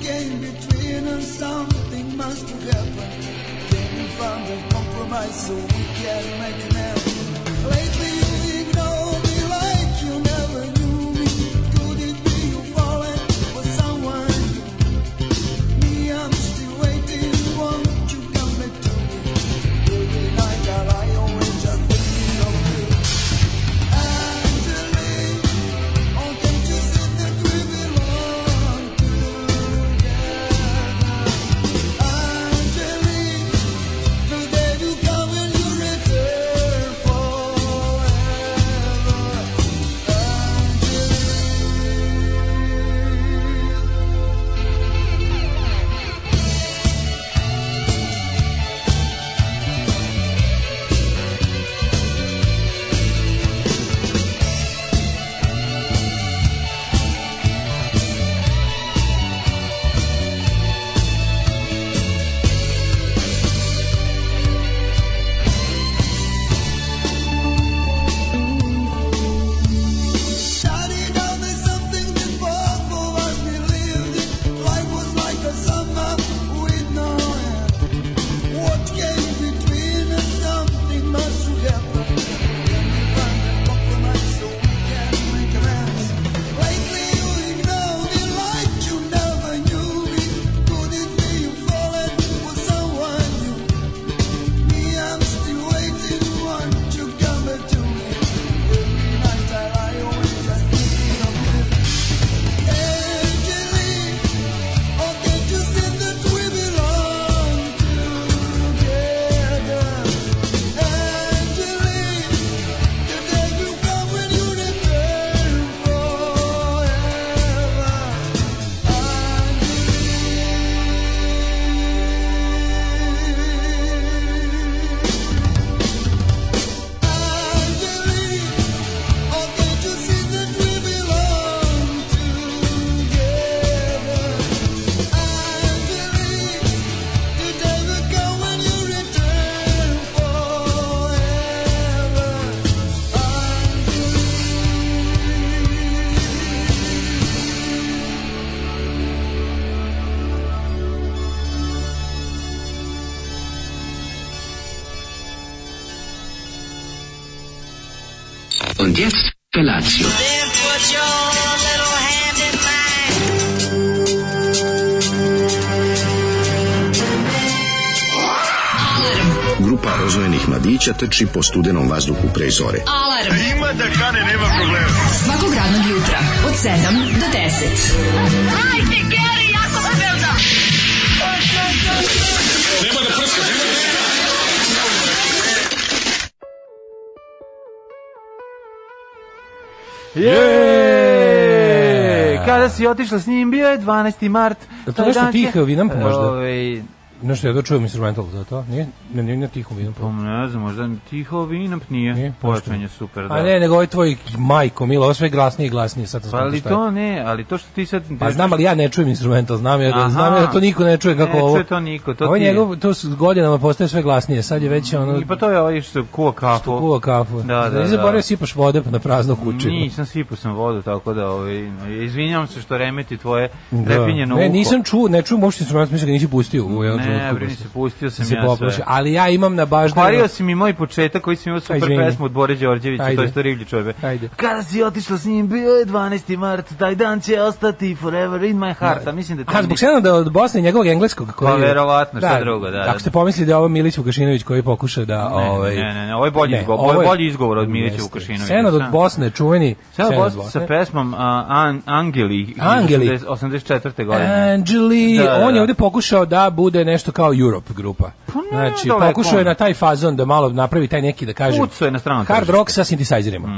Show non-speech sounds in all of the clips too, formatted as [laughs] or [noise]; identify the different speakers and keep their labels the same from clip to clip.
Speaker 1: game between us. Something must have happened. Then we found a compromise so we can make an end. Lately you've ignored me like you never knew me. Could it be you've fallen for someone new? Me, I'm still waiting. Won't you come back to me? Every night I lie awake just thinking of you. Angeline, oh can't you see that we belong together? Angeline, today you come and you return forever. Shouting down there's something that both of us believed in. Life was like a summer with no end. What came between us? Something must have happened. Can we find a compromise so we can make amends? Lately you ignore me like you never knew me. Could it be you've fallen for someone new? Me, I'm still waiting. Won't you come back to me? Every night I lie awake just thinking of you. Angeline, oh can't you see that we belong together? Angeline, today will come when you return forever. Angeline.
Speaker 2: Und jetzt Felatio.
Speaker 3: Then put your little hand in mine.
Speaker 4: Grupa rozvojenih mladića trči po studenom vazduhu pre zore.
Speaker 5: Alarm. Ima da kane, nema problema. Svakog radnog jutra, od 7 do 10. Hajde, Geri, jako se velda.
Speaker 6: Je! Kada si otišla s njim, bio je 12. mart.
Speaker 7: Je to
Speaker 6: Taj
Speaker 7: nešto
Speaker 6: dan će-
Speaker 7: tiho vinampo možda?
Speaker 6: Ovaj,
Speaker 7: No što ja da čujem instrumental za to? Nije, ne, nije na tihom vidim.
Speaker 6: pa ne znam, možda tiho vinamp nije.
Speaker 7: Nije?
Speaker 6: nije
Speaker 7: Pošto.
Speaker 6: Počanje super, da.
Speaker 7: A ne, nego ovaj tvoj majko, Milo, ovo sve je glasnije i glasnije. Sad sam
Speaker 6: pa
Speaker 7: shvatio
Speaker 6: ali
Speaker 7: šta je.
Speaker 6: to ne, ali to što ti sad...
Speaker 7: Pa znam, ali ja ne čujem instrumental, znam ja, da,
Speaker 6: Aha.
Speaker 7: znam ja da to niko ne čuje kako
Speaker 6: Ne
Speaker 7: ovo.
Speaker 6: čuje to niko, to
Speaker 7: ovo je
Speaker 6: ti je.
Speaker 7: njegov, to s godinama postaje sve glasnije, sad je već ono...
Speaker 6: I pa to je ovaj što kuva kafu.
Speaker 7: što kuva kafu.
Speaker 6: Da, da,
Speaker 7: Nisi
Speaker 6: da.
Speaker 7: zaboravio sipaš vode pa na prazno kući.
Speaker 6: Nisam sipao sam vodu, tako da ovaj, izvinjam se što remeti tvoje
Speaker 7: Da.
Speaker 6: prepinjeno
Speaker 7: Ne,
Speaker 6: uho.
Speaker 7: nisam čuo, ne čujem uopšte instrument, mislim da ga nisi pustio u jednom
Speaker 6: Ne,
Speaker 7: trenutku. Da
Speaker 6: brini se, pustio sam
Speaker 7: se
Speaker 6: ja
Speaker 7: poplašio.
Speaker 6: sve.
Speaker 7: Ali ja imam na baždinu...
Speaker 6: Kvario si mi moj početak koji sam imao super
Speaker 7: Ajde, izvini.
Speaker 6: pesmu od Bore Đorđevića,
Speaker 7: Ajde.
Speaker 6: to je što rivlji čovjek.
Speaker 7: Ajde.
Speaker 6: Kada si otišla s njim, bio je 12. mart, taj dan će ostati forever in my heart, a mislim da... to
Speaker 7: A zbog Senada da od Bosne i njegovog engleskog koji
Speaker 6: Pa, verovatno, šta drugo, da, da.
Speaker 7: Ako ste pomislili da je ovo Milić Vukašinović koji pokuša da
Speaker 6: Ne,
Speaker 7: ovaj
Speaker 6: ne, ne, ne, ovo je bolji izgovor, ovo je bolji izgovor od Milića
Speaker 7: Jeste.
Speaker 6: Vukašinovića,
Speaker 7: Senad od
Speaker 6: da.
Speaker 7: Bosne, čuveni
Speaker 6: Sada
Speaker 7: Senad
Speaker 6: Bosna sa pesmom a, An, Angeli,
Speaker 7: Angeli. E,
Speaker 6: iz 84. godine.
Speaker 7: Anđeli,
Speaker 6: Da, da,
Speaker 7: on je
Speaker 6: da.
Speaker 7: ovde pokušao da bude nešto kao Europe grupa.
Speaker 6: Pa ne,
Speaker 7: znači,
Speaker 6: daleko
Speaker 7: pokušao je
Speaker 6: ono.
Speaker 7: na taj fazon da malo napravi taj neki, da kažem,
Speaker 6: Pucao je na Mhm, stranu
Speaker 7: hard
Speaker 6: tržište.
Speaker 7: rock sa sintesajzerima.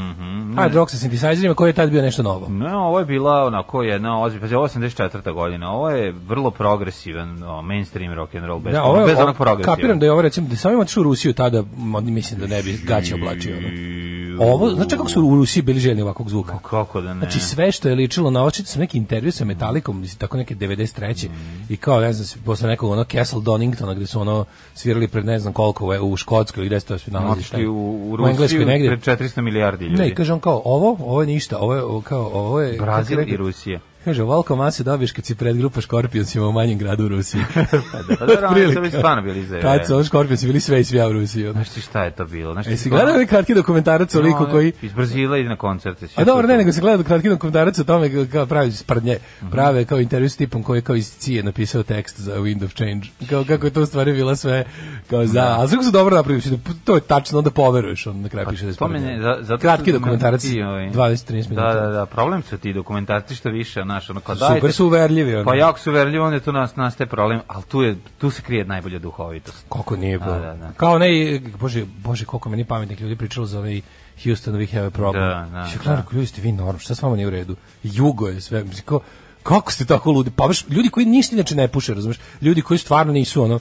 Speaker 7: hard rock sa sintesajzerima koji je tad bio nešto novo.
Speaker 6: Ne, ovo je bila onako jedna ozbiljna, pazi, ovo je 84. godina, ovo je vrlo progresivan o, mainstream rock and roll, bez,
Speaker 7: Da, ovo je,
Speaker 6: bez
Speaker 7: ovo-
Speaker 6: onog progresivan.
Speaker 7: kapiram da je ovo, recimo, da sam imao otišao u Rusiju tada, m, mislim da ne bi gaće oblačio. Ono. Ovo, znači kako su u Rusiji bili željni ovakvog zvuka?
Speaker 6: Kako da ne?
Speaker 7: Znači sve što je ličilo na očito sam neki intervju sa Metallicom, mislim, tako neke 93. I kao, ne znam, posle nekog ono Castle Doningtona gde su ono svirali pred ne znam koliko u- u Škotskoj ili gde se to sve nalazi. šta
Speaker 6: Otišli
Speaker 7: je?
Speaker 6: u, u
Speaker 7: U Engleskoj
Speaker 6: Rusiju
Speaker 7: negdje.
Speaker 6: pred 400 milijardi ljudi.
Speaker 7: Ne, i kaže on kao, ovo, ovo je ništa, ovo je, ovo kao, ovo je... kako je
Speaker 6: Brazil
Speaker 7: rekao?
Speaker 6: i Rusija.
Speaker 7: Kaže, ovoliko mase dobiješ kad si pred grupa Škorpioncima u manjem gradu u Rusiji. [laughs]
Speaker 6: Pa da, [laughs] pa dobro, oni su bili stvarno bili za Znači,
Speaker 7: Kad su ovo Škorpionci bili sve i svija u Rusiji. ono.
Speaker 6: Znaš ti šta je to bilo? Znaš ti
Speaker 7: E, si
Speaker 6: to-
Speaker 7: gledao ovaj kratki dokumentarac o liku
Speaker 6: No,
Speaker 7: koji...
Speaker 6: Iz Brazila ide na koncerte.
Speaker 7: A Pa dobro, ne, nego se gleda kratki dokumentarac o tome ka- kao pravi sprdnje, prave kao intervju s tipom koji je kao iz Cije napisao tekst za Wind of Change. Kao kako je to u stvari bila sve kao za...
Speaker 6: Da.
Speaker 7: A sve su dobro napravili, mislim da to je tačno, onda poveruješ, on na kraju piše da je
Speaker 6: Pa To mene,
Speaker 7: sprdnje.
Speaker 6: za, zato
Speaker 7: Kratki
Speaker 6: su nam
Speaker 7: dokumentarac,
Speaker 6: ti, ovaj,
Speaker 7: 20-13 minuta.
Speaker 6: Da, da, da, problem su ti dokumentarci što više, znaš, ono, kao
Speaker 7: Super
Speaker 6: dajte-
Speaker 7: su uverljivi. ono.
Speaker 6: Pa jako su verljivi, onda je tu nas, nastaje problem, ali tu, je, tu se krije najbolja duhovitost.
Speaker 7: Koliko nije bilo.
Speaker 6: da, da.
Speaker 7: Kao ne, bože, bože, koliko meni pametnih ljudi pričalo za ovaj Houston, we have a problem.
Speaker 6: Da, da,
Speaker 7: Mislim, Klara, ljudi ste vi norm, šta s vama nije u redu? Jugo je sve, mislim, kao, kako ste tako ludi? Pa baš, ljudi koji ništa inače ne puše, razumeš? Ljudi koji stvarno nisu, ono,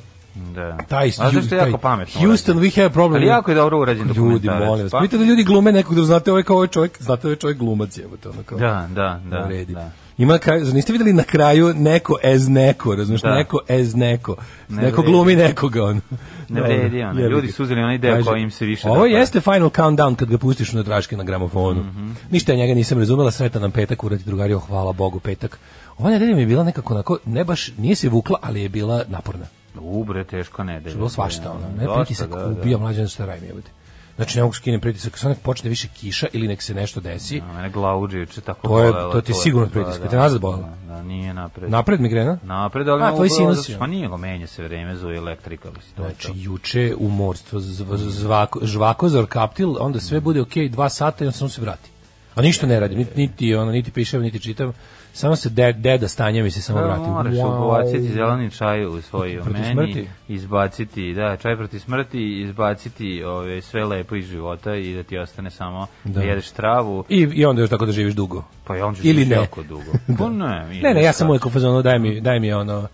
Speaker 6: Da.
Speaker 7: taj,
Speaker 6: A znaš što je
Speaker 7: taj-
Speaker 6: jako pametno.
Speaker 7: Houston,
Speaker 6: urađeno?
Speaker 7: we have a problem.
Speaker 6: Ali jako je dobro urađen
Speaker 7: Ljudi,
Speaker 6: dokumentarac.
Speaker 7: molim vas.
Speaker 6: Pa-
Speaker 7: Vidite da ljudi glume nekog, da znate ovaj kao ovaj čovjek, znate ovaj čovjek glumac je, ono kao.
Speaker 6: Da, da, da.
Speaker 7: u redi.
Speaker 6: da.
Speaker 7: Ima na kraju, niste videli na kraju neko ez neko, razumiješ,
Speaker 6: Da.
Speaker 7: neko ez neko.
Speaker 6: Ne
Speaker 7: neko
Speaker 6: vredi.
Speaker 7: glumi nekoga, on.
Speaker 6: Ne vredi, ono. Ljudi su uzeli onaj deo koji im se više da
Speaker 7: Ovo
Speaker 6: dopada.
Speaker 7: jeste final countdown kad ga pustiš na draške na gramofonu.
Speaker 6: Mhm.
Speaker 7: Ništa ja njega nisam razumela, sretan nam petak, uradi drugari, oh, hvala Bogu, petak. Ova nedelja mi je bila nekako onako, ne baš, nije se vukla, ali je bila naporna.
Speaker 6: Ubre, teško nedelja.
Speaker 7: Bilo svašta, ono, ne
Speaker 6: Dosta,
Speaker 7: pritisak
Speaker 6: da, da.
Speaker 7: ubija mlađan šta radim, jebote. Znači, ne mogu skinem pritisak, sad nek počne više kiša ili nek se nešto desi.
Speaker 6: A Mene glauđe juče tako
Speaker 7: To je-
Speaker 6: bolelo,
Speaker 7: to ti je sigurno pritisak, te nazad bolelo?
Speaker 6: Da, da, nije napred.
Speaker 7: Napred migrena?
Speaker 6: Napred, ali
Speaker 7: A,
Speaker 6: me
Speaker 7: tvoj
Speaker 6: ubilo,
Speaker 7: sinus
Speaker 6: zato što-
Speaker 7: je.
Speaker 6: Pa nije go menja se vreme, zuje elektrika. mislim, to je
Speaker 7: Znači,
Speaker 6: to.
Speaker 7: juče umorstvo, zv- zvako, žvakozor, kaptil, onda sve bude okej, dva sata i onda samo se vrati. A ništa ne radim, niti, niti, ono, niti pišem, niti čitam, samo se de, deda stanja mi se samo
Speaker 6: Da,
Speaker 7: vrati.
Speaker 6: moraš
Speaker 7: Wow.
Speaker 6: ubaciti zeleni čaj u svoj
Speaker 7: Protiv
Speaker 6: meni,
Speaker 7: smrti?
Speaker 6: izbaciti, da, čaj protiv smrti, izbaciti ove, sve lepo iz života i da ti ostane samo da, jedeš travu,
Speaker 7: I, I onda još tako da živiš dugo.
Speaker 6: pa ja on ćeš
Speaker 7: Ili
Speaker 6: živjeti
Speaker 7: ne. Da.
Speaker 6: jako
Speaker 7: [laughs]
Speaker 6: dugo. Pa ne,
Speaker 7: Ne, ne, ja sam
Speaker 6: sam
Speaker 7: uvijek u fazonu, daj mi, daj mi ono,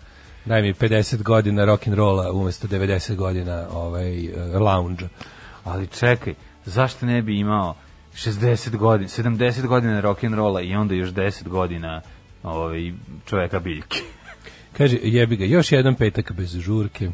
Speaker 7: daj mi 50 godina rock'n'rolla umesto 90 godina ovaj, eh, lounge.
Speaker 6: Ali čekaj, zašto ne bi imao 60 godina, 70 godina rock'n'rolla i onda još 10 godina ovaj, čoveka biljke?
Speaker 7: Kaže, jebi ga, još jedan petak bez žurke.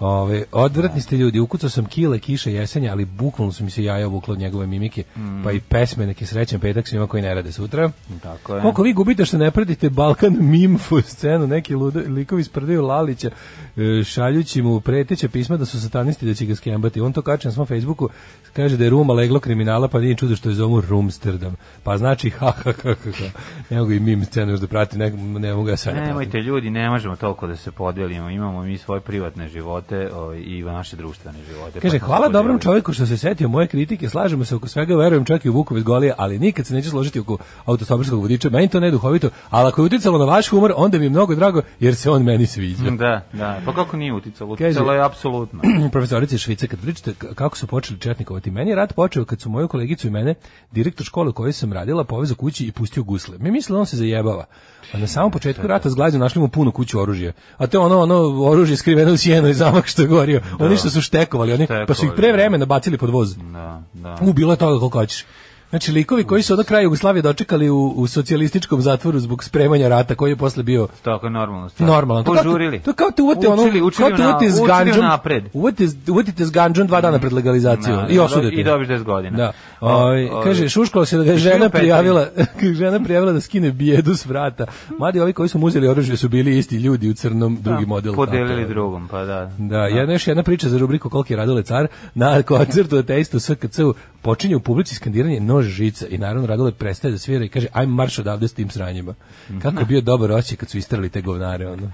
Speaker 7: Ove, odvratni ste ljudi, ukucao sam kile kiše jesenja, ali bukvalno su mi se jaja vukla od njegove mimike, pa i pesme neke srećan petak svima koji ne rade sutra.
Speaker 6: Tako je.
Speaker 7: Koliko vi gubite što ne pratite Balkan mimfu scenu, neki ludo, likovi sprdaju Lalića, e, šaljući mu preteća pisma da su satanisti da će ga skembati. On to kače na svom Facebooku, kaže da je Ruma leglo kriminala, pa nije čudo što je zovu Rumsterdam. Pa znači, ha, ha, ha, ha, ha. Ne mogu i mim scenu još da pratim, ne, ne mogu ja sad. da pratim.
Speaker 6: Nemojte ljudi, Pa ne možemo toliko da se podelimo, imamo mi svoje privatne živote ovaj, i naše društvene živote.
Speaker 7: Kaže,
Speaker 6: Pa
Speaker 7: hvala
Speaker 6: tako
Speaker 7: dobrom
Speaker 6: ljudi.
Speaker 7: čovjeku što se setio moje kritike, slažemo se oko svega, verujem čak i u Vukovez Golija, ali nikad se neću složiti oko autostoperskog vodiča, meni to ne duhovito, ali ako je uticalo na vaš humor, onda mi je mnogo drago, jer se on meni sviđa.
Speaker 6: Da, da. Pa kako nije uticalo?
Speaker 7: Kaže-
Speaker 6: Uticalo je apsolutno.
Speaker 7: [clears throat]
Speaker 6: [clears throat]
Speaker 7: profesorice iz Švice, kad pričate k- kako su počeli četnikovati, meni je rat počeo kad su moju kolegicu i mene, direktor škole u kojoj sam radila, povezao kući i pustio gusle. Mi mislili da on se zajebava. A na samom početku rata s glazom našli mu puno kuću oružja. A to je ono, ono oružje skriveno u sjenu i zamak što je gorio. Oni što su štekovali, oni, pa su ih pre
Speaker 6: Da. Štekovali, da.
Speaker 7: vremena bacili pod voz.
Speaker 6: Da, da.
Speaker 7: U, bilo je toga koliko hoćeš. Znači, likovi koji su do kraja Jugoslavije dočekali u, u socijalističkom zatvoru zbog spremanja rata, koji je posle bio
Speaker 6: Tako je normalno. Stvar.
Speaker 7: normalno. To kao ti-
Speaker 6: Da. Požurili.
Speaker 7: To kao te uvate ono,
Speaker 6: Učili, učili
Speaker 7: kao te
Speaker 6: na-
Speaker 7: uvate s
Speaker 6: učili
Speaker 7: ganđom.
Speaker 6: napred.
Speaker 7: Uvate, s- uvate s ganđom dva dana pred legalizaciju.
Speaker 6: Da,
Speaker 7: I osudete.
Speaker 6: I dobiš 10 godina.
Speaker 7: Da.
Speaker 6: O,
Speaker 7: Ovaj,
Speaker 6: o,
Speaker 7: kaže, šuškalo se da ga je
Speaker 6: I šljiva
Speaker 7: žena
Speaker 6: Petrović.
Speaker 7: prijavila, [laughs] kaže, žena prijavila da skine bijedu s vrata. Mladi ovi koji su mu uzeli oružje su bili isti ljudi u crnom, drugi model.
Speaker 6: Da. Podelili
Speaker 7: tako.
Speaker 6: drugom, pa da.
Speaker 7: Da, jedna još jedna priča za rubriku Koliki je Radule car na koncertu da ateistu SKC-u počinje u publici skandiranje nož žica i naravno Radule prestaje da svira i kaže aj marš odavde s tim sranjima. Kako je bio dobar oči kad su istrali te govnare ono.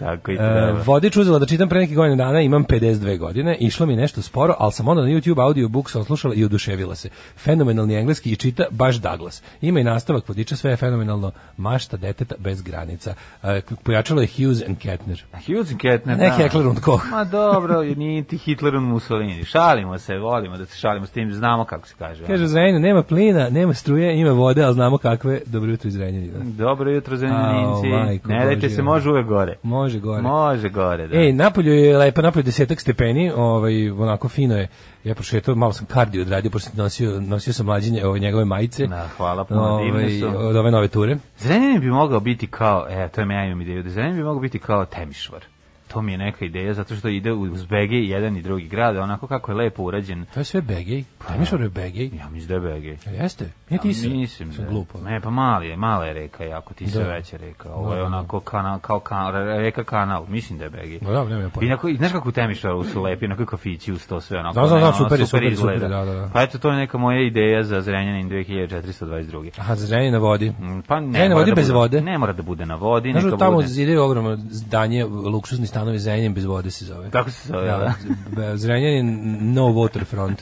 Speaker 6: Tako i
Speaker 7: E,
Speaker 6: treba.
Speaker 7: vodič uzela da čitam pre nekih godina dana, imam 52 godine, išlo mi nešto sporo, ali sam onda na YouTube audiobook sam slušala i oduševila se. Fenomenalni engleski i čita baš Douglas. Ima i nastavak vodiča, sve je fenomenalno. Mašta deteta bez granica. E, pojačalo je Hughes and Kettner.
Speaker 6: Hughes and Kettner.
Speaker 7: Ne
Speaker 6: da.
Speaker 7: Heckler und Koch.
Speaker 6: Ma dobro, i niti Hitler und Mussolini. Šalimo se, volimo da se šalimo s tim, znamo kako se kaže.
Speaker 7: Kaže Zrenjanin, nema plina, nema struje, ima vode, ali znamo kakve. Dobro jutro iz Zrenjanina.
Speaker 6: Dobro jutro,
Speaker 7: Au,
Speaker 6: zemljenici.
Speaker 7: majko
Speaker 6: Ne dajte
Speaker 7: Božja.
Speaker 6: se, može uvek gore.
Speaker 7: Može gore. E,
Speaker 6: Može gore, da.
Speaker 7: Ej, napolju je lepo, napolju je desetak stepeni, ovaj, onako fino je. Ja prošetao, malo sam kardio odradio, pošto sam nosio, nosio sam mlađenje ove njegove majice.
Speaker 6: Da, hvala puno, divne
Speaker 7: Ovaj,
Speaker 6: su.
Speaker 7: Od ove nove ture.
Speaker 6: Zrenjanin bi mogao biti kao, e, to je ja imam ideju, da Zrenjanin bi mogao biti kao Temišvar. To mi je neka ideja, zato što ide uz Begej jedan i drugi grad, a onako kako je lepo urađen.
Speaker 7: To je sve Begej. Pa, ja mislim da je Begej.
Speaker 6: Ja mislim da je Begej.
Speaker 7: Jeste? Nije ti se.
Speaker 6: Mislim
Speaker 7: Sam
Speaker 6: da.
Speaker 7: glupo.
Speaker 6: Ne, pa mali je, mala je reka jako, ti se
Speaker 7: Da.
Speaker 6: veća reka. Ovo je
Speaker 7: Da, da, da.
Speaker 6: onako kanal, kao kanal, reka kanal, mislim da je Begej.
Speaker 7: Ma da, nemam
Speaker 6: I
Speaker 7: pojma.
Speaker 6: onako, i znaš kako u Temišvaru su lepi, onako kafići uz to sve, onako.
Speaker 7: Znam, znam,
Speaker 6: ono,
Speaker 7: znam, Da, super je, super, super,
Speaker 6: izgleda.
Speaker 7: da, da, da.
Speaker 6: Pa eto, to je neka moja ideja za Zrenjanin 2422.
Speaker 7: Aha, zrenje na vodi.
Speaker 6: Mm, Pa ne,
Speaker 7: E, na
Speaker 6: mora
Speaker 7: vodi
Speaker 6: da
Speaker 7: bez
Speaker 6: bude-
Speaker 7: vode.
Speaker 6: Ne mora da bude na vodi,
Speaker 7: Znaš
Speaker 6: neka
Speaker 7: da tamo
Speaker 6: bude.
Speaker 7: zide ogromno zdanje, luksuzni stanovi Zrenjanin bez vode se zove.
Speaker 6: Tako se zove, da.
Speaker 7: Da, da. Zrenjanin no waterfront.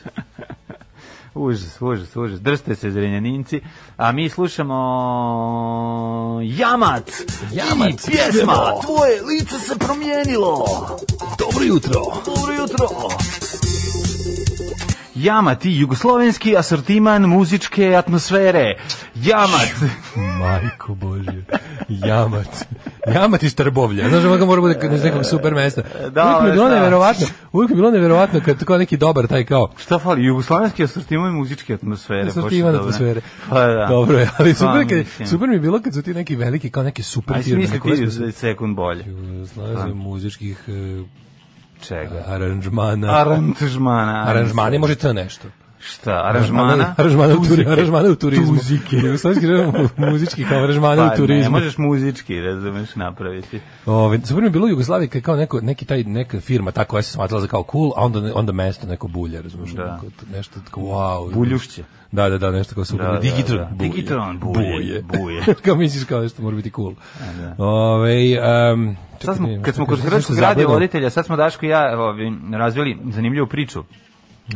Speaker 6: Užas, užas, užas. Držite se zrenjaninci. A mi slušamo Jamac.
Speaker 7: Jamac.
Speaker 6: I pjesma. Tvoje lice se promijenilo.
Speaker 7: Dobro jutro.
Speaker 6: Dobro jutro. Jamac i jugoslovenski asortiman muzičke atmosfere.
Speaker 7: [laughs]
Speaker 6: Jamac.
Speaker 7: Majko Božje. Jamac. Jamac iz Trbovlja. Znaš, ovako mora bude iz nekog super mesta.
Speaker 6: Da,
Speaker 7: uvijek mi je bilo
Speaker 6: šta?
Speaker 7: neverovatno, uvijek mi je bilo neverovatno kad tako neki dobar taj kao
Speaker 6: Šta fali? Jugoslovenski asortiman muzičke atmosfere.
Speaker 7: Asortiman
Speaker 6: Bože, dobro.
Speaker 7: atmosfere.
Speaker 6: Pa da.
Speaker 7: [laughs] Dobro je, ali
Speaker 6: Pa,
Speaker 7: super, je
Speaker 6: mislim.
Speaker 7: kad, super mi je bilo kad su ti neki veliki, kao neki super
Speaker 6: Aj,
Speaker 7: firme.
Speaker 6: smisli
Speaker 7: neko vesmo-
Speaker 6: ti sekund bolje.
Speaker 7: Jugoslavije muzičkih e,
Speaker 6: Čega?
Speaker 7: aranžmana.
Speaker 6: Aranžmana.
Speaker 7: aranžmani može to nešto.
Speaker 6: Šta? Aranžmana?
Speaker 7: Aranžmana u, turi,
Speaker 6: Tuzike.
Speaker 7: aranžmana u turizmu.
Speaker 6: Tuzike.
Speaker 7: Jugoslovenski mu- muzički kao aranžmana
Speaker 6: Pa
Speaker 7: u turizmu.
Speaker 6: ne, možeš muzički, razumeš, napraviti.
Speaker 7: Ove, super mi je bilo u Jugoslaviji kad kao neko, neki taj, neka firma ta koja se smatrala za kao cool, a onda, onda mesto neko bulja, razumiješ?
Speaker 6: Da.
Speaker 7: Neko t- nešto tako, wow.
Speaker 6: Buljušće.
Speaker 7: Da, da, da, nešto kao super.
Speaker 6: Da, da,
Speaker 7: Digitron,
Speaker 6: da.
Speaker 7: bulje.
Speaker 6: Digitron, bulje, bulje.
Speaker 7: [laughs] kao misliš kao nešto mora biti cool. Ove, um,
Speaker 6: Sad smo, kad smo kod Hrvatskog radio voditelja, sad smo Daško i ja ovi, razvili zanimljivu priču.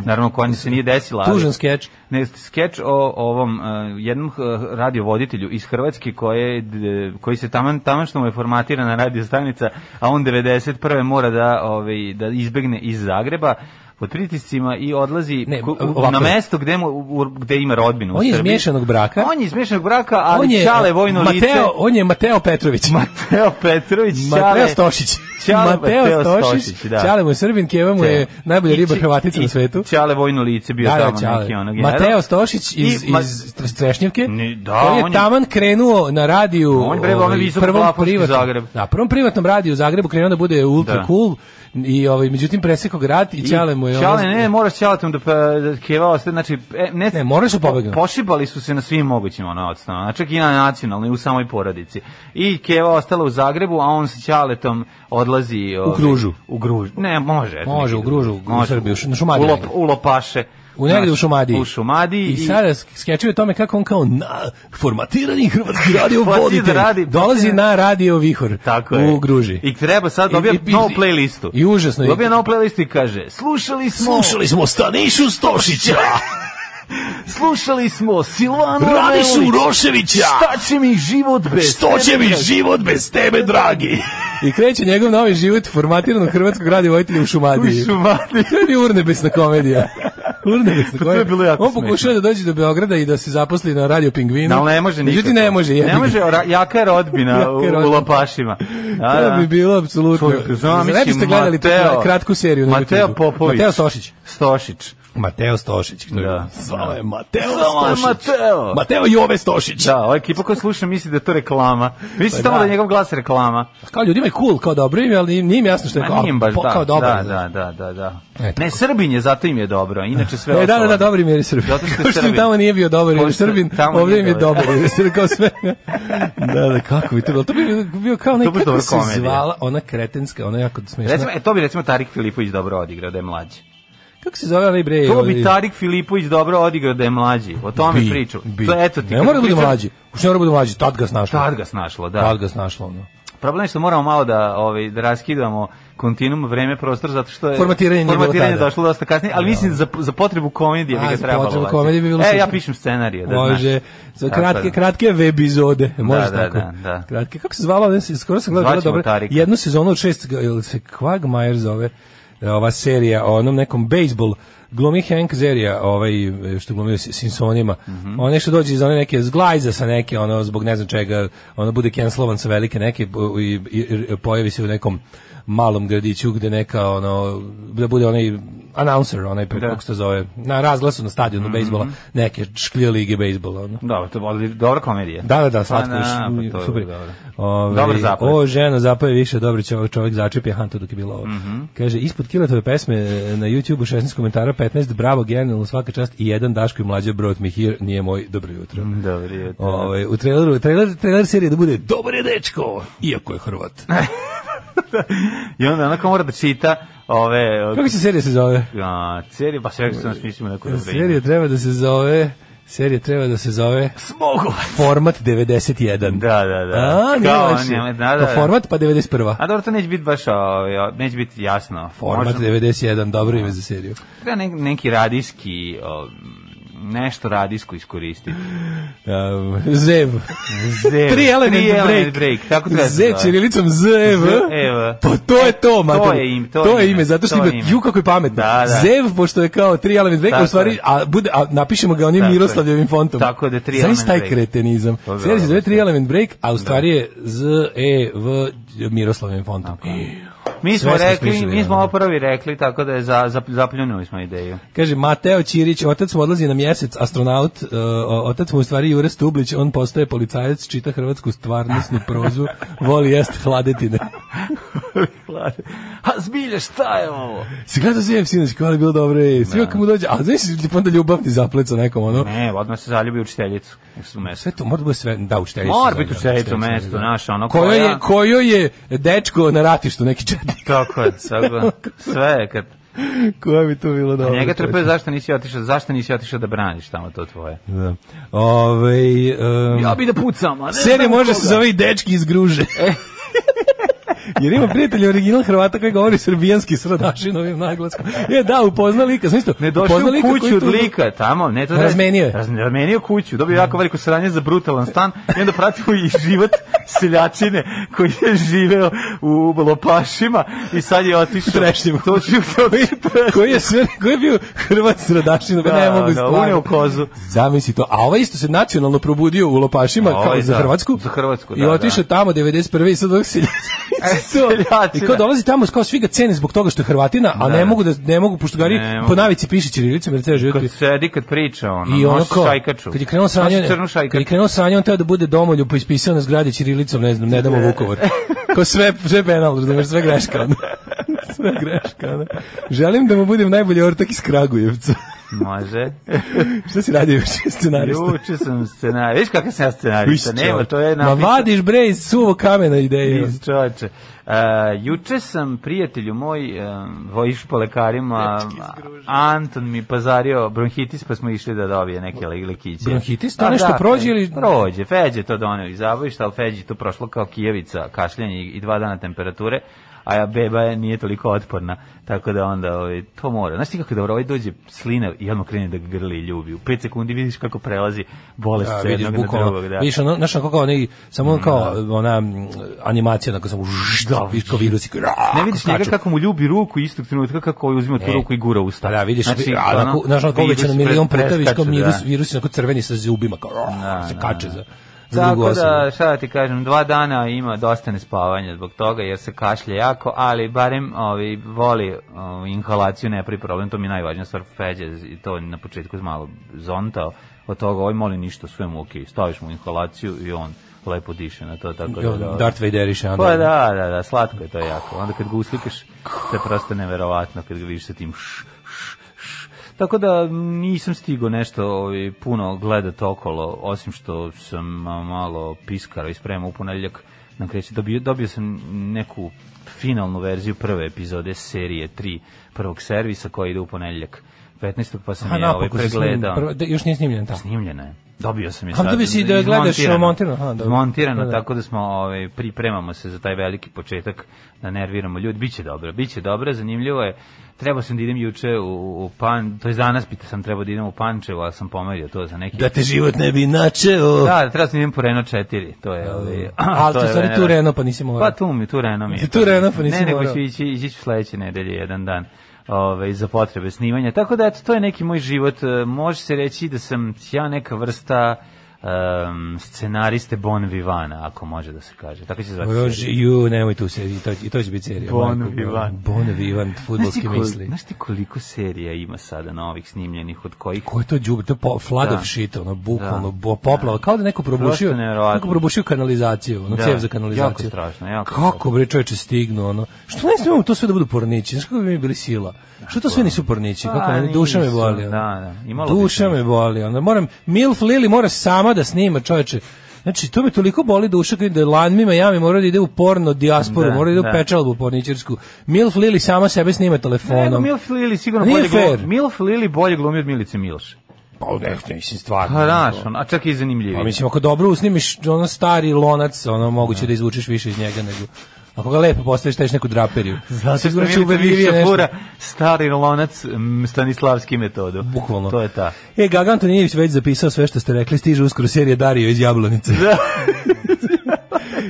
Speaker 6: Naravno, koja se nije desila. ali-
Speaker 7: Tužan skeč.
Speaker 6: Ne, skeč o ovom eh, jednom eh, radiovoditelju iz Hrvatske koje, je d- koji se taman, taman što mu je formatirana radio stanica, a on 91. mora da, ovaj, da izbegne iz Zagreba pod pritiscima i odlazi
Speaker 7: Ne,
Speaker 6: ku- u-
Speaker 7: ovako
Speaker 6: na
Speaker 7: je.
Speaker 6: mesto gde, mu, u- gde ima rodbinu. u
Speaker 7: On je iz
Speaker 6: Srbiji.
Speaker 7: miješanog braka.
Speaker 6: On je iz miješanog braka, ali on je, e, Čale vojno
Speaker 7: Mateo,
Speaker 6: lice.
Speaker 7: On je Mateo Petrović.
Speaker 6: Mateo Petrović,
Speaker 7: Mateo Stošić.
Speaker 6: Ćale Mateo Stošić, da.
Speaker 7: Ćale mu je Srbin, Keva mu je najbolja riba Hrvatica na svetu.
Speaker 6: Čale vojno lice bio
Speaker 7: Da,
Speaker 6: tamo
Speaker 7: da, Ćale.
Speaker 6: neki onog.
Speaker 7: Mateo Stošić iz,
Speaker 6: I Ma-
Speaker 7: iz Strešnjevke,
Speaker 6: Ne, da,
Speaker 7: koji je
Speaker 6: on je-
Speaker 7: taman krenuo na radiju ovaj,
Speaker 6: On je bre, ono visoko plafonski Zagreb.
Speaker 7: na Da, prvom privatnom radiju u Zagrebu krenuo da bude ultra
Speaker 6: Da.
Speaker 7: cool i ovaj, međutim presekao grad i, Ćale mu je ono-
Speaker 6: Ćale, ne, moraš Ćaletom da, pa, da kevao sve, znači... e, ne,
Speaker 7: Ne, da morali su pobegnuti.
Speaker 6: po- Pošibali su se na svim mogućim ono odstavama, čak i na nacionalnoj, u samoj porodici. I keva ostala u Zagrebu, a on sa Ćaletom odlazi... ovaj,
Speaker 7: Gružu.
Speaker 6: U Gružu. Ne, može. eto,
Speaker 7: Može,
Speaker 6: neki
Speaker 7: u Gružu,
Speaker 6: drugi.
Speaker 7: u Srbiju, u Šumadiji
Speaker 6: U, Lop-
Speaker 7: negde.
Speaker 6: u Lopaše.
Speaker 7: U negde u
Speaker 6: Znaš,
Speaker 7: Šumadiji.
Speaker 6: U Šumadiji.
Speaker 7: I sada skečuje o tome kako on kao na formatirani
Speaker 6: [laughs]
Speaker 7: hrvatski radio
Speaker 6: Počinje da
Speaker 7: voditelj
Speaker 6: radi-
Speaker 7: dolazi na radio Vihor
Speaker 6: Tako je.
Speaker 7: u Gruži.
Speaker 6: I treba sad dobija
Speaker 7: I- i- i-
Speaker 6: novu playlistu.
Speaker 7: i užasno je.
Speaker 6: Dobija novu playlistu i kaže, slušali smo...
Speaker 7: smo Stanišu Stošića,
Speaker 6: Slušali smo Silvana
Speaker 7: Uroševića,
Speaker 6: Šta će mi život bez tebe, dragi?
Speaker 7: život bez tebe, dragi? I kreće njegov novi život formatiranog hrvatskog radio vojitelja u Šumadiji.
Speaker 6: U Šumadiji. Pa
Speaker 7: To je bio urnebesna komedija.
Speaker 6: [laughs]
Speaker 7: Urnebesna
Speaker 6: to je
Speaker 7: komedija.
Speaker 6: bilo jako
Speaker 7: On pokušava da dođe do Beograda i da se zaposli na radio Pingvinu.
Speaker 6: Da, ali ne može nikako.
Speaker 7: Međutim, ne može. jebi
Speaker 6: Ne
Speaker 7: ga.
Speaker 6: može, ra- jaka je rodbina
Speaker 7: [laughs] Jaka je
Speaker 6: u,
Speaker 7: rodbina.
Speaker 6: u Lopašima. Da,
Speaker 7: To
Speaker 6: da.
Speaker 7: bi bilo apsolutno.
Speaker 6: Čovjek, zamisli,
Speaker 7: Ne biste gledali tu
Speaker 6: Mateo-
Speaker 7: kra- kratku seriju. na
Speaker 6: Mateo
Speaker 7: YouTubeu.
Speaker 6: Popović.
Speaker 7: Mateo Stošić.
Speaker 6: Stošić.
Speaker 7: Mateo Stošić. to je
Speaker 6: Da.
Speaker 7: bilo. Zvao je Mateo
Speaker 6: Zvao je Mateo.
Speaker 7: Mateo Jove Stošić.
Speaker 6: Da, ova ekipa koja sluša misli da je to reklama. Misli
Speaker 7: Pa
Speaker 6: samo da
Speaker 7: da.
Speaker 6: je njegov glas reklama.
Speaker 7: Kao ljudima je cool, kao dobro ime, ali nije im jasno što je
Speaker 6: Ma
Speaker 7: kao,
Speaker 6: nije im baš
Speaker 7: po-
Speaker 6: da.
Speaker 7: pa, kao dobro.
Speaker 6: Da, da, da, da. da.
Speaker 7: E, tako.
Speaker 6: ne, Srbin je, zato im je dobro. Inače sve
Speaker 7: E, da, da, da,
Speaker 6: ostalo-
Speaker 7: dobar im je Srbin.
Speaker 6: Zato što je
Speaker 7: Pošto im
Speaker 6: Srbin.
Speaker 7: tamo nije bio dobar jer je
Speaker 6: Pošto
Speaker 7: Srbin,
Speaker 6: tamo
Speaker 7: ovdje
Speaker 6: nije
Speaker 7: im je
Speaker 6: dobar.
Speaker 7: dobar jer je Srbin kao sve. da, da, kako bi to bilo? To bi bio- bio kao
Speaker 6: To bi
Speaker 7: nekako
Speaker 6: dobra
Speaker 7: se
Speaker 6: komedija.
Speaker 7: zvala ona kretenska, ona jako smiješna.
Speaker 6: Recimo, e, to bi recimo Tarik Filipović dobro odigrao da je mlađi.
Speaker 7: kako se zove onaj bre?
Speaker 6: To bi
Speaker 7: ovaj-
Speaker 6: Tarik Filipović dobro odigrao da je mlađi. O tome
Speaker 7: Bi,
Speaker 6: pričam.
Speaker 7: bi.
Speaker 6: To je, eto ti.
Speaker 7: Ne
Speaker 6: kako
Speaker 7: mora da bude
Speaker 6: pričam-
Speaker 7: mlađi. Uopšte ne mora da bude mlađi, tad ga snašlo.
Speaker 6: Tad ga snašlo, da.
Speaker 7: Tad ga snašlo, ono.
Speaker 6: Problem je što moramo malo da ovaj da raskidamo kontinuum vreme prostor zato što je
Speaker 7: Formatiranje nije
Speaker 6: formatiranje
Speaker 7: bilo tada. Da.
Speaker 6: došlo dosta kasnije, ali mislim za za potrebu komedije bi
Speaker 7: A,
Speaker 6: ga
Speaker 7: za
Speaker 6: trebalo.
Speaker 7: potrebu
Speaker 6: ubaciti.
Speaker 7: komedije bi bilo
Speaker 6: E, ja
Speaker 7: super.
Speaker 6: pišem scenarije, da
Speaker 7: Može.
Speaker 6: znaš.
Speaker 7: Za
Speaker 6: Tako
Speaker 7: kratke,
Speaker 6: da.
Speaker 7: kratke webizode. Može
Speaker 6: da,
Speaker 7: tako.
Speaker 6: da, da.
Speaker 7: Kratke. Kako se zvala? Ne, skoro sam gledao
Speaker 6: Zvaćemo
Speaker 7: dobro.
Speaker 6: Tarika.
Speaker 7: Jednu sezonu od šest, ili se Quagmire zove e, ova serija o onom nekom bejsbol glumi Hank Zerija, ovaj što glumi u S- Simpsonima.
Speaker 6: Mhm.
Speaker 7: On nešto dođe iz one neke zglajza sa neke, ono zbog ne znam čega, ono bude cancelovan sa velike neke i, i, i pojavi se u nekom malom gradiću gde neka ono da bude onaj announcer onaj pre,
Speaker 6: Da. Mhm.
Speaker 7: kako se to zove na razglasu na stadionu bejsbola neke šklje lige bejsbola ono.
Speaker 6: Dobro, to je odli- dobra komedija.
Speaker 7: Da, da, da, slatko,
Speaker 6: Pa na,
Speaker 7: pa,
Speaker 6: pa to je
Speaker 7: super. Ovaj,
Speaker 6: dobro.
Speaker 7: Ove,
Speaker 6: Dobar zapad.
Speaker 7: O, ženo, zapoje više, dobri čovjek, čovjek začepje Hantu dok je bilo ovo.
Speaker 6: Mhm.
Speaker 7: Kaže, ispod kiletove pesme e, na YouTube-u 16 komentara, 15, bravo, genijalno, svaka čast i jedan Daško i mlađe brot mi here, nije moj, dobro
Speaker 6: Mhm.
Speaker 7: jutro.
Speaker 6: Dobro je. to.
Speaker 7: Ove, u traileru, trailer, trailer serije da bude Dobar je dečko, iako je Hrvat.
Speaker 6: I onda onako mora da čita ove...
Speaker 7: Kako se serija se zove?
Speaker 6: A, serije, pa sve što nas mislimo neko dobro ime.
Speaker 7: Serija treba da se zove... Serija treba da se zove
Speaker 6: Smogovac.
Speaker 7: Format 91.
Speaker 6: Da, da, da.
Speaker 7: A, nije
Speaker 6: Kao,
Speaker 7: loše.
Speaker 6: nema- da, da,
Speaker 7: Pa
Speaker 6: da.
Speaker 7: Format pa 91.
Speaker 6: A dobro, to neće biti baš, ovaj, neće biti jasno.
Speaker 7: Format
Speaker 6: Možda-
Speaker 7: 91, dobro ime za seriju.
Speaker 6: Treba ne- neki radijski, o, nešto radijsko iskoristiti.
Speaker 7: Um, Zev.
Speaker 6: Zev,
Speaker 7: Tri element,
Speaker 6: Ehm, tri
Speaker 7: break.
Speaker 6: element break, tako treba se
Speaker 7: Zev
Speaker 6: zove.
Speaker 7: čirilicom Zev.
Speaker 6: Zev.
Speaker 7: Pa to je to, mater.
Speaker 6: je im- to je
Speaker 7: je
Speaker 6: ime,
Speaker 7: ime, zato što
Speaker 6: to je
Speaker 7: ima,
Speaker 6: ime.
Speaker 7: ju kako je pametno.
Speaker 6: Da, da.
Speaker 7: Zev, pošto je kao tri element break,
Speaker 6: Tako
Speaker 7: u stvari,
Speaker 6: je.
Speaker 7: a, bude, a napišemo ga onim
Speaker 6: Tako je.
Speaker 7: Miroslavljevim fontom.
Speaker 6: Tako je da je tri
Speaker 7: Znaš
Speaker 6: element
Speaker 7: taj
Speaker 6: break.
Speaker 7: kretenizam.
Speaker 6: To je
Speaker 7: Sve se zove
Speaker 6: dobro.
Speaker 7: tri element break, a u stvari je Z, E, V, Miroslavljevim fontom.
Speaker 6: Mi smo
Speaker 7: Sve smo
Speaker 6: rekli,
Speaker 7: smislili,
Speaker 6: mi smo
Speaker 7: ono.
Speaker 6: ovo prvi rekli, tako da je za, za, zapljunuli smo ideju.
Speaker 7: Kaže Mateo Ćirić, otac mu odlazi na mjesec, astronaut, e, o- otac mu u stvari Jure Stublić, on postaje policajac, čita hrvatsku stvarnostnu
Speaker 6: [laughs]
Speaker 7: prozu, voli jest hladetine.
Speaker 6: A zbilje, šta je ovo?
Speaker 7: Si gledao Zev sinoć, kako znači, je bilo dobro, ej,
Speaker 6: Da.
Speaker 7: svi kako mu dođe, a znaš, onda ljubavni zapleca nekom, ono,
Speaker 6: Ne, odmah se zaljubi učiteljicu u mesu.
Speaker 7: sve to mora da bude sve, da, učiteljica.
Speaker 6: Mora
Speaker 7: se
Speaker 6: biti
Speaker 7: zove,
Speaker 6: učiteljica u
Speaker 7: učiteljica,
Speaker 6: mestu,
Speaker 7: da.
Speaker 6: znaš, ono,
Speaker 7: Kojo
Speaker 6: koja-
Speaker 7: je, kojo je dečko na ratištu, neki četnik,
Speaker 6: Tako je, tako, sve je kad...
Speaker 7: [laughs] koja bi to bilo dobro.
Speaker 6: Njega trpe,
Speaker 7: čoveče.
Speaker 6: zašto nisi otišao, zašto nisi otišao da braniš tamo to tvoje?
Speaker 7: Da. Ovej, em,
Speaker 6: bi da pucam, a ne
Speaker 7: Serija može se zove i dečki iz gruže.
Speaker 6: E.
Speaker 7: [laughs] Jer ima prijatelj original Hrvata koji govori srbijanski s radašinovim naglaskom. Je, da, upozna lika. Sam isto,
Speaker 6: Ne došao
Speaker 7: upozna lika
Speaker 6: u kuću
Speaker 7: koji
Speaker 6: od
Speaker 7: tu-
Speaker 6: lika, tamo, ne to
Speaker 7: Razmenio je.
Speaker 6: Raz, razmenio kuću, dobio jako veliko sranje za brutalan stan i onda pratimo i
Speaker 7: [laughs]
Speaker 6: život seljačine koji je živeo u Lopašima i sad je otišao.
Speaker 7: Trešnjima.
Speaker 6: To ću to
Speaker 7: [laughs] Koji je, sve, koji je bio Hrvat s radašinom,
Speaker 6: Da,
Speaker 7: ne mogu
Speaker 6: da,
Speaker 7: stvarno.
Speaker 6: uneo kozu.
Speaker 7: Zamisli to. A ovaj isto se nacionalno probudio u Lopašima
Speaker 6: A ovaj
Speaker 7: kao za
Speaker 6: da,
Speaker 7: Hrvatsku.
Speaker 6: za Hrvatsku,
Speaker 7: I
Speaker 6: da,
Speaker 7: otišao
Speaker 6: da. E,
Speaker 7: tamo 91. i sad ovak se [laughs] I kao
Speaker 6: seljačina.
Speaker 7: dolazi tamo, kao svi ga cene zbog toga što je Hrvatina, a
Speaker 6: Da.
Speaker 7: ne mogu da ne mogu pošto gari
Speaker 6: Ne mogu.
Speaker 7: po navici piše ćirilicom jer ceo život
Speaker 6: Kad sedi, kad priča, ono,
Speaker 7: I ono
Speaker 6: nosi
Speaker 7: kao,
Speaker 6: šajkaču.
Speaker 7: kad je krenuo sanje,
Speaker 6: Nosi crnu
Speaker 7: kad je
Speaker 6: šajkaču.
Speaker 7: krenuo sanje, on teo da bude domoljub, pa ispisao na zgradi Čirilicom, ne znam, ne damo Vukovar. Kao sve, sve penal, razumeš, sve
Speaker 6: [laughs]
Speaker 7: greška. ono. sve greška. ono. Želim da mu budem najbolji ortak iz Kragujevca. [laughs]
Speaker 6: Može.
Speaker 7: Šta si radio juče scenarista?
Speaker 6: Juče sam scenarij. Viš kakav sam ja scenarista?
Speaker 7: Ušće.
Speaker 6: Nema, to je
Speaker 7: Ma
Speaker 6: napisano.
Speaker 7: vadiš bre iz suvo kamena ideje.
Speaker 6: Iz čoveče. Uh, juče sam prijatelju moj, um, vojiš po lekarima, Anton mi pazario bronhitis, pa smo išli da dobije neke le- lekiće.
Speaker 7: Bronhitis? To
Speaker 6: Pa
Speaker 7: nešto
Speaker 6: da,
Speaker 7: prođe ili-
Speaker 6: Prođe, Feđe to doneo iz zabojišta, ali Feđe to prošlo kao kijevica, kašljanje i i dva dana temperature a ja beba je- nije toliko otporna, tako da onda ovaj, to mora. Znaš ti kako je dobro, ovaj dođe slina i odmah krene da ga grli i ljubi. U 5 sekundi vidiš kako prelazi bolest
Speaker 7: Da,
Speaker 6: sa
Speaker 7: vidiš
Speaker 6: jednog na
Speaker 7: bukvalno.
Speaker 6: drugog. Da.
Speaker 7: Vidiš ono, znaš ono kako onaj, samo kao ona m, animacija, onako samo žššt, vidiš kao virusi. koji ra-
Speaker 6: Da, Ne vidiš njega
Speaker 7: skaču.
Speaker 6: kako mu ljubi ruku istog trenutka kako ovaj uzima tu
Speaker 7: E.
Speaker 6: ruku i gura u usta.
Speaker 7: Pa da, vidiš, znači, a,
Speaker 6: ono,
Speaker 7: onako, znaš, onako uvećano
Speaker 6: virus
Speaker 7: milion
Speaker 6: pre-
Speaker 7: puta, vidiš kao
Speaker 6: preskače,
Speaker 7: virus,
Speaker 6: da.
Speaker 7: virus je onako crveni sa zubima, kao, "Oh", se kače za, za drugu
Speaker 6: Tako
Speaker 7: osobu.
Speaker 6: da, šta da ti kažem, dva dana ima dosta nespavanja zbog toga jer se kašlje jako, ali barem ovi, voli o, inhalaciju, ne pravi problem, to mi je najvažnija stvar, Feđe i to na početku je malo zontao, od toga ovaj moli ništa, sve mu okej, staviš mu inhalaciju i on lepo diše na to, tako da... da
Speaker 7: Darth Vaderiše, onda.
Speaker 6: Pa da, da, da, slatko je to jako. Onda kad ga uslikaš, to je prosto neverovatno kad ga vidiš sa tim š, š, š. Tako da nisam stigao nešto ovaj, puno gledat okolo, osim što sam a, malo piskara i spremao u ponedeljak na kreći. Dobio, dobio sam neku finalnu verziju prve epizode serije 3 prvog servisa koji ide u ponedeljak 15. pa sam
Speaker 7: Aha,
Speaker 6: je ovaj,
Speaker 7: napokon se snimljen,
Speaker 6: pregledao.
Speaker 7: prvo- da, još nije snimljen tamo.
Speaker 6: Snimljena je. Dobio sam je
Speaker 7: A,
Speaker 6: sad.
Speaker 7: dobio si da je gledaš
Speaker 6: izmontirano.
Speaker 7: montirano, aha, dobro.
Speaker 6: Izmontirano,
Speaker 7: Da, da.
Speaker 6: tako da smo ovaj pripremamo se za taj veliki početak da nerviramo ljudi. Biće dobro, biće dobro, zanimljivo je. Trebao sam da idem juče u, u Pan, to je danas pita sam trebao da idem u Pančevo, ali sam pomerio to za neki.
Speaker 7: Da te život ne bi načeo.
Speaker 6: da, trebao sam da idem po Renault 4, to je
Speaker 7: [laughs]
Speaker 6: ovaj. [clears throat]
Speaker 7: Ali
Speaker 6: to
Speaker 7: ti
Speaker 6: je
Speaker 7: stvari tu
Speaker 6: Renault.
Speaker 7: Reno, pa nisi morao.
Speaker 6: Pa tu mi, tu Reno mi je.
Speaker 7: Tu Reno, pa nisi
Speaker 6: Ne, nego
Speaker 7: morao.
Speaker 6: ću ići, ići ću sledeće nedelje jedan dan. ovaj, za potrebe snimanja. Tako da, eto, to je neki moj život. E, Može se reći da sam ja neka vrsta um, scenariste Bon Vivana, ako može da se kaže. Tako će se zvati.
Speaker 7: Rož, ju, nemoj tu seriju, i to, i to će biti serija.
Speaker 6: Bon
Speaker 7: majko moja.
Speaker 6: Vivant.
Speaker 7: Bon
Speaker 6: Znaš
Speaker 7: Vivant,
Speaker 6: ti
Speaker 7: futbolski
Speaker 6: kol-
Speaker 7: misli.
Speaker 6: Znaš ti koliko serija ima sada novih snimljenih, od kojih
Speaker 7: Ko je to đubre, to je po, flood
Speaker 6: Da.
Speaker 7: of shit, ono, bukvalno,
Speaker 6: Da.
Speaker 7: bo, poplava, kao da neko probušio,
Speaker 6: Prosto nevjerovatno.
Speaker 7: neko probušio kanalizaciju, ono,
Speaker 6: Da,
Speaker 7: cev za kanalizaciju.
Speaker 6: jako strašno, jako
Speaker 7: Kako, bre, čoveče, stignu, ono, što ne smemo to sve da budu pornići, znaš kako bi mi bili sila? Što to sve nisu pornići,
Speaker 6: A,
Speaker 7: kako ne, duša me
Speaker 6: Da, pa. nisu,
Speaker 7: boli, ono.
Speaker 6: da, da, imalo bi
Speaker 7: duša
Speaker 6: smisla.
Speaker 7: me boli, ono, moram, Milf Lili mora sama da snima, čoveče, Znači, to me toliko boli duša kad da lanmima jami mora da ide u porno dijasporu,
Speaker 6: Da,
Speaker 7: mora da ide
Speaker 6: da.
Speaker 7: u pečalbu porničarsku. Milf Lili sama sebe snima telefonom.
Speaker 6: Nego Milf Lili sigurno
Speaker 7: Nije
Speaker 6: bolje glumi.
Speaker 7: fair.
Speaker 6: Milf Lili bolje glumi od Milice Milše.
Speaker 7: Pa, ne, ne, mislim, stvarno.
Speaker 6: Pa znaš, on, a čak i zanimljiviji.
Speaker 7: Pa mislim, ako dobro usnimiš ono stari lonac, ono moguće da izvučeš više iz njega nego... Ako ga lepo postaviš, staviš neku draperiju.
Speaker 6: Zato što
Speaker 7: Sigurno će
Speaker 6: Milica
Speaker 7: ubedljivije
Speaker 6: Milša
Speaker 7: Znači, nešto.
Speaker 6: fura stari lonac mm, Stanislavski metodu.
Speaker 7: Bukvalno.
Speaker 6: To je ta.
Speaker 7: E, Gaga Antonijević već zapisao sve što ste rekli, stiže uskoro serija Dario iz Jablonice. [laughs] Da.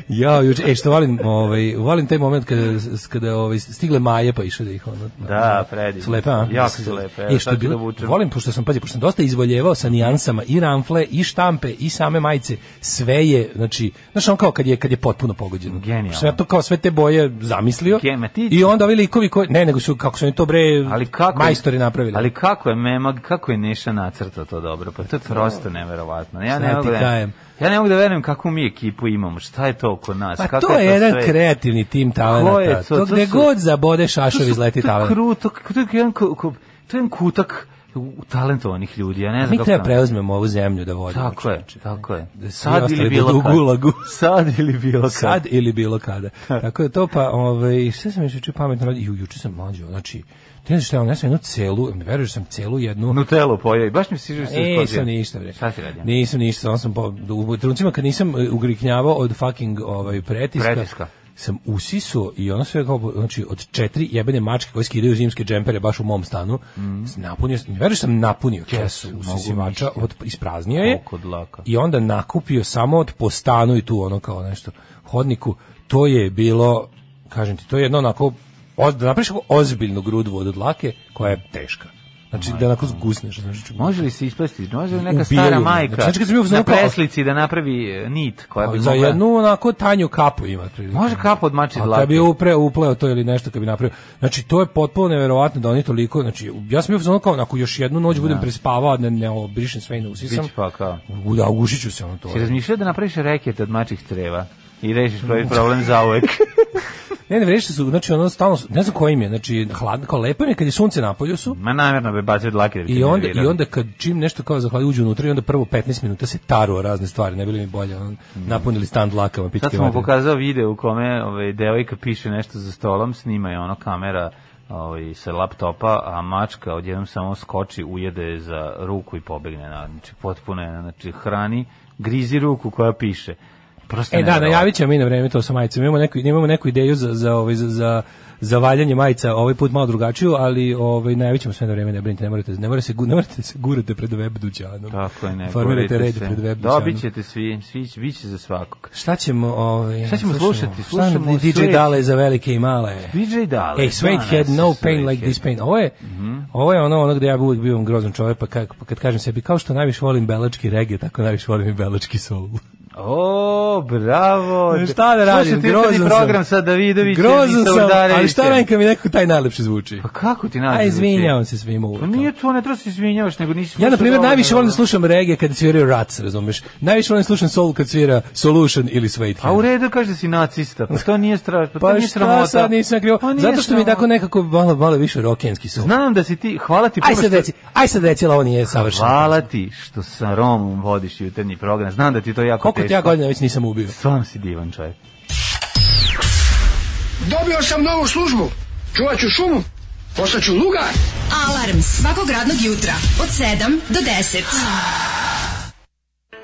Speaker 7: ja, juče, e, što volim, ovaj, volim taj moment kada, kada ovaj, stigle Maje pa išao da ih ono...
Speaker 6: Da, predivno.
Speaker 7: Su lepe, a?
Speaker 6: Jako su lepe. Evo,
Speaker 7: E, što
Speaker 6: sad ću da
Speaker 7: bilo,
Speaker 6: vučem.
Speaker 7: volim, pošto sam, pazi, pošto sam dosta izvoljevao sa nijansama i ramfle, i štampe, i same majice, sve je, znači, znaš, on kao kad je, kad je potpuno pogođeno.
Speaker 6: Genijalno.
Speaker 7: Sve to kao sve te boje zamislio.
Speaker 6: Gema, ti-
Speaker 7: I onda ovi likovi koji, ne, nego su, kako su oni to bre,
Speaker 6: Ali kako
Speaker 7: majstori napravili.
Speaker 6: Ali kako je Memag, kako je Neša nacrtao to dobro? Pa to je prosto neverovatno. Ja
Speaker 7: Šta
Speaker 6: ne
Speaker 7: ti
Speaker 6: mogu. da-
Speaker 7: kajem?
Speaker 6: Ja ne mogu da verujem kakvu mi ekipu imamo. Šta je to oko nas?
Speaker 7: Pa
Speaker 6: Kako
Speaker 7: to je jedan
Speaker 6: sve?
Speaker 7: kreativni tim
Speaker 6: Ko je
Speaker 7: talenata.
Speaker 6: to?
Speaker 7: To,
Speaker 6: To
Speaker 7: gde
Speaker 6: su-
Speaker 7: god zabode šašov
Speaker 6: To su-
Speaker 7: izleti
Speaker 6: To je
Speaker 7: talenat.
Speaker 6: kruto, to je jedan, ko- ko- to je jedan kutak u- talentovanih ljudi, ja ne znam
Speaker 7: Mi
Speaker 6: kako.
Speaker 7: treba
Speaker 6: nam-
Speaker 7: preuzmemo ovu zemlju da vodimo.
Speaker 6: Tako je,
Speaker 7: čoveče.
Speaker 6: tako je.
Speaker 7: Da svi
Speaker 6: Sad ili
Speaker 7: ostali
Speaker 6: bilo
Speaker 7: budu u gulagu.
Speaker 6: kad. Sad ili bilo kad.
Speaker 7: Sad ili bilo kada. Tako je to, pa ovaj, šta sam još juče pametno radio? Ju, juče sam mlađo, znači, ti ne znaš šta, je ono, ja sam jednu celu, ne veruješ, da sam celu jednu...
Speaker 6: Nutelu pojeo i baš mi siže se
Speaker 7: E,
Speaker 6: iskozio.
Speaker 7: nisam ništa bre.
Speaker 6: Šta si radio?
Speaker 7: Nisam ništa, samo sam po, u trenucima kad nisam e, ugriknjavao od fucking ovaj pretiska.
Speaker 6: Pretiska.
Speaker 7: sam usisao i ono sve kao, znači, od četiri jebene mačke koje skidaju zimske džempere baš u mom stanu,
Speaker 6: Mhm.
Speaker 7: napunio sam, ne veruješ da sam napunio kesu usisivača, od, ispraznio je
Speaker 6: Koliko dlaka.
Speaker 7: i onda nakupio samo od po stanu i tu ono kao nešto hodniku, to je bilo, kažem ti, to je jedno onako, oz, da napraviš onako ozbiljnu grudvu od dlake koja je teška. Znači, da onako zgusneš. Znači,
Speaker 6: Može li se isplesti? Može li neka
Speaker 7: Ubijaju
Speaker 6: stara
Speaker 7: me.
Speaker 6: majka
Speaker 7: Znači, kad sam bio u
Speaker 6: na
Speaker 7: fazonu kao-
Speaker 6: preslici da napravi e, nit koja bi
Speaker 7: Ali za
Speaker 6: mogla-
Speaker 7: jednu onako tanju kapu ima otprilike.
Speaker 6: Može kap od mači
Speaker 7: A
Speaker 6: dlaka.
Speaker 7: kad bi upre, upleo to ili nešto kad bi napravio. Znači, to je potpuno neverovatno da oni toliko, znači, ja sam bio ono kao, ako još jednu noć
Speaker 6: Da.
Speaker 7: budem prespavao, ne, ne obrišem sve i ne usisam,
Speaker 6: Bić pa kao.
Speaker 7: u- da, ugušit ću se ono to.
Speaker 6: Si razmišljao da napraviš reket od mačih creva i rešiš pravi problem
Speaker 7: [laughs]
Speaker 6: zauvek.
Speaker 7: Ne, ne, vreće su, znači, ono stalno, su- ne znam koji im je, znači, hladno, kao lepo im je kad je sunce napolju su,
Speaker 6: Ma namjerno bi bacio dlake da bi te
Speaker 7: I onda, I
Speaker 6: nervirao.
Speaker 7: onda kad čim nešto kao zahladi uđu unutra i onda prvo 15 minuta se taru o razne stvari, ne bili mi bolje, ono, napunili stan dlakama, pičke
Speaker 6: Mm. Sad sam mu
Speaker 7: materine.
Speaker 6: pokazao video u kome ovaj, devojka piše nešto za stolom, snima je ono kamera ovaj, sa laptopa, a mačka odjednom samo skoči, ujede je za ruku i pobegne. na- Znači, potpuno je, znači, hrani, grizi ruku koja piše. Prosto
Speaker 7: E da,
Speaker 6: nevjerovatno.
Speaker 7: najavit ćemo mi na vreme to sa majicama. Imamo neku, imamo neku ideju za, za, ovaj, za, za, za valjanje majica, ovaj put malo drugačiju, ali ovaj, najavit ćemo sve na vreme, ne brinite, ne morate, ne morate, se, gu- ne morate da se gurate pred web dućanom.
Speaker 6: Tako je, ne.
Speaker 7: Formirajte
Speaker 6: borite
Speaker 7: red
Speaker 6: se.
Speaker 7: pred web dućanom.
Speaker 6: Dobit ćete svi, svi će, bit će za svakog.
Speaker 7: Šta ćemo, ovaj,
Speaker 6: Šta ćemo slušati? Slušamo
Speaker 7: Šta DJ
Speaker 6: Suede.
Speaker 7: Dale za velike i male?
Speaker 6: DJ Dale.
Speaker 7: Ej, Suede
Speaker 6: danas
Speaker 7: had no
Speaker 6: je
Speaker 7: pain
Speaker 6: Suede
Speaker 7: like this
Speaker 6: Head.
Speaker 7: pain. Ovo je,
Speaker 6: Mhm.
Speaker 7: ovo je ono, ono gde ja uvijek bivam grozan čovjek, pa kad, pa kad kažem sebi, kao što najviše volim belački reggae, tako najviše volim i belački soul.
Speaker 6: O, bravo.
Speaker 7: šta da radim,
Speaker 6: Slušajte jutarnji
Speaker 7: grozan sam.
Speaker 6: program da sa Davidovićem i sa
Speaker 7: Grozan sam, ali
Speaker 6: Udarevićem.
Speaker 7: šta da radim kad mi neko taj najlepši zvuči?
Speaker 6: Pa kako ti nađe?
Speaker 7: A izvinjavam
Speaker 6: za
Speaker 7: se svima uvek.
Speaker 6: to? Pa nije to, ne treba se izvinjavaš, nego nisi
Speaker 7: Ja, na
Speaker 6: slušao
Speaker 7: primjer,
Speaker 6: dobro,
Speaker 7: najviše volim da
Speaker 6: dobro.
Speaker 7: slušam reggae kada sviraju Rats, razumeš? Najviše volim da slušam soul kad svira Solution ili Suede
Speaker 6: A u redu kaže da si nacista, pa to nije strašno, pa, to
Speaker 7: Pa
Speaker 6: nije
Speaker 7: šta
Speaker 6: sramota.
Speaker 7: sad nisam krivo?
Speaker 6: Pa nije
Speaker 7: Zato što mi je
Speaker 6: sramota.
Speaker 7: tako nekako malo, malo više rokenski soul.
Speaker 6: Znam da si ti, hvala ti
Speaker 7: Aj
Speaker 6: prvo
Speaker 7: sad
Speaker 6: što-
Speaker 7: reci, aj sad reci, ali ovo nije savršeno.
Speaker 6: Hvala ti što sa Romom vodiš jutarnji program. Znam da ti to jako
Speaker 7: Koliko ti
Speaker 6: teško.
Speaker 7: ja godina već nisam ubio?
Speaker 6: Stvarno si divan čovjek.
Speaker 8: Dobio sam novu službu. Čuvat ću šumu. Postaću lugar.
Speaker 5: Alarm svakog radnog jutra od 7 do 10.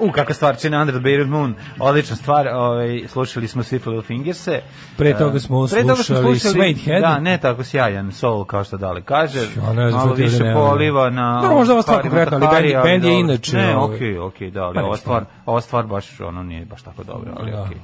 Speaker 6: U, kakva stvar, čine Under the Bearded Moon, odlična stvar, ovaj, slušali smo Sweet Little Fingerse.
Speaker 7: Pre toga smo
Speaker 6: E, Pre toga smo
Speaker 7: slušali
Speaker 6: slušali
Speaker 7: Suedehead.
Speaker 6: Da, ne tako sjajan soul, kao što Dale kaže.
Speaker 7: Ja ne znam,
Speaker 6: malo
Speaker 7: to ti
Speaker 6: više
Speaker 7: ovdje nema.
Speaker 6: poliva na...
Speaker 7: Dobro, Da, možda ova stvar
Speaker 6: parima
Speaker 7: konkretno, ali
Speaker 6: Takari,
Speaker 7: band- band je
Speaker 6: dobro.
Speaker 7: inače,
Speaker 6: Ne,
Speaker 7: ovaj,
Speaker 6: okej, okej, da, ali
Speaker 7: pa
Speaker 6: ova
Speaker 7: ništa.
Speaker 6: stvar, ova stvar baš, ono, nije baš tako dobro, ali
Speaker 7: Da.
Speaker 6: okej.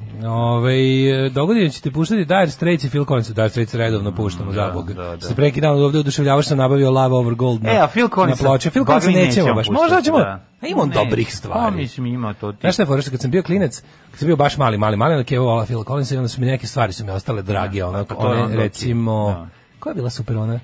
Speaker 7: Ove, dogodine ćete puštati Dire Straits i Phil Collins. Dire Straits redovno puštamo, za Bog.
Speaker 6: da, da.
Speaker 7: Se preki dan ovde oduševljavaš sam nabavio Love Over Gold na,
Speaker 6: E, a Phil Collins...
Speaker 7: na ploče. Phil Collins nećemo baš. Možda ćemo. A ima on dobrih
Speaker 6: da. Pa
Speaker 7: stvari.
Speaker 6: mislim, ima to ti.
Speaker 7: Znaš šta je fora, što kad sam bio klinac, kad sam bio baš mali, mali, mali, onda kevovala Phil Collins i onda su mi neke stvari su mi ostale drage, ono,
Speaker 6: pa to je
Speaker 7: one,
Speaker 6: onda ok,
Speaker 7: recimo,
Speaker 6: da.
Speaker 7: koja je bila super ona?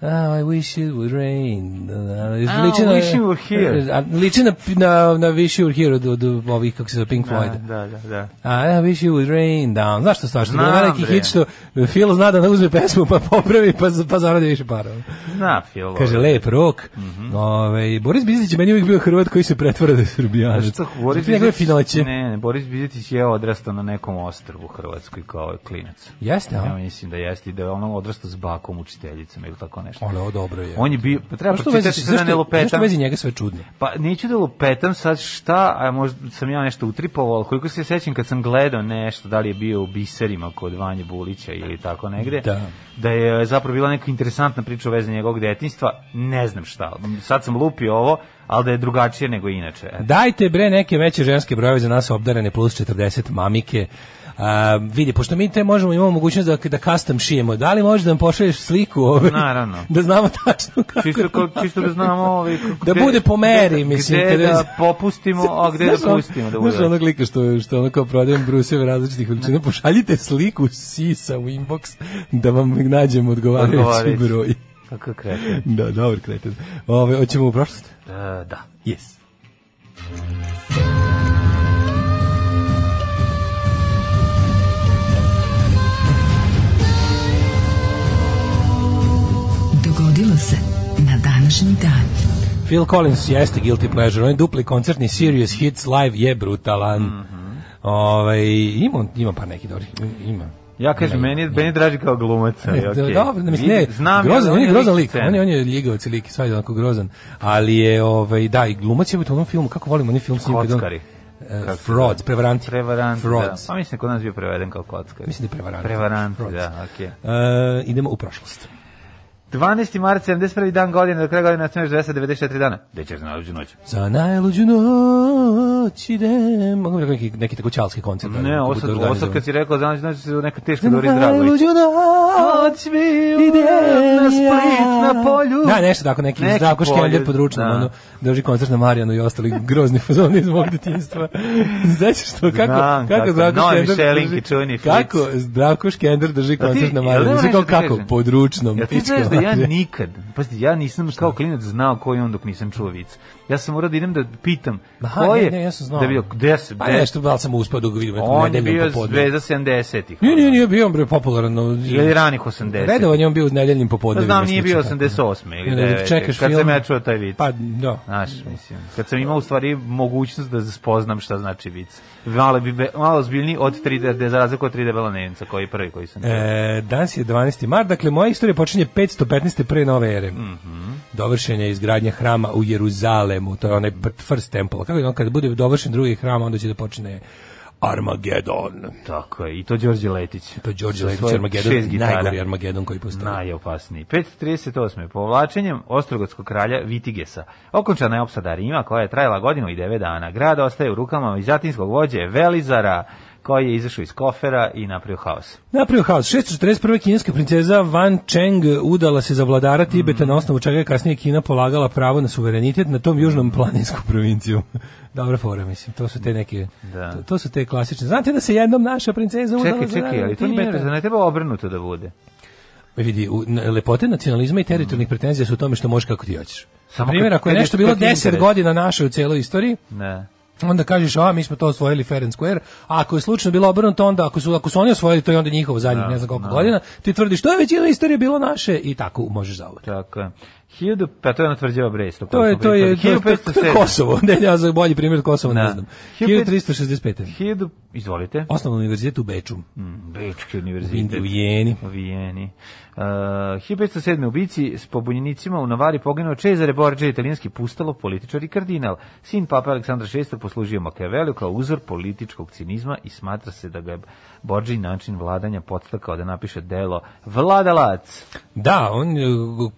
Speaker 7: Oh, I wish it would rain.
Speaker 6: Ah, Wish You Were Here.
Speaker 7: a, Liči na, na, na Wish You Were Here od, od ovih, kako se zove, Pink Floyd.
Speaker 6: Da, da, da.
Speaker 7: I wish you would rain down. Znaš što stvar? Što je bilo
Speaker 6: Znam,
Speaker 7: veliki
Speaker 6: bre.
Speaker 7: hit što Phil zna da ne uzme pesmu pa popravi pa, pa zaradi više para.
Speaker 6: Zna Phil.
Speaker 7: Kaže,
Speaker 6: ovaj.
Speaker 7: lep rok. Ove, Boris Biznić je meni uvijek bio Hrvat koji se pretvara da je
Speaker 6: A
Speaker 7: Srbijanac.
Speaker 6: što Boris
Speaker 7: Zato njegove
Speaker 6: Bizetić?
Speaker 7: finoće.
Speaker 6: Ne, ne, Boris Bizetić je odrastao na nekom ostrvu u Hrvatskoj kao je klinac.
Speaker 7: Jeste,
Speaker 6: Ja
Speaker 7: a?
Speaker 6: mislim da jeste i da je ono odrastao s bakom učiteljicom ili tako nešto.
Speaker 7: Ono, ovo dobro je. da.
Speaker 6: On je bio, pa treba
Speaker 7: Zašto u vezi-
Speaker 6: pročitati sada ne
Speaker 7: zašto- Zašto
Speaker 6: lupetam.
Speaker 7: u vezi njega sve čudno?
Speaker 6: Pa neću da lupetam sad šta, a možda sam ja nešto utripovao, ali koliko se sećam kad sam gledao nešto, da li je bio u biserima kod Vanje Bulića ili tako negde,
Speaker 7: Da.
Speaker 6: da je zapravo bila neka interesantna priča u vezi njegovog detinjstva, ne znam šta. Sad sam lupio ovo, ali da je drugačije nego inače. Eto.
Speaker 7: Dajte bre neke veće ženske brojeve za nas obdarene plus 40 mamike. A, vidi, pošto mi te možemo, imamo mogućnost da, da custom šijemo, da li možeš da nam pošalješ sliku ove?
Speaker 6: Naravno.
Speaker 7: Da znamo tačno kako.
Speaker 6: Čisto, ko- čisto da znamo ovaj, kako-
Speaker 7: Da bude po meri,
Speaker 6: gde-
Speaker 7: mislim,
Speaker 6: Gde
Speaker 7: kada-
Speaker 6: da popustimo, a gde
Speaker 7: Znaš
Speaker 6: da
Speaker 7: ono-
Speaker 6: pustimo da
Speaker 7: Znaš
Speaker 6: bude.
Speaker 7: onog lika što, što ono kao prodajem bruseve različitih veličina, pošaljite sliku sisa u inbox da vam nađem odgovarajući
Speaker 6: Odgovarajući.
Speaker 7: broj.
Speaker 6: Kako
Speaker 7: [laughs]
Speaker 6: kreće?
Speaker 7: Da, dobro, kretan. Ove, hoćemo u prošlost?
Speaker 6: E, da.
Speaker 7: Yes.
Speaker 5: Dogodilo se na današnji dan.
Speaker 7: Phil Collins jeste guilty pleasure, on je dupli koncertni Serious Hits live je brutalan.
Speaker 6: Mhm.
Speaker 7: Ovaj ima on- ima par neki dobrih, ima.
Speaker 6: Ja kažem, meni, je- meni je draži kao glumac. ali
Speaker 7: Da,
Speaker 6: E, okej.
Speaker 7: Dobro, ne mislim, ne,
Speaker 6: Vidi, znam ja
Speaker 7: grozan,
Speaker 6: da
Speaker 7: on je grozan
Speaker 6: lik
Speaker 7: lik, on je, on je ljigavac i lik, i sva je onako grozan, ali je, ovaj, da, i glumac je u tom filmu, kako volimo, onaj film s njim kad on-
Speaker 6: Kockari.
Speaker 7: Eh,
Speaker 6: Kako se
Speaker 7: frauds,
Speaker 6: zove?
Speaker 7: prevaranti.
Speaker 6: Prevarant, da.
Speaker 7: Frauds.
Speaker 6: Pa mislim da kod nas bio preveden kao kockar.
Speaker 7: Mislim da je prevarant.
Speaker 6: Prevarant,
Speaker 7: Frauds.
Speaker 6: da, okej.
Speaker 7: Eh, idemo u prošlost.
Speaker 6: 12. mart, 71. dan godine, do kraja godine nastaneš 294 dana. Gde ćeš na ođu noć?
Speaker 7: Za najluđu noć idem... Mogu bi rekao neki, neki tako čalski koncert. da, ali
Speaker 6: Ne,
Speaker 7: kako
Speaker 6: ovo
Speaker 7: bude
Speaker 6: sad, ovo
Speaker 7: organizovan.
Speaker 6: sad kad si rekao za ođu noć, se neka teška
Speaker 7: Za
Speaker 6: Doris Dragović.
Speaker 7: najluđu noć idem
Speaker 6: Idem na
Speaker 7: ja.
Speaker 6: Split, na polju.
Speaker 7: Da, nešto tako, neki,
Speaker 6: Uh. Neki
Speaker 7: Zdravko
Speaker 6: polju,
Speaker 7: Škeljer pod ručnom,
Speaker 6: da.
Speaker 7: ono, drži koncert na Marijanu i ostali grozni fazoni iz mog detinjstva. [laughs] Znači što, kako,
Speaker 6: Znam,
Speaker 7: kako,
Speaker 6: kako.
Speaker 7: Zdravko
Speaker 6: Novi
Speaker 7: Škeljer
Speaker 6: Šelinki,
Speaker 7: drži-
Speaker 6: čuveni flic.
Speaker 7: Kako Zdravko Škeljer drži
Speaker 6: A ti-
Speaker 7: koncert na
Speaker 6: jel
Speaker 7: Marijanu?
Speaker 6: nema
Speaker 7: Znači
Speaker 6: nešto
Speaker 7: kao
Speaker 6: da
Speaker 7: kako,
Speaker 6: kažem?
Speaker 7: pod ručnom.
Speaker 6: Ja ti
Speaker 7: pička
Speaker 6: znaš da ja
Speaker 7: materija.
Speaker 6: nikad, pazi, ja nisam kao klinac znao ko je on dok nisam čuo vic. Ja sam morao da idem da pitam
Speaker 7: Aha,
Speaker 6: ko
Speaker 7: ne,
Speaker 6: je,
Speaker 7: ne, ja sam znao.
Speaker 6: da bio, gde se,
Speaker 7: Pa
Speaker 6: gde-
Speaker 7: nešto, da li sam uspao da ga vidim, eto,
Speaker 6: on je
Speaker 7: nedeljom
Speaker 6: bio
Speaker 7: popodne.
Speaker 6: zvezda 70-ih.
Speaker 7: Nije, nije, nije bio on bre popularan. no,
Speaker 6: Ili ranih 80-ih.
Speaker 7: Redovan je on bio da u nedeljnim
Speaker 6: Pa
Speaker 7: popodnevima.
Speaker 6: znam, nije bio
Speaker 7: slično.
Speaker 6: 88. ili
Speaker 7: Ne, ne,
Speaker 6: 9.
Speaker 7: čekaš
Speaker 6: Kad
Speaker 7: film.
Speaker 6: sam ja čuo taj vic.
Speaker 7: Pa, da.
Speaker 6: Znaš, mislim, kad sam imao u stvari mogućnost da spoznam šta znači vic. Malo, bi, be- malo zbiljniji od 3D, de- da za razliku od 3D Bela Nemca, koji je prvi koji sam čuo.
Speaker 7: E, danas je 12. mart, dakle moja istorija počinje 515. pre nove ere.
Speaker 6: Mhm.
Speaker 7: Dovršena je izgradnja hrama u Jeruzalemu, to je onaj pr- first temple. Kako je on, kada bude dovršen drugi hram, onda će da počne Armagedon.
Speaker 6: Tako je, i to Đorđe Letić.
Speaker 7: To je Đorđe
Speaker 6: Sa
Speaker 7: Lević
Speaker 6: svojim
Speaker 7: Armagedon,
Speaker 6: šest gitara.
Speaker 7: najgori Armagedon koji postoji.
Speaker 6: Najopasniji. 538. Povlačenjem Ostrogotskog kralja Vitigesa. Okončana je opsada Rima koja je trajala godinu i devet dana. Grad ostaje u rukama vizatinskog vođe Velizara koji je izašao iz kofera i napravio haos.
Speaker 7: Napravio haos. 641. kineska princeza Van Cheng udala se za vladara Tibeta
Speaker 6: Mhm.
Speaker 7: na osnovu čega je kasnije Kina polagala pravo na suverenitet na tom
Speaker 6: Mhm.
Speaker 7: južnom planinsku provinciju. [laughs] Dobra fora, mislim. To su te neke...
Speaker 6: Da.
Speaker 7: To, to su te klasične. Znate da se jednom naša princeza udala
Speaker 6: Čekaj,
Speaker 7: za
Speaker 6: čekaj, ali to nije,
Speaker 7: Tibeta?
Speaker 6: zar ne treba obrnuto da bude.
Speaker 7: Pa Vidi, u- n- lepote nacionalizma i teritorijalnih pretenzija su u tome što možeš kako ti hoćeš.
Speaker 6: Mhm. Samo
Speaker 7: Na primjer,
Speaker 6: kad-
Speaker 7: ako je
Speaker 6: kad je-
Speaker 7: nešto bilo
Speaker 6: kad je
Speaker 7: 10
Speaker 6: interes.
Speaker 7: godina naše u cijeloj istoriji,
Speaker 6: Ne.
Speaker 7: onda kažeš, a mi smo to osvojili fair and square, a ako je slučajno bilo obrnuto, onda ako su, ako su oni osvojili, to je onda njihovo zadnjih ne znam koliko godina, ti tvrdiš, to je većina istorije bilo naše i tako možeš zauvek.
Speaker 6: Tako je. 1000, pa to je ona tvrđava Brest. o
Speaker 7: To
Speaker 6: kojoj
Speaker 7: je
Speaker 6: smo
Speaker 7: to je to
Speaker 6: pričali.
Speaker 7: je- to je- to je
Speaker 6: 1507.
Speaker 7: Kosovo. [laughs] Ne, ja za bolji primjer od Kosova ne
Speaker 6: Da.
Speaker 7: znam.
Speaker 6: 1365.
Speaker 7: 1365.
Speaker 6: 1000, izvolite.
Speaker 7: Osnovni univerzitet u Beču,
Speaker 6: Bečki
Speaker 7: Mm, u
Speaker 6: univerzitet.
Speaker 7: Vijeni.
Speaker 6: U Vijeni. Uh, 1507. u Bici s pobunjenicima u Navari poginuo Cezare Borđe, italijanski pustalo, političar i kardinal. Sin papa Aleksandra VI poslužio Makevelju kao uzor političkog cinizma i smatra se da ga je Borđi način vladanja podstakao da napiše delo Vladalac.
Speaker 7: Da, on e,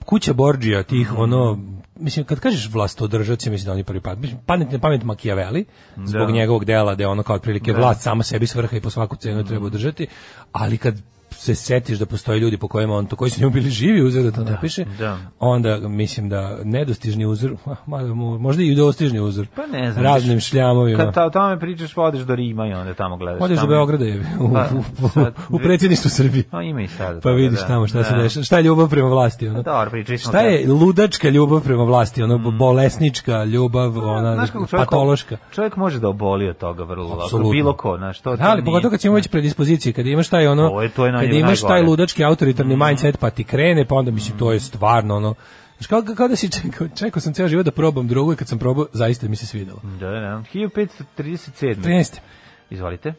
Speaker 7: kuća Borđija tih
Speaker 6: Mhm.
Speaker 7: ono mislim kad kažeš vlastodržac mislim da oni prvi pad mislim pamet na pamet Machiavelli zbog
Speaker 6: Da.
Speaker 7: njegovog dela da je ono kao otprilike vlast sama sebi svrha i po svaku
Speaker 6: Mhm.
Speaker 7: cenu treba održati, ali kad se setiš da postoje ljudi po kojima on to koji su njemu bili živi uzor da to napiše,
Speaker 6: da.
Speaker 7: onda mislim da nedostižni uzor, [laughs] ma- ma- možda i dostižni uzor.
Speaker 6: Pa ne znam.
Speaker 7: Raznim šljamovima.
Speaker 6: Kad ta- o tome pričaš, odeš do Rima i onda tamo gledaš.
Speaker 7: Odeš do
Speaker 6: Tamo-
Speaker 7: Beograda je, u,
Speaker 6: Pa,
Speaker 7: u, u,
Speaker 6: sad-
Speaker 7: u predsjedništvu Srbije.
Speaker 6: Pa ima i sad.
Speaker 7: Pa vidiš tamo šta se dešava. Šta je ljubav prema vlasti?
Speaker 6: da.
Speaker 7: Ono?
Speaker 6: Pa dobro, pričali smo
Speaker 7: Šta
Speaker 6: o
Speaker 7: je ludačka ljubav prema vlasti? Ono bolesnička ljubav, ona
Speaker 6: Da, Znaš kako čovjek-
Speaker 7: patološka.
Speaker 6: Čovjek može da oboli od toga vrlo lako.
Speaker 7: Apsolutno.
Speaker 6: Bilo ko, znaš, to, to
Speaker 7: Da, ali
Speaker 6: Pa nije-
Speaker 7: pogotovo kad ćemo već predispozicije, kad imaš taj ono,
Speaker 6: Ovo je- to je na-
Speaker 7: kad imaš taj
Speaker 6: najgore. Mm.
Speaker 7: ludački autoritarni mindset, pa ti krene, pa onda mislim, to je stvarno ono, Znaš, kao, kao da si čekao, čekao sam ceo život da probam drogu i kad sam probao, zaista mi se svidelo.
Speaker 6: Da, da, da. 1537.
Speaker 7: 13.
Speaker 6: Izvolite.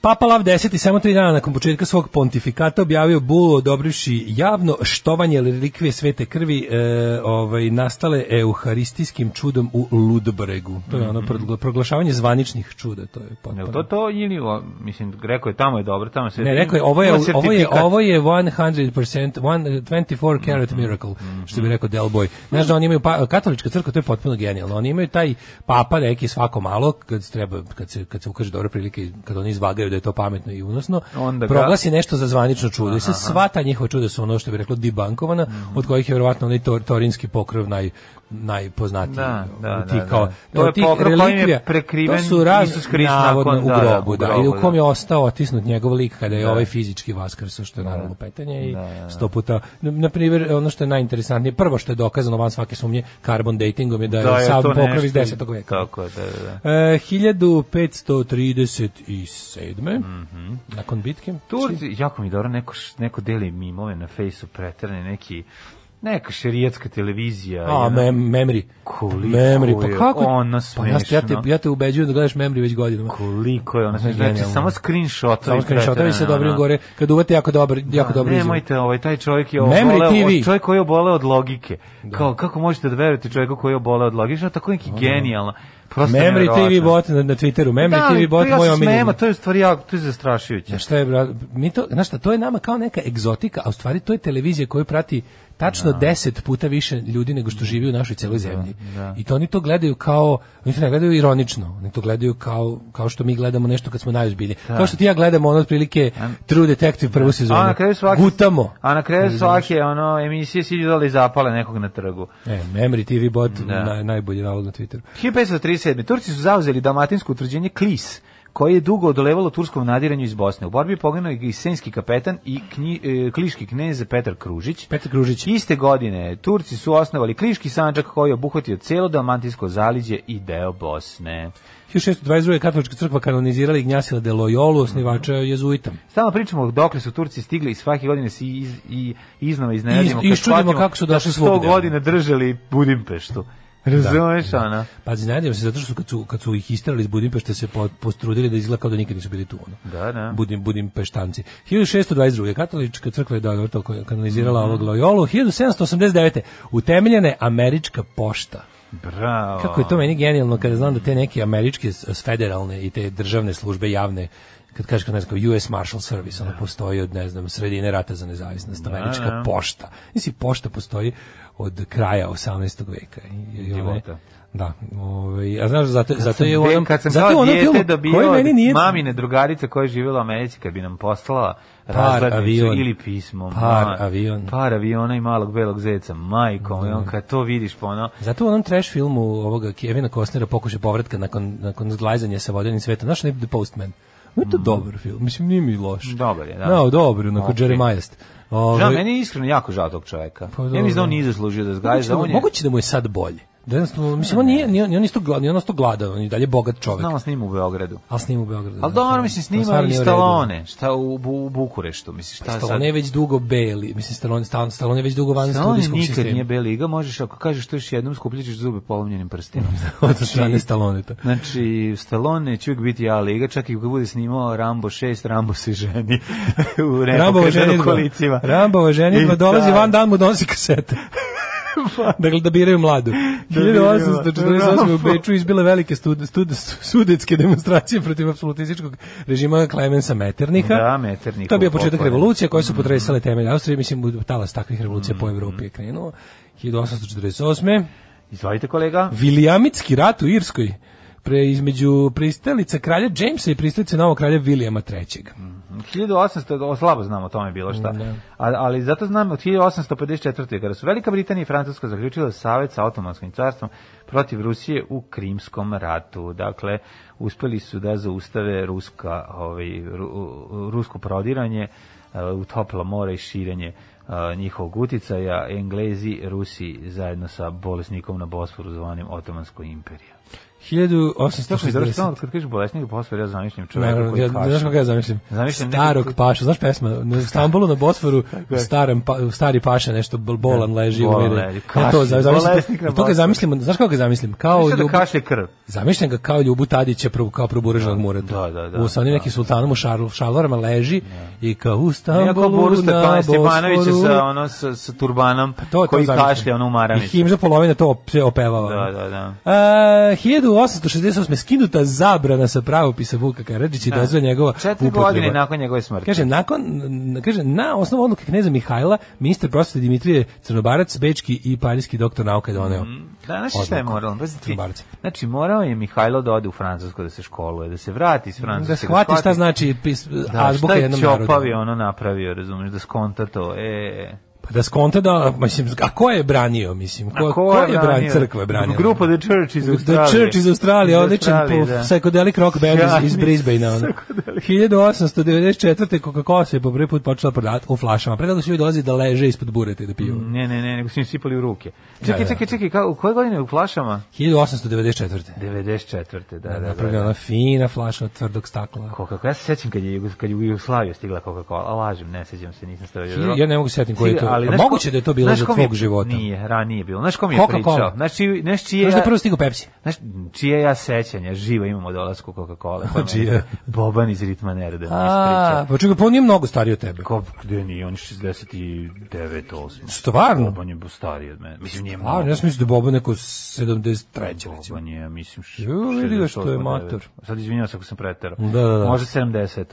Speaker 7: Papa Lav X samo tri dana nakon početka svog pontifikata objavio bulu odobrivši javno štovanje relikvije svete krvi e, ovaj, nastale euharistijskim čudom u Ludbregu. To je ono pro- proglašavanje zvaničnih čuda. To je potpuno.
Speaker 6: Mhm. Jel to to ili o, mislim rekao je tamo je dobro, tamo se
Speaker 7: Pa da. Ne, rekao je, ovo je,
Speaker 6: Ima
Speaker 7: ovo je,
Speaker 6: sertifikat.
Speaker 7: ovo je 100%, one- 24 karat miracle, što bi rekao Del Boy. Znaš da oni imaju, pa, katolička crkva, to je potpuno genijalno, oni imaju taj papa neki svako malo, kad, se treba, kad, se, kad se ukaže dobra prilike, i kad oni izvagaju da je to pametno i unosno,
Speaker 6: Onda ga-
Speaker 7: proglasi nešto za zvanično čudo. I sad sva ta njihova čuda su ono što bi reklo debankovana, od kojih je verovatno onaj tor, torinski pokrov naj, najpoznatiji.
Speaker 6: Da, da,
Speaker 7: Ti
Speaker 6: da,
Speaker 7: kao,
Speaker 6: da. To je
Speaker 7: od tih
Speaker 6: pokrov kojim je
Speaker 7: relikvija,
Speaker 6: prekriven
Speaker 7: to su raz,
Speaker 6: Isus Hrist
Speaker 7: navodno,
Speaker 6: nakon-
Speaker 7: u
Speaker 6: da, da,
Speaker 7: grobu,
Speaker 6: u
Speaker 7: da, i
Speaker 6: grobu,
Speaker 7: u kom
Speaker 6: da.
Speaker 7: je ostao otisnut njegov lik kada je ovaj fizički vaskrso što je
Speaker 6: Da.
Speaker 7: naravno lupetanje i sto puta na, na primjer ono što je najinteresantnije prvo što je dokazano van svake sumnje carbon datingom je da je,
Speaker 6: Da, je
Speaker 7: sam
Speaker 6: to
Speaker 7: pokrov
Speaker 6: nešto-
Speaker 7: iz 10. veka
Speaker 6: Tako je, da, da, da.
Speaker 7: E, 1537. nakon bitke
Speaker 6: Mhm.
Speaker 7: Znači,
Speaker 6: Turci, jako mi je dobro, neko, š- neko deli mimove na fejsu pretrane, neki, neka šerijatska televizija.
Speaker 7: A,
Speaker 6: jedna-
Speaker 7: mem, memory.
Speaker 6: Koliko
Speaker 7: memory,
Speaker 6: je
Speaker 7: pa kako?
Speaker 6: ono
Speaker 7: pa ja, ja, te,
Speaker 6: smešno.
Speaker 7: ja te ubeđujem da gledaš memory već godinama.
Speaker 6: Koliko je ono, znači,
Speaker 7: genijalno.
Speaker 6: samo screenshotovi.
Speaker 7: Samo screenshotovi se
Speaker 6: preterani,
Speaker 7: dobrim
Speaker 6: ono.
Speaker 7: gore, kad uvate jako dobar, jako dobro izjave.
Speaker 6: Nemojte, ovaj taj čovjek je
Speaker 7: Memory
Speaker 6: oboleo,
Speaker 7: TV.
Speaker 6: čovjek koji je oboleo od logike. Kao kako možete da verujete čovjeku koji je oboleo od logike? Što je tako neki genijalno. Prosto
Speaker 7: Memory TV
Speaker 6: nevjerovatno.
Speaker 7: bot na, na Twitteru, Memory
Speaker 6: Da, ali
Speaker 7: TV bot
Speaker 6: ja se
Speaker 7: moj
Speaker 6: smijem,
Speaker 7: omiljeni.
Speaker 6: a To je u stvari jako, to je zastrašujuće.
Speaker 7: Ja šta je bra, mi to, znaš šta, to je nama kao neka egzotika, a u stvari to je televizija koju prati tačno
Speaker 6: Da.
Speaker 7: 10 puta više ljudi nego što živi u našoj celoj zemlji.
Speaker 6: da.
Speaker 7: I to oni to gledaju kao, oni to ne gledaju ironično, oni to gledaju kao, kao što mi gledamo nešto kad smo najozbiljniji. Kao što ti i ja gledamo ono otprilike True Detective prvu sezonu.
Speaker 6: Da. A na kraju svake
Speaker 7: Gutamo.
Speaker 6: A na kraju svake ono emisije se idu i zapale nekog na trgu.
Speaker 7: E, Memory TV bot,
Speaker 6: Da.
Speaker 7: naj, najbolji navod na Twitteru.
Speaker 6: 1537. Turci su zauzeli dalmatinsko utvrđenje Klis, koje je dugo odolevalo turskom nadiranju iz Bosne. U borbi je poginuo i senski kapetan i knji, e, kliški knez Petar Kružić.
Speaker 7: Petar Kružić.
Speaker 6: Iste godine Turci su osnovali Kliški sanđak koji je obuhvatio celo dalmatinsko zaliđe i deo Bosne.
Speaker 7: 1622. je katolička crkva kanonizirala Ignjasila de Loyolu, osnivača jezuita.
Speaker 6: Stalno pričamo dokle su Turci stigli i svake godine se iz, i iznova iznenadimo.
Speaker 7: I- i čudimo kako su došli
Speaker 6: svog.
Speaker 7: svugde.
Speaker 6: 100 godina držali Budimpeštu. Razumeš, ono?
Speaker 7: Pa znadio se zato što su kad su kad su ih isterali iz Budimpešte se po, postrudili da izgleda kao da nikad nisu bili tu ono.
Speaker 6: Da, da.
Speaker 7: Budim Budimpeštanci. 1622. katolička crkva je da to kanalizirala
Speaker 6: Mhm.
Speaker 7: ovog Loyolu. 1789. utemeljena je američka pošta.
Speaker 6: Bravo.
Speaker 7: Kako je to meni genijalno kada znam da te neke američke s- s federalne i te državne službe javne kad kažeš kao ne znam, kao US Marshal Service,
Speaker 6: Da.
Speaker 7: ona postoji od, ne znam, sredine rata za nezavisnost, američka pošta. Nisi, pošta postoji od kraja 18. veka. I, i one-
Speaker 6: Života.
Speaker 7: Da, ovaj, a znaš, zato, zato je u
Speaker 6: Bio-
Speaker 7: onom,
Speaker 6: kad sam
Speaker 7: zato je u
Speaker 6: kao
Speaker 7: onom
Speaker 6: dijete
Speaker 7: filmu koji
Speaker 6: dobio
Speaker 7: meni nije...
Speaker 6: mamine drugarice koja je živjela u Americi kad bi nam poslala razglednicu
Speaker 7: avion.
Speaker 6: ili pismo.
Speaker 7: Par avion. Da.
Speaker 6: Par aviona i malog belog zeca. Majko, i on kad to vidiš pa ono...
Speaker 7: Zato u onom trash filmu ovoga Kevina Costnera pokušaj povratka nakon, nakon zglajzanja sa vodenim svetom. Znaš, ne The Postman. No, to dobar film. Mislim, nije mi loš.
Speaker 6: Mhm. Dobar je, da.
Speaker 7: No, dobar, onako
Speaker 6: Ok.
Speaker 7: Jeremiah-est.
Speaker 6: Žao,
Speaker 7: Ovaj,
Speaker 6: meni je iskreno jako žao tog čovjeka.
Speaker 7: Pa
Speaker 6: ja mislim da
Speaker 7: dobro.
Speaker 6: on nije zaslužio da zgaje
Speaker 7: moguće,
Speaker 6: za
Speaker 7: da mu,
Speaker 6: on je...
Speaker 7: moguće da mu je sad bolje. Da jednostavno, mislim, on nije, ni on, ni on isto gladan, on isto gladan, on da je dalje bogat čovek.
Speaker 6: Znamo snima u Beogradu.
Speaker 7: Ali snima u Beogradu.
Speaker 6: Ali
Speaker 7: da,
Speaker 6: dobro,
Speaker 7: to-
Speaker 6: mislim,
Speaker 7: to stvarno
Speaker 6: snima i
Speaker 7: nije u redu. E
Speaker 6: Stallone, šta u, Bu- u Bukureštu, mislim, šta sad?
Speaker 7: Stallone je već dugo beli, mislim, Stallone, Stallone, Stallone je već dugo van
Speaker 6: Stallone
Speaker 7: studijskog
Speaker 6: nikad
Speaker 7: sistema.
Speaker 6: nije B liga, možeš, ako kažeš to još jednom, skupljičiš zube polomljenim
Speaker 7: [laughs]
Speaker 6: prstinom.
Speaker 7: Od strane Stalloneta.
Speaker 6: Znači, Stallone će uvijek biti A liga, čak i ako bude snimao Rambo 6, Rambo se ženi [laughs] u
Speaker 7: Rambova
Speaker 6: nepokretenom
Speaker 7: ženitba.
Speaker 6: kolicima.
Speaker 7: Rambova ženitba
Speaker 6: I
Speaker 7: dolazi
Speaker 6: da.
Speaker 7: van dan mu donosi
Speaker 6: [laughs]
Speaker 7: kasete. dakle, da biraju mladu.
Speaker 6: biraju
Speaker 7: 1848. u
Speaker 6: Rambo.
Speaker 7: Beču izbile velike stud, stud, sudetske demonstracije protiv apsolutističkog režima Klemensa Metternicha.
Speaker 6: Da, Mhm. Metternicha
Speaker 7: To je bio
Speaker 6: u
Speaker 7: početak
Speaker 6: pokojnom.
Speaker 7: revolucije koje su potresale temelje Austrije. Mislim, talas takvih revolucija
Speaker 6: Mhm.
Speaker 7: po Evropi je krenuo. 1848.
Speaker 6: Izvolite kolega.
Speaker 7: Vilijamitski rat u Irskoj pre između pristalica kralja Jamesa i pristalice novog kralja Vilijama III.
Speaker 6: Mhm. 1800, o, slabo znam o tome bilo
Speaker 7: Mm, da.
Speaker 6: šta. A, ali zato znam od 1854. kada su Velika Britanija i Francuska zaključila savjet sa Otomanskim carstvom protiv Rusije u Krimskom ratu. Dakle, uspeli su da zaustave ruska, ovaj, ru, u- rusko prodiranje e, u toplo more i širenje e, njihovog uticaja. Englezi, Rusi zajedno sa bolesnikom na Bosforu zvanim Otomansko imperija. Tako je, zato
Speaker 7: 1860.
Speaker 6: što ono, kad kažeš bolesnik u Bosforu, ja zamišljam čovjeka
Speaker 7: Naravno,
Speaker 6: koji
Speaker 7: ja,
Speaker 6: kašlje.
Speaker 7: znaš kako ja zamišljam?
Speaker 6: Zamišljam
Speaker 7: Starog
Speaker 6: nekog-
Speaker 7: pašu, znaš pesma, u Stambulu na
Speaker 6: [laughs]
Speaker 7: Bosforu, u starom pa, u stari paša nešto bol- bolan leži,
Speaker 6: Da, Bolan
Speaker 7: umire.
Speaker 6: leži,
Speaker 7: Ja to
Speaker 6: kašlje,
Speaker 7: zamišljam, e,
Speaker 6: bolesnik na
Speaker 7: to ga
Speaker 6: Bosforu.
Speaker 7: zamišljam, znaš kako ga zamišljam? Kao
Speaker 6: Znaš da
Speaker 7: Ljubu-
Speaker 6: kašlje krv.
Speaker 7: Zamišljam ga kao Ljubu Tadića, pro, kao proburežnog murata.
Speaker 6: Da, da, da,
Speaker 7: U sa onim
Speaker 6: da.
Speaker 7: nekim sultanom u šarl, šalvarama leži i kao u
Speaker 6: Neko
Speaker 7: Stambulu
Speaker 6: Boru
Speaker 7: na
Speaker 6: Stefana Stefanovića
Speaker 7: Bosforu.
Speaker 6: sa, ono, sa, sa turbanom
Speaker 7: To, to
Speaker 6: koji
Speaker 7: zamišljam.
Speaker 6: kašlja ono u
Speaker 7: I
Speaker 6: maramicu.
Speaker 7: Himža polovina to op- E, sve opevao.
Speaker 6: Da, da, da.
Speaker 7: A, 1868. skinuta zabrana sa pravopisa Vuka Karadžića i dozve njegova
Speaker 6: Da. Četiri
Speaker 7: upotreba.
Speaker 6: godine nakon njegove smrti.
Speaker 7: Kaže, nakon, n- kaže, na osnovu odluke kneza Mihajla, ministar prosvete Dimitrije Crnobarac, Bečki i parijski doktor nauke doneo.
Speaker 6: Da, znaš šta je
Speaker 7: Odluku.
Speaker 6: moralo? Pazi ti.
Speaker 7: Crnobarac.
Speaker 6: Znači, morao je Mihajlo da ode u Francusku da se školuje, da se vrati iz Francuske.
Speaker 7: Da shvati šta znači pis,
Speaker 6: da,
Speaker 7: azbuka jednom
Speaker 6: Šta je
Speaker 7: narodu.
Speaker 6: Ćopavi ono napravio, razumiješ, da skonta to. E,
Speaker 7: Pa da skonta da, mislim, a ko je branio, mislim? Ko,
Speaker 6: a
Speaker 7: ko, je, branio? Crkva je branila.
Speaker 6: Grupa The Church iz Australije.
Speaker 7: The Church iz Australije, odličan
Speaker 6: Australije, da.
Speaker 7: po psychedelic rock band iz, iz
Speaker 6: Sjajni
Speaker 7: Brisbanea. ono. 1894. Coca-Cola se po prvi put počela prodavati u flašama. Pre toga su ljudi dolazili da leže ispod burete i da piju.
Speaker 6: Ne, ne, ne, nego su im sipali u ruke.
Speaker 7: Da,
Speaker 6: Čekaj,
Speaker 7: da.
Speaker 6: čekaj, čekaj, kao, u koje godine u flašama?
Speaker 7: 1894.
Speaker 6: 94. Da, da,
Speaker 7: Da,
Speaker 6: da.
Speaker 7: napravljena ona fina flaša od tvrdog stakla.
Speaker 6: Coca-Cola. Ja se sećam kad je Jugos- kad je u Jugoslaviju stigla Coca-Cola, a lažem, ne sećam se, nisam stavio.
Speaker 7: Ja ne mogu se setim koji je to.
Speaker 6: Ali
Speaker 7: A
Speaker 6: znaš ko-
Speaker 7: moguće da je to bilo
Speaker 6: znaš
Speaker 7: za
Speaker 6: ko mi je-
Speaker 7: tvog života.
Speaker 6: Nije, ranije bilo. Znaš ko mi je
Speaker 7: Coca-Cola.
Speaker 6: pričao? Znaš, čiji, znaš čije,
Speaker 7: Znaš da je prvo stigu Pepsi?
Speaker 6: znaš, čije ja sećanja živa imam od dolasku Coca-Cola.
Speaker 7: [laughs]
Speaker 6: Pa meni
Speaker 7: Čije?
Speaker 6: Boban iz Ritma Nerda. mi je
Speaker 7: A,
Speaker 6: ispričao.
Speaker 7: pa čekaj, pa on nije mnogo stariji od tebe.
Speaker 6: Ko, gde nije, on je 69, 8.
Speaker 7: Stvarno?
Speaker 6: Boban je bo- stariji od mene. Mislim, nije
Speaker 7: A,
Speaker 6: mnogo.
Speaker 7: ja sam mislio da je Bobo neko 73. recimo.
Speaker 6: Boban je, mislim, š-
Speaker 7: Ju, vidi ga što je
Speaker 6: 68,
Speaker 7: mator.
Speaker 6: 9. Sad izvinjavam se ako sam preterao.
Speaker 7: Da, da, da.
Speaker 6: Može 70.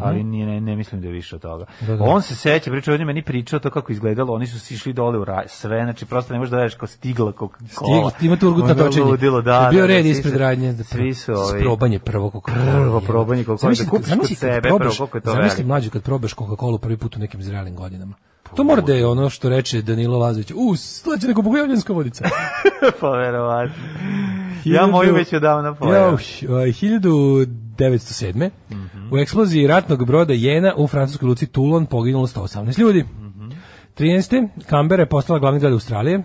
Speaker 6: Ali nije, ne, ne mislim da je više od toga.
Speaker 7: Da, da.
Speaker 6: On se seća, pričao, on je meni pričao to kako izgledalo, oni su si išli dole u raj, sve, znači prosto ne možeš da veruješ kao stigla koka
Speaker 7: Stiglo, ima tu urgutno točenje.
Speaker 6: Ludilo, da,
Speaker 7: Je
Speaker 6: da,
Speaker 7: bio
Speaker 6: da,
Speaker 7: red
Speaker 6: svi su-
Speaker 7: ispred radnje. Da
Speaker 6: Svi su
Speaker 7: ovi...
Speaker 6: ovi... [laughs]
Speaker 7: Probanje prvo Coca-Cola.
Speaker 6: Prvo probanje Coca-Cola,
Speaker 7: Zamisli
Speaker 6: da
Speaker 7: kad-
Speaker 6: kupiš
Speaker 7: zamisli
Speaker 6: kod
Speaker 7: kad
Speaker 6: sebe,
Speaker 7: probaš-
Speaker 6: prvo koliko je to
Speaker 7: Zamisli
Speaker 6: veliko.
Speaker 7: mlađu kad probaš Coca-Cola prvi put u nekim zrelim godinama.
Speaker 6: Pa
Speaker 7: To mora da je ono što reče Danilo Lazović. U, slađe nego bogojavljanska vodica.
Speaker 6: pa verovatno. Ja moju već odavno pojao.
Speaker 7: Ja, 1907. U eksploziji ratnog broda Jena u francuskoj luci Toulon poginulo 118 ljudi. 13. Canberra je postala glavni grad Australije.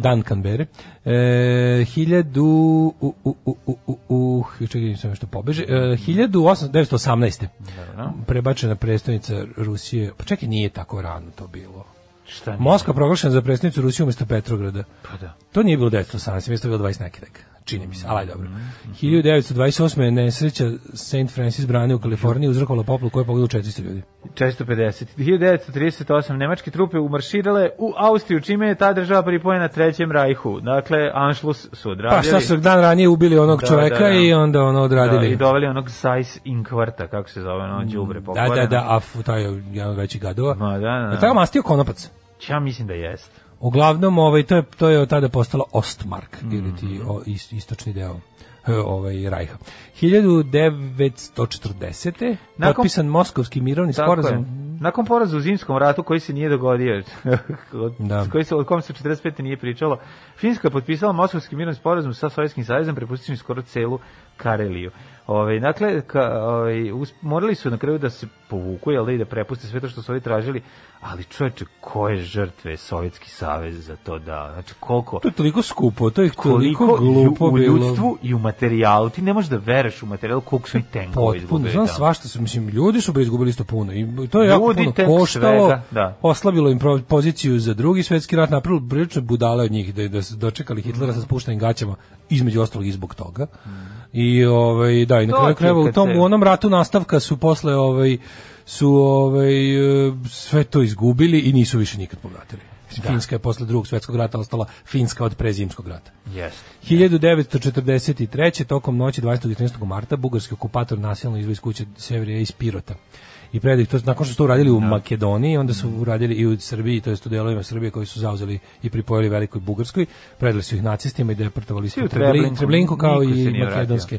Speaker 7: Dan Canberra. E, 1000 u, u, u, u, u, u, čekaj, sam nešto pobeže. E, 1918. Prebačena predstavnica Rusije. Pa čekaj, nije tako rano to bilo.
Speaker 6: Šta nije?
Speaker 7: Moskva proglašena za predstavnicu Rusije umjesto Petrograda.
Speaker 6: Pa da.
Speaker 7: To nije bilo 1918, mislim da je bilo 20 neki tek. Čini mi se, ali aj dobro.
Speaker 6: Mhm,
Speaker 7: 1928. je nesreća St. Francis brane u
Speaker 6: Mhm.
Speaker 7: Kaliforniji uzrokovala poplu koja je pogodila 400 ljudi.
Speaker 6: 450. 1938. Nemačke trupe umarširale u Austriju, čime je ta država pripojena Trećem rajhu. Dakle, Anschluss su odradili.
Speaker 7: Pa šta su dan ranije ubili onog
Speaker 6: Da,
Speaker 7: čoveka
Speaker 6: da, da.
Speaker 7: i onda ono
Speaker 6: Da,
Speaker 7: odradili.
Speaker 6: I doveli onog Sajs Inkvarta, kako se zove, ono đubre
Speaker 7: Da,
Speaker 6: pokvareno.
Speaker 7: da, da, a f- taj je jedan od većih gadova.
Speaker 6: Ma, da, da,
Speaker 7: Je taj
Speaker 6: da.
Speaker 7: mastio konopac?
Speaker 6: Ja mislim da jeste.
Speaker 7: Uglavnom, ovaj, to, je, to je od tada postalo Ostmark,
Speaker 6: Mhm.
Speaker 7: ili ti o, is- istočni deo e, ovaj Rajha. 1940.
Speaker 6: Nakon-
Speaker 7: potpisan Moskovski mirovni
Speaker 6: Tako je.
Speaker 7: sporazum.
Speaker 6: Nakon poraza u zimskom ratu koji se nije dogodio, [laughs] od,
Speaker 7: Da.
Speaker 6: koji se, od kom se 45. nije pričalo, Finska je potpisala Moskovski mirovni sporazum sa Sovjetskim savezom, prepustivši skoro celu Kareliju. Ove, dakle, ka, ove, us, morali su na kraju da se povuku, jel da i da prepuste sve to što su ovi tražili, ali čoveče, koje žrtve Sovjetski savez za to da, znači koliko,
Speaker 7: To je toliko skupo, to je toliko,
Speaker 6: koliko
Speaker 7: glupo
Speaker 6: i u, u
Speaker 7: bilo.
Speaker 6: ljudstvu i u materijalu, ti ne možeš da veruješ u materijalu koliko su i tenkova
Speaker 7: Potpuno,
Speaker 6: izgubili.
Speaker 7: znam
Speaker 6: da.
Speaker 7: svašta su, mislim, ljudi su bre izgubili isto puno i to je jako
Speaker 6: Ljudi,
Speaker 7: puno
Speaker 6: tek
Speaker 7: koštalo,
Speaker 6: svega, da.
Speaker 7: oslabilo im pro- poziciju za drugi svetski rat, napravilo prilično budale od njih da, da su dočekali Hitlera
Speaker 6: Mhm.
Speaker 7: sa spuštenim gaćama, između ostalog i zbog toga. I ovaj da i na
Speaker 6: To
Speaker 7: kraju
Speaker 6: ti
Speaker 7: krajeva u
Speaker 6: kad
Speaker 7: tom
Speaker 6: se-
Speaker 7: u onom ratu nastavka su posle ovaj su ovaj e, sve to izgubili i nisu više nikad povratili.
Speaker 6: Da.
Speaker 7: Finska je posle drugog svetskog rata ostala Finska od prezimskog rata.
Speaker 6: Jeste.
Speaker 7: 1943. tokom noći 20. i 13. marta bugarski okupator nasilno izveo iz kuće Severija iz Pirota. I predali to nakon što su to uradili
Speaker 6: Da.
Speaker 7: u Makedoniji, onda su uradili i u Srbiji, to jest u delovima Srbije koji su zauzeli i pripojili velikoj Bugarskoj, predali su ih nacistima i deportovali su
Speaker 6: Svi u
Speaker 7: u Treblinku,
Speaker 6: Treblinku,
Speaker 7: Treblinku kao
Speaker 6: niko se
Speaker 7: i
Speaker 6: nije Mm.
Speaker 7: makedonske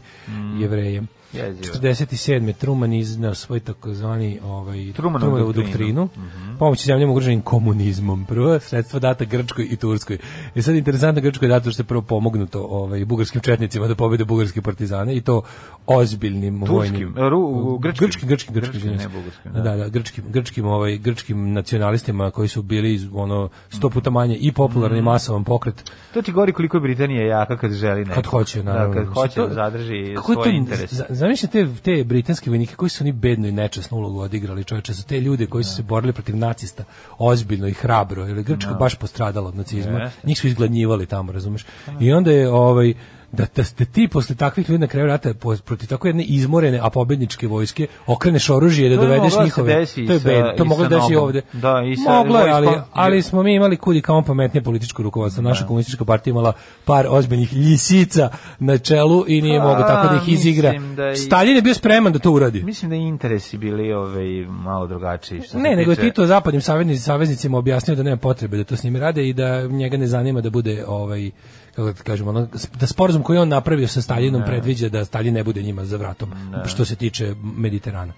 Speaker 7: jevreje.
Speaker 6: Jezivo.
Speaker 7: 47. Truman iznao svoj takozvani ovaj,
Speaker 6: Trumanovu
Speaker 7: Trumanovu
Speaker 6: doktrinu. Mhm.
Speaker 7: doktrinu, pomoći zemljama ugroženim komunizmom. Prvo, sredstva data Grčkoj i Turskoj. I sad interesantno Grčkoj je dato što je prvo pomognuto ovaj, bugarskim četnicima da pobede bugarske partizane i to ozbiljnim vojnim...
Speaker 6: e, ru- grčkim.
Speaker 7: grčkim, grčkim, grčkim,
Speaker 6: Grčkim, ne
Speaker 7: izvinjam se.
Speaker 6: bugarskim,
Speaker 7: Da,
Speaker 6: da.
Speaker 7: da, grčkim, grčkim, ovaj, grčkim nacionalistima koji su bili iz, ono sto puta manje i popularni i
Speaker 6: Mhm.
Speaker 7: masovan pokret
Speaker 6: To ti govori koliko je Britanija jaka kad želi nekako.
Speaker 7: kad hoće naravno.
Speaker 6: Da, kad hoće
Speaker 7: To-
Speaker 6: da zadrži
Speaker 7: kako je
Speaker 6: svoje
Speaker 7: to-
Speaker 6: interese.
Speaker 7: za- Zamišljaj te, te britanske vojnike koji su oni bedno i nečasnu ulogu odigrali, čoveče, su te ljude koji
Speaker 6: Da.
Speaker 7: su se borili protiv nacista ozbiljno i hrabro, jer je Grčka baš postradala od nacizma,
Speaker 6: Jeste. Da.
Speaker 7: njih su izgladnjivali tamo, razumeš. I onda je ovaj da, da ste ti posle takvih ljudi na kraju rata po- protiv tako jedne izmorene a pobedničke vojske okreneš oružje da
Speaker 6: To je
Speaker 7: dovedeš
Speaker 6: moglo da se
Speaker 7: njihove
Speaker 6: desi
Speaker 7: to je
Speaker 6: sa-
Speaker 7: bed, to
Speaker 6: i
Speaker 7: moglo
Speaker 6: sa
Speaker 7: da se i
Speaker 6: nogom.
Speaker 7: ovde
Speaker 6: Da, i sa
Speaker 7: moglo je, ali,
Speaker 6: vojskom.
Speaker 7: ali smo mi imali kudi kao pametnije političko rukovodstvo naša
Speaker 6: Da.
Speaker 7: komunistička partija imala par ozbiljnih ljisica na čelu i nije
Speaker 6: Pa,
Speaker 7: mogao tako da ih
Speaker 6: mislim
Speaker 7: izigra
Speaker 6: da i-
Speaker 7: Stalin je bio spreman da to uradi
Speaker 6: Mislim da i interesi bili ovaj, malo drugačiji. Što se
Speaker 7: Ne, nego je
Speaker 6: tiče-
Speaker 7: Tito zapadnim saveznic, saveznicima objasnio da nema potrebe da to s njima rade i da njega ne zanima da bude ovaj kako da kažemo, ono, da sporazum koji je on napravio sa Stalinom predviđa da Stalin ne bude njima za vratom, što se tiče Mediterana.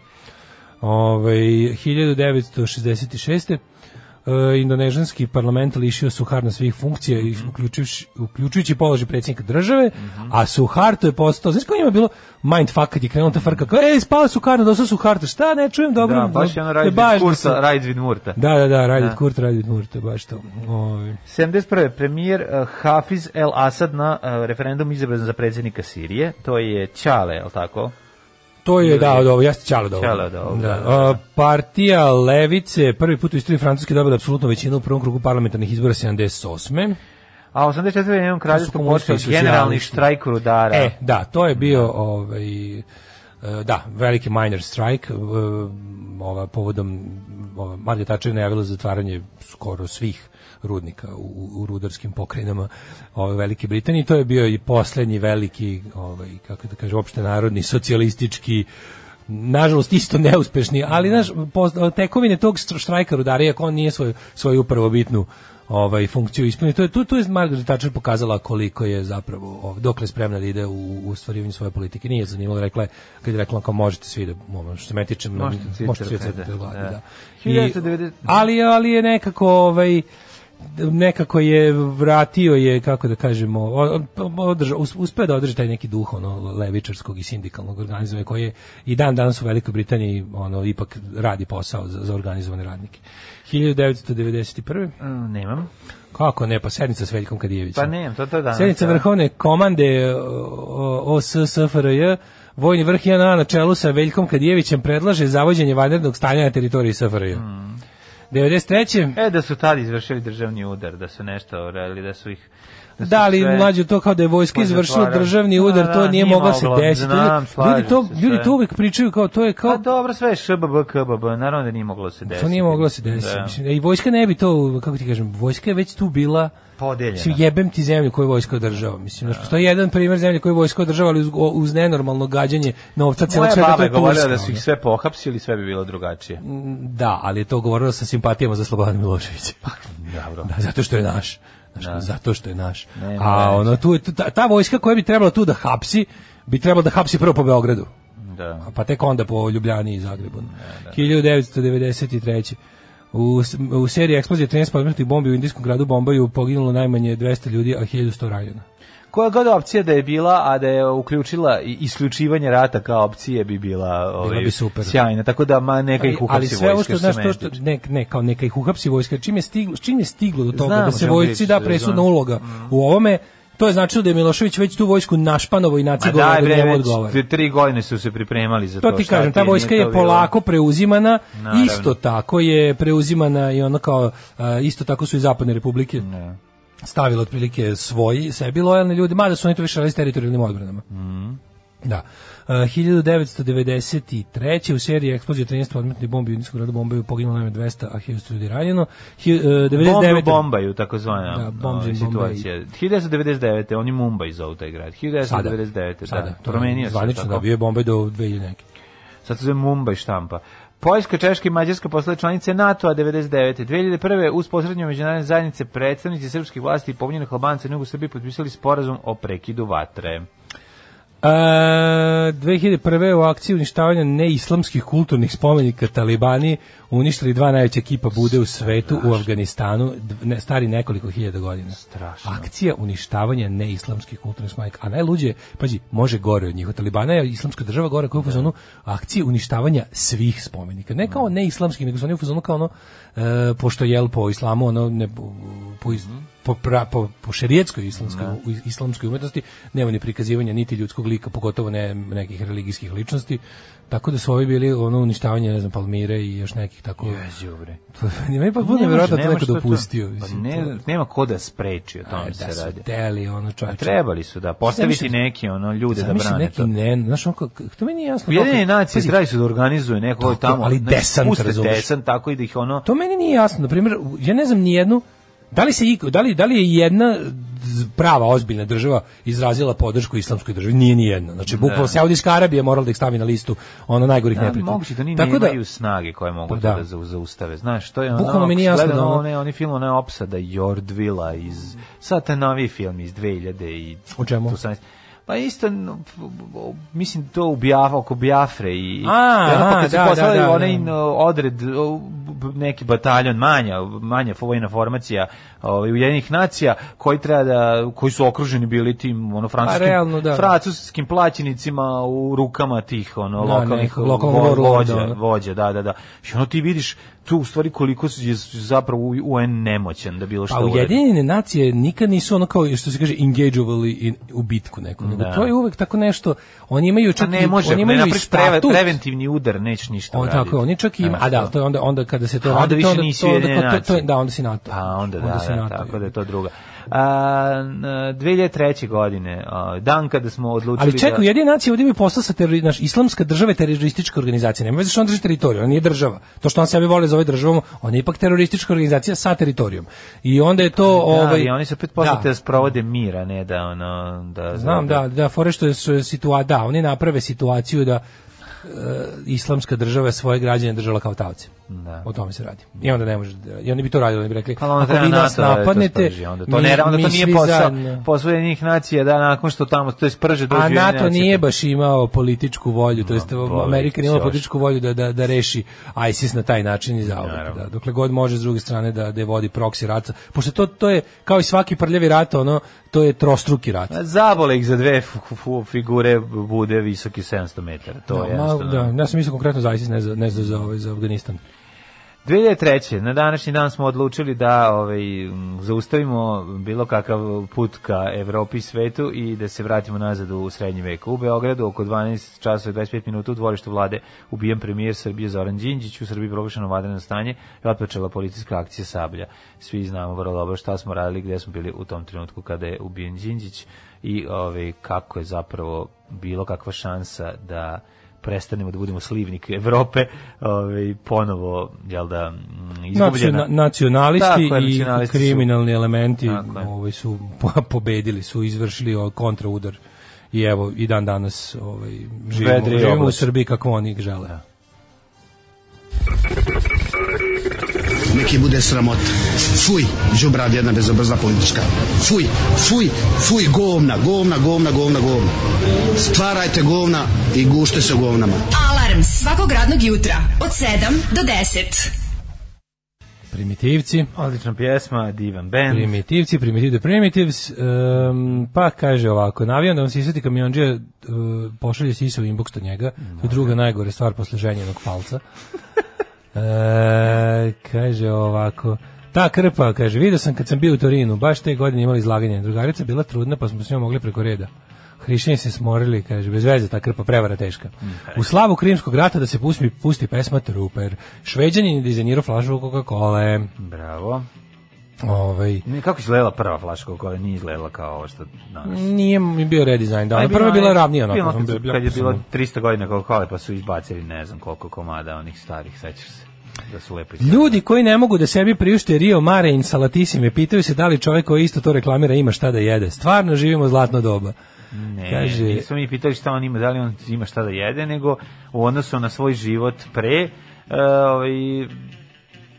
Speaker 7: Ovaj 1966. E, indonežanski parlament lišio Suharna svih funkcija,
Speaker 6: Mhm.
Speaker 7: i uključujući, uključujući položaj predsjednika države,
Speaker 6: Mhm.
Speaker 7: a Suharto je postao, znaš kako njima je bilo mindfuck kad je krenula ta frka, kao, ej, spala Suharna, dosta Suharto, da šta, ne čujem dobro.
Speaker 6: Da, baš je ono Rajdvid
Speaker 7: baš da se-
Speaker 6: Kursa, Rajdvid Murta.
Speaker 7: Da, da, da, Radit
Speaker 6: Da.
Speaker 7: Kurt, Radit Murta, baš to. Ovaj.
Speaker 6: 71. premijer eh, Hafiz El Asad na eh, referendum izabran za predsjednika Sirije. To je Ćale, je li tako?
Speaker 7: To je,
Speaker 6: Ili-
Speaker 7: da, od ovo, jeste Ćale od ovo.
Speaker 6: Ćale od ovo,
Speaker 7: Da.
Speaker 6: da,
Speaker 7: A, partija Levice prvi put u istoriji Francuske dobila apsolutnu većinu u prvom krugu parlamentarnih izbora 78.
Speaker 6: A 84. je jednom kraljevskom
Speaker 7: komunisti i
Speaker 6: počeo generalni
Speaker 7: socijalisti.
Speaker 6: štrajk rudara.
Speaker 7: E, da, to je bio ovaj e, da, veliki minor strike, e, ova povodom ova Margaret Thatcher je najavila zatvaranje skoro svih rudnika u, u rudarskim pokrajinama ove Velike Britanije. To je bio i posljednji veliki, ovaj, kako da kažem, opšte narodni, socijalistički nažalost isto neuspešni, ali znaš, poz- tekovine tog str- štrajka rudara, iako on nije svoju, svoju prvo bitnu ovaj, funkciju ispunio, to je, tu, tu je Margaret Thatcher pokazala koliko je zapravo, ov, dokle je spremna da ide u, u ostvarivanju svoje politike. Nije zanimalo, rekla je, kad je rekla, kao možete svi da, ono, što se me tiče,
Speaker 6: Možete svi
Speaker 7: možete svi
Speaker 6: trpeti,
Speaker 7: odsediti od gladi,
Speaker 6: da.
Speaker 7: da. I-
Speaker 6: 1990
Speaker 7: ali, ali je nekako, ovaj, nekako je vratio je kako da kažemo o- o- održa, us- uspeo da održi taj neki duh ono levičarskog i sindikalnog organizma koji je i dan danas u Velikoj Britaniji ono ipak radi posao za, za organizovane radnike 1991.
Speaker 6: Mm, Nemam.
Speaker 7: Kako ne, pa sednica s Veljkom Kadijevićem.
Speaker 6: Pa nemam, to to danas.
Speaker 7: Sednica
Speaker 6: da.
Speaker 7: vrhovne komande OSSFRJ, vojni vrh JNA na čelu sa Veljkom Kadijevićem predlaže zavođenje vanrednog stanja na teritoriji SFRJ. 93.
Speaker 6: Hmm. E, da su tad izvršili državni udar, da su nešto radili, da su ih... su
Speaker 7: Da li
Speaker 6: sve-
Speaker 7: mlađe to kao da je vojska
Speaker 6: Ko je
Speaker 7: izvršila
Speaker 6: zatvarao?
Speaker 7: državni
Speaker 6: Da,
Speaker 7: udar, to
Speaker 6: da,
Speaker 7: nije,
Speaker 6: nije
Speaker 7: moglo se
Speaker 6: moglo,
Speaker 7: desiti. Ljudi-
Speaker 6: znam,
Speaker 7: ljudi to,
Speaker 6: slažem se,
Speaker 7: ljudi
Speaker 6: sve.
Speaker 7: to uvek pričaju kao to je kao
Speaker 6: Pa dobro, sve je ŠBB, KBB, naravno da nije moglo se desiti.
Speaker 7: To nije moglo se desiti.
Speaker 6: Da.
Speaker 7: Mislim, I vojska ne bi to, kako ti kažem, vojska je već tu bila
Speaker 6: Podeljena.
Speaker 7: Mislim, jebem ti zemlju koju vojska održava. Mislim,
Speaker 6: Da.
Speaker 7: znači, postoji jedan primjer zemlje koju vojska održava, ali uz, uz nenormalno gađanje novca celog
Speaker 6: Moja
Speaker 7: sveta,
Speaker 6: baba
Speaker 7: to
Speaker 6: je
Speaker 7: je
Speaker 6: govorila
Speaker 7: Turska.
Speaker 6: da Mm. su ih sve pohapsili, sve bi bilo drugačije.
Speaker 7: ono. Da, ali je to govorilo sa simpatijama za Slobodan Miloševića.
Speaker 6: Pa, Dobro.
Speaker 7: Da, zato što je naš. Znaš, Zato što je naš.
Speaker 6: Da. Nema
Speaker 7: A
Speaker 6: veze.
Speaker 7: ono, tu, je- tu- ta, ta vojska koja bi trebala tu da hapsi, bi trebala da hapsi prvo po Beogradu.
Speaker 6: Da.
Speaker 7: pa tek onda po Ljubljani i Zagrebu. 1993. U, s- u seriji eksplozije 13 podmetnih bombi u indijskom gradu Bombaju poginulo najmanje 200 ljudi, a 1100 ranjeno.
Speaker 6: Koja god opcija da je bila, a da je uključila i isključivanje rata kao opcije bi bila, ovaj,
Speaker 7: bi super.
Speaker 6: sjajna. Tako da ma neka ih uhapsi
Speaker 7: sve ovo
Speaker 6: vojska,
Speaker 7: što znaš
Speaker 6: se
Speaker 7: to
Speaker 6: mene
Speaker 7: što
Speaker 6: tiče.
Speaker 7: ne ne kao neka ih uhapsi vojska čim je stiglo s čim je stiglo do toga
Speaker 6: Znam
Speaker 7: da
Speaker 6: o
Speaker 7: se
Speaker 6: čemu
Speaker 7: vojsci
Speaker 6: pričaš,
Speaker 7: da presudna
Speaker 6: znam.
Speaker 7: uloga u ovome to je značilo da je Milošević već tu vojsku našpanovo i
Speaker 6: Ma
Speaker 7: nacigovao
Speaker 6: daj
Speaker 7: da
Speaker 6: bre,
Speaker 7: njemu
Speaker 6: već
Speaker 7: odgovara.
Speaker 6: te tri godine su se pripremali za to.
Speaker 7: To ti
Speaker 6: šta
Speaker 7: kažem, ta
Speaker 6: nije
Speaker 7: vojska
Speaker 6: to
Speaker 7: je
Speaker 6: bilo?
Speaker 7: polako preuzimana,
Speaker 6: Naravno.
Speaker 7: isto tako je preuzimana i ono kao, a, isto tako su i zapadne republike stavile otprilike svoji, sebi lojalni ljudi, mada su oni to više radili s teritorijalnim odbranama.
Speaker 6: Mhm.
Speaker 7: Da. E, 1993. u seriji eksplozije 13 podmetnih bombi u indijskom gradu Bombaju poginulo najme 200, a 1000 ljudi ranjeno. Hi- e,
Speaker 6: Bombe u
Speaker 7: 99.
Speaker 6: Bombaju, takozvana
Speaker 7: Da, bombs
Speaker 6: ovaj,
Speaker 7: in Bombay.
Speaker 6: situacija. 1999. Oni Mumbai zovu taj grad. 1999.
Speaker 7: Sada,
Speaker 6: da,
Speaker 7: to je
Speaker 6: promenio se.
Speaker 7: Zvanično,
Speaker 6: tako.
Speaker 7: da, bio je Bombaj do 2000 neke.
Speaker 6: Sad se zove Mumbai štampa. Poljska, Češka i Mađarska postale članice NATO-a 99. 2001. uz posrednju međunarodne zajednice predstavnici srpskih vlasti i pomunjenih Albanca na jugu Srbije potpisali sporazum o prekidu vatre.
Speaker 7: E, 2001. u akciji uništavanja neislamskih kulturnih spomenika Talibani uništili dva najveća kipa bude u svetu u Afganistanu, dv- ne, stari nekoliko hiljada godina.
Speaker 6: Strašno.
Speaker 7: Akcija uništavanja neislamskih kulturnih spomenika. A najluđe, je, pazi, može gore od njih. Od Talibana je islamska država gore koja je u fazonu akcije uništavanja svih spomenika. Ne kao neislamskih, nego su oni u fazonu kao ono, e, pošto jel po islamu, ono, ne, po, po iz- po, pra, po, po šerijetskoj islamskoj,
Speaker 6: Mhm.
Speaker 7: u islamskoj umetnosti nema ni prikazivanja niti ljudskog lika, pogotovo ne nekih religijskih ličnosti. Tako da su ovi bili ono uništavanje, ne znam, Palmire i još nekih tako.
Speaker 6: Đubre.
Speaker 7: [laughs] Meni pa
Speaker 6: Ne
Speaker 7: bude
Speaker 6: može,
Speaker 7: verovatno
Speaker 6: nema
Speaker 7: to neko
Speaker 6: što
Speaker 7: dopustio.
Speaker 6: to- Pa
Speaker 7: mislim, to-
Speaker 6: ne, nema ko da spreči, o
Speaker 7: A,
Speaker 6: tome
Speaker 7: da
Speaker 6: se
Speaker 7: su
Speaker 6: radi.
Speaker 7: Hteli, ono čovječe.
Speaker 6: Trebali su da postaviti
Speaker 7: Zamisli-
Speaker 6: neki ono ljude da
Speaker 7: Zamisli
Speaker 6: brane
Speaker 7: neki
Speaker 6: to.
Speaker 7: ne, znaš, onko, to meni je jasno.
Speaker 6: Ujedinjene nacije
Speaker 7: Pazi,
Speaker 6: trebali su da organizuje neko
Speaker 7: Tako,
Speaker 6: tamo.
Speaker 7: ali
Speaker 6: znači,
Speaker 7: desant,
Speaker 6: puste
Speaker 7: razumeš?
Speaker 6: desant, tako i da ih ono...
Speaker 7: To meni nije jasno. Na primjer, u- ja ne znam ni jednu Da li se iko- da li da li je jedna z- prava ozbiljna država izrazila podršku islamskoj državi? Nije ni jedna. Znači bukvalno Saudijska Arabija je morala da ih stavi na listu ono najgorih
Speaker 6: Da,
Speaker 7: neprijatelja.
Speaker 6: moguće da oni
Speaker 7: Tako da
Speaker 6: nemaju snage koje mogu
Speaker 7: Pa
Speaker 6: to da.
Speaker 7: da.
Speaker 6: zau- zaustave. Znaš, to je ono...
Speaker 7: Bukvalno mi nije
Speaker 6: ako si
Speaker 7: jasno
Speaker 6: gledao
Speaker 7: da ono-
Speaker 6: One, oni film, onaj opsada Jordvila iz... Sad taj novi film iz 2000 i...
Speaker 7: O čemu?
Speaker 6: 18. Pa isto, no, mislim, to u Biaf, oko Biafre i...
Speaker 7: A,
Speaker 6: i ono, pa
Speaker 7: a,
Speaker 6: kad su
Speaker 7: da,
Speaker 6: poslali
Speaker 7: da, da,
Speaker 6: onaj
Speaker 7: da.
Speaker 6: no, odred, o, b- neki bataljon, manja, manja vojna formacija ovaj, Ujedinjenih nacija, koji treba da, koji su okruženi bili tim, ono, francuskim,
Speaker 7: realno, da.
Speaker 6: francuskim plaćenicima u rukama tih, ono,
Speaker 7: Da,
Speaker 6: Pa lokalnih
Speaker 7: nekog
Speaker 6: vo-
Speaker 7: lokalnog warlorda,
Speaker 6: vođa,
Speaker 7: ono.
Speaker 6: vođa, da, da, da. I ono ti vidiš tu u stvari koliko su- je zapravo UN nemoćan da bilo što
Speaker 7: Pa Ujedinjene nacije nikad nisu ono kao što se kaže engageovali in, u bitku neku. Nego
Speaker 6: Da.
Speaker 7: to je uvek tako nešto. Oni imaju
Speaker 6: Pa
Speaker 7: čak i-
Speaker 6: ne može,
Speaker 7: oni
Speaker 6: ne
Speaker 7: imaju i
Speaker 6: napraviš preve-
Speaker 7: statut.
Speaker 6: preventivni udar, nećeš ništa
Speaker 7: On
Speaker 6: raditi.
Speaker 7: tako, je, oni čak ima,
Speaker 6: Znaš
Speaker 7: a da,
Speaker 6: to.
Speaker 7: to je onda onda kada se to
Speaker 6: A
Speaker 7: radi,
Speaker 6: onda više
Speaker 7: to onda,
Speaker 6: nisi
Speaker 7: to onda,
Speaker 6: Ujedinjene
Speaker 7: kao- to, to,
Speaker 6: nacije.
Speaker 7: da, onda si NATO.
Speaker 6: Pa onda,
Speaker 7: si
Speaker 6: da, da,
Speaker 7: NATO.
Speaker 6: tako da je to druga. A, n- 2003. godine, a, dan kada smo odlučili
Speaker 7: Ali čekaj,
Speaker 6: da...
Speaker 7: jedina nacija ovdje imaju posla sa terori, naš, islamska država je teroristička organizacija. Nema veze što on drži teritoriju, on nije država. To što on sebe voli zove državom, on je ipak teroristička organizacija sa teritorijom. I onda je to...
Speaker 6: Da,
Speaker 7: ovaj,
Speaker 6: ali oni se opet poslate da.
Speaker 7: da.
Speaker 6: sprovode mira, ne da, ono, da...
Speaker 7: Znam, da, da, fore što je su- situa, da, oni naprave situaciju da e, islamska država je svoje građane držala kao tavce.
Speaker 6: Da.
Speaker 7: O tome se radi. I onda ne može, da- i oni bi to radili, oni bi rekli,
Speaker 6: Pa onda
Speaker 7: ako
Speaker 6: treba
Speaker 7: vi nas
Speaker 6: NATO da to
Speaker 7: napadnete,
Speaker 6: sprži, onda to
Speaker 7: mi-
Speaker 6: ne, onda
Speaker 7: mi
Speaker 6: to nije
Speaker 7: svi
Speaker 6: posao
Speaker 7: zajedno.
Speaker 6: posvojenih nacija da nakon što tamo to je sprže dođu
Speaker 7: A
Speaker 6: Ujedinjene
Speaker 7: NATO
Speaker 6: nacije. da-
Speaker 7: nije baš imao političku volju, to jest
Speaker 6: politici
Speaker 7: Amerika nije imala
Speaker 6: još.
Speaker 7: političku volju da, da, da reši ISIS na taj način i zauvek. Da, dokle god može s druge strane da, da je vodi proksi rat. Pošto to, to je, kao i svaki prljavi rat, ono, to je trostruki rat.
Speaker 6: A Zabole ih za dve fu- fu- figure bude visoki 700 metara. To je
Speaker 7: Ma,
Speaker 6: jednostavno.
Speaker 7: da, ja sam mislio konkretno za ISIS, ne za, ne za, za, ovaj, za Afganistan.
Speaker 6: 2003. Na današnji dan smo odlučili da ovaj, m, zaustavimo bilo kakav put ka Evropi i svetu i da se vratimo nazad u srednji vek. U Beogradu oko 12 časova i 25 minuta u dvorištu vlade ubijen premijer Srbije Zoran Đinđić. U Srbiji proglašeno vanredno stanje i otpočela policijska akcija Sablja. Svi znamo vrlo dobro šta smo radili, gde smo bili u tom trenutku kada je ubijen Đinđić i ovaj, kako je zapravo bilo kakva šansa da prestanemo da budemo slivnik Evrope, ovaj ponovo jel da mm, izgubljena.
Speaker 7: Naciona- nacionalisti
Speaker 6: Tako je,
Speaker 7: i
Speaker 6: nacionalisti su-
Speaker 7: kriminalni elementi
Speaker 6: Tako je.
Speaker 7: ovaj, su po- pobedili, su izvršili ovaj, kontraudar i evo i dan danas ovaj, živimo,
Speaker 6: Vedri Da.
Speaker 7: živimo u
Speaker 6: oblaci.
Speaker 7: Srbiji kako oni žele.
Speaker 4: Neki bude sramot. Fuj, džubrad jedna bezobrzna politička. Fuj, fuj, fuj, govna, govna, govna, govna, govna. Stvarajte govna i gušte se u govnama.
Speaker 5: Alarm svakog radnog jutra od 7 do 10.
Speaker 7: Primitivci.
Speaker 6: Odlična pjesma, divan band.
Speaker 7: Primitivci, Primitive the Primitives. Um, pa kaže ovako, na avion da vam se isveti kamionđe, uh, pošalje sisa u inbox do njega. To je druga najgore stvar posle ženjenog palca. E, kaže ovako, ta krpa, kaže, vidio sam kad sam bio u Torinu, baš te godine imali izlaganje. Drugarica bila trudna, pa smo s njom mogli preko reda. Hrišćani se smorili, kaže, bez veze ta krpa, prevara teška. U slavu Krimskog rata da se pusti, pusti pesma Trooper. Šveđanin je dizajnirao flašu Coca-Cola.
Speaker 6: Bravo.
Speaker 7: Ovaj,
Speaker 6: Ne, Kako je izgledala prva flaška koja nije izgledala kao ovo što danas?
Speaker 7: nije mi bio redizajn, da,
Speaker 6: A
Speaker 7: ona
Speaker 6: je
Speaker 7: Mm, prva je bila ravnija.
Speaker 6: bila
Speaker 7: Onako,
Speaker 6: kad,
Speaker 7: sam bio-
Speaker 6: kad je
Speaker 7: sam-
Speaker 6: bilo 300 godina Coca-Cola pa su izbacili ne znam koliko komada onih starih, sećaš se da su lepo izgledali.
Speaker 7: Ljudi koji ne mogu da sebi priušte Rio Mare in Salatisime pitaju se da li čovjek koji isto to reklamira ima šta da jede. Stvarno živimo zlatno doba.
Speaker 6: Ne,
Speaker 7: Kaže-
Speaker 6: nismo mi pitali šta on ima, da li on ima šta da jede, nego u odnosu na svoj život pre e, ovaj,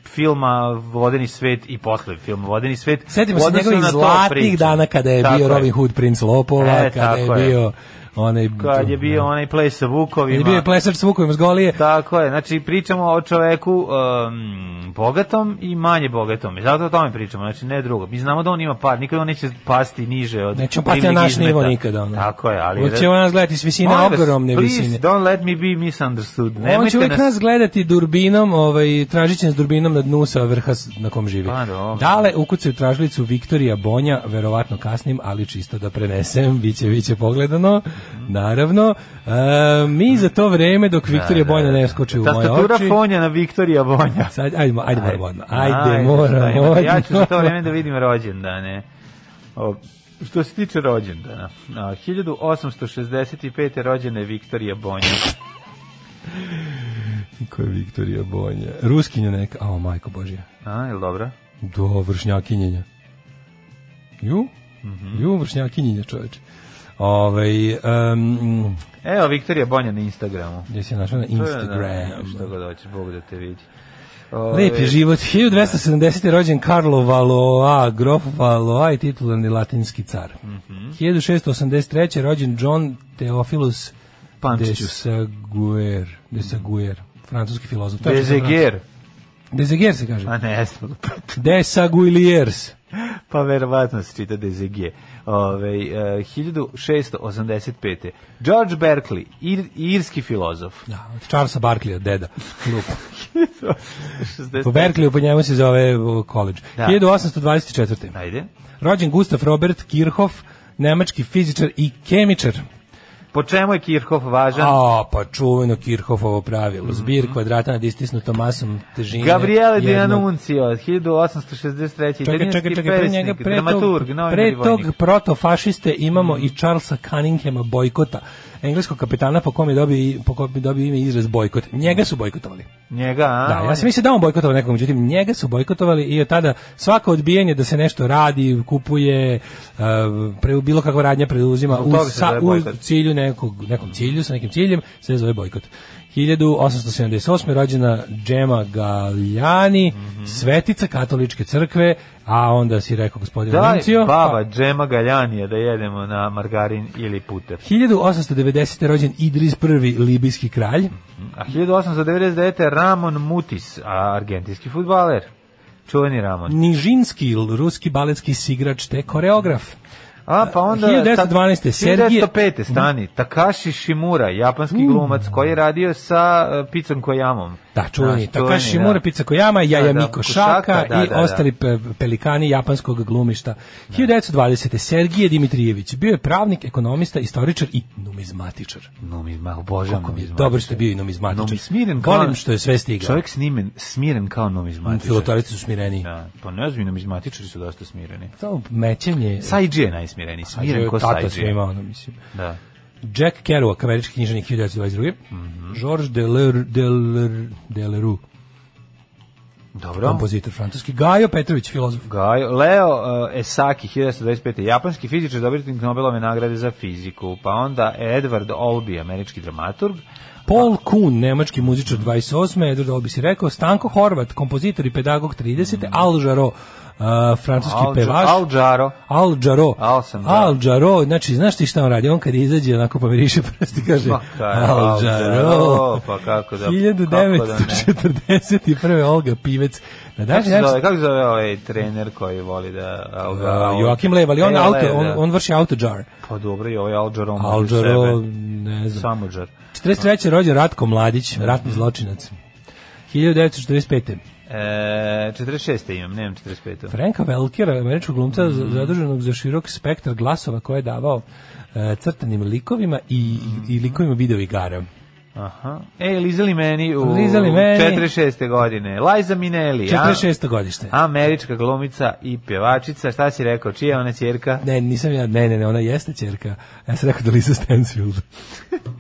Speaker 6: filma Vodeni svet i posle filma Vodeni svet.
Speaker 7: Sjetimo
Speaker 6: u
Speaker 7: se
Speaker 6: odnosu
Speaker 7: njegovih
Speaker 6: na to priču.
Speaker 7: zlatnih dana kada je
Speaker 6: Tako
Speaker 7: bio Robin Hood princ Lopova,
Speaker 6: E,
Speaker 7: kada je
Speaker 6: tako je.
Speaker 7: bio onaj...
Speaker 6: Kad je bio onaj play sa Vukovima.
Speaker 7: Kad je bio plesač s vukovima s golije.
Speaker 6: Tako je, znači pričamo o čoveku um, bogatom i manje bogatom. I zato o tome pričamo, znači ne drugo. Mi znamo da on ima par, nikada on neće pasti niže od
Speaker 7: Nećemo pati na
Speaker 6: primljenih
Speaker 7: pa naš nivo
Speaker 6: izmeta.
Speaker 7: nikada. Ono.
Speaker 6: da. Tako je, ali...
Speaker 7: Uvijek će on nas gledati s visine,
Speaker 6: Molim vas,
Speaker 7: ogromne
Speaker 6: please,
Speaker 7: visine.
Speaker 6: don't let me be misunderstood.
Speaker 7: on će
Speaker 6: Nemojte
Speaker 7: uvijek
Speaker 6: nas...
Speaker 7: nas gledati durbinom, ovaj, tražićem s durbinom na dnu sa vrha s- na kom živi.
Speaker 6: Pa, dobro.
Speaker 7: Dale ukucaju tražilicu Viktorija Bonja, verovatno kasnim, ali čisto da prenesem, biće, biće pogledano, naravno. E, mi za to vreme
Speaker 6: Da,
Speaker 7: dok Viktorija Bonja ne skoči u moje
Speaker 6: Tastatura
Speaker 7: oči...
Speaker 6: Fonja na Viktorija Bonja.
Speaker 7: Sad, ajde, ajde, moramo odmah. Ajde,
Speaker 6: Ajde,
Speaker 7: moramo
Speaker 6: ajde,
Speaker 7: odmah.
Speaker 6: Ja ću za to vreme da vidim rođendane. O, što se tiče rođendana, a, 1865. rođena je Viktorija Bonja.
Speaker 7: Ko je Viktorija Bonja? Ruskinja neka, a o majko Božja.
Speaker 6: A, je li dobro?
Speaker 7: Do vršnjakinjenja. Ju?
Speaker 6: Mhm.
Speaker 7: Ju, vršnjakinjenja čoveče. Ovaj um,
Speaker 6: Evo, Viktorija Bonja na Instagramu.
Speaker 7: gdje si je našao na
Speaker 6: To je,
Speaker 7: Instagram.
Speaker 6: Da, što Ovaj- god hoćeš, Bog da te vidi. Ove,
Speaker 7: Lep je život. 1270. je rođen Karlo Valoa, grof Valoa i titularni latinski car.
Speaker 6: Mhm.
Speaker 7: 1683. je rođen John Theophilus de
Speaker 6: Pančićus.
Speaker 7: Saguer, de Saguer, francuski filozof. Tačno sam
Speaker 6: Bezeger.
Speaker 7: francuski. Deseguer se kaže.
Speaker 6: A ne, jesmo.
Speaker 7: De Saguiliers.
Speaker 6: pa verovatno se čita Dezegije. Ove, e, 1685. George Berkeley, ir, irski
Speaker 7: [laughs]
Speaker 6: filozof.
Speaker 7: Da, od Charlesa Barklija, deda. Lup.
Speaker 6: 60.
Speaker 7: Po Berkeliju po njemu se zove o, college.
Speaker 6: Da.
Speaker 7: 1824.
Speaker 6: Ajde.
Speaker 7: Rođen Gustav Robert Kirchhoff, nemački fizičar i kemičar.
Speaker 6: Po čemu je Kirchhoff važan?
Speaker 7: A, pa čuveno Kirchhoffovo pravilo. Zbir kvadrata nad istisnutom masom težine.
Speaker 6: Mhm. Gabriele Di
Speaker 7: jednog-
Speaker 6: Annunzio, 1863.
Speaker 7: Čekaj,
Speaker 6: italijanski
Speaker 7: čekaj, čekaj, pre njega,
Speaker 6: pesnik,
Speaker 7: pre tog,
Speaker 6: dramaturg, novinar i
Speaker 7: pre tog
Speaker 6: vojnik. Mhm.
Speaker 7: protofašiste imamo i Charlesa Cunninghama bojkota, engleskog kapetana po kom je dobio, i- po kom je dobio ime izraz bojkot. Njega su bojkotovali.
Speaker 6: Njega, a?
Speaker 7: Da,
Speaker 6: On
Speaker 7: ja
Speaker 6: je-
Speaker 7: sam mislio da on bojkotovao nekog, međutim njega su bojkotovali i od tada svako odbijanje da se nešto radi, kupuje, eh, pre, bilo kakva radnja preuzima
Speaker 6: Zbog
Speaker 7: u,
Speaker 6: toga se
Speaker 7: sa,
Speaker 6: zove
Speaker 7: u
Speaker 6: bojkot.
Speaker 7: cilju nekog, nekom cilju, sa nekim ciljem, se zove bojkot. 1878. rođena Džema Galjani,
Speaker 6: Mhm.
Speaker 7: svetica katoličke crkve, a onda si rekao gospodin
Speaker 6: Daj,
Speaker 7: Nuncio,
Speaker 6: baba,
Speaker 7: pa-
Speaker 6: džema galjanija, da jedemo na margarin ili puter.
Speaker 7: 1890. rođen Idris I, libijski kralj.
Speaker 6: A 1899. Ramon Mutis, a argentinski futbaler. Čuveni Ramon.
Speaker 7: Nižinski, l- ruski baletski sigrač te koreograf.
Speaker 6: A pa onda...
Speaker 7: 1912. Sergije-
Speaker 6: 1905. stani. Takashi Shimura, japanski glumac koji je radio sa uh, Picom Kojamom.
Speaker 7: Da, čuveni.
Speaker 6: Znaš, čuveni,
Speaker 7: Takashi Mura,
Speaker 6: da.
Speaker 7: Pica Kojama,
Speaker 6: Da,
Speaker 7: Jaja
Speaker 6: da,
Speaker 7: Miko
Speaker 6: Košaka,
Speaker 7: Šaka
Speaker 6: da,
Speaker 7: i
Speaker 6: da, da.
Speaker 7: ostali pe- pelikani japanskog glumišta. 1920. Sergije Dimitrijević bio je pravnik, ekonomista, istoričar i numizmatičar.
Speaker 6: Numizma, obožavam
Speaker 7: Kako mi je
Speaker 6: numizmatičar.
Speaker 7: dobro što je bio i numizmatičar.
Speaker 6: Numi- smiren kao-
Speaker 7: Volim što je sve stigao.
Speaker 6: Čovjek snimen, smiren kao
Speaker 7: Mm,
Speaker 6: numizmatičar.
Speaker 7: Filotarici su smireniji.
Speaker 6: Da, pa ne znam, i numizmatičari su dosta smireni.
Speaker 7: To mećenje...
Speaker 6: Sajđi je najsmireniji, smiren ko
Speaker 7: Tata
Speaker 6: Sajđi.
Speaker 7: svima, ono, mislim.
Speaker 6: Da.
Speaker 7: Jack Kerouac, američki književnik 1922.
Speaker 6: Mhm.
Speaker 7: Georges Deler, Deler, Deleru,
Speaker 6: Dobro.
Speaker 7: kompozitor francuski. Gajo Petrović, filozof.
Speaker 6: Gaj, Leo uh, Esaki, 1925. Japanski fizičar, dobitnik Nobelove nagrade za fiziku. Pa onda Edward Olbi, američki dramaturg.
Speaker 7: Paul Kuhn, nemački muzičar 28. Edward Olbis je rekao, Stanko Horvat, kompozitor i pedagog 30. Al Jarro, uh, francuski
Speaker 6: Mm. Al-
Speaker 7: pevaš.
Speaker 6: Al Jarro.
Speaker 7: Al Jarro.
Speaker 6: Al sam, da.
Speaker 7: Al Jarro, znači, znaš ti šta on radi? On kad izađe, onako pa pomiriše prst i kaže,
Speaker 6: Ma, Pa, kaj,
Speaker 7: Pa, [laughs] Al
Speaker 6: Al
Speaker 7: Jarro.
Speaker 6: Jarro, pa kako
Speaker 7: [laughs]
Speaker 6: da- kako da
Speaker 7: 1941. Olga Pivec.
Speaker 6: Kako
Speaker 7: Na današnji
Speaker 6: se
Speaker 7: dan
Speaker 6: zove, kako se zove ovaj trener koji voli da... Al,
Speaker 7: Uh, Joakim Lev, ali on,
Speaker 6: E,
Speaker 7: auto,
Speaker 6: Lev,
Speaker 7: on,
Speaker 6: da.
Speaker 7: on vrši autodžar.
Speaker 6: Pa dobro, i ovaj Al Jarro može
Speaker 7: Alđaro,
Speaker 6: sebe.
Speaker 7: ne znam.
Speaker 6: Samo Jarro.
Speaker 7: 43. rođen Ratko Mladić,
Speaker 6: Mm.
Speaker 7: ratni zločinac. 1945.
Speaker 6: E, 46. imam, nemam 45.
Speaker 7: Franka Velkera, američkog glumca
Speaker 6: Mhm.
Speaker 7: za- zaduženog za širok spektar glasova koje je davao e, crtanim likovima i, i likovima video igara.
Speaker 6: Aha. E, lizali meni u
Speaker 7: Lizali meni.
Speaker 6: 46. godine. Liza Minelli. a?
Speaker 7: 46. godište.
Speaker 6: Američka glumica i pjevačica. Šta si rekao? Čija je ona ćerka?
Speaker 7: Ne, nisam ja, ne, ne, ne, ona jeste ćerka. Ja sam rekao da Lisa Stansfield.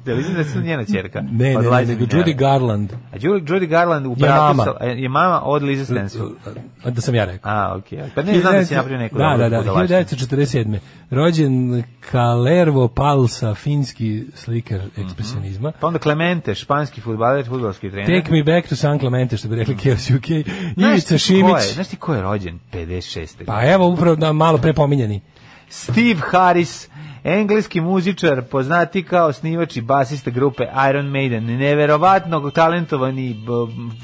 Speaker 6: Da li znaš da su njena ćerka?
Speaker 7: Ne, ne,
Speaker 6: Od
Speaker 7: ne,
Speaker 6: Liza
Speaker 7: nego
Speaker 6: Minnelli.
Speaker 7: Judy Garland.
Speaker 6: A Ju- Judy Garland u
Speaker 7: Je
Speaker 6: bratu
Speaker 7: mama.
Speaker 6: sa- e, je mama od Liza Stansfield.
Speaker 7: A, Da sam ja rekao.
Speaker 6: A, okej. Pa ne znam da si
Speaker 7: 1900
Speaker 6: napravio neku
Speaker 7: Da, da, da,
Speaker 6: budalaštinu.
Speaker 7: 1947. Rođen Kalervo Palsa, finski slikar ekspresionizma.
Speaker 6: Pa onda Clemente, španski futbaler, futbalski trener.
Speaker 7: Take me back to San Clemente, što bi rekli Chaos UK.
Speaker 6: Znaš
Speaker 7: Ivica
Speaker 6: ti ko je-
Speaker 7: Šimić.
Speaker 6: Znaš ti ko je rođen? 56.
Speaker 7: Pa evo, upravo da, malo pre pominjani.
Speaker 6: Steve Harris, engleski muzičar, poznati kao snivač i basista grupe Iron Maiden, neverovatno talentovani b,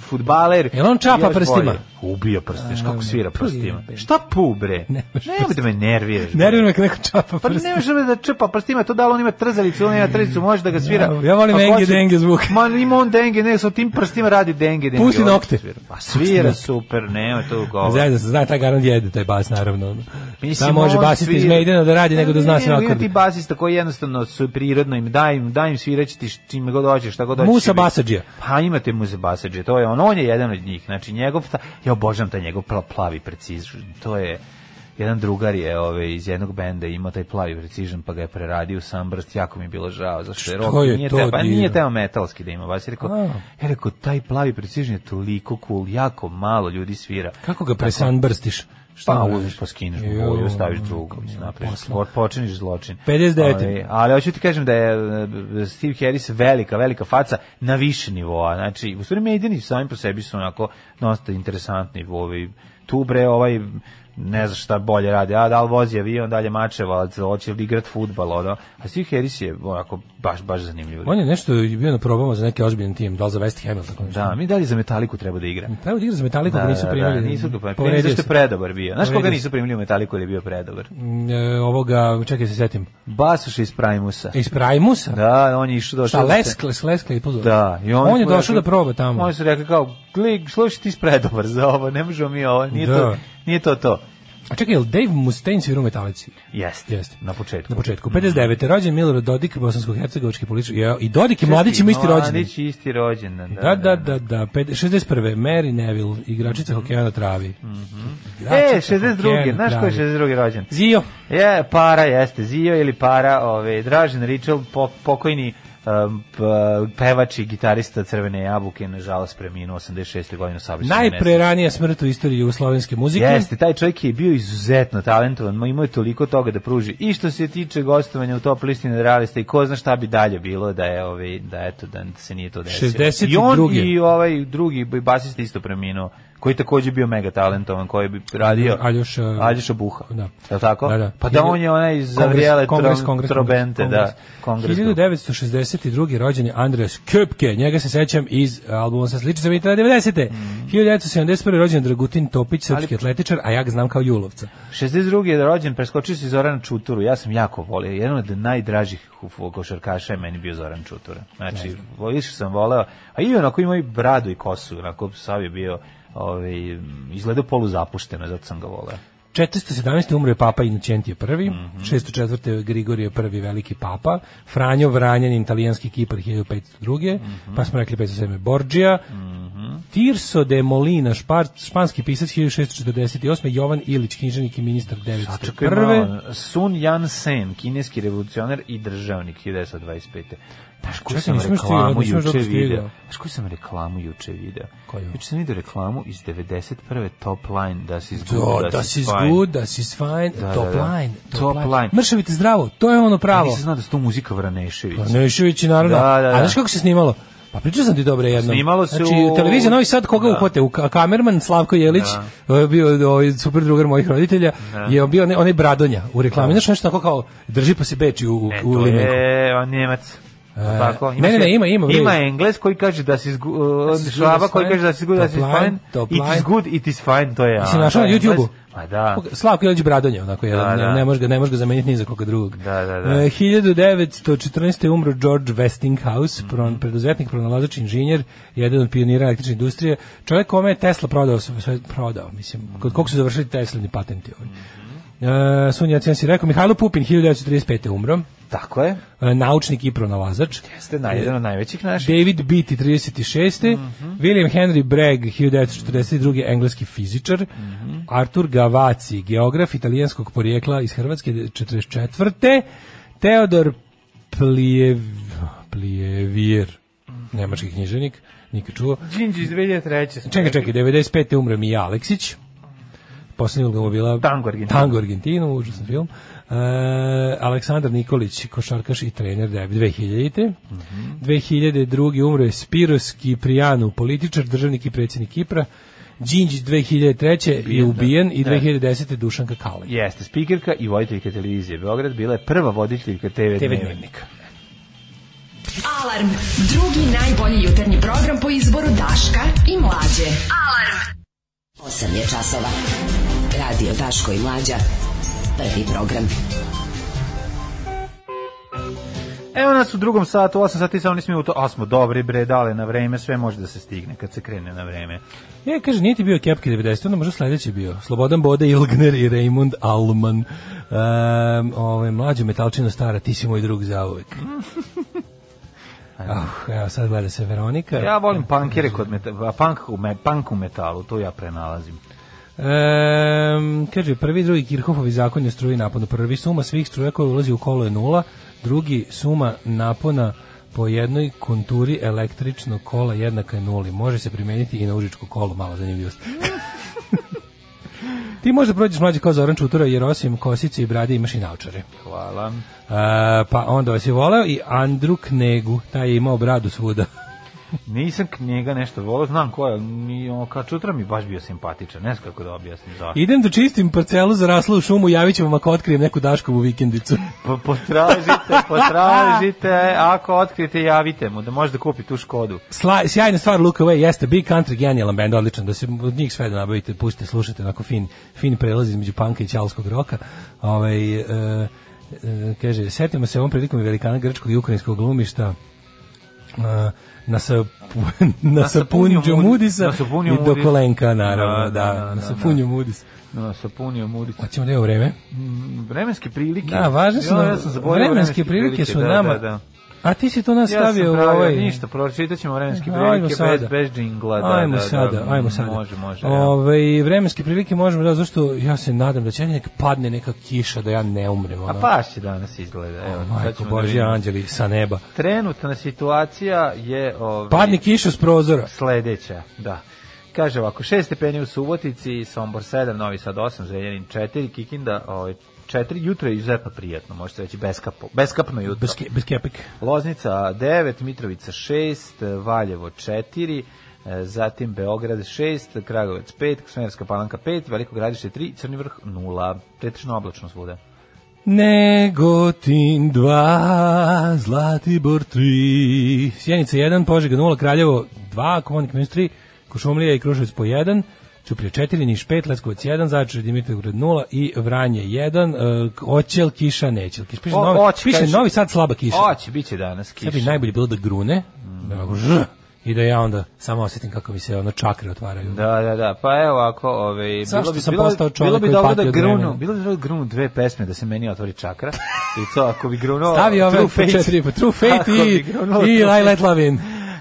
Speaker 6: futbaler.
Speaker 7: Jel on čapa
Speaker 6: Još
Speaker 7: prstima?
Speaker 6: bolje. Ubija prstima, znaš kako svira
Speaker 7: pu,
Speaker 6: prstima.
Speaker 7: jebe.
Speaker 6: Šta pu, bre?
Speaker 7: Ne
Speaker 6: Ne,
Speaker 7: možeš
Speaker 6: da me nerviraš. bre.
Speaker 7: Nervira me kad neko čapa
Speaker 6: Pa
Speaker 7: prst.
Speaker 6: ne može da čepa prstima, to da li on ima trzalicu, on ima trzalicu, može da ga svira.
Speaker 7: Ja, ja volim
Speaker 6: Ako
Speaker 7: enge
Speaker 6: hoće-
Speaker 7: denge zvuk.
Speaker 6: Ma ima on denge, ne, sa tim prstima radi denge denge.
Speaker 7: Pusti
Speaker 6: on
Speaker 7: nokte.
Speaker 6: svira. Pa
Speaker 7: Pusti
Speaker 6: svira
Speaker 7: nokte.
Speaker 6: super, nema to govora.
Speaker 7: Zajedno se zna, taj garant jede, taj bas, naravno. ono.
Speaker 6: Mislim,
Speaker 7: Šta može
Speaker 6: on
Speaker 7: basiti iz
Speaker 6: svira-
Speaker 7: Maidena da radi,
Speaker 6: Ne,
Speaker 7: nego da
Speaker 6: ne,
Speaker 7: zna
Speaker 6: ne,
Speaker 7: sve
Speaker 6: ima
Speaker 7: akorde.
Speaker 6: ti basista koji jednostavno su prirodno im daj im, daj im sviraći ti š- čime god hoćeš, šta god hoćeš.
Speaker 7: Musa
Speaker 6: će biti.
Speaker 7: Basadžija.
Speaker 6: Pa imate Musa Basadžija, to je on, on je jedan od njih. Znači njegov, ta, ja obožavam taj njegov pla- plavi precision, to je... Jedan drugar je ove, iz jednog benda imao taj plavi precision pa ga je preradio u sunburst, jako mi je bilo žao, zašto je
Speaker 7: Što
Speaker 6: rock
Speaker 7: je
Speaker 6: nije
Speaker 7: to
Speaker 6: teo, pa nije
Speaker 7: divno.
Speaker 6: teo metalski da ima bas. Ja rekao,
Speaker 7: A.
Speaker 6: ja rekao, taj plavi precision je toliko cool, jako malo ljudi svira.
Speaker 7: Kako ga presanbrstiš?
Speaker 6: Pa
Speaker 7: mu
Speaker 6: uzmeš pa skineš mu
Speaker 7: um,
Speaker 6: boju, staviš drugu, mislim, napraviš, spor, počiniš zločin.
Speaker 7: 59.
Speaker 6: Ali, ali hoću ti kažem da je e, Steve Harris velika, velika faca na više nivoa. Znači, u stvari medijani sami po sebi su onako dosta interesantni. Ovi, tu bre, ovaj, ne znaš šta bolje radi, a da li vozi avion, dalje mačevalac, hoće li igrat futbal, ono. A Steve Harris je onako baš, baš zanimljiv.
Speaker 7: On je nešto bio na probama za neki ozbiljan tim, da li za West Ham ili tako nešto.
Speaker 6: Da, mi dalje za Metaliku treba da igra.
Speaker 7: Treba da igra za Metallica, da, nisu primili.
Speaker 6: Da, nisu ga primili.
Speaker 7: Povredio
Speaker 6: Zašto je
Speaker 7: se.
Speaker 6: predobar bio? Znaš koga
Speaker 7: Povredio
Speaker 6: nisu primili u Metaliku jer je bio predobar?
Speaker 7: Mm, e, ovoga, čekaj se setim,
Speaker 6: Basuš iz Primusa.
Speaker 7: iz Primusa?
Speaker 6: Da, on je išao došao.
Speaker 7: E, Šta,
Speaker 6: da se-
Speaker 7: Leskle, Leskle i pozor.
Speaker 6: Da, i on,
Speaker 7: on je
Speaker 6: smo
Speaker 7: došao da proba tamo.
Speaker 6: Oni su rekli kao, gli, slušaj ti spredobar za ovo, ne možemo mi ovo, nije,
Speaker 7: Da.
Speaker 6: to, nije to to.
Speaker 7: A čekaj, je li Dave Mustaine svira u Metalici?
Speaker 6: Jeste,
Speaker 7: Jeste.
Speaker 6: na početku.
Speaker 7: Na početku. 59. rođen Milorad Dodik, bosansko-hercegovački političar. Ja, I Dodik i Mladić ima isti rođen.
Speaker 6: Mladić isti rođendan.
Speaker 7: Da, da, da, da. Pet- 61. Mary Neville, igračica hokeja na travi.
Speaker 6: Mhm. E,
Speaker 7: Igračica hokeja
Speaker 6: 62.
Speaker 7: na
Speaker 6: Znaš ko je
Speaker 7: travi.
Speaker 6: 62. rođen?
Speaker 7: Zio.
Speaker 6: Je, para jeste, Zio ili para, ove, Dražen Ričel, po, pokojni um, p- pevač i gitarista Crvene jabuke, nažalost, preminuo 86. godinu sabrisnog
Speaker 7: Najpreranija smrt u istoriji jugoslovenske muzike.
Speaker 6: Jeste, taj čovjek je bio izuzetno talentovan, ma imao je toliko toga da pruži. I što se tiče gostovanja u top listi nerealista i ko zna šta bi dalje bilo da je ovaj da eto da se nije to desilo.
Speaker 7: 62.
Speaker 6: I on i ovaj drugi basista isto preminuo, koji takođe bio mega talentovan, koji bi radio
Speaker 7: Aljoša-
Speaker 6: Aljoša Buha.
Speaker 7: Da.
Speaker 6: Je li tako?
Speaker 7: Da, da.
Speaker 6: Pa da on je onaj iz Zavrijele
Speaker 7: Kongres,
Speaker 6: Trom-
Speaker 7: kongres,
Speaker 6: Trobente,
Speaker 7: kongres,
Speaker 6: da. Kongres.
Speaker 7: 1962. rođen je Andreas Köpke, njega se sećam iz albuma sa sličicom i 90.
Speaker 6: Mhm.
Speaker 7: 1971. rođen je Dragutin Topić, srpski atletičar, a ja ga znam kao Julovca.
Speaker 6: 62. je rođen, preskočio si Zoran Čuturu, ja sam jako volio, jedan od najdražih fu- košarkaša je meni bio Zoran Čutura. Znači, više sam voleo, a i onako imao i bradu i kosu, onako sav je bio, ovaj, izgledao poluzapušteno, zato sam ga voleo.
Speaker 7: 417. umro je papa Inocentije I,
Speaker 6: Mhm.
Speaker 7: 604. Grigorije I, veliki papa, Franjo Vranjanin, italijanski kipar 1502.
Speaker 6: Mhm.
Speaker 7: Pa smo rekli 507. Borđija, Tirso de Molina, špar, španski pisac 1648. Jovan Ilić, knjiženik i ministar 901.
Speaker 6: Čekaj malo, Sun Yan Sen, kineski revolucionar i državnik 1925. Znaš koju
Speaker 7: Čekaj,
Speaker 6: sam
Speaker 7: nisam još
Speaker 6: reklamu
Speaker 7: stigao, nisam još
Speaker 6: juče
Speaker 7: dobro stigao.
Speaker 6: video? Znaš koju sam reklamu juče video?
Speaker 7: Koju?
Speaker 6: Juče sam video reklamu iz 91. top line, da si
Speaker 7: To,
Speaker 6: izgubio,
Speaker 7: da, si
Speaker 6: fajn.
Speaker 7: good, da si fine,
Speaker 6: Da,
Speaker 7: top,
Speaker 6: da, da.
Speaker 7: Line, top,
Speaker 6: Top
Speaker 7: line.
Speaker 6: line. Pa
Speaker 7: Mršavite zdravo, to je ono
Speaker 6: Ja
Speaker 7: pravo. Pa
Speaker 6: nisam znao da su to da muzika Vraneševića.
Speaker 7: Nešević, naravno.
Speaker 6: Da, da,
Speaker 7: A
Speaker 6: da.
Speaker 7: znaš kako se snimalo? Pa pričao sam ti dobro jedno.
Speaker 6: Snimalo se
Speaker 7: znači,
Speaker 6: u-
Speaker 7: televizija Novi Sad koga
Speaker 6: Da.
Speaker 7: uhvate, u ka- kamerman Slavko Jelić, eh, bio ovaj super drugar mojih roditelja,
Speaker 6: Da.
Speaker 7: je bio onaj, onaj Bradonja u reklami, znaš nešto tako kao drži pa se beči u, u,
Speaker 6: Ne,
Speaker 7: u
Speaker 6: Da. E, to
Speaker 7: limenku.
Speaker 6: je on Njemac.
Speaker 7: E,
Speaker 6: Tako,
Speaker 7: ne, ne,
Speaker 6: se-
Speaker 7: ne, ima- ima, bre.
Speaker 6: Ima Engles koji kaže da si izgu-
Speaker 7: Da
Speaker 6: uh,
Speaker 7: si good
Speaker 6: Švaba
Speaker 7: as
Speaker 6: koji
Speaker 7: fine,
Speaker 6: kaže da si good, da
Speaker 7: top
Speaker 6: si
Speaker 7: line,
Speaker 6: fine.
Speaker 7: top
Speaker 6: It
Speaker 7: line.
Speaker 6: is good, it is fine, to je.
Speaker 7: Jesi
Speaker 6: a,
Speaker 7: našao
Speaker 6: to
Speaker 7: na
Speaker 6: je Engles.
Speaker 7: YouTubeu?
Speaker 6: Pa da.
Speaker 7: Slavko Jelić Bradonja, onako jedan,
Speaker 6: Da, da.
Speaker 7: ne, ne može ga, ne može ga zameniti ni za koga drugog.
Speaker 6: Da, da, da.
Speaker 7: E, 1914. je umro George Westinghouse,
Speaker 6: Mhm.
Speaker 7: pron, preduzetnik, pronalazač, inženjer, jedan od pionira električne industrije, čovjek kome je Tesla prodao, sve sve prodao, mislim,
Speaker 6: Mhm.
Speaker 7: kod kog su završili Teslini patenti ovaj. E, Sunja Cijan si rekao, Mihajlo Pupin, 1935. je umro,
Speaker 6: Tako je.
Speaker 7: e, naučnik i pronalazač.
Speaker 6: Jeste naj- jedan od najvećih naših.
Speaker 7: David Beatty 36. William Henry Bragg 1942. engleski fizičar. Artur Gavaci, geograf italijanskog porijekla iz Hrvatske 44. Teodor Plijev... Plijevir, nemački knjiženik, nikad čuo.
Speaker 6: Đinđi iz 2003. smo
Speaker 7: Čekaj,
Speaker 6: rekli.
Speaker 7: čekaj, 95. umre Mija Aleksić. Poslednja uloga mu je bila
Speaker 6: Tango Argentinu.
Speaker 7: Tango Argentinu, užasan film. E, Aleksandar Nikolić, košarkaš i trener da 2000. 2002. umre Spiros Kiprijanu, političar, državnik i predsjednik Kipra. Đinđić 2003. je ubijen i 2010. Dušanka Kalin.
Speaker 6: Jeste, spikerka i voditeljka televizije Beograd bila je prva voditeljka TV, TV
Speaker 7: TV
Speaker 6: dnevnika.
Speaker 7: dnevnik.
Speaker 5: Alarm. Drugi najbolji jutarnji program po izboru Daška i Mlađe. Alarm.
Speaker 9: 8 je časova. Radio Daško i Mlađa. Prvi program.
Speaker 6: Evo nas E, u drugom satu, 8 sati sa onih minuta, a smo dobri bre, dale na vreme, sve može da se stigne kad se krene na vreme.
Speaker 7: E, kaže, nije ti bio Kepke 90, onda možda sledeći bio. Slobodan Bode, Ilgner i Raymond Alman. Um, ovaj, mlađo metalčino stara, ti si moj drug zauvek. Ah, evo, sad gleda se Veronika.
Speaker 6: Ja volim punkere kod meta, a punk, u me, punk u metalu, to ja prenalazim.
Speaker 7: Em, kaže, prvi i drugi Kirhofovi zakon je struji naponu. Prvi suma svih struja koja ulazi u kolo je nula, drugi suma napona po jednoj konturi električnog kola jednaka je nuli. Može se primeniti i na užičko kolo, malo zanimljivost. Ti možda prođeš mlađi kao Zoran Čutura, jer osim kosice i brade imaš i naučare.
Speaker 6: Hvala.
Speaker 7: E, pa onda vas je voleo i Andru Knegu, taj je imao bradu svuda. [laughs]
Speaker 6: Nisam k- njega nešto volao, znam ko je, ni, on, kao čutra mi je baš bio simpatičan, ne znam kako da objasnim zašto.
Speaker 7: Idem da čistim parcelu zaraslu u šumu, javit ću vam ako otkrijem neku Daškovu vikendicu.
Speaker 6: Po- [laughs] Potražite, potražite, [laughs] ako otkrijete, javite mu da može da kupi tu Škodu.
Speaker 7: Sla, sjajna stvar Look Away jeste Big Country genijalan bend, odličan, da se od njih sve da nabavite, pustite, slušate, onako fin, fin prelaz između panka i čalskog roka. Ovaj, e, e, kaže, setimo se ovom prilikom i velikana grčkog i ukrajinskog glumišta e, na sa [laughs] na
Speaker 6: sapunju
Speaker 7: sapunju
Speaker 6: Mudi-
Speaker 7: Mudisa
Speaker 6: na sapunju
Speaker 7: i do
Speaker 6: Mudisa.
Speaker 7: kolenka naravno
Speaker 6: Da,
Speaker 7: da,
Speaker 6: da, da, da,
Speaker 7: na sapunju Mudis
Speaker 6: No, sapunio Murić.
Speaker 7: hoćemo da je vreme
Speaker 6: Vremenske prilike.
Speaker 7: da važne su
Speaker 6: Ja,
Speaker 7: nam
Speaker 6: ja sam zaboravio
Speaker 7: vremenske prilike su
Speaker 6: da,
Speaker 7: nama
Speaker 6: Da, da.
Speaker 7: a ti si to nas
Speaker 6: Ja
Speaker 7: stavio
Speaker 6: sam
Speaker 7: u
Speaker 6: pravio
Speaker 7: ovaj
Speaker 6: ništa, pročitat ćemo vremenske
Speaker 7: Ajmo
Speaker 6: prilike bez,
Speaker 7: sada.
Speaker 6: bez džingla. Da,
Speaker 7: ajmo
Speaker 6: da, da,
Speaker 7: sada, ajmo sada. Ovaj-
Speaker 6: Može, može. evo.
Speaker 7: Ove, vremenske prilike možemo da, zašto ja se nadam da će nek padne neka kiša da ja ne umrem.
Speaker 6: A
Speaker 7: Ono.
Speaker 6: paš će Pa danas izgleda. Evo, sad
Speaker 7: Majko
Speaker 6: ćemo da
Speaker 7: Božji
Speaker 6: vidimo.
Speaker 7: anđeli sa neba.
Speaker 6: Trenutna situacija je... Ovaj,
Speaker 7: Padne kiša s prozora.
Speaker 6: Sledeća, da. Kaže ovako, 6 stepeni u Subotici, Sombor 7, Novi Sad 8, Zrenjanin 4, Kikinda ovaj, 4, jutro je izuzetno prijatno, možete reći beskapo, beskapno jutro.
Speaker 7: Bez, ke, bez kepik.
Speaker 6: Loznica 9, Mitrovica 6, Valjevo 4, e, zatim Beograd 6, Kragovec 5, Smerska palanka 5, Veliko gradište 3, Crni vrh 0, pretečno oblačno svuda.
Speaker 7: Negotin 2, Zlatibor 3, Sjenica 1, Požega 0, Kraljevo 2, Komonik minus 3, Košumlija i Kruševac po 1, Ćuprije 4, Niš 5, Leskovac 1, Zaječar i Dimitrovgrad 0 i Vranje 1, uh, oćel kiša, nećel kiša. Piše,
Speaker 6: O,
Speaker 7: novi,
Speaker 6: oće,
Speaker 7: piše
Speaker 6: kaže.
Speaker 7: novi sad slaba kiša.
Speaker 6: Oće, bit će danas kiša.
Speaker 7: Sad bi najbolje bilo da grune, da ovako žr, i da ja onda samo osjetim kako mi se ono čakre otvaraju.
Speaker 6: Da, da, da. Pa evo ako, ovaj
Speaker 7: Zašto sam
Speaker 6: bilo,
Speaker 7: postao čovjek
Speaker 6: bilo bi
Speaker 7: koji
Speaker 6: dobro
Speaker 7: pati
Speaker 6: da
Speaker 7: od
Speaker 6: grunu,
Speaker 7: vremena?
Speaker 6: bilo bi dobro da grunu dve pesme da se meni otvori čakra. I to ako bi grunuo
Speaker 7: Stavi ove
Speaker 6: True
Speaker 7: po
Speaker 6: Fate
Speaker 7: četiri, po True Fate
Speaker 6: Ako
Speaker 7: i,
Speaker 6: bi grunuo
Speaker 7: i
Speaker 6: True
Speaker 7: I
Speaker 6: Fate.
Speaker 7: Let Love In.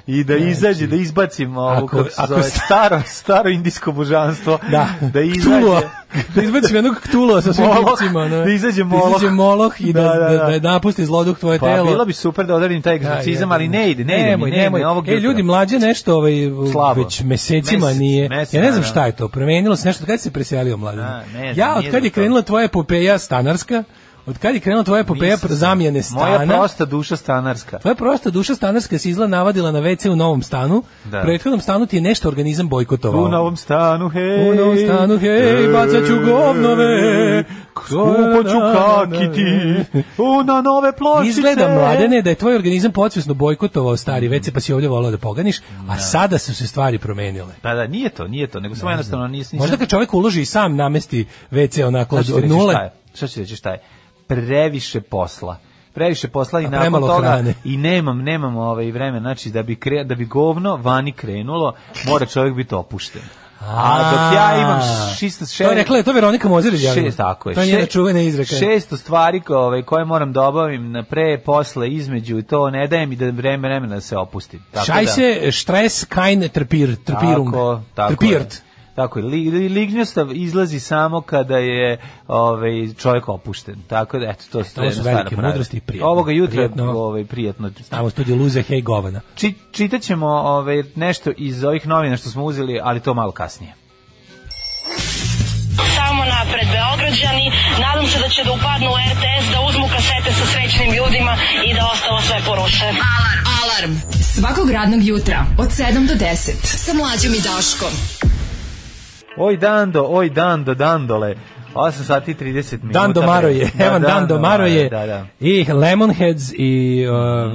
Speaker 6: i da izađe, da izbacim ovu
Speaker 7: Znači, Ako-
Speaker 6: kako se
Speaker 7: ako
Speaker 6: zove,
Speaker 7: sta-
Speaker 6: staro, staro indijsko božanstvo,
Speaker 7: Da,
Speaker 6: da
Speaker 7: Ktulua.
Speaker 6: izađe.
Speaker 7: Da izbacim jednog ktulua sa svim
Speaker 6: Moloh,
Speaker 7: pipcima.
Speaker 6: da izađe Moloh.
Speaker 7: Da izađe moloh i da,
Speaker 6: Da, da,
Speaker 7: da,
Speaker 6: da.
Speaker 7: da, napusti zloduh tvoje
Speaker 6: Pa
Speaker 7: telo.
Speaker 6: bilo bi super da odarim taj
Speaker 7: Da,
Speaker 6: egzorcizam,
Speaker 7: jebote.
Speaker 6: ali ne ide, ne ide, mi,
Speaker 7: Nemoj,
Speaker 6: ne, ide
Speaker 7: nemoj.
Speaker 6: mi ovog
Speaker 7: E,
Speaker 6: jutra.
Speaker 7: ljudi, mlađe nešto ovaj,
Speaker 6: Slabo.
Speaker 7: već mesecima
Speaker 6: Mesec,
Speaker 7: nije.
Speaker 6: mesec,
Speaker 7: ja ne
Speaker 6: da,
Speaker 7: znam
Speaker 6: da.
Speaker 7: šta je to, promenilo se nešto. Kad si se preselio, mladen?
Speaker 6: A, ne znam,
Speaker 7: ja,
Speaker 6: nije
Speaker 7: od kad
Speaker 6: do
Speaker 7: je
Speaker 6: toga.
Speaker 7: krenula tvoja epopeja stanarska, Od kad je krenula tvoja epopeja
Speaker 6: Nisam-
Speaker 7: zamjene
Speaker 6: Moja
Speaker 7: stana?
Speaker 6: prosta duša stanarska.
Speaker 7: Tvoja prosta duša stanarska se izla navadila na WC u novom stanu.
Speaker 6: Da.
Speaker 7: U prethodnom stanu ti je nešto organizam bojkotovao.
Speaker 6: U novom stanu, hej.
Speaker 7: U novom stanu, hej, bacat ću govnove.
Speaker 6: Skupo ću kakiti. U na nove pločice.
Speaker 7: Izgleda mladene da je tvoj organizam podsvjesno bojkotovao stari WC pa si ovdje volao da poganiš, a sada su se stvari promenile.
Speaker 6: Pa da, nije to, nije to, nego samo jednostavno nis, nisam...
Speaker 7: Možda kad čovjek uloži i sam namesti WC onako
Speaker 6: Sad
Speaker 7: od,
Speaker 6: ću ti
Speaker 7: od
Speaker 6: reći
Speaker 7: nule.
Speaker 6: šta je, Sad ću ti reći šta je. Previše posla. Previše posla i
Speaker 7: A
Speaker 6: nakon
Speaker 7: premalo
Speaker 6: toga
Speaker 7: hrane.
Speaker 6: i nemam, nemam ovaj vremena, znači da bi, kre, da bi govno vani krenulo, mora čovjek biti opušten. A dok ja imam šista
Speaker 7: To je rekla, da je to Veronika Mozir izjavila.
Speaker 6: Šest, tako je.
Speaker 7: To je njena
Speaker 6: Šest-
Speaker 7: čuvena izreka.
Speaker 6: Šesto stvari ko- ovaj, koje moram da obavim na pre, posle, između i to ne daje mi da vreme vremena da se opustim. Tako
Speaker 7: Šaj
Speaker 6: da,
Speaker 7: se, štres, kajn, trpir, trpirung.
Speaker 6: Tako, tako
Speaker 7: Trpirt.
Speaker 6: je. Tako je. Li, li, lignjostav izlazi samo kada je ovaj, čovjek opušten. Tako da, eto, to,
Speaker 7: ovo su
Speaker 6: jednostavno
Speaker 7: velike
Speaker 6: pravilo.
Speaker 7: mudrosti i prijetno.
Speaker 6: Ovoga jutra
Speaker 7: Prijetno.
Speaker 6: ovaj, prijetno.
Speaker 7: Tamo studiju Luze, hej, govana.
Speaker 6: Či, čitat ćemo ovaj, nešto iz ovih novina što smo uzeli, ali to malo kasnije.
Speaker 5: Samo napred Beograđani, nadam se da će da upadnu u RTS, da uzmu kasete sa srećnim ljudima i da ostalo sve poruše.
Speaker 9: Alarm. Alarm. Svakog radnog jutra od 7 do 10 sa Mlađom i Daškom.
Speaker 6: Oj dando, oj dando, dandole. 8 sati i 30 minuta.
Speaker 7: Dan Domaro je,
Speaker 6: Da,
Speaker 7: Evan Dan Domaro je
Speaker 6: Da, da.
Speaker 7: i Lemonheads i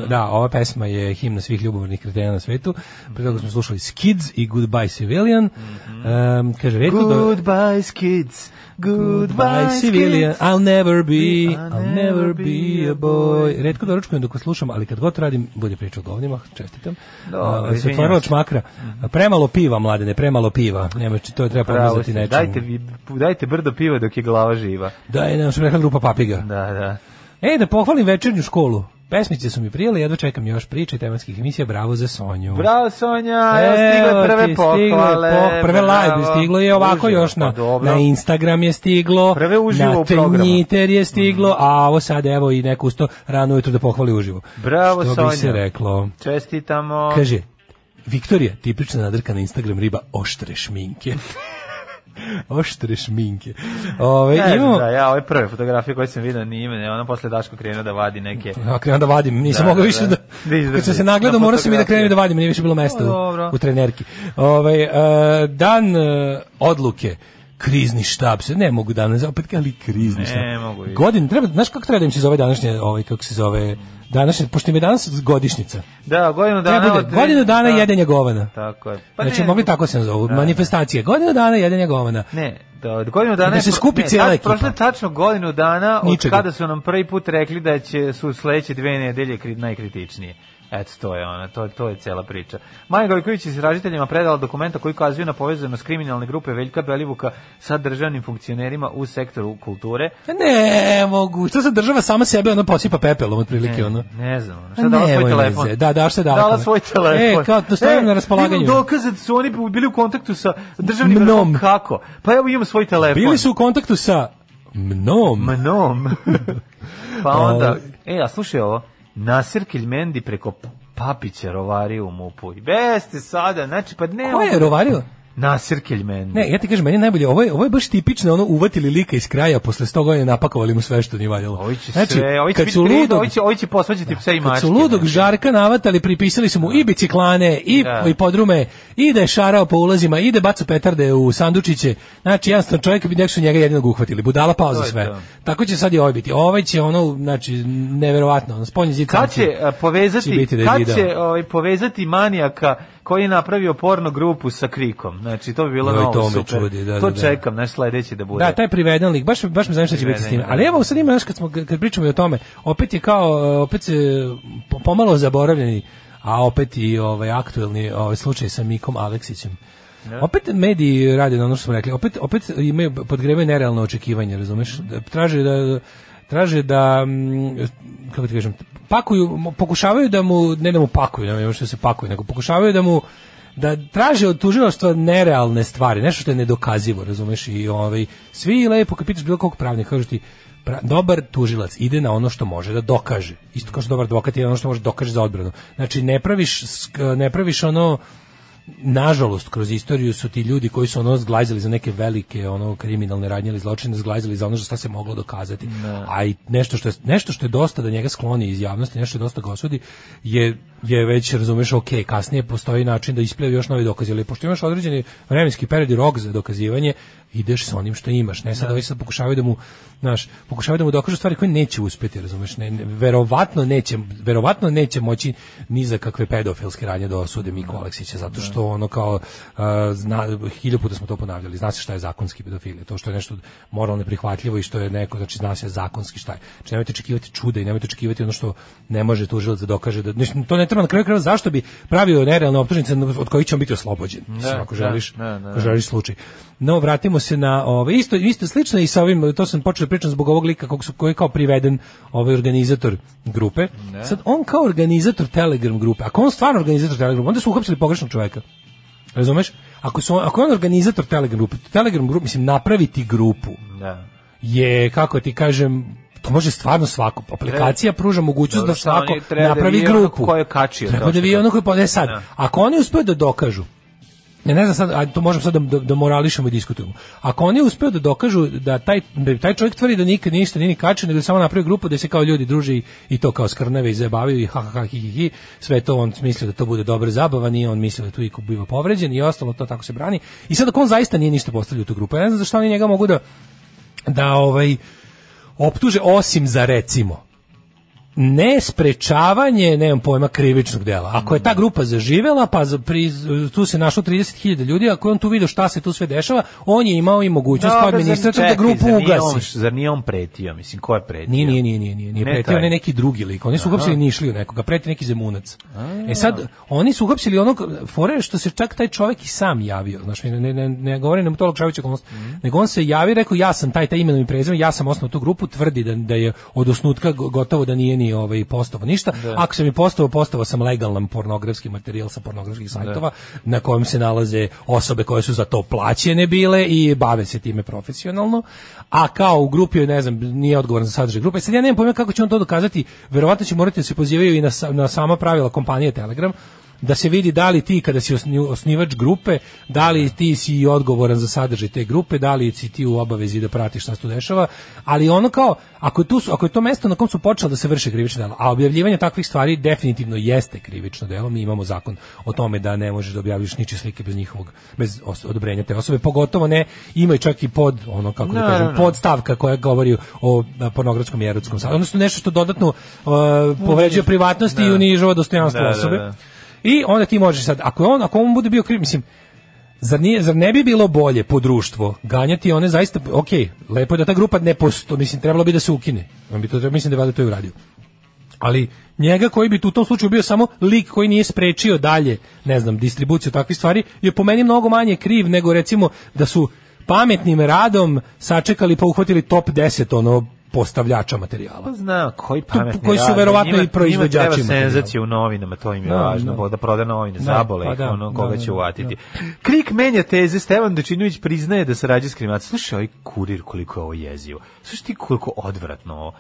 Speaker 7: uh, da, ova pesma je himna svih ljubavnih kretena na svetu. Pre toga smo slušali Skids i Goodbye Civilian. Um, kaže, retko da...
Speaker 6: Goodbye skids, goodbye
Speaker 7: Goodbye civilian,
Speaker 6: skids.
Speaker 7: I'll never be, I'll never be a boy. Redko doručkujem dok vas slušam, ali kad god to radim, bolje priča o govnima, čestitam.
Speaker 6: Dobro,
Speaker 7: Uh, se
Speaker 6: izvinjam
Speaker 7: otvorila
Speaker 6: se.
Speaker 7: čmakra. Premalo piva, mladene, premalo piva. Nema, to je treba
Speaker 6: Bravo,
Speaker 7: pomazati nečemu.
Speaker 6: dajte, vi- dajte brdo piva dok je glava živa.
Speaker 7: Da, je, ne, što bi rekla grupa papiga.
Speaker 6: Da, da.
Speaker 7: E, da pohvalim večernju školu. Pesmice su mi prijele, jedva čekam još priče i tematskih emisija. Bravo za Sonju.
Speaker 6: Bravo Sonja, evo
Speaker 7: Evo
Speaker 6: stigle
Speaker 7: ti,
Speaker 6: prve
Speaker 7: stigle
Speaker 6: pohvale.
Speaker 7: poh- prve live je
Speaker 6: bravo.
Speaker 7: stiglo i ovako
Speaker 6: Uživo,
Speaker 7: još
Speaker 6: pa
Speaker 7: na,
Speaker 6: dobro.
Speaker 7: na Instagram je stiglo,
Speaker 6: Prve uživo
Speaker 7: na
Speaker 6: u programu. Mhm.
Speaker 7: Twitter je stiglo, a ovo sad evo i neko usto rano ujutro da pohvali uživo.
Speaker 6: Bravo
Speaker 7: Što
Speaker 6: Sonja.
Speaker 7: bi se reklo.
Speaker 6: Čestitamo.
Speaker 7: Kaže, Viktorija, tipična nadrka na Instagram riba oštre šminke. [laughs] oštre šminke. Ove,
Speaker 6: Ne znam
Speaker 7: imamo,
Speaker 6: da, ja ove prve fotografije koje sam vidio nije ime, ona posle Daško krenuo da vadi neke...
Speaker 7: Ja krenem da vadim, nisam
Speaker 6: Da,
Speaker 7: mogao
Speaker 6: da,
Speaker 7: više da...
Speaker 6: da. Da izdrži.
Speaker 7: Kad sam se nagledao,
Speaker 6: Na
Speaker 7: morao sam i da
Speaker 6: fotografiji.
Speaker 7: krenem da vadim, nije više bilo mesta
Speaker 6: O,
Speaker 7: u,
Speaker 6: dobro.
Speaker 7: u trenerki. Ovaj, e, dan e, odluke, krizni štab se, ne mogu danas, opet ali krizni
Speaker 6: Ne
Speaker 7: štab.
Speaker 6: mogu više.
Speaker 7: Godin, treba, znaš kako treba da im se zove današnje, ovaj, kako se zove, današnje, pošto im je danas godišnjica.
Speaker 6: Da, godinu
Speaker 7: Treba
Speaker 6: dana...
Speaker 7: bude, godinu dana
Speaker 6: da.
Speaker 7: jedenja govana.
Speaker 6: Tako je. Pa
Speaker 7: znači,
Speaker 6: ne,
Speaker 7: mogli tako se nazovu,
Speaker 6: Da.
Speaker 7: manifestacije, godinu dana jedenja govana.
Speaker 6: Ne, da, godinu dana...
Speaker 7: Da
Speaker 6: je
Speaker 7: se
Speaker 6: pro-
Speaker 7: skupi
Speaker 6: ne,
Speaker 7: cijela
Speaker 6: tač-
Speaker 7: ekipa.
Speaker 6: Prošlo je tačno godinu dana od
Speaker 7: Ničega.
Speaker 6: kada su nam prvi put rekli da će su sledeće dve nedelje kri- najkritičnije. Eto, to je ona, to, to je cela priča. Maja Gojković je s ražiteljima predala dokumenta koji kazuju na povezanost kriminalne grupe Veljka Belivuka sa državnim funkcionerima u sektoru kulture.
Speaker 7: Ne mogu, što se država sama sebe ono posipa pepelom otprilike ono.
Speaker 6: Ne znam, ono,
Speaker 7: A
Speaker 6: šta dala
Speaker 7: ne,
Speaker 6: svoj
Speaker 7: ovo je
Speaker 6: telefon?
Speaker 7: Pa veze. Da, da, šta je dala
Speaker 6: Dala
Speaker 7: telefon?
Speaker 6: svoj telefon.
Speaker 7: E, kao, da stavim na raspolaganju.
Speaker 6: Imam dokaze da su oni bili u kontaktu sa državnim
Speaker 7: Mnom.
Speaker 6: vrhom. Kako? Pa evo imam svoj telefon.
Speaker 7: Bili su u kontaktu sa mnom.
Speaker 6: Mnom. [laughs] pa onda,
Speaker 7: Ovaj.
Speaker 6: e, a slušaj ovo, Nasir Kilmendi preko Papića rovario u Mupu. I beste sada, znači, pa ne...
Speaker 7: Ko je rovario?
Speaker 6: Nasir Kilmendi.
Speaker 7: Ne, ja ti kažem, meni je najbolje, ovo je, ovo je baš tipično ono uvatili lika iz kraja, posle 100 godina napakovali mu sve što nije valjalo.
Speaker 6: Ovi će
Speaker 7: Znači,
Speaker 6: sve, ovi će
Speaker 7: kad
Speaker 6: biti
Speaker 7: su
Speaker 6: krivi,
Speaker 7: ludog, Da,
Speaker 6: ovi će, ovi će posvađati pse i
Speaker 7: kad
Speaker 6: mačke.
Speaker 7: su ludog
Speaker 6: znači.
Speaker 7: žarka navatali, pripisali su mu i biciklane, i,
Speaker 6: Da.
Speaker 7: i podrume, i da je šarao po ulazima, i da je bacao petarde u sandučiće. Znači, jednostavno čovjek bi nek su njega jedinog uhvatili. Budala pao za
Speaker 6: je
Speaker 7: sve.
Speaker 6: to.
Speaker 7: Tako će sad i ovaj biti. Ovaj će ono, znači, neverovatno, ono, spolnje
Speaker 6: Kad će a,
Speaker 7: Će
Speaker 6: povezati,
Speaker 7: biti da je
Speaker 6: kad
Speaker 7: video.
Speaker 6: će ovaj, povezati manijaka koji je napravio porno grupu sa krikom? Znači, to bi bilo
Speaker 7: Joj,
Speaker 6: novo,
Speaker 7: to me
Speaker 6: super.
Speaker 7: čudi, da,
Speaker 6: to
Speaker 7: da, da.
Speaker 6: čekam, naš sledeći da bude.
Speaker 7: Da, taj priveden lik, baš, baš me zanima šta će biti s tim.
Speaker 6: Priveden, da.
Speaker 7: Ali evo, sad ima, znaš, kad, smo, kad pričamo i o tome, opet je kao, e, opet se po- pomalo zaboravljeni, a opet i ovaj aktuelni ovaj slučaj sa Mikom Aleksićem.
Speaker 6: Da.
Speaker 7: Opet mediji rade na ono što smo rekli, opet, opet imaju, podgrevaju nerealno očekivanje, razumeš?
Speaker 6: Mhm.
Speaker 7: Da- Traže da, traže da, mm, kako ti kažem, pakuju, mo- pokušavaju da mu, ne da mu pakuju, ne znam što se pakuju, nego pokušavaju da mu, da traže od tužilaštva nerealne stvari, nešto što je nedokazivo, razumeš, i ovaj, svi lepo, kad pitaš bilo kog pravnika, kažu ti, pra- dobar tužilac ide na ono što može da dokaže, isto kao što dobar advokat ide na ono što može da dokaže za odbranu, znači ne praviš, sk- ne praviš ono, nažalost kroz istoriju su ti ljudi koji su ono zglazili za neke velike ono kriminalne radnje ili zločine zglazili za ono što se moglo dokazati. A i nešto što je, nešto što je dosta da njega skloni iz javnosti, nešto što je dosta ga osudi je je već razumeš ok, kasnije postoji način da ispljevi još novi dokazi, ali pošto imaš određeni vremenski period i rok za dokazivanje, ideš sa onim što imaš. Ne sad ovi sad pokušavaju da mu, znaš, pokušavaju da mu dokažu stvari koje neće uspjeti, razumeš? Ne, ne, verovatno neće, verovatno neće moći ni za kakve pedofilske radnje da osude Miku Aleksića zato što ono kao a, zna hiljadu puta smo to ponavljali. Zna se šta je zakonski pedofilija, to što je nešto moralno neprihvatljivo i što je neko znači zna se zakonski šta je. Znači nemojte očekivati čuda i nemojte očekivati ono što ne može tužilac da dokaže da mislim, to ne treba na kraju krajeva zašto bi pravio nerealne optužnice od kojih će on biti oslobođen. Mislim, ako
Speaker 6: da,
Speaker 7: želiš,
Speaker 6: da, da,
Speaker 7: ako želiš slučaj. No, vratimo se na ove, isto, isto slično i sa ovim, to sam počeo pričati zbog ovog lika kog su, koji je kao priveden ovaj organizator grupe. Sad, on kao organizator Telegram grupe, ako on stvarno organizator Telegram grupe, onda su uhapsili pogrešnog čoveka. Razumeš? Ako, su, on- ako je on organizator Telegram grupe, Telegram grupe, mislim, napraviti grupu
Speaker 6: Da.
Speaker 7: je, kako ti kažem, to može stvarno svako. Aplikacija pruža mogućnost
Speaker 6: Dobro,
Speaker 7: da
Speaker 6: šta oni
Speaker 7: svako
Speaker 6: treba da
Speaker 7: napravi
Speaker 6: vidi onog
Speaker 7: grupu.
Speaker 6: ko je kačio
Speaker 7: Treba
Speaker 6: to
Speaker 7: da
Speaker 6: što
Speaker 7: vi
Speaker 6: to-
Speaker 7: ono koji... pa- Ne sad,
Speaker 6: Da.
Speaker 7: ako oni uspeju da dokažu ja ne znam sad, a to možemo sad da, da, da morališemo i diskutujemo. Ako oni uspeju da dokažu da taj, da taj čovjek tvrdi da nikad ništa nije ni kačio, nego je samo napravio grupu da se kao ljudi druže i, i to kao skrnave i zabavaju i ha, ha, ha, hi, hi, hi, sve to on mislio da to bude dobra zabava, nije on mislio da tu iko biva povređen i ostalo to tako se brani. I sad ako on zaista nije ništa postavio u tu grupu, ja ne znam zašto oni njega mogu da, da ovaj, optuže osim za recimo ne sprečavanje, nemam pojma, krivičnog dela. Ako je ta grupa zaživela, pa za- pri, tu se našlo 30.000 ljudi, ako je on tu vidio šta se tu sve dešava, on je imao i mogućnost kao
Speaker 6: Dobro, zar-
Speaker 7: administrator da
Speaker 6: čekaj,
Speaker 7: grupu
Speaker 6: zar nije on-
Speaker 7: ugasi.
Speaker 6: Zar nije on pretio, mislim, ko je pretio?
Speaker 7: Nije, nije, nije, nije, nije, nije
Speaker 6: Ne
Speaker 7: pretio,
Speaker 6: taj.
Speaker 7: ne neki drugi lik. Oni su uhapsili Nišliju nekoga, pretio neki Zemunac. E sad, oni su uhapsili onog fore što se čak taj čovjek i sam javio. Znaš, ne, ne, ne, ne govorim nam tolog Šavića okolnost,
Speaker 6: Mhm.
Speaker 7: nego on se javi i rekao, ja sam taj, taj imenom i prezimom, ja sam osnovao tu grupu, tvrdi da, da je od osnutka go- gotovo da nije ni ovaj, postavo ništa.
Speaker 6: Da.
Speaker 7: Ako sam i postavo, postavo sam legalan pornografski materijal sa
Speaker 6: Da.
Speaker 7: pornografskih sajtova na kojem se nalaze osobe koje su za to plaćene bile i bave se time profesionalno. A kao u grupi, ne znam, nije odgovoran za sadržaj grupe. Sad ja nemam pojma kako će on to dokazati. Verovatno će morati da se pozivaju i na, sa- na sama pravila kompanije Telegram da se vidi da li ti kada si osni- osnivač grupe, da li ti si i odgovoran za sadržaj te grupe, da li si ti u obavezi da pratiš šta se tu dešava, ali ono kao, ako je, tu, su- ako je to mesto na kom su počela da se vrše krivična dela, a objavljivanje takvih stvari definitivno jeste krivično delo, mi imamo zakon o tome da ne možeš da objavljaš ničije slike bez njihovog, bez os- odobrenja te osobe, pogotovo ne, ima i čak i pod, ono kako da kažem, pod stavka koja govori o a, pornografskom i erotskom sadržaju, odnosno nešto što dodatno uh, povređuje privatnost i unižava dostojanstvo
Speaker 6: Da, da,
Speaker 7: osobe.
Speaker 6: da.
Speaker 7: I onda ti možeš sad, ako je on, ako on bude bio kriv, mislim, zar, nije, zar ne bi bilo bolje po društvo ganjati one zaista, ok, lepo je da ta grupa ne posto, mislim, trebalo bi da se ukine. On bi to, trebao- mislim da je valjda to i uradio. Ali njega koji bi tu u tom slučaju bio samo lik koji nije sprečio dalje, ne znam, distribuciju takvih stvari, je po meni mnogo manje kriv nego recimo da su pametnim radom sačekali pa uhvatili top 10 ono postavljača materijala.
Speaker 6: Pa zna, koji
Speaker 7: Tu-
Speaker 6: pametni
Speaker 7: koji su
Speaker 6: rade.
Speaker 7: verovatno
Speaker 6: Njima-
Speaker 7: i proizvođači
Speaker 6: Njima treba
Speaker 7: materijala.
Speaker 6: senzacija u novinama, to im je
Speaker 7: Da,
Speaker 6: važno,
Speaker 7: da.
Speaker 6: da, da proda novine,
Speaker 7: Da,
Speaker 6: zabole
Speaker 7: pa
Speaker 6: ih,
Speaker 7: da,
Speaker 6: ono,
Speaker 7: da,
Speaker 6: koga
Speaker 7: da,
Speaker 6: će
Speaker 7: da.
Speaker 6: uvatiti. Krik menja teze, Stevan Dočinović priznaje da sarađuje s kriminalcem. Slušaj, ovaj kurir koliko je ovo jezivo. Slušaj ti koliko odvratno ovo.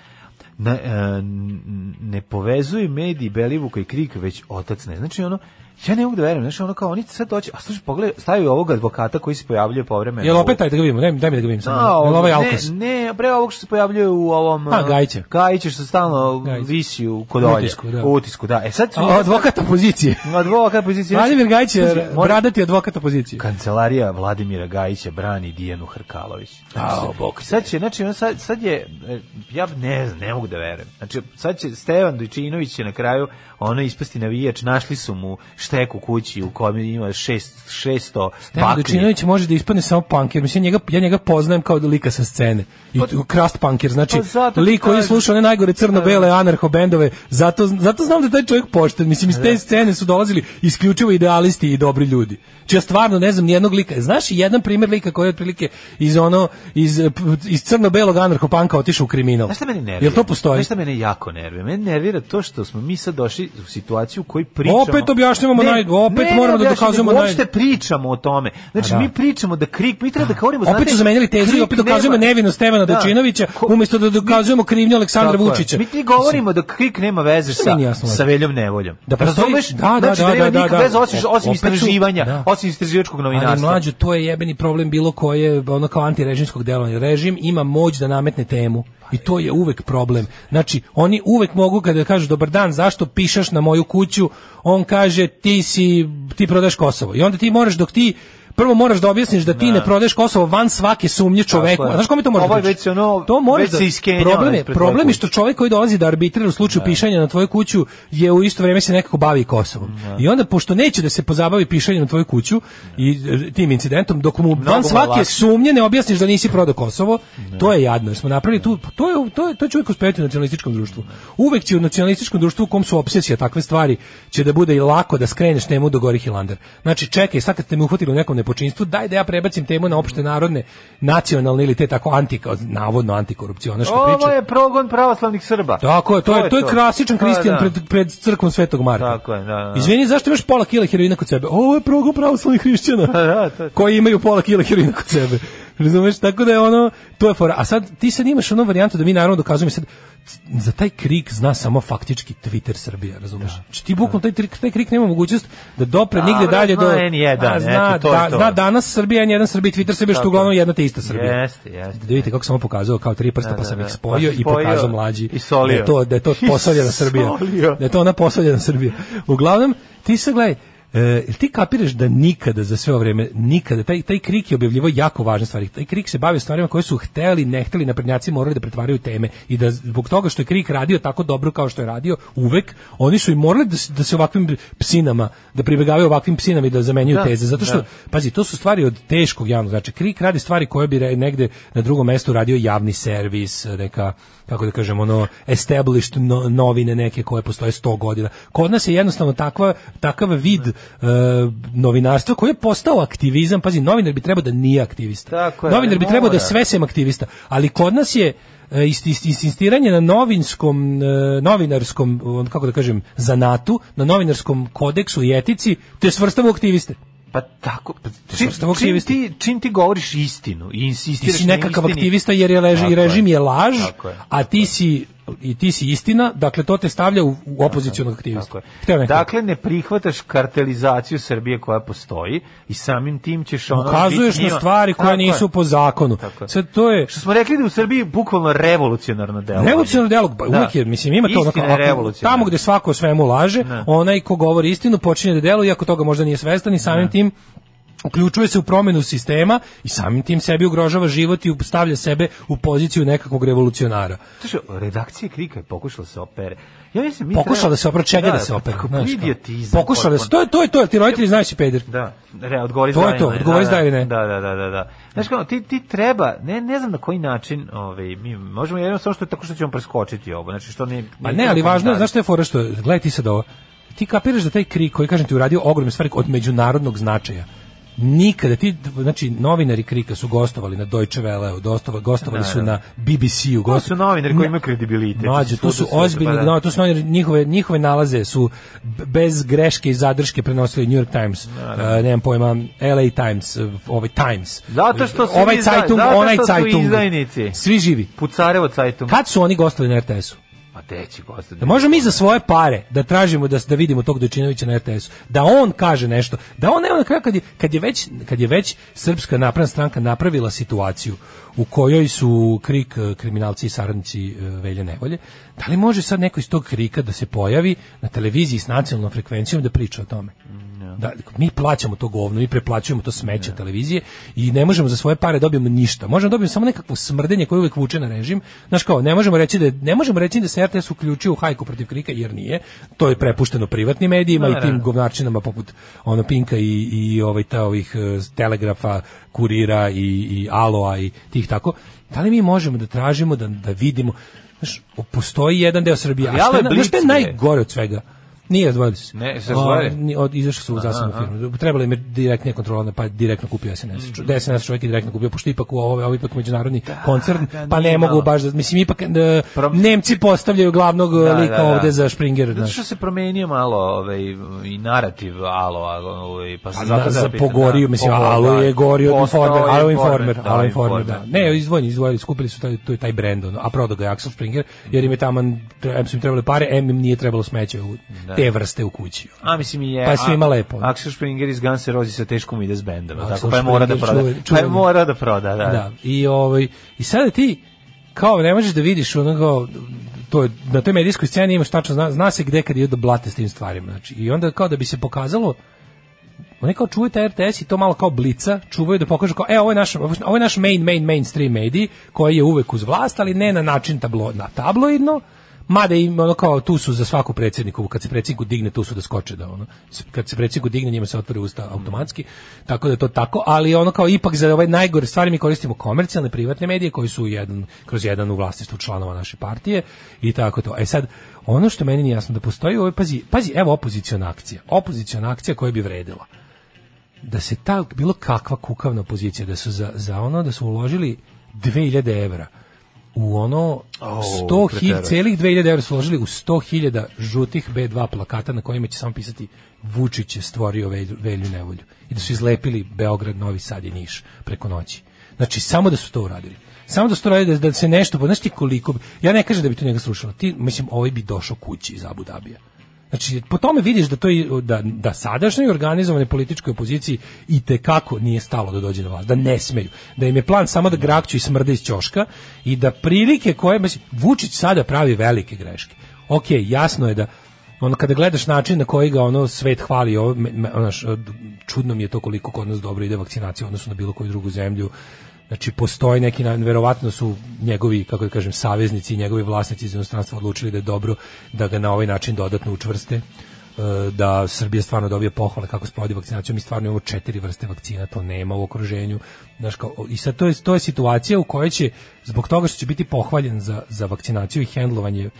Speaker 6: Na, e, n- ne povezuju mediji Belivuka i Krik, već otac ne. Znači ono, ja ne mogu da verujem, znači ono kao oni sad doći, a slušaj, pogledaj, stavio ovog advokata koji se pojavljuje povremeno.
Speaker 7: Jel opet
Speaker 6: u-
Speaker 7: taj da ga vidimo? Daj, mi- daj mi da ga vidim sad.
Speaker 6: Da,
Speaker 7: Jel
Speaker 6: ovo-
Speaker 7: ovaj Pa,
Speaker 6: ne,
Speaker 7: Alkos?
Speaker 6: ne, pre ovog što se pojavljuje u ovom...
Speaker 7: A,
Speaker 6: uh,
Speaker 7: Gajiće.
Speaker 6: Gajiće što stalno
Speaker 7: Gajiće.
Speaker 6: visi u kod olje.
Speaker 7: Da, Utisku, da.
Speaker 6: U utisku, da. E sad su...
Speaker 7: A, Advokat opozicije.
Speaker 6: Advokat pozicija...
Speaker 7: Vladimir Gajić je
Speaker 6: Pazi, mora-
Speaker 7: bradati advokat opozicije.
Speaker 6: Kancelarija Vladimira Gajića brani Dijanu Hrkalović.
Speaker 7: Ao, bok te.
Speaker 6: Sad će, znači, on sad, sad je, e, ja ne znam, ne mogu da verujem. Znači, sad će, Stevan Dujčinović će na kraju, ono, ispasti navijač, našli su mu šteku kući u kojem ima šest, šesto
Speaker 7: Stevan
Speaker 6: baklji.
Speaker 7: Dučinović može da ispadne samo punker. Mislim, njega, ja njega poznajem kao lika sa scene. I tu- krast punker, znači
Speaker 6: Pa zato ti
Speaker 7: lik koji
Speaker 6: kažem. Da.
Speaker 7: sluša one najgore crno-bele anarcho-bendove. Zato, zato znam da je taj čovjek pošten. Mislim, iz
Speaker 6: Da.
Speaker 7: te scene su dolazili isključivo idealisti i dobri ljudi. Či ja stvarno ne znam nijednog lika. Znaš i jedan primjer lika koji je otprilike iz ono, iz, eh, p- iz crno-belog anarcho-panka otišao u kriminal.
Speaker 6: Znaš šta mene nervira?
Speaker 7: Jel to postoji?
Speaker 6: Znaš šta mene jako nervira? Mene nervira to što smo mi sad došli u situaciju u kojoj pričamo...
Speaker 7: Opet objašnjavamo naj- opet moramo da
Speaker 6: objašnjavamo,
Speaker 7: dokazujemo
Speaker 6: nego
Speaker 7: naj-
Speaker 6: Uopšte pričamo o tome. Znači,
Speaker 7: A da.
Speaker 6: mi pričamo da krik, mi treba da govorimo...
Speaker 7: Opet
Speaker 6: znate,
Speaker 7: su zamenjali tezu i
Speaker 6: Krik
Speaker 7: opet dokazujemo
Speaker 6: nema- Da.
Speaker 7: nevinost Stevana Radočinovića,
Speaker 6: Ko-
Speaker 7: umjesto da dokazujemo krivnju Aleksandra
Speaker 6: Tako je.
Speaker 7: Vučića.
Speaker 6: Mi ti govorimo da krik nema veze
Speaker 7: Šta
Speaker 6: sa,
Speaker 7: mi nije jasno,
Speaker 6: sa
Speaker 7: Lepo?
Speaker 6: veljom nevoljom.
Speaker 7: Da postoji-
Speaker 6: Razumeš?
Speaker 7: da, da,
Speaker 6: znači,
Speaker 7: da,
Speaker 6: nema
Speaker 7: da, da,
Speaker 6: nikakve
Speaker 7: da.
Speaker 6: veze osim,
Speaker 7: O-
Speaker 6: osim
Speaker 7: opet su-
Speaker 6: istraživanja,
Speaker 7: da.
Speaker 6: osim istraživačkog novinarstva.
Speaker 7: Ali mlađo, to je jebeni problem bilo koje, ono kao antirežimskog delovanja. Režim ima moć da nametne temu. I to je uvek problem. Znači, oni uvek mogu kada kažu dobar dan, zašto pišaš na moju kuću, on kaže ti si, ti prodaš Kosovo. I onda ti moraš dok ti Prvo moraš da objasniš da ti ne, prodaješ Kosovo van svake sumnje čoveku.
Speaker 6: je.
Speaker 7: A Znaš kome to moraš
Speaker 6: Ovo je
Speaker 7: da
Speaker 6: već
Speaker 7: pričaš?
Speaker 6: ono-
Speaker 7: to moraš
Speaker 6: već
Speaker 7: da-
Speaker 6: se iskenjao
Speaker 7: problem je,
Speaker 6: ispred tvoje
Speaker 7: problem je
Speaker 6: kuće.
Speaker 7: što čovjek koji dolazi da arbitrira u slučaju pišanja na tvoju kuću je u isto vrijeme se nekako bavi i Kosovom. I onda pošto neće da se pozabavi pišanjem na tvoju kuću i e, tim incidentom dok mu van
Speaker 6: mu je
Speaker 7: svake
Speaker 6: lakše. Da.
Speaker 7: sumnje ne objasniš da nisi prodao Kosovo, to je jadno. jer Smo napravili tu pa to je to je to će uvijek uspeti u nacionalističkom društvu. Uvek će u nacionalističkom društvu u kom su obsesija takve stvari će da bude i lako da skreneš temu do Gori Hilander. Znači čekaj, sad kad ste me uhvatili u nekom nepočinstvu, daj da ja prebacim temu na opšte narodne, nacionalne ili te tako anti navodno antikorupcionaške priče.
Speaker 6: Ovo je progon pravoslavnih Srba.
Speaker 7: Tako je, to, je, to je klasičan
Speaker 6: To je,
Speaker 7: Kristijan
Speaker 6: da.
Speaker 7: pred, pred crkvom Svetog Marka.
Speaker 6: Tako je, da, da, da.
Speaker 7: Izvini, zašto imaš pola kila heroina kod sebe? Ovo je progon pravoslavnih hrišćana,
Speaker 6: da, to je to.
Speaker 7: koji imaju pola kila heroina kod sebe. [laughs] Razumeš? Tako da je ono, to je fora. A sad, ti sad imaš onu varijantu da mi naravno dokazujemo sad, za taj krik zna samo faktički Twitter Srbija, razumeš? Znači ti bukvalno taj, tri- taj krik nema mogućnost da dopre nigde
Speaker 6: Da, Dobro,
Speaker 7: dalje do...
Speaker 6: zna N1,
Speaker 7: A, zna,
Speaker 6: eto, to je
Speaker 7: da-
Speaker 6: to.
Speaker 7: zna danas Srbija, N1 Srbija, Twitter Srbija, što je uglavnom jedna te ista Srbija.
Speaker 6: Jeste, jeste.
Speaker 7: Da vidite kako sam ovo pokazao kao tri prsta,
Speaker 6: Da,
Speaker 7: pa
Speaker 6: da,
Speaker 7: sam
Speaker 6: da.
Speaker 7: ih
Speaker 6: Pa
Speaker 7: spojio
Speaker 6: si
Speaker 7: i
Speaker 6: spojio
Speaker 7: pokazao mlađi
Speaker 6: i solio.
Speaker 7: da je to, da je to
Speaker 6: [laughs] I
Speaker 7: posoljena Srbija.
Speaker 6: solio.
Speaker 7: Da je to ona posoljena Srbija. Uglavnom, ti se gledaj, e, jel ti kapiraš da nikada za sve ovo vreme, nikada, taj, taj krik je objavljivo jako važne stvari. Taj krik se bavio stvarima koje su hteli, ne hteli, naprednjaci morali da pretvaraju teme i da zbog toga što je krik radio tako dobro kao što je radio uvek, oni su i morali da, se- da se ovakvim psinama, da pribegavaju ovakvim psinama i da zamenjuju teze. Zato što, pazi, to su stvari od teškog javnog, znači krik radi stvari koje bi re- negde na drugom mestu radio javni servis, neka kako da kažem, ono established no- novine neke koje postoje 100 godina. Kod nas je jednostavno takva, takav vid e,
Speaker 6: Da.
Speaker 7: novinarstva koji je postao aktivizam. Pazi, novinar bi trebao da nije aktivista.
Speaker 6: Tako je,
Speaker 7: novinar
Speaker 6: ne
Speaker 7: bi trebao da je
Speaker 6: mora.
Speaker 7: sve sem aktivista. Ali kod nas je e, ist- ist- insistiranje na novinskom, e, novinarskom, on, kako da kažem, zanatu, na novinarskom kodeksu i etici, te svrstava u aktiviste.
Speaker 6: Pa tako, pa, čim,
Speaker 7: svrstavu
Speaker 6: čim,
Speaker 7: da aktivisti.
Speaker 6: ti, čim ti govoriš istinu i insistiraš
Speaker 7: ti si
Speaker 6: na
Speaker 7: nekakav
Speaker 6: istini-
Speaker 7: aktivista jer je lež,
Speaker 6: Tako
Speaker 7: i režim je,
Speaker 6: je.
Speaker 7: laž,
Speaker 6: Tako je.
Speaker 7: a ti si i ti si istina, dakle to te stavlja u, u opozicionog aktivista.
Speaker 6: Tako je.
Speaker 7: Hteo ne hteo.
Speaker 6: Dakle, ne prihvataš kartelizaciju Srbije koja postoji i samim tim ćeš Dakle, ono...
Speaker 7: ukazuješ
Speaker 6: biti
Speaker 7: na
Speaker 6: njima-
Speaker 7: stvari koje
Speaker 6: Tako je.
Speaker 7: nisu po zakonu.
Speaker 6: Tako je.
Speaker 7: Sad to je
Speaker 6: Što smo rekli da je u Srbiji bukvalno revolucionarno delo.
Speaker 7: Revolucionarni dijalog, ba,
Speaker 6: Da.
Speaker 7: uvijek je, mislim, ima to
Speaker 6: Istina je Da.
Speaker 7: onako, ako,
Speaker 6: revolucionarna.
Speaker 7: tamo gde svako o svemu laže, onaj ko govori istinu počinje da deluje, iako toga možda nije svestan i
Speaker 6: Da.
Speaker 7: samim tim uključuje se u promenu sistema i samim tim sebi ugrožava život i stavlja sebe u poziciju nekakvog revolucionara.
Speaker 6: Slušaj, redakcija Krika je pokušala da se opere. Ja mislim, mi
Speaker 7: Pokušala
Speaker 6: treba-
Speaker 7: da se opere čega da, se opere.
Speaker 6: tako,
Speaker 7: znaš kao.
Speaker 6: Idiotizam.
Speaker 7: Pokušala da se,
Speaker 6: potpuno.
Speaker 7: to je to je to, je, ti roditelji znaju si peder.
Speaker 6: Da, re, odgovori
Speaker 7: To je to, odgovori
Speaker 6: da,
Speaker 7: da ili ne.
Speaker 6: Da, da, da, da, da. Znaš kao, ti, ti treba, ne, ne znam na koji način, ovaj, mi možemo jedno samo što tako što ćemo preskočiti ovo, znači što ne...
Speaker 7: Pa ne, ali važno je, znaš što je fora što, gledaj ti sad ovo, ti kapiraš da taj krik koji, kažem ti, uradio ogromne stvari od međunarodnog značaja, nikada ti, znači, novinari Krika su gostovali na Deutsche Welle, dostava, gostovali su na BBC-u.
Speaker 6: To su novinari koji imaju kredibilitet.
Speaker 7: Mlađe, to su
Speaker 6: Svuda, svuda,
Speaker 7: ozbiljni,
Speaker 6: pa da.
Speaker 7: no, to su novinari, njihove, njihove nalaze su b- bez greške i zadrške prenosili New York Times, eh, nemam pojma, LA Times, eh, ovaj Times.
Speaker 6: Zato što su
Speaker 7: ovaj
Speaker 6: izda-
Speaker 7: Zeitung,
Speaker 6: zato
Speaker 7: onaj
Speaker 6: što su
Speaker 7: Zeitung.
Speaker 6: izdajnici.
Speaker 7: Svi živi.
Speaker 6: Pucarevo cajtom.
Speaker 7: Kad su oni gostovali na RTS-u?
Speaker 6: Pa teći, gospodine.
Speaker 7: Da možemo mi za svoje pare da tražimo da da vidimo tog Dojčinovića na RTS-u, da on kaže nešto, da on evo na kraju kad je, kad je već kad je već srpska napredna stranka napravila situaciju u kojoj su krik eh, kriminalci i saradnici eh, Velje Nevolje, da li može sad neko iz tog krika da se pojavi na televiziji s nacionalnom frekvencijom da priča o tome? Da, mi plaćamo to govno, mi preplaćujemo to smeće televizije i ne možemo za svoje pare dobijemo ništa. Možemo da dobijemo samo nekakvo smrdenje koje uvek vuče na režim. Znaš kao, ne možemo reći da je- ne možemo reći da se RTS uključio u hajku protiv Krika jer nije. To je prepušteno privatnim medijima i tim govnarčinama poput ono Pinka i i ovaj ta ovih eh, telegrafa, kurira i i Aloa i tih tako. Da li mi možemo da tražimo da da vidimo Znaš, postoji jedan deo Srbije. A
Speaker 6: Ali Alo
Speaker 7: što je,
Speaker 6: je
Speaker 7: na- znaš šta je
Speaker 6: blic, bre.
Speaker 7: najgore od svega? Nije, razdvojili su se. Ovaj,
Speaker 6: Ne, se razdvojili?
Speaker 7: O, ni- od, izašli su u zasebnu firmu. Trebala im je direktnija kontrola, pa direktno kupio SNS. Mm. SNS čovjek je direktno kupio, pošto ipak u ovo, ovo je ipak međunarodni koncern,
Speaker 6: da,
Speaker 7: pa
Speaker 6: nije
Speaker 7: ne mogu
Speaker 6: malo.
Speaker 7: baš da, mislim, ipak e,
Speaker 6: Pro-
Speaker 7: Nemci postavljaju glavnog e,
Speaker 6: Da,
Speaker 7: lika
Speaker 6: da, da.
Speaker 7: ovde za Springer.
Speaker 6: Zato
Speaker 7: znaš.
Speaker 6: što se promenio malo ovaj, i narativ Alo, alo ovaj, pa se
Speaker 7: Pa
Speaker 6: zato
Speaker 7: da, za
Speaker 6: zapitam,
Speaker 7: pogorio,
Speaker 6: da.
Speaker 7: mislim,
Speaker 6: Pogorio,
Speaker 7: Alo je
Speaker 6: da.
Speaker 7: gorio od
Speaker 6: Postao
Speaker 7: Informer,
Speaker 6: je
Speaker 7: Alo Informer, Alo
Speaker 6: Informer,
Speaker 7: Informer, da. Ne, izdvojeni, izdvojeni, skupili su taj, taj, taj brend, ono, a prodao ga je Axel Springer, jer im je tamo, em su im trebali pare, em im nije trebalo smeće u,
Speaker 6: Da.
Speaker 7: te vrste u kući.
Speaker 6: A mislim i je.
Speaker 7: Pa je svima lepo.
Speaker 6: Axel Springer iz Guns N' Roses sa teškom ide s bendom,
Speaker 7: Axel
Speaker 6: tako pa je mora da
Speaker 7: Springer,
Speaker 6: proda.
Speaker 7: čuveni-
Speaker 6: Pa je
Speaker 7: čuveni.
Speaker 6: mora da proda, da.
Speaker 7: da. I ovaj i sada ti kao ne možeš da vidiš onoga to je, na toj medijskoj sceni imaš tačno zna, zna se gde kad idu da blate s tim stvarima. Znači, I onda kao da bi se pokazalo oni kao čuvaju taj RTS i to malo kao blica, čuvaju da pokažu kao, e, ovo je naš, ovo je naš main, main, mainstream medij, koji je uvek uz vlast, ali ne na način tablo, na tabloidno, mada im ono kao tu su za svaku predsjednikovu, kad se predsjedniku digne, tu su da skoče da ono, s- kad se predsjedniku digne, njima se otvore usta automatski, tako da je to tako, ali ono kao ipak za ovaj najgore stvari mi koristimo komercijalne, privatne medije koji su jedan, kroz jedan u vlasništvu članova naše partije i tako to. E sad, ono što meni nije jasno da postoji, ovo je, pazi, pazi, evo opoziciona akcija, opoziciona akcija koja bi vredila da se ta bilo kakva kukavna pozicija da su za, za ono da su uložili 2000 evra u ono 100.000 celih 2000 evra su uložili u 100.000 žutih B2 plakata na kojima će samo pisati Vučić je stvorio velju, velju nevolju i da su izlepili Beograd, Novi Sad i Niš preko noći. Znači samo da su to uradili. Samo da su to uradili da, da se nešto, znaš ti koliko bi- ja ne kažem da bi to njega slušalo. Ti mislim ovaj bi došao kući iz Abu Dabija. Znači, po tome vidiš da, to, i- da, da sadašnjoj organizovanoj političkoj opoziciji i kako nije stalo da dođe do vlast, da ne smeju, da im je plan samo da grakću i smrde iz ćoška i da prilike koje, mislim, Vučić sada pravi velike greške. Ok, jasno je da ono kada gledaš način na koji ga ono svet hvali ovo me- me- ono, š- čudno mi je to koliko kod nas dobro ide vakcinacija u odnosu na bilo koju drugu zemlju Znači, postoji neki, na- verovatno su njegovi, kako da kažem, saveznici i njegovi vlasnici iz inostranstva odlučili da je dobro da ga na ovaj način dodatno učvrste, e, da Srbija stvarno dobije pohvale kako sprovodi vakcinaciju. Mi stvarno imamo četiri vrste vakcina, to nema u okruženju. Znaš, kao, I sad to je, to je situacija u kojoj će, zbog toga što će biti pohvaljen za, za vakcinaciju i hendlovanje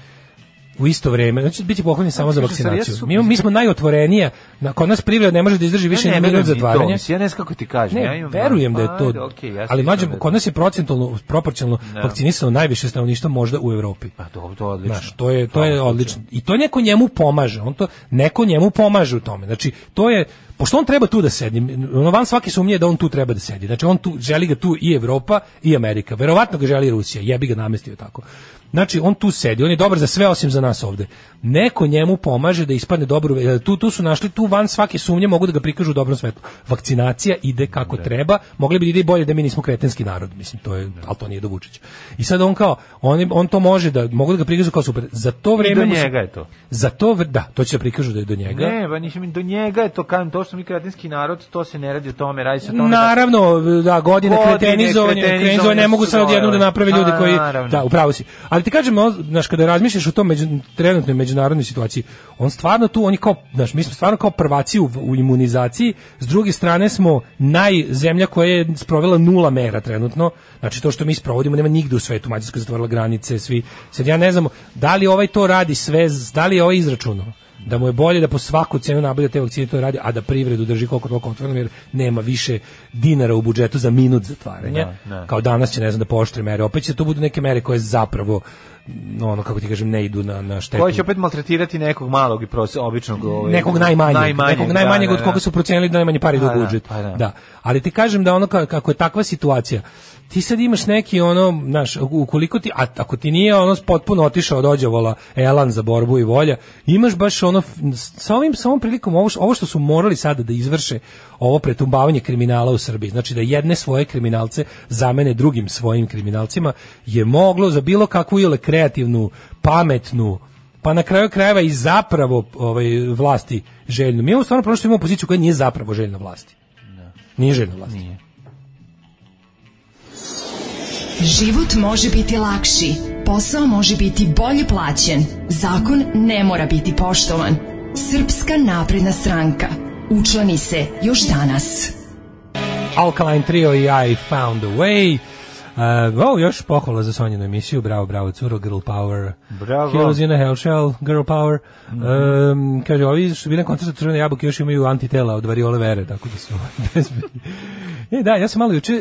Speaker 7: u isto vreme, znači biti pohvaljen samo za
Speaker 6: Kaže, sad,
Speaker 7: vakcinaciju.
Speaker 6: jesu-
Speaker 7: Mi, imamo- mi smo najotvorenija, na, kod nas privreda ne može da izdrži više
Speaker 6: ne
Speaker 7: ni
Speaker 6: verujem
Speaker 7: minut
Speaker 6: ni to,
Speaker 7: zatvaranja.
Speaker 6: mislim, ja ne znam kako ti kažem. ja
Speaker 7: Ne,
Speaker 6: imam- Pa,
Speaker 7: verujem da je to.
Speaker 6: Ajde, okej, ja
Speaker 7: ali
Speaker 6: sam
Speaker 7: mlađe,
Speaker 6: mislio da-
Speaker 7: kod nas je procentualno proporcionalno vakcinisano najviše stanovništva možda u Evropi.
Speaker 6: Pa dobro, to je odlično.
Speaker 7: Znaš, to je to je odlično. I to neko njemu pomaže, on to neko njemu pomaže u tome. Znači, to je pošto on treba tu da sedi, ono van svake sumnje je da on tu treba da sedi. Znači on tu želi ga tu i Evropa i Amerika. Verovatno ga želi i Rusija, jebi ga namestio tako. Znači on tu sedi, on je dobar za sve osim za nas ovde. Neko njemu pomaže da ispadne dobro, e, tu tu su našli tu van svake sumnje mogu da ga prikažu u dobrom svetlu. Vakcinacija ide kako treba, mogli bi da ide i bolje da mi nismo kretenski narod, mislim to
Speaker 6: Da.
Speaker 7: je, al to nije do Vučića. I sad on kao on, je- on to može da mogu da ga prikažu kao super. Za to
Speaker 6: I
Speaker 7: vreme
Speaker 6: do
Speaker 7: mu se-
Speaker 6: njega je to.
Speaker 7: Za to vr- da, to će da prikažu da je do njega.
Speaker 6: Ne, ba, nisam, do njega je to, kažem, to što mi kretinski narod, to se ne radi o tome, radi se o tome da
Speaker 7: Naravno, da, godine,
Speaker 6: Godine
Speaker 7: kretenizovanja,
Speaker 6: kretenizovanja
Speaker 7: kretenizovanja ne mogu
Speaker 6: su
Speaker 7: sad odjednom da
Speaker 6: dojele.
Speaker 7: naprave ljudi
Speaker 6: A,
Speaker 7: koji...
Speaker 6: naravno.
Speaker 7: Da, upravo si. Ali ti kažem, on, znaš, kada razmišljaš o tom među, trenutnoj međunarodnoj situaciji, on stvarno tu, on je kao, znaš, mi smo stvarno kao prvaci u, u imunizaciji, s druge strane smo najzemlja koja je sprovela nula mera trenutno, znači to što mi sprovodimo nema nigde u svetu, Mađarska je zatvorila granice, svi, sad ja ne znam, da li ovaj to radi sve, da li je ovaj izračunao? da mu je bolje da po svaku cenu nabavlja te vakcine to radi, a da privredu drži koliko toliko otvoreno, jer nema više dinara u budžetu za minut zatvaranja.
Speaker 6: Da, da.
Speaker 7: Kao danas će, ne znam, da poštre mere. Opet će to budu neke mere koje zapravo, no, ono, kako ti kažem, ne idu na, na štetu.
Speaker 6: Koji će opet maltretirati nekog malog i prose, običnog... Ovaj,
Speaker 7: nekog najmanjeg, nekog najmanjeg
Speaker 6: da,
Speaker 7: od
Speaker 6: da,
Speaker 7: koga
Speaker 6: da.
Speaker 7: su procenili da najmanje pare idu
Speaker 6: Pa
Speaker 7: u
Speaker 6: da,
Speaker 7: budžet.
Speaker 6: pa da.
Speaker 7: da. Ali ti kažem da ono ka- kako je takva situacija, ti sad imaš neki ono, znaš, ukoliko ti, a ako ti nije ono potpuno otišao od ođavola elan za borbu i volja, imaš baš ono, f- sa ovim, sa ovom prilikom, ovo, š- ovo što su morali sada da izvrše, ovo pretumbavanje kriminala u Srbiji, znači da jedne svoje kriminalce zamene drugim svojim kriminalcima, je moglo za bilo kakvu ili kreativnu, pametnu, pa na kraju krajeva i zapravo ovaj vlasti željnu. Mi imamo stvarno problem što imamo opoziciju koja nije zapravo željna vlasti. Nije željna vlasti.
Speaker 5: Život može biti lakši, posao može biti bolje plaćen, zakon ne mora biti poštovan. Srpska napredna stranka. Učlani se još danas.
Speaker 7: Alkaline Trio i I Found a Way. Uh, o, još pohvala za Sonjinu emisiju, bravo, bravo, curo, girl power.
Speaker 6: Bravo. Mhm.
Speaker 7: Heroes in a hell shell, girl power. um, kaže, ovi što bi na koncertu Crvene jabuke još imaju antitela od variole vere, tako da su [laughs] bezbedni. E, da, ja sam malo juče, e,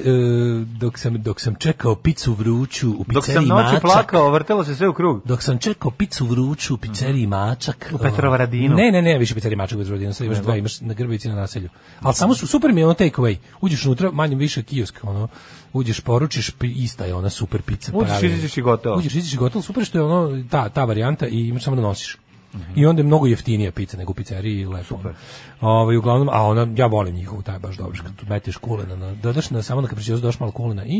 Speaker 7: dok, sam, dok sam čekao picu vruću u pizzeriji
Speaker 6: Dok sam noći
Speaker 7: Mačak,
Speaker 6: plakao, vrtelo se sve u krug.
Speaker 7: dok sam čekao picu vruću u
Speaker 6: Mhm.
Speaker 7: pizzeriji Mačak. U
Speaker 6: Petrovaradinu.
Speaker 7: Ne, ne, ne, više pizzeriji Mačak u Petrovaradinu, sad imaš dva,
Speaker 6: da.
Speaker 7: imaš na Grbavici i na naselju. Ali samo su super mi je ono take away. Uđeš unutra, manje više kiosk, ono, uđeš, poručiš, pi- ista je ona super pizza.
Speaker 6: Uđeš,
Speaker 7: pravi.
Speaker 6: izađeš i gotovo.
Speaker 7: Uđeš, izađeš i gotovo, super što je ono, ta, ta varijanta i imaš samo da nosiš.
Speaker 6: Mhm.
Speaker 7: I onda je mnogo jeftinija pizza nego u pizzeriji i lepo. Super. Ovaj uglavnom, a ona ja volim njihovu, taj je baš dobro kad tu meteš kulena, na, dodaš na samo na kapričiozu dodaš malo kulena. I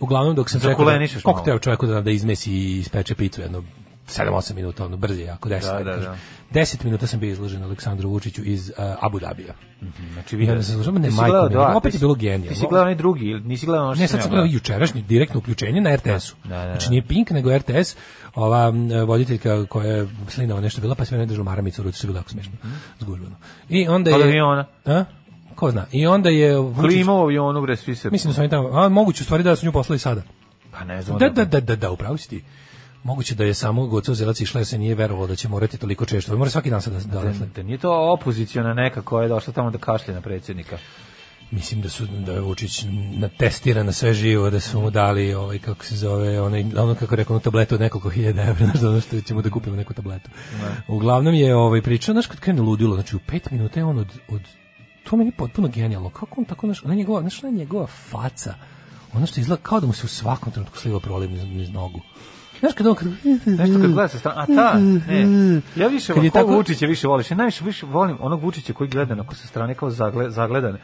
Speaker 7: uglavnom dok sam čekao, da,
Speaker 6: Zakulenišeš
Speaker 7: koliko
Speaker 6: Mhm. malo.
Speaker 7: teo čovjeku da, da izmesi i ispeče picu jedno 7-8 minuta, ono brzo je jako, 10
Speaker 6: Da,
Speaker 7: da,
Speaker 6: da,
Speaker 7: da,
Speaker 6: da.
Speaker 7: 10 minuta sam bio izložen Aleksandru Vučiću iz uh, Abu Dabija.
Speaker 6: Znači,
Speaker 7: I onda sam slušao, ne,
Speaker 6: Ti si
Speaker 7: majko
Speaker 6: gledao
Speaker 7: mi,
Speaker 6: dva,
Speaker 7: nego opet
Speaker 6: ti
Speaker 7: je
Speaker 6: si-
Speaker 7: bilo
Speaker 6: Ti
Speaker 7: genijalno.
Speaker 6: si gledao onaj drugi, ili nisi gledao ono što
Speaker 7: Ne, sad sam gledao jučerašnje direktno uključenje na RTS-u.
Speaker 6: Da, da, da.
Speaker 7: Znači nije Pink, nego RTS. Ova m, voditeljka koja je slinava nešto bila, pa sve ne držao maramicu u ruci, što je bilo jako smiješno. Zgužvano. I onda je...
Speaker 6: Mhm. Od aviona.
Speaker 7: A? Ko zna? I onda je... Vučić-
Speaker 6: Klima u avionu gde svi se...
Speaker 7: Mislim da su oni tamo... A, moguće u stvari da su nju poslali sada.
Speaker 6: Pa ne znam.
Speaker 7: Da, da, da, da, da, upravo si ti. Moguće da je samo Goco Zelac išla jer se nije verovalo da će morati toliko češće. Mora svaki dan sad da, da, da,
Speaker 6: Da nije to opoziciona neka koja je došla tamo da kašlje na predsjednika.
Speaker 7: Mislim da su da je Vučić na testira na sve živo, da su mu dali ovaj kako se zove, onaj ono kako je rekao onu tabletu od nekoliko hiljada evra, [laughs] znači ono što ćemo da kupimo neku tabletu. Uglavnom je ovaj pričao, znaš kad krene ludilo, znači u 5 minuta je on od, od to meni je potpuno genijalno. Kako on tako znaš, ona njegova, znaš, ona njegova faca. Ono što izgleda kao da mu se u svakom trenutku sliva prolim iz, iz nogu. Znaš kad on kad
Speaker 6: Nešto kad gleda sa strane, a ta, ne, ja više,
Speaker 7: Kad
Speaker 6: volim,
Speaker 7: je
Speaker 6: tako...
Speaker 7: tako-
Speaker 6: Vučića više voliš, ja najviše više volim onog Vučića koji gleda onako sa strane kao zagle, zagledan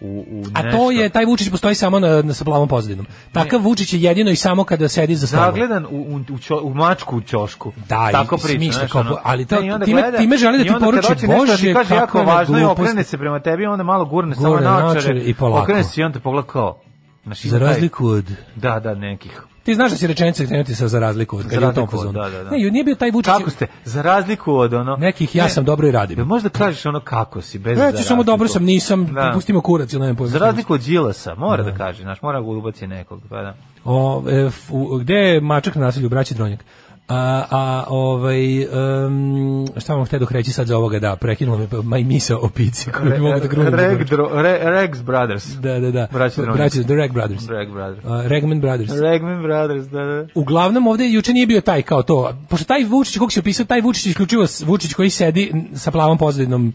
Speaker 6: u, u
Speaker 7: A
Speaker 6: nešto.
Speaker 7: to je, taj Vučić postoji samo na, na, sa plavom pozadinom. Takav Vučić je jedino i samo kada sedi za stolom.
Speaker 6: zagledan u, u, u, čo, u mačku u ćošku.
Speaker 7: Da, i
Speaker 6: tako priča,
Speaker 7: smišlja
Speaker 6: znaš,
Speaker 7: kao
Speaker 6: ono.
Speaker 7: po- ali to-
Speaker 6: Ne, i onda
Speaker 7: time- time želi da
Speaker 6: i
Speaker 7: ti
Speaker 6: onda kad
Speaker 7: poruči,
Speaker 6: hoće nešto da ti
Speaker 7: "Bože,
Speaker 6: kaže jako
Speaker 7: kako je na
Speaker 6: važno i
Speaker 7: gluposti."
Speaker 6: okrene se prema tebi, onda malo gurne samo
Speaker 7: Gurne
Speaker 6: naočare
Speaker 7: naočare i polako.
Speaker 6: Okrene se i onda te pogleda kao. Znaš, ima
Speaker 7: Za
Speaker 6: taj-
Speaker 7: razliku od
Speaker 6: Da, da, nekih.
Speaker 7: Ti znaš da si rečenica krenuti sa za razliku od kad je u tom
Speaker 6: razliku od,
Speaker 7: fazonu.
Speaker 6: da, da, da.
Speaker 7: Ne, ju- nije bio taj Vučić.
Speaker 6: Kako ste? Za razliku od ono...
Speaker 7: Nekih ja
Speaker 6: Ne,
Speaker 7: sam dobro i
Speaker 6: Jel
Speaker 7: radim.
Speaker 6: možda kažeš ono kako si, bez za
Speaker 7: Reći samo
Speaker 6: razliku?
Speaker 7: dobro sam, nisam,
Speaker 6: Da.
Speaker 7: pustimo kurac ili ne pojma.
Speaker 6: Za
Speaker 7: šta
Speaker 6: razliku od Đilasa, mora da kaže, znaš, mora da ubaci nekog, pa da.
Speaker 7: O, e, f- u- gde je mačak na nasilju, braći Dronjak? A, a ovaj, um, šta vam htedoh reći sad za ovoga, da, prekinula me maj misa o pici koju bi mogu da grunu.
Speaker 6: Reg, dro, re, Rex Brothers.
Speaker 7: Da, da, da.
Speaker 6: Braći Dronjak.
Speaker 7: Braći, The Reg Brothers.
Speaker 6: Reg Brothers.
Speaker 7: A, Regman Brothers.
Speaker 6: Regman Brothers, da, da.
Speaker 7: Znači, Uglavnom ovde juče nije bio taj kao to. Pošto taj Vučić kog se opisao, taj Vučić je isključivo s- Vučić koji sedi n- sa plavom pozadinom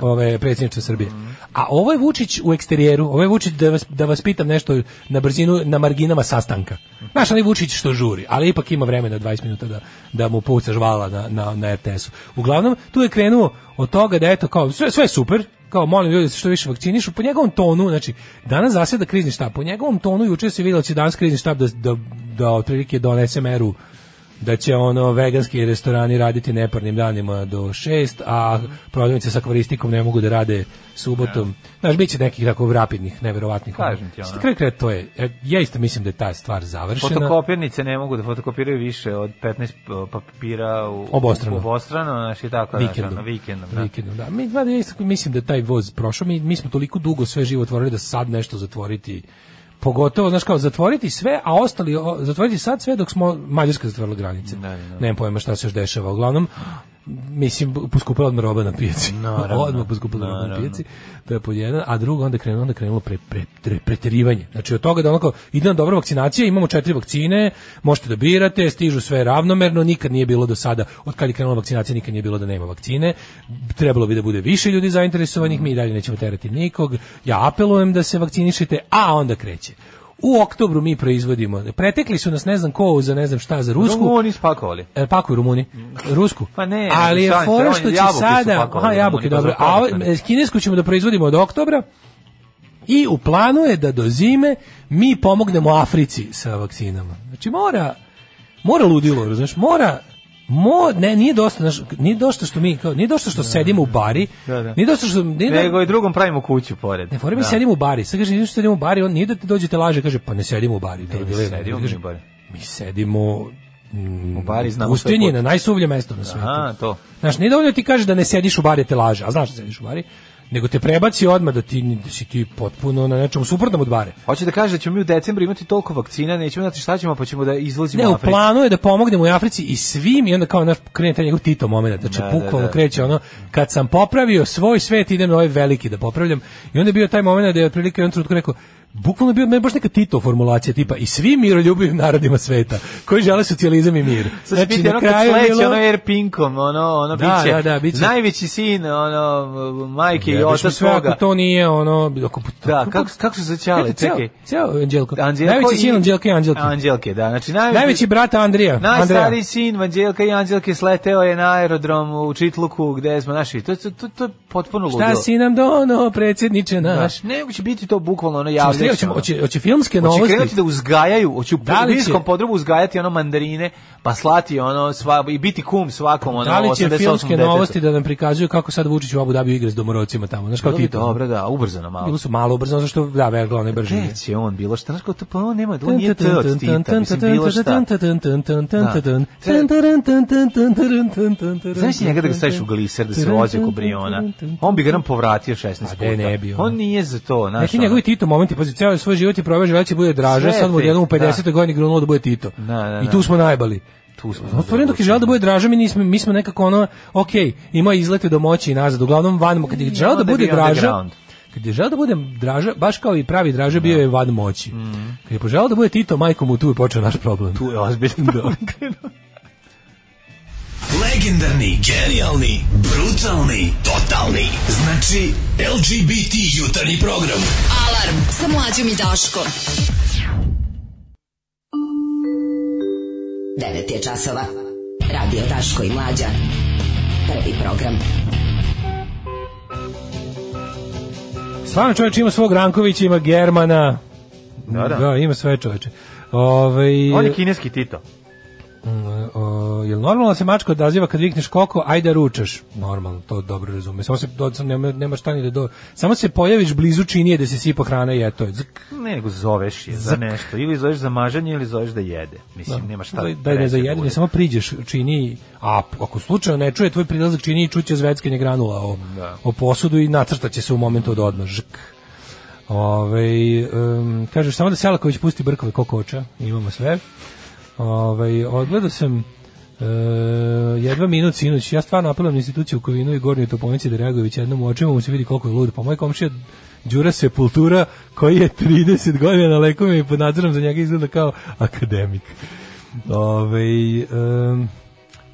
Speaker 7: ove predsjedniče Srbije. A ovo je Vučić u eksterijeru, ovo je Vučić da vas, da vas pitam nešto na brzinu na marginama sastanka. Znaš, onaj Vučić što žuri, ali ipak ima vremena 20 minuta da, da mu pucaš vala na, na, na RTS-u. Uglavnom, tu je krenuo od toga da eto kao sve, sve je super, kao molim ljudi da se što više vakcinišu po njegovom tonu, znači danas zaseda krizni štab, po njegovom tonu juče se vidjelo da će danas krizni štab da, da, da otprilike donese meru da će ono veganski restorani raditi neparnim danima do šest, a prodavnice sa akvaristikom ne mogu da rade subotom. Znaš, bit će nekih tako rapidnih, neverovatnih.
Speaker 6: Kažem ti, ono.
Speaker 7: Na kraju kraja to je. E, Ja isto mislim da je ta stvar završena.
Speaker 6: Fotokopirnice ne mogu da fotokopiraju više od 15 papira u,
Speaker 7: Obostrano.
Speaker 6: obostrano znaš, i tako, Znaš,
Speaker 7: vikendom.
Speaker 6: ono, vikendom, da.
Speaker 7: Vikendom, da. Mi, da, ja isto mislim da je taj voz prošao. Mi, mi smo toliko dugo sve živo otvorili da sad nešto zatvoriti pogotovo, znaš kao, zatvoriti sve, a ostali, o, zatvoriti sad sve dok smo Mađarska zatvorila granice.
Speaker 6: Da, da,
Speaker 7: Nemam pojma šta se još dešava. Uglavnom, mislim, poskupila odmah roba na pijaci.
Speaker 6: Naravno.
Speaker 7: odmah poskupila roba na
Speaker 6: Naravno.
Speaker 7: pijaci. To je pod jedan. A drugo, onda je krenulo, onda je krenulo pre, pre, pre, preterivanje. Znači, od toga da onako, ide na dobra vakcinacija, imamo četiri vakcine, možete da birate, stižu sve ravnomerno, nikad nije bilo do sada, od kad je krenula vakcinacija, nikad nije bilo da nema vakcine. Trebalo bi da bude više ljudi zainteresovanih, mi i dalje nećemo terati nikog. Ja apelujem da se vakcinišete, a onda kreće. U oktobru mi proizvodimo. Pretekli su nas ne znam ko za ne znam šta za Rusku.
Speaker 6: Rumuni spakovali.
Speaker 7: E, pakuju Rumuni. Rusku.
Speaker 6: Pa ne,
Speaker 7: Ali je
Speaker 6: šalim se,
Speaker 7: fora
Speaker 6: oni
Speaker 7: što će
Speaker 6: jabuke su
Speaker 7: sada...
Speaker 6: pakovali
Speaker 7: Aha, jabuke,
Speaker 6: Rumuni, pa
Speaker 7: dobro.
Speaker 6: zato
Speaker 7: A ovo-
Speaker 6: pakovali.
Speaker 7: e, kinesku ćemo da proizvodimo od oktobra i u planu je da do zime mi pomognemo Africi sa vakcinama. Znači mora, mora ludilo, razumiješ, mora Mo, ne, nije dosta, znaš, nije dosta što mi, kao, nije dosta što sedimo u bari,
Speaker 6: Da, da.
Speaker 7: nije dosta što, nije, da-
Speaker 6: Nego i drugom pravimo kuću pored.
Speaker 7: ne, fora mi sedimo u bari. Sad kaže, ništa sedimo u bari, on nije da te dođe te laže, kaže, pa ne sedimo u bari. to je bilo-
Speaker 6: sedimo mi
Speaker 7: kaže,
Speaker 6: u bari.
Speaker 7: Mi sedimo mm,
Speaker 6: U bari znamo što je
Speaker 7: pustinji,
Speaker 6: put.
Speaker 7: na najsuvlje mesto na svetu.
Speaker 6: Aha, to.
Speaker 7: Znaš, nije dovoljno ti kaže da ne sediš u bari, te laže, a znaš da sediš u bari. nego te prebaci odmah da ti da si ti potpuno na nečemu suprotnom od bare.
Speaker 6: Hoće da kaže da ćemo mi u decembru imati toliko vakcina, nećemo znati šta ćemo, pa ćemo da izlazimo
Speaker 7: Ne,
Speaker 6: u
Speaker 7: u
Speaker 6: Afriku.
Speaker 7: planu je da pomognemo u Africi i svim i onda kao naš krene taj njegov Tito moment, znači
Speaker 6: Da, da,
Speaker 7: bukvalno
Speaker 6: da.
Speaker 7: kreće ono kad sam popravio svoj svet idem na ovaj veliki da popravljam i onda je bio taj moment da je otprilike u jednom trenutku rekao bukvalno je bio meni baš neka Tito formulacija tipa i svim miroljubivim narodima sveta koji žele socijalizam i mir. Znači,
Speaker 6: Sad će biti ono kad
Speaker 7: da kraju je
Speaker 6: sleće,
Speaker 7: bilo-
Speaker 6: ono Airpinkom, ono, ono
Speaker 7: Da,
Speaker 6: biće,
Speaker 7: da, da, biće.
Speaker 6: najveći sin, ono, majke i
Speaker 7: Jebeš mi
Speaker 6: otac
Speaker 7: sve ako
Speaker 6: svoga.
Speaker 7: to nije ono ako,
Speaker 6: Da, kako, kako su se ćale, čekaj.
Speaker 7: Ceo Anđelko.
Speaker 6: Anđelko
Speaker 7: najveći
Speaker 6: i-
Speaker 7: sin Anđelke i Anđelke.
Speaker 6: Anđelke, da. Znači, najveći,
Speaker 7: Najveći brat Andrija.
Speaker 6: Najstariji sin Anđelka i Anđelke sleteo je na aerodrom u Čitluku gde smo naši. To, to, to, to je potpuno ludilo.
Speaker 7: Šta si nam dono, predsjedniče naš?
Speaker 6: Znaš, nego će biti to bukvalno Da. ono
Speaker 7: Hoćemo
Speaker 6: javljeće.
Speaker 7: stigati, Hoćemo, hoće, hoće filmske
Speaker 6: Hoće
Speaker 7: novosti.
Speaker 6: krenuti da uzgajaju, hoće u
Speaker 7: Da li će-
Speaker 6: podbinskom podrubu uzgajati ono mandarine, pa slati ono sva, i biti kum svakom ono
Speaker 7: Da li će
Speaker 6: 88
Speaker 7: filmske
Speaker 6: detetu.
Speaker 7: novosti da nam prikazuju kako sad Vučić u Abu Dhabiju igra s domorocima tamo? Znaš kao
Speaker 6: Bilo bi
Speaker 7: ti
Speaker 6: Dobro, da, ubrzano malo.
Speaker 7: Bilo su malo ubrzano, zašto da, vergla one brže.
Speaker 6: Kreće on bilo šta, znaš kao to, pa on nema, on nije te od Tita, mislim bilo šta. Da. Znaš ti njega da ga staviš u gliser, da se voze ko Briona? On bi ga nam povratio 16
Speaker 7: A
Speaker 6: puta.
Speaker 7: de, ne bi, ono.
Speaker 6: On nije za to, znaš.
Speaker 7: Neki
Speaker 6: ono.
Speaker 7: njegovi Tito momenti, pazi, ceo svoj život je probao želeći da bude draže,
Speaker 6: Sve
Speaker 7: sad mu
Speaker 6: ti,
Speaker 7: jednom u
Speaker 6: da.
Speaker 7: 50. godini grunulo da bude Tito.
Speaker 6: da,
Speaker 7: I
Speaker 6: da.
Speaker 7: tu smo najbali.
Speaker 6: Tu smo.
Speaker 7: Otvoreno dok je želeo da bude draže, mi, nismo, mi smo nekako ono, ok, imao je izlete do moći i nazad, uglavnom van, kad je želeo da
Speaker 6: Mm, onda je
Speaker 7: bude
Speaker 6: bio
Speaker 7: draža,
Speaker 6: underground. Da.
Speaker 7: kad je želeo da bude draža, baš kao i pravi draže, bio je van moći. Kad je poželeo da bude Tito, majkom mu tu je počeo naš problem.
Speaker 6: Mm.
Speaker 7: Da.
Speaker 6: Tu je ozbiljno dobro.
Speaker 10: Legendarni, genijalni, brutalni, totalni. Znači LGBT jutarnji program.
Speaker 9: Alarm sa mlađom i Daškom. 9 je časova. Radio Daško i Mlađa. Prvi program.
Speaker 7: Stvarno čovječ ima svog Rankovića, ima Germana,
Speaker 6: Da, da.
Speaker 7: ima sve čovječe. Ovaj
Speaker 6: On je kineski Tito.
Speaker 7: O, jel normalno da se mačka odaziva kad vikneš koko, ajde da ručaš? Normalno, to dobro razume. Samo se do, sam- nema, nema šta ni da do. Samo se pojaviš blizu činije da se sipa hrana i eto je. Zk,
Speaker 6: Ne, nego zoveš je za nešto. Ili zoveš za mažanje, ili zoveš da jede. Mislim, nema šta
Speaker 7: da, da je ne
Speaker 6: treće
Speaker 7: zajedeni,
Speaker 6: bude.
Speaker 7: samo priđeš čini, a ako slučajno ne čuje tvoj prilazak čini i čuće zveckanje granula o, o posudu i nacrtaće se u momentu od odmah. Žk. Ovaj, em, kažeš samo da Selaković pusti brkove ko koča, imamo sve. Ovaj odgledao sam e, jedva minut sinoć. Ja stvarno apelujem na instituciju Kovinu i Gornjoj Toponici da reaguju već jednom u očima, mu se vidi koliko je lud. Pa moj komšija Đura Sepultura, koji je 30 godina na lekovima i pod nadzorom za njega izgleda kao akademik. Ove,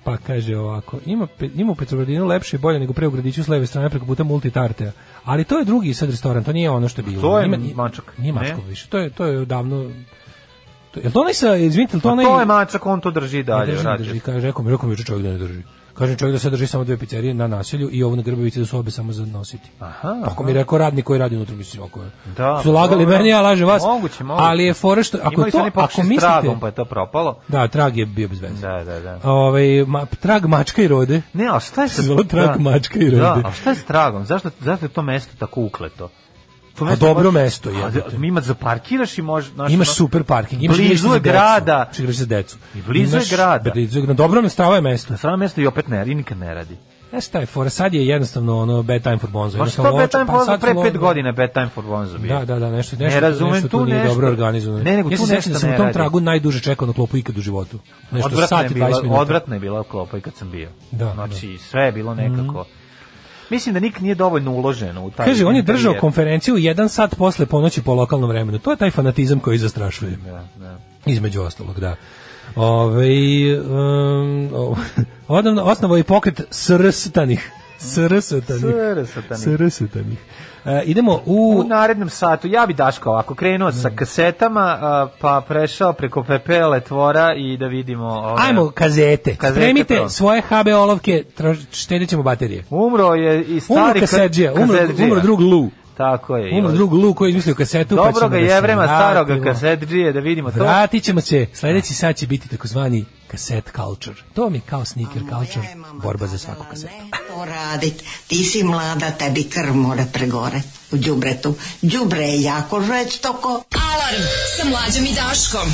Speaker 7: pa kaže ovako, ima, pe- ima u Petrogradinu lepše i bolje nego pre u gradiću s leve strane preko puta Multitartea, ali to je drugi sad restoran, to nije ono što je bilo.
Speaker 6: To je
Speaker 7: Ima-
Speaker 6: Mačak.
Speaker 7: Nije
Speaker 6: Ne?
Speaker 7: mačkov više, to je, to je davno... To, je to onaj sa, izvinite, jel to
Speaker 6: Pa
Speaker 7: onaj...
Speaker 6: to je mačak, on to drži
Speaker 7: Ne
Speaker 6: dalje.
Speaker 7: drži, ne
Speaker 6: vrati.
Speaker 7: drži, kaže, rekao mi, rekao mi juče čovjek da ne drži. Kaže čovjek da se drži samo dve pizzerije na naselju i ovo na Grbavici da su obe samo za nositi.
Speaker 6: Aha.
Speaker 7: Tako mi je rekao radnik koji radi unutra, mislim, ako je.
Speaker 6: Da,
Speaker 7: su lagali
Speaker 6: dobro.
Speaker 7: meni, ja lažem vas.
Speaker 6: Moguće, moguće.
Speaker 7: Ali je fora što, ako
Speaker 6: Imali su
Speaker 7: to,
Speaker 6: oni pokušaj
Speaker 7: ako
Speaker 6: s
Speaker 7: mislite...
Speaker 6: tragom, pa je to propalo.
Speaker 7: Da, trag je bio bez veze.
Speaker 6: Da, da, da.
Speaker 7: Ovaj, ma, trag mačka i rode.
Speaker 6: Ne, a šta je
Speaker 7: [laughs] Se zvala trag mačka i
Speaker 6: Da,
Speaker 7: rode.
Speaker 6: a šta je s tragom? Zašto, zašto je to mesto tako ukleto? To
Speaker 7: A Pa dobro mesto
Speaker 6: A,
Speaker 7: je.
Speaker 6: da, Ima zaparkiraš i možeš... znaš, ono-
Speaker 7: Imaš super parking, imaš
Speaker 6: Blizu
Speaker 7: igralište
Speaker 6: je
Speaker 7: za decu,
Speaker 6: grada.
Speaker 7: imaš igralište za decu.
Speaker 6: I blizu je
Speaker 7: Imaš-
Speaker 6: grada.
Speaker 7: Blizu je- na dobrom strava je mesto.
Speaker 6: Na samo mesto i opet ne, i nikad ne radi.
Speaker 7: Znaš šta je fora, sad je jednostavno ono bad time for bonzo.
Speaker 6: Ma
Speaker 7: Jednostavno
Speaker 6: što bad
Speaker 7: loča-
Speaker 6: time
Speaker 7: pa
Speaker 6: for
Speaker 7: sad
Speaker 6: bonzo, pre
Speaker 7: su
Speaker 6: pet
Speaker 7: lo-
Speaker 6: godina je bad time for bonzo bio.
Speaker 7: Da, da, da, nešto, nešto,
Speaker 6: razumem
Speaker 7: nešto tu
Speaker 6: tu
Speaker 7: nije
Speaker 6: nešto.
Speaker 7: dobro organizovano.
Speaker 6: Ne, nego
Speaker 7: ja se
Speaker 6: tu nešto
Speaker 7: sećam da sam
Speaker 6: ne
Speaker 7: na tom
Speaker 6: radi.
Speaker 7: tragu najduže čekao na klopu ikad u životu. Nešto
Speaker 6: odvratna
Speaker 7: sat
Speaker 6: je
Speaker 7: i
Speaker 6: bila,
Speaker 7: 20 minuta.
Speaker 6: Odvratna je bila klopa i kad sam bio.
Speaker 7: Da, Mhm.
Speaker 6: znači, sve je bilo nekako... Mislim da nik nije dovoljno uložen u taj...
Speaker 7: Kaže, on je držao
Speaker 6: interijer.
Speaker 7: konferenciju jedan sat posle ponoći po lokalnom vremenu. To je taj fanatizam koji zastrašuje.
Speaker 6: Da,
Speaker 7: Između ostalog, da. Ove, um, o- [laughs] odavno osnovo je pokret srstanih. Srstanih.
Speaker 6: Srstanih.
Speaker 7: Srstanih. E, idemo u...
Speaker 6: U narednom satu, ja bi Daško ovako krenuo sa kasetama, a, pa prešao preko pepele tvora i da vidimo... Ove,
Speaker 7: Ajmo, kazete.
Speaker 6: Kazete,
Speaker 7: Spremite
Speaker 6: prvo.
Speaker 7: svoje HB olovke, traž- štedit ćemo baterije.
Speaker 6: Umro je i
Speaker 7: Umro
Speaker 6: stari...
Speaker 7: kasedžija, umro,
Speaker 6: kasedžija.
Speaker 7: umro drug Lu.
Speaker 6: Tako je.
Speaker 7: Umro
Speaker 6: i-
Speaker 7: drug Lu koji je izmislio kasetu. pa
Speaker 6: Dobro
Speaker 7: ćemo
Speaker 6: ga
Speaker 7: da se
Speaker 6: jevrema, staroga
Speaker 7: vratimo.
Speaker 6: kasedžije, da vidimo to.
Speaker 7: Vratit ćemo se, sledeći sad će biti takozvani kaset culture. To mi je kao sneaker culture, borba za svaku kasetu.
Speaker 11: da, Ne to radit, ti si mlada, tebi krv mora pregore u džubretu. Džubre je jako žveć toko.
Speaker 9: Alarm sa mlađom i Daškom.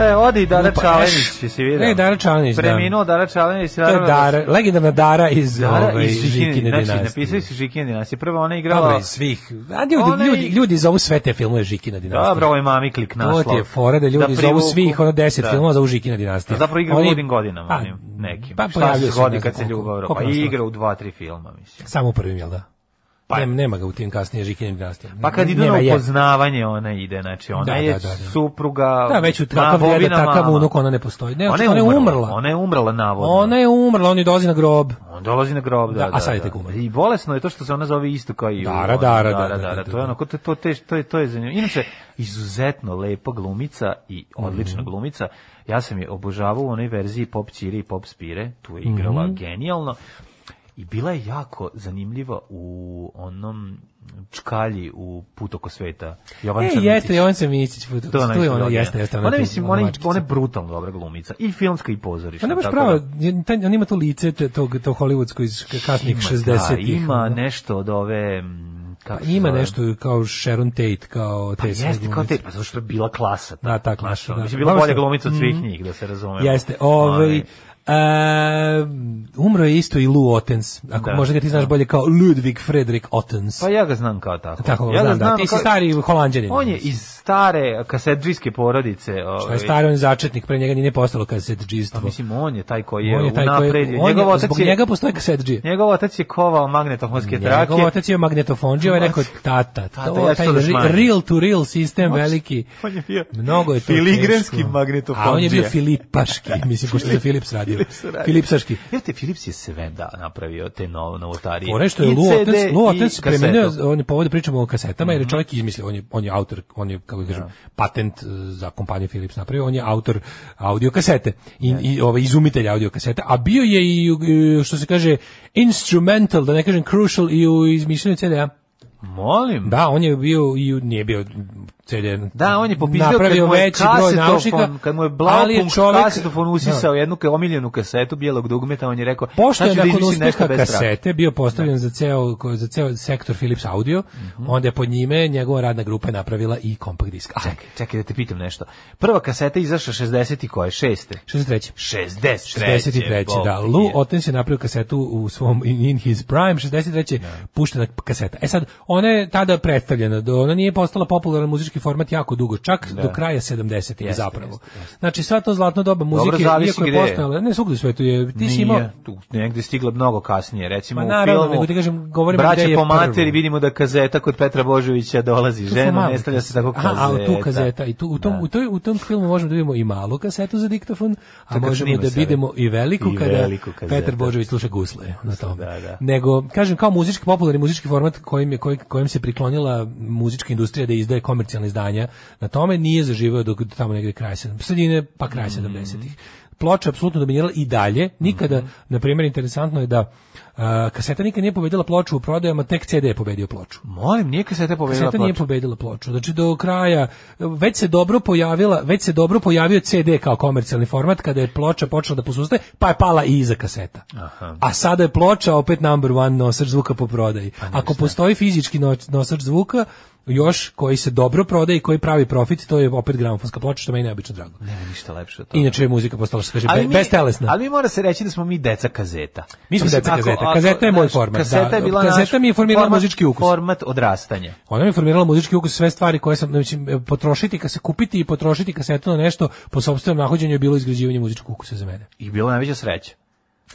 Speaker 6: E, odi Dara
Speaker 7: Lupa,
Speaker 6: Čalenić,
Speaker 7: Pa, eš.
Speaker 6: jesi vidio?
Speaker 7: E, Dara Čalenić, da.
Speaker 6: Preminuo Dara Čalenić. da
Speaker 7: To je Dara, legendarna Dara iz,
Speaker 6: Dara
Speaker 7: ovaj,
Speaker 6: iz Žikine,
Speaker 7: Žikine
Speaker 6: znači,
Speaker 7: dinastije.
Speaker 6: napisali su Žikine dinastije. Prvo ona je
Speaker 7: Dobro,
Speaker 6: igrala...
Speaker 7: iz svih. A ljudi,
Speaker 6: Ona je-
Speaker 7: ljudi, ljudi zovu sve te filmove Žikina dinastija.
Speaker 6: Dobro, ovo je mami klik naslov.
Speaker 7: To ti je fora da ljudi zovu
Speaker 6: privuku- Da.
Speaker 7: svih, ono deset filmova zovu Žikina dinastija.
Speaker 6: Zapravo igra u
Speaker 7: Oni-
Speaker 6: ludim godinama
Speaker 7: A,
Speaker 6: onim nekim.
Speaker 7: Pa
Speaker 6: Šta
Speaker 7: pojavljuje
Speaker 6: se
Speaker 7: se, ne
Speaker 6: godi
Speaker 7: znam
Speaker 6: kad se
Speaker 7: koliko-
Speaker 6: ljubav roba?
Speaker 7: koliko
Speaker 6: I
Speaker 7: naslova.
Speaker 6: igra u dva, tri filma, mislim.
Speaker 7: Samo u prvim, jel da?
Speaker 6: Pa-
Speaker 7: Pa, nema, nema ga u tim kasnije Žikine dinastije.
Speaker 6: Pa kad idu
Speaker 7: Nema
Speaker 6: na
Speaker 7: je.
Speaker 6: upoznavanje, ona ide, znači ona
Speaker 7: Da,
Speaker 6: je
Speaker 7: da, da, da.
Speaker 6: supruga...
Speaker 7: Da, već u
Speaker 6: ma,
Speaker 7: takav deda,
Speaker 6: Bobina
Speaker 7: takav
Speaker 6: mama.
Speaker 7: unuk, ona ne postoji. Ne,
Speaker 6: Ona
Speaker 7: ona
Speaker 6: je
Speaker 7: je umrla.
Speaker 6: Ona je umrla, navodno.
Speaker 7: Ona je umrla, on je dolazi na grob.
Speaker 6: On dolazi na grob, da,
Speaker 7: Da,
Speaker 6: da.
Speaker 7: a sad je tek
Speaker 6: da.
Speaker 7: umro.
Speaker 6: I bolesno je to što se ona zove isto kao i...
Speaker 7: Dara,
Speaker 6: on.
Speaker 7: Dara,
Speaker 6: Dara,
Speaker 7: da, da, da,
Speaker 6: To je ono, ko to, to, te, to, je, to je zanimljivo. Inače, izuzetno lepa glumica i odlična
Speaker 7: Mhm.
Speaker 6: glumica. Ja sam je obožavao u onoj verziji Pop Čire i Pop Spire. Tu je igrala
Speaker 7: Mhm.
Speaker 6: genijalno. I bila je jako zanimljiva u onom čkalji u Put oko sveta. Jovan
Speaker 7: E,
Speaker 6: Črnicić.
Speaker 7: jeste, Jovan Samicić. Tu
Speaker 6: To je
Speaker 7: tu je ona,
Speaker 6: najbolja.
Speaker 7: jeste, jeste.
Speaker 6: Ona,
Speaker 7: tu-
Speaker 6: mislim, ona, je-
Speaker 7: mačkica.
Speaker 6: ona je brutalno dobra glumica. I filmska i pozorišna.
Speaker 7: Ona baš
Speaker 6: tako
Speaker 7: prava,
Speaker 6: da-
Speaker 7: je- taj- on ima to lice te- tog to hollywoodsko iz k- kasnih
Speaker 6: Ima,
Speaker 7: 60-ih.
Speaker 6: Da, ima
Speaker 7: ono.
Speaker 6: nešto od ove... mm,
Speaker 7: Pa
Speaker 6: Kako se
Speaker 7: ima
Speaker 6: zove?
Speaker 7: nešto kao Sharon Tate, kao te
Speaker 6: Pa jeste, kao
Speaker 7: glumice.
Speaker 6: te, pa zato što je bila klasa. ta.
Speaker 7: Da, ta klasa,
Speaker 6: Znaš, ono,
Speaker 7: da.
Speaker 6: Mislim, bila
Speaker 7: Dobro
Speaker 6: bolja
Speaker 7: ste-
Speaker 6: glumica od svih
Speaker 7: Mhm.
Speaker 6: njih, da se razumemo.
Speaker 7: Jeste, ovaj e, umro je isto i Lou Ottens. Ako
Speaker 6: Da,
Speaker 7: možda ga ti znaš
Speaker 6: da.
Speaker 7: bolje kao Ludwig Fredrik Ottens.
Speaker 6: Pa ja ga znam kao tako.
Speaker 7: Tako,
Speaker 6: ja
Speaker 7: znam, da. Ti si
Speaker 6: kao-
Speaker 7: stari holanđanin.
Speaker 6: On je iz stare kasedžijske porodice.
Speaker 7: Šta Pa je
Speaker 6: ovaj,
Speaker 7: stari, on je začetnik, pre njega nije ni postalo kasetđistvo.
Speaker 6: Pa mislim, on je taj koji je,
Speaker 7: On je taj koji
Speaker 6: unapredio.
Speaker 7: je, on
Speaker 6: njegov
Speaker 7: je,
Speaker 6: otac
Speaker 7: zbog
Speaker 6: je,
Speaker 7: njega postoje kasetđije.
Speaker 6: njegov otac je kovao magnetofonske trake.
Speaker 7: Njegov otac je magnetofonđija, ovaj rekao tata,
Speaker 6: Tata,
Speaker 7: to,
Speaker 6: ja ću
Speaker 7: taj
Speaker 6: to da
Speaker 7: re-
Speaker 6: smanjim.
Speaker 7: real to real sistem veliki.
Speaker 6: [laughs] On je bio
Speaker 7: Mnogo je to
Speaker 6: filigranski
Speaker 7: teško.
Speaker 6: magnetofondžija.
Speaker 7: A on je bio
Speaker 6: [laughs]
Speaker 7: filipaški, mislim, pošto je Filips radio. Filipsaški.
Speaker 6: Jer te Philips je sve da napravio te novo novotarije.
Speaker 7: Fore što je
Speaker 6: I
Speaker 7: Lu
Speaker 6: CD
Speaker 7: Otac, Lu
Speaker 6: i Mhm.
Speaker 7: Otac
Speaker 6: kasetu.
Speaker 7: premenio, on je povode pričamo o kasetama, jer je čovjek izmislio, on je, on je autor, on je, kako
Speaker 6: Da.
Speaker 7: kažem, patent eh, za kompaniju Philips napravio, on je autor audio kasete, i, i ovaj, izumitelj audio kasete, a bio je i, eh, što se kaže, instrumental, da ne kažem crucial, i u izmišljenju CD-a.
Speaker 6: Molim.
Speaker 7: Da, on je bio i u- nije bio CD.
Speaker 6: Da, on je popisao
Speaker 7: napravio
Speaker 6: kad mu je
Speaker 7: veći broj
Speaker 6: kasetofon-
Speaker 7: naučnika,
Speaker 6: kad mu je
Speaker 7: ali je
Speaker 6: Blaupunk
Speaker 7: čovjek- Da.
Speaker 6: kasetofon usisao jednu ka- omiljenu kasetu bijelog dugmeta, on je rekao,
Speaker 7: Pošto
Speaker 6: sad
Speaker 7: je
Speaker 6: ću da
Speaker 7: nakon
Speaker 6: izmislim nešto
Speaker 7: uspeha
Speaker 6: bez Da. strana.
Speaker 7: kasete bio postavljen za ceo, ko- za ceo sektor Philips Audio,
Speaker 6: Mhm.
Speaker 7: onda je pod njime njegova radna grupa je napravila i kompakt disk. A,
Speaker 6: Čekaj, čekaj da te pitam nešto. Prva kaseta je izašla 60 i koje? Šeste?
Speaker 7: 63.
Speaker 6: 63.
Speaker 7: 63. Da,
Speaker 6: Bog
Speaker 7: Lou
Speaker 6: je.
Speaker 7: Ottens je napravio kasetu u svom In, in His Prime, 63.
Speaker 6: Da.
Speaker 7: puštena kaseta. E sad, ona je tada predstavljena, do, ona nije postala popularan muzički format jako dugo, čak do kraja 70. ih
Speaker 6: Da. Jeste,
Speaker 7: zapravo.
Speaker 6: jeste,
Speaker 7: Znači, sva to zlatno doba muzike,
Speaker 6: zavisi
Speaker 7: iako je
Speaker 6: gde je.
Speaker 7: postojala, ne svugde u svetu je, ti si imao,
Speaker 6: Nije, tu negde je stigla mnogo kasnije, recimo
Speaker 7: Ma
Speaker 6: u
Speaker 7: naravno,
Speaker 6: filmu.
Speaker 7: nego ti kažem, govorim
Speaker 6: braće
Speaker 7: gde je
Speaker 6: po
Speaker 7: prvo.
Speaker 6: materi vidimo da kazeta kod Petra Božovića dolazi
Speaker 7: Tu smo
Speaker 6: žena,
Speaker 7: malu
Speaker 6: ne stavlja se tako
Speaker 7: Aha,
Speaker 6: kazeta.
Speaker 7: a tu kazeta. I tu, u, tom,
Speaker 6: Da.
Speaker 7: u, toj, u tom filmu možemo da vidimo i malu kasetu za diktofon, a
Speaker 6: kad
Speaker 7: možemo
Speaker 6: snima
Speaker 7: da
Speaker 6: sebe.
Speaker 7: vidimo i veliku
Speaker 6: I
Speaker 7: kada
Speaker 6: veliku kazetu.
Speaker 7: Petar Božović sluša gusle na tome.
Speaker 6: Da, da.
Speaker 7: Nego, kažem, kao muzički, popularni muzički format kojim, je, koj, kojim se priklonila muzička industrija da izdaje komercijalne izdanja na tome, nije zaživeo dok do tamo negde kraja 70-ih, sredine pa
Speaker 6: Mhm.
Speaker 7: kraja 70-ih. Ploča je apsolutno dominirala i dalje.
Speaker 6: Mhm.
Speaker 7: Nikada, na primjer, interesantno je da a, kaseta nikad nije pobedila ploču u prodajama, tek CD je pobedio ploču.
Speaker 6: Molim, nije kaseta pobedila
Speaker 7: Kaseta nije
Speaker 6: ploču.
Speaker 7: pobedila ploču. Znači do kraja već se dobro pojavila, već se dobro pojavio CD kao komercijalni format kada je ploča počela da posustaje, pa je pala i iza kaseta. A sada je ploča opet number one nosač zvuka po prodaji.
Speaker 6: Pa
Speaker 7: Ako postoji fizički noć- nosač zvuka, još koji se dobro prodaje i koji pravi profit, to je opet gramofonska ploča, što meni je neobično drago.
Speaker 6: Nema ništa lepše od toga.
Speaker 7: Inače je muzika postala, što se kaže, be, bestelesna.
Speaker 6: Ali mi mora se reći da smo mi deca kazeta.
Speaker 7: Mi smo
Speaker 6: Mislim,
Speaker 7: deca
Speaker 6: ako-
Speaker 7: kazeta.
Speaker 6: ako-
Speaker 7: Kazeta je moj
Speaker 6: znaš,
Speaker 7: format,
Speaker 6: Kaseta
Speaker 7: da.
Speaker 6: je bila
Speaker 7: Kazeta
Speaker 6: naš
Speaker 7: mi je formirala
Speaker 6: format-
Speaker 7: muzički ukus.
Speaker 6: Format odrastanja.
Speaker 7: Ona mi je formirala muzički ukus sve stvari koje sam znači potrošiti kad se kupiti i potrošiti kasetu na nešto po sopstvenom nahođenju je bilo izgrađivanje muzičkog ukusa za mene.
Speaker 6: I bila je najveća sreća.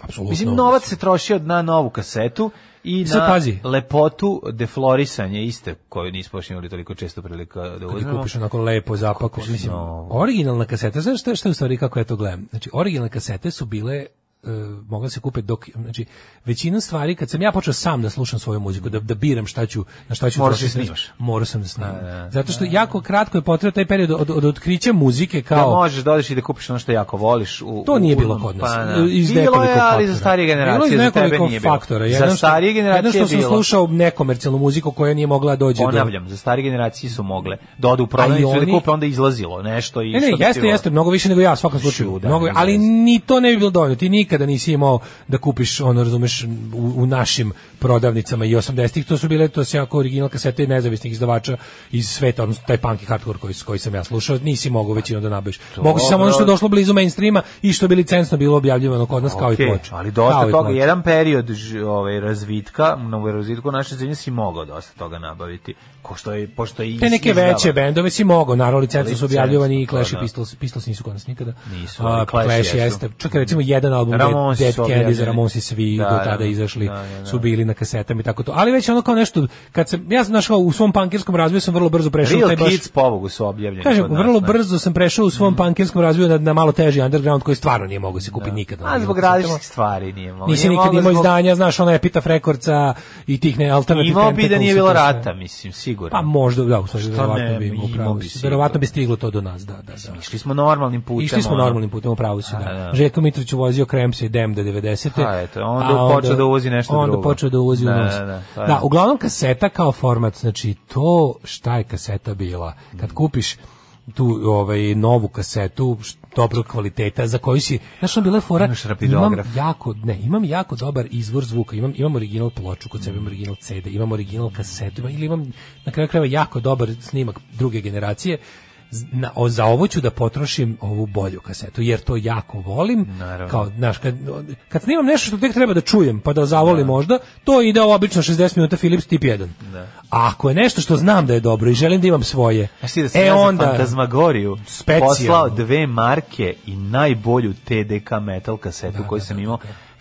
Speaker 7: Apsolutno.
Speaker 6: Mislim, novac se trošio na novu kasetu i
Speaker 7: Sad
Speaker 6: na
Speaker 7: pazi.
Speaker 6: lepotu deflorisanja iste, koju nismo još imali toliko često prilika da
Speaker 7: Kad je
Speaker 6: uzmemo.
Speaker 7: kupiš onako lepo zapako, mislim,
Speaker 6: novu.
Speaker 7: originalna kaseta, znaš šta, šta je u stvari kako ja to gledam? Znači, originalne kasete su bile e, mogle se kupe dok, znači, većina stvari, kad sam ja počeo sam da slušam svoju muziku, da, da biram šta ću, na šta ću
Speaker 6: Moraš da
Speaker 7: trošiti,
Speaker 6: snimaš.
Speaker 7: morao sam da snimam. Zato što jako kratko je potrebno taj period od, od otkrića muzike
Speaker 6: Da
Speaker 7: kao...
Speaker 6: možeš da odeš i da kupiš ono što jako voliš. U,
Speaker 7: To nije
Speaker 6: u-
Speaker 7: bilo kod nas.
Speaker 6: Pa, da.
Speaker 7: Iz
Speaker 6: bilo
Speaker 7: nekoliko
Speaker 6: je,
Speaker 7: faktora.
Speaker 6: ali za starije
Speaker 7: Bilo je
Speaker 6: generacije,
Speaker 7: iz
Speaker 6: za tebe
Speaker 7: nekoliko
Speaker 6: nije bilo.
Speaker 7: faktora.
Speaker 6: Za starije
Speaker 7: Jedno
Speaker 6: generacije
Speaker 7: što
Speaker 6: je
Speaker 7: sam
Speaker 6: bilo.
Speaker 7: slušao nekomercijalnu muziku koja nije mogla doći do...
Speaker 6: Ponavljam, za starije generacije su mogle da odu u prodavnicu
Speaker 7: A i
Speaker 6: i da
Speaker 7: oni-
Speaker 6: kupe, onda je izlazilo nešto i
Speaker 7: Ne, ne,
Speaker 6: što bi ti
Speaker 7: jeste,
Speaker 6: volao.
Speaker 7: jeste, mnogo više nego ja, u svakom slučaju.
Speaker 6: Čudan,
Speaker 7: mnogo,
Speaker 6: ne
Speaker 7: ali
Speaker 6: znam.
Speaker 7: ni to ne bi bilo dovoljno. Ti nikad nikada nisi imao da kupiš, ono, razumeš, u, u našim prodavnicama i 80-ih, to su bile, to se jako original kasete nezavisnih izdavača iz sveta, odnosno taj punk i hardcore koji, koji sam ja slušao, nisi mogao većinu da nabaviš. Mogu si samo ono što je došlo blizu mainstreama i što bi licencno bilo objavljivano kod nas kao i
Speaker 6: Okej,
Speaker 7: ploča.
Speaker 6: ali dosta
Speaker 7: Kao i
Speaker 6: toga,
Speaker 7: ploča.
Speaker 6: jedan period ž- ovaj, razvitka, na razvitku naše zemlje si mogao dosta toga nabaviti, ko što je, pošto je
Speaker 7: te neke
Speaker 6: izdava.
Speaker 7: veće bendove si mogao, naravno licencu su
Speaker 6: Licencu,
Speaker 7: objavljivani i
Speaker 6: pa
Speaker 7: Clash i
Speaker 6: da.
Speaker 7: Pistols, Pistols nisu kod nas nikada.
Speaker 6: Nisu,
Speaker 7: A, pa
Speaker 6: ali Clash
Speaker 7: Clash
Speaker 6: jesu.
Speaker 7: jeste. Čak recimo jedan album Ramonsi
Speaker 6: Ramonsi
Speaker 7: Dead
Speaker 6: su
Speaker 7: Candy za
Speaker 6: objavljeni.
Speaker 7: Ramonsi svi
Speaker 6: Da,
Speaker 7: do
Speaker 6: da,
Speaker 7: tada
Speaker 6: da.
Speaker 7: izašli,
Speaker 6: Da, da, da.
Speaker 7: su bili na kasetama i tako to. Ali već ono kao nešto, kad sam, ja sam našao u svom pankirskom razvoju sam vrlo brzo prešao u taj
Speaker 6: Real
Speaker 7: baš...
Speaker 6: Kids pobogu su objavljeni
Speaker 7: Kažem,
Speaker 6: kod nas, da. Mm.
Speaker 7: vrlo
Speaker 6: ne?
Speaker 7: brzo sam prešao u svom pankirskom razvoju na, na malo teži underground koji stvarno nije mogao se kupiti nikada.
Speaker 6: Da. A zbog različitih stvari nije mogao. Nije
Speaker 7: Nisi nikad
Speaker 6: mogao
Speaker 7: imao
Speaker 6: zbog-
Speaker 7: izdanja, znaš, ona Epitaph Rekordca i tih ne alternative
Speaker 6: Imao bi da nije
Speaker 7: Tentacles i
Speaker 6: bilo
Speaker 7: to sve.
Speaker 6: rata, mislim, sigurno.
Speaker 7: Pa možda, da, u stvari,
Speaker 6: Šta
Speaker 7: verovatno
Speaker 6: ne,
Speaker 7: bi imao
Speaker 6: imao
Speaker 7: pravo.
Speaker 6: bi sigurno.
Speaker 7: Verovatno bi stiglo to do nas, da, da, da.
Speaker 6: Išli smo normalnim putem.
Speaker 7: Išli smo
Speaker 6: ono.
Speaker 7: normalnim putem, u pravu si, da.
Speaker 6: A, da.
Speaker 7: Željko Mitrović je vozio Kremse i Dem do 90.
Speaker 6: A, eto, onda počeo da uvozi nešto
Speaker 7: onda
Speaker 6: drugo.
Speaker 7: Onda počeo da uvozi u
Speaker 6: Da,
Speaker 7: nos.
Speaker 6: da, da,
Speaker 7: da,
Speaker 6: pa da.
Speaker 7: uglavnom kaseta kao format, znači to šta je kaseta bila. Kad kupiš tu ovaj novu kasetu š- dobrog kvaliteta za koju si znaš ona bila je fora
Speaker 6: Imaš
Speaker 7: imam
Speaker 6: rapidograf.
Speaker 7: jako ne imam jako dobar izvor zvuka imam imam original ploču kod sebe imam original CD imam original kasetu imam, ili imam na kraju krajeva jako dobar snimak druge generacije Z- na, o, za ovo ću da potrošim ovu bolju kasetu jer to jako volim
Speaker 6: Naravno.
Speaker 7: kao znaš kad, kad snimam nešto što tek treba da čujem pa da zavolim možda to ide obično 60 minuta Philips tip 1
Speaker 6: Da.
Speaker 7: a ako je nešto što znam da je dobro i želim da imam svoje
Speaker 6: Znaš ti da sam ja za Fantazmagoriju
Speaker 7: E, Specijalno.
Speaker 6: poslao dve marke i najbolju TDK metal kasetu
Speaker 7: Da,
Speaker 6: koju sam imao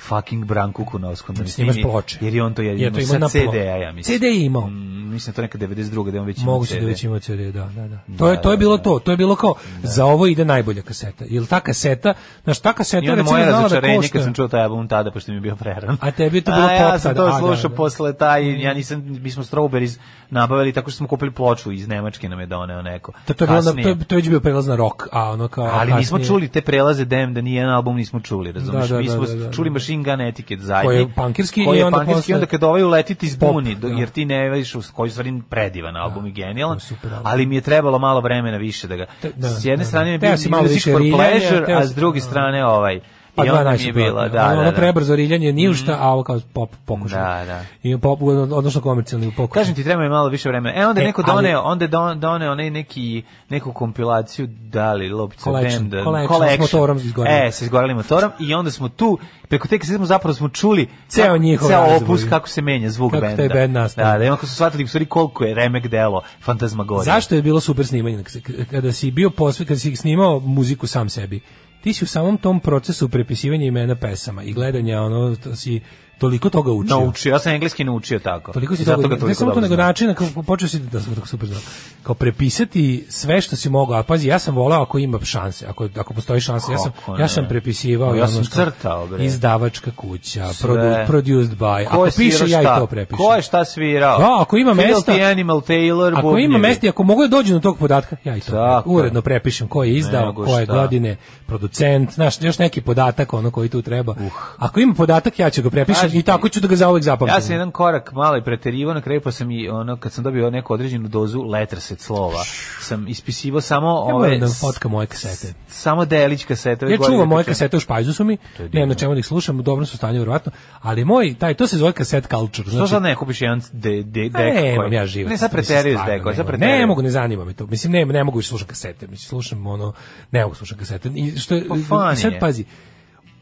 Speaker 6: fucking Branku Kunovskom. da mi
Speaker 7: Snimaš
Speaker 6: snimi,
Speaker 7: ploče.
Speaker 6: Jer je on to jedino
Speaker 7: Ja to imam na
Speaker 6: sa
Speaker 7: plo-
Speaker 6: CD-a, ja mislim.
Speaker 7: CD je imao.
Speaker 6: Mm, mislim da je to neka 92. da je on već imao
Speaker 7: Moguće
Speaker 6: CD.
Speaker 7: da već ima CD, da, da, da. To je, to je bilo to, to je bilo kao,
Speaker 6: Da.
Speaker 7: za ovo ide najbolja kaseta. Jer ta kaseta, znaš, ta kaseta
Speaker 6: I onda
Speaker 7: recimo
Speaker 6: moje
Speaker 7: znala da
Speaker 6: razočarenje kad
Speaker 7: košta-
Speaker 6: sam čuo taj album tada, pošto mi je bio prerano.
Speaker 7: A tebi je to bilo
Speaker 6: A
Speaker 7: pop
Speaker 6: ja sam
Speaker 7: tada, a,
Speaker 6: to
Speaker 7: da,
Speaker 6: slušao
Speaker 7: da.
Speaker 6: posle taj, ja nisam, mi smo Strawberries nabavili tako što smo kupili ploču iz Nemačke nam je doneo neko.
Speaker 7: Da, To, to, je bilo na,
Speaker 6: kasnije.
Speaker 7: to, je, to je već bio prelaz na rock, a ono kao...
Speaker 6: Ali nismo
Speaker 7: kasnije-
Speaker 6: čuli te prelaze dem da ni jedan album nismo čuli, razumiješ?
Speaker 7: Da, da,
Speaker 6: Mi smo
Speaker 7: da, da, da.
Speaker 6: čuli Machine Gun Etiquette zajedno.
Speaker 7: Koji je punkirski
Speaker 6: koji
Speaker 7: i
Speaker 6: je
Speaker 7: onda
Speaker 6: punkirski
Speaker 7: posle
Speaker 6: i onda kad ovaj uletiti iz
Speaker 7: pop,
Speaker 6: buni, do-
Speaker 7: da.
Speaker 6: jer ti ne veš koji je u stvari predivan album i genijalan,
Speaker 7: to je super album.
Speaker 6: ali mi je trebalo malo vremena više da ga...
Speaker 7: Te- da,
Speaker 6: s jedne
Speaker 7: da,
Speaker 6: strane
Speaker 7: da.
Speaker 6: mi je
Speaker 7: Teo
Speaker 6: bio
Speaker 7: si malo
Speaker 6: Music
Speaker 7: više
Speaker 6: for
Speaker 7: riljanja,
Speaker 6: Pleasure,
Speaker 7: teo
Speaker 6: a
Speaker 7: si-
Speaker 6: s druge
Speaker 7: da.
Speaker 6: strane ovaj...
Speaker 7: Pa
Speaker 6: I
Speaker 7: dva
Speaker 6: onda mi je
Speaker 7: najsuprotnija.
Speaker 6: bila, da,
Speaker 7: Ono-
Speaker 6: da,
Speaker 7: Ono
Speaker 6: da.
Speaker 7: prebrzo riljanje, ništa, a ovo kao pop pokušaj.
Speaker 6: Da, da.
Speaker 7: I pop, odnosno komercijalni pokušaj.
Speaker 6: Kažem ti treba je malo više vremena. E onda
Speaker 7: E,
Speaker 6: je neko
Speaker 7: ali-
Speaker 6: doneo, onda je don, doneo onaj neki neku kompilaciju dali lopca
Speaker 7: Collection,
Speaker 6: Benda,
Speaker 7: collection, s motorom izgoreli.
Speaker 6: E, sa izgoreli motorom i onda smo tu preko te kasete smo zapravo smo čuli
Speaker 7: Ceo
Speaker 6: kako-
Speaker 7: njihov
Speaker 6: ceo
Speaker 7: razvoj.
Speaker 6: opus kako se menja zvuk
Speaker 7: Kako
Speaker 6: benda.
Speaker 7: taj bend nastaje.
Speaker 6: Da, da, i onda kad su shvatili u stvari koliko je remek delo Fantazmagorije.
Speaker 7: Zašto je bilo super snimanje? Kada si bio posve, kada si snimao muziku sam sebi, ti si u samom tom procesu prepisivanja imena pesama i gledanja, ono, to si toliko toga učio.
Speaker 6: Naučio, ja sam engleski naučio tako.
Speaker 7: Toliko si
Speaker 6: I zato
Speaker 7: toga,
Speaker 6: ga
Speaker 7: ne
Speaker 6: toliko
Speaker 7: samo to,
Speaker 6: dobro
Speaker 7: nego
Speaker 6: znam.
Speaker 7: način, na kako počeo si, da sam tako super znao, kao prepisati sve što si mogao, a pazi, ja sam volao ako ima šanse, ako, ako postoji šanse, ja sam,
Speaker 6: Kako
Speaker 7: ja sam
Speaker 6: ne? Pa
Speaker 7: prepisivao,
Speaker 6: Ja
Speaker 7: ono
Speaker 6: sam
Speaker 7: što-
Speaker 6: crtao, bre.
Speaker 7: izdavačka kuća,
Speaker 6: Sve.
Speaker 7: produ, produced by,
Speaker 6: Ko
Speaker 7: ako
Speaker 6: je
Speaker 7: piše,
Speaker 6: svirao
Speaker 7: ja i
Speaker 6: šta?
Speaker 7: to prepišem.
Speaker 6: Ko je šta svirao?
Speaker 7: Da, ako ima
Speaker 6: Filthy
Speaker 7: mesta-
Speaker 6: Animal Taylor,
Speaker 7: Ako ima
Speaker 6: bubnjevi.
Speaker 7: mesti, ako mogu da dođu do tog podatka, ja i to
Speaker 6: Tako je.
Speaker 7: uredno prepišem ko je izdao,
Speaker 6: Nego
Speaker 7: koje
Speaker 6: šta.
Speaker 7: godine, producent, znaš, još neki podatak ono koji tu treba. Ako ima podatak, ja ću ga prepišem
Speaker 6: Kaži
Speaker 7: i
Speaker 6: Uh. ti,
Speaker 7: tako ću da ga zauvek zapamtim.
Speaker 6: Ja sam jedan korak malo i preterivao, na kraju pa sam i ono kad sam dobio neku određenu dozu letrset slova, sam ispisivao samo
Speaker 7: Ja
Speaker 6: ove
Speaker 7: moram da
Speaker 6: s-
Speaker 7: fotkam moje kasete.
Speaker 6: Samo delić kasete. ove
Speaker 7: Ja
Speaker 6: godine
Speaker 7: čuvam moje
Speaker 6: kad sam-
Speaker 7: kasete u špajzu su mi,
Speaker 6: To je divno.
Speaker 7: nemam na čemu da ih slušam, u dobrom su stanju verovatno, ali moj, taj, to se zove kaset culture.
Speaker 6: Što
Speaker 7: Znači,
Speaker 6: sad ne kupiš jedan de, de,
Speaker 7: A
Speaker 6: dek
Speaker 7: ne,
Speaker 6: koji-
Speaker 7: imam ja život.
Speaker 6: Ne, sad preterio s dekom, sad preterio.
Speaker 7: Ne mogu, ne zanima me to. Mislim, ne, ne mogu više slušati kasete. Mislim, slušam ono, ne mogu slušati kasete. I što je,
Speaker 6: Pa fan
Speaker 7: i sad
Speaker 6: je.
Speaker 7: pazi,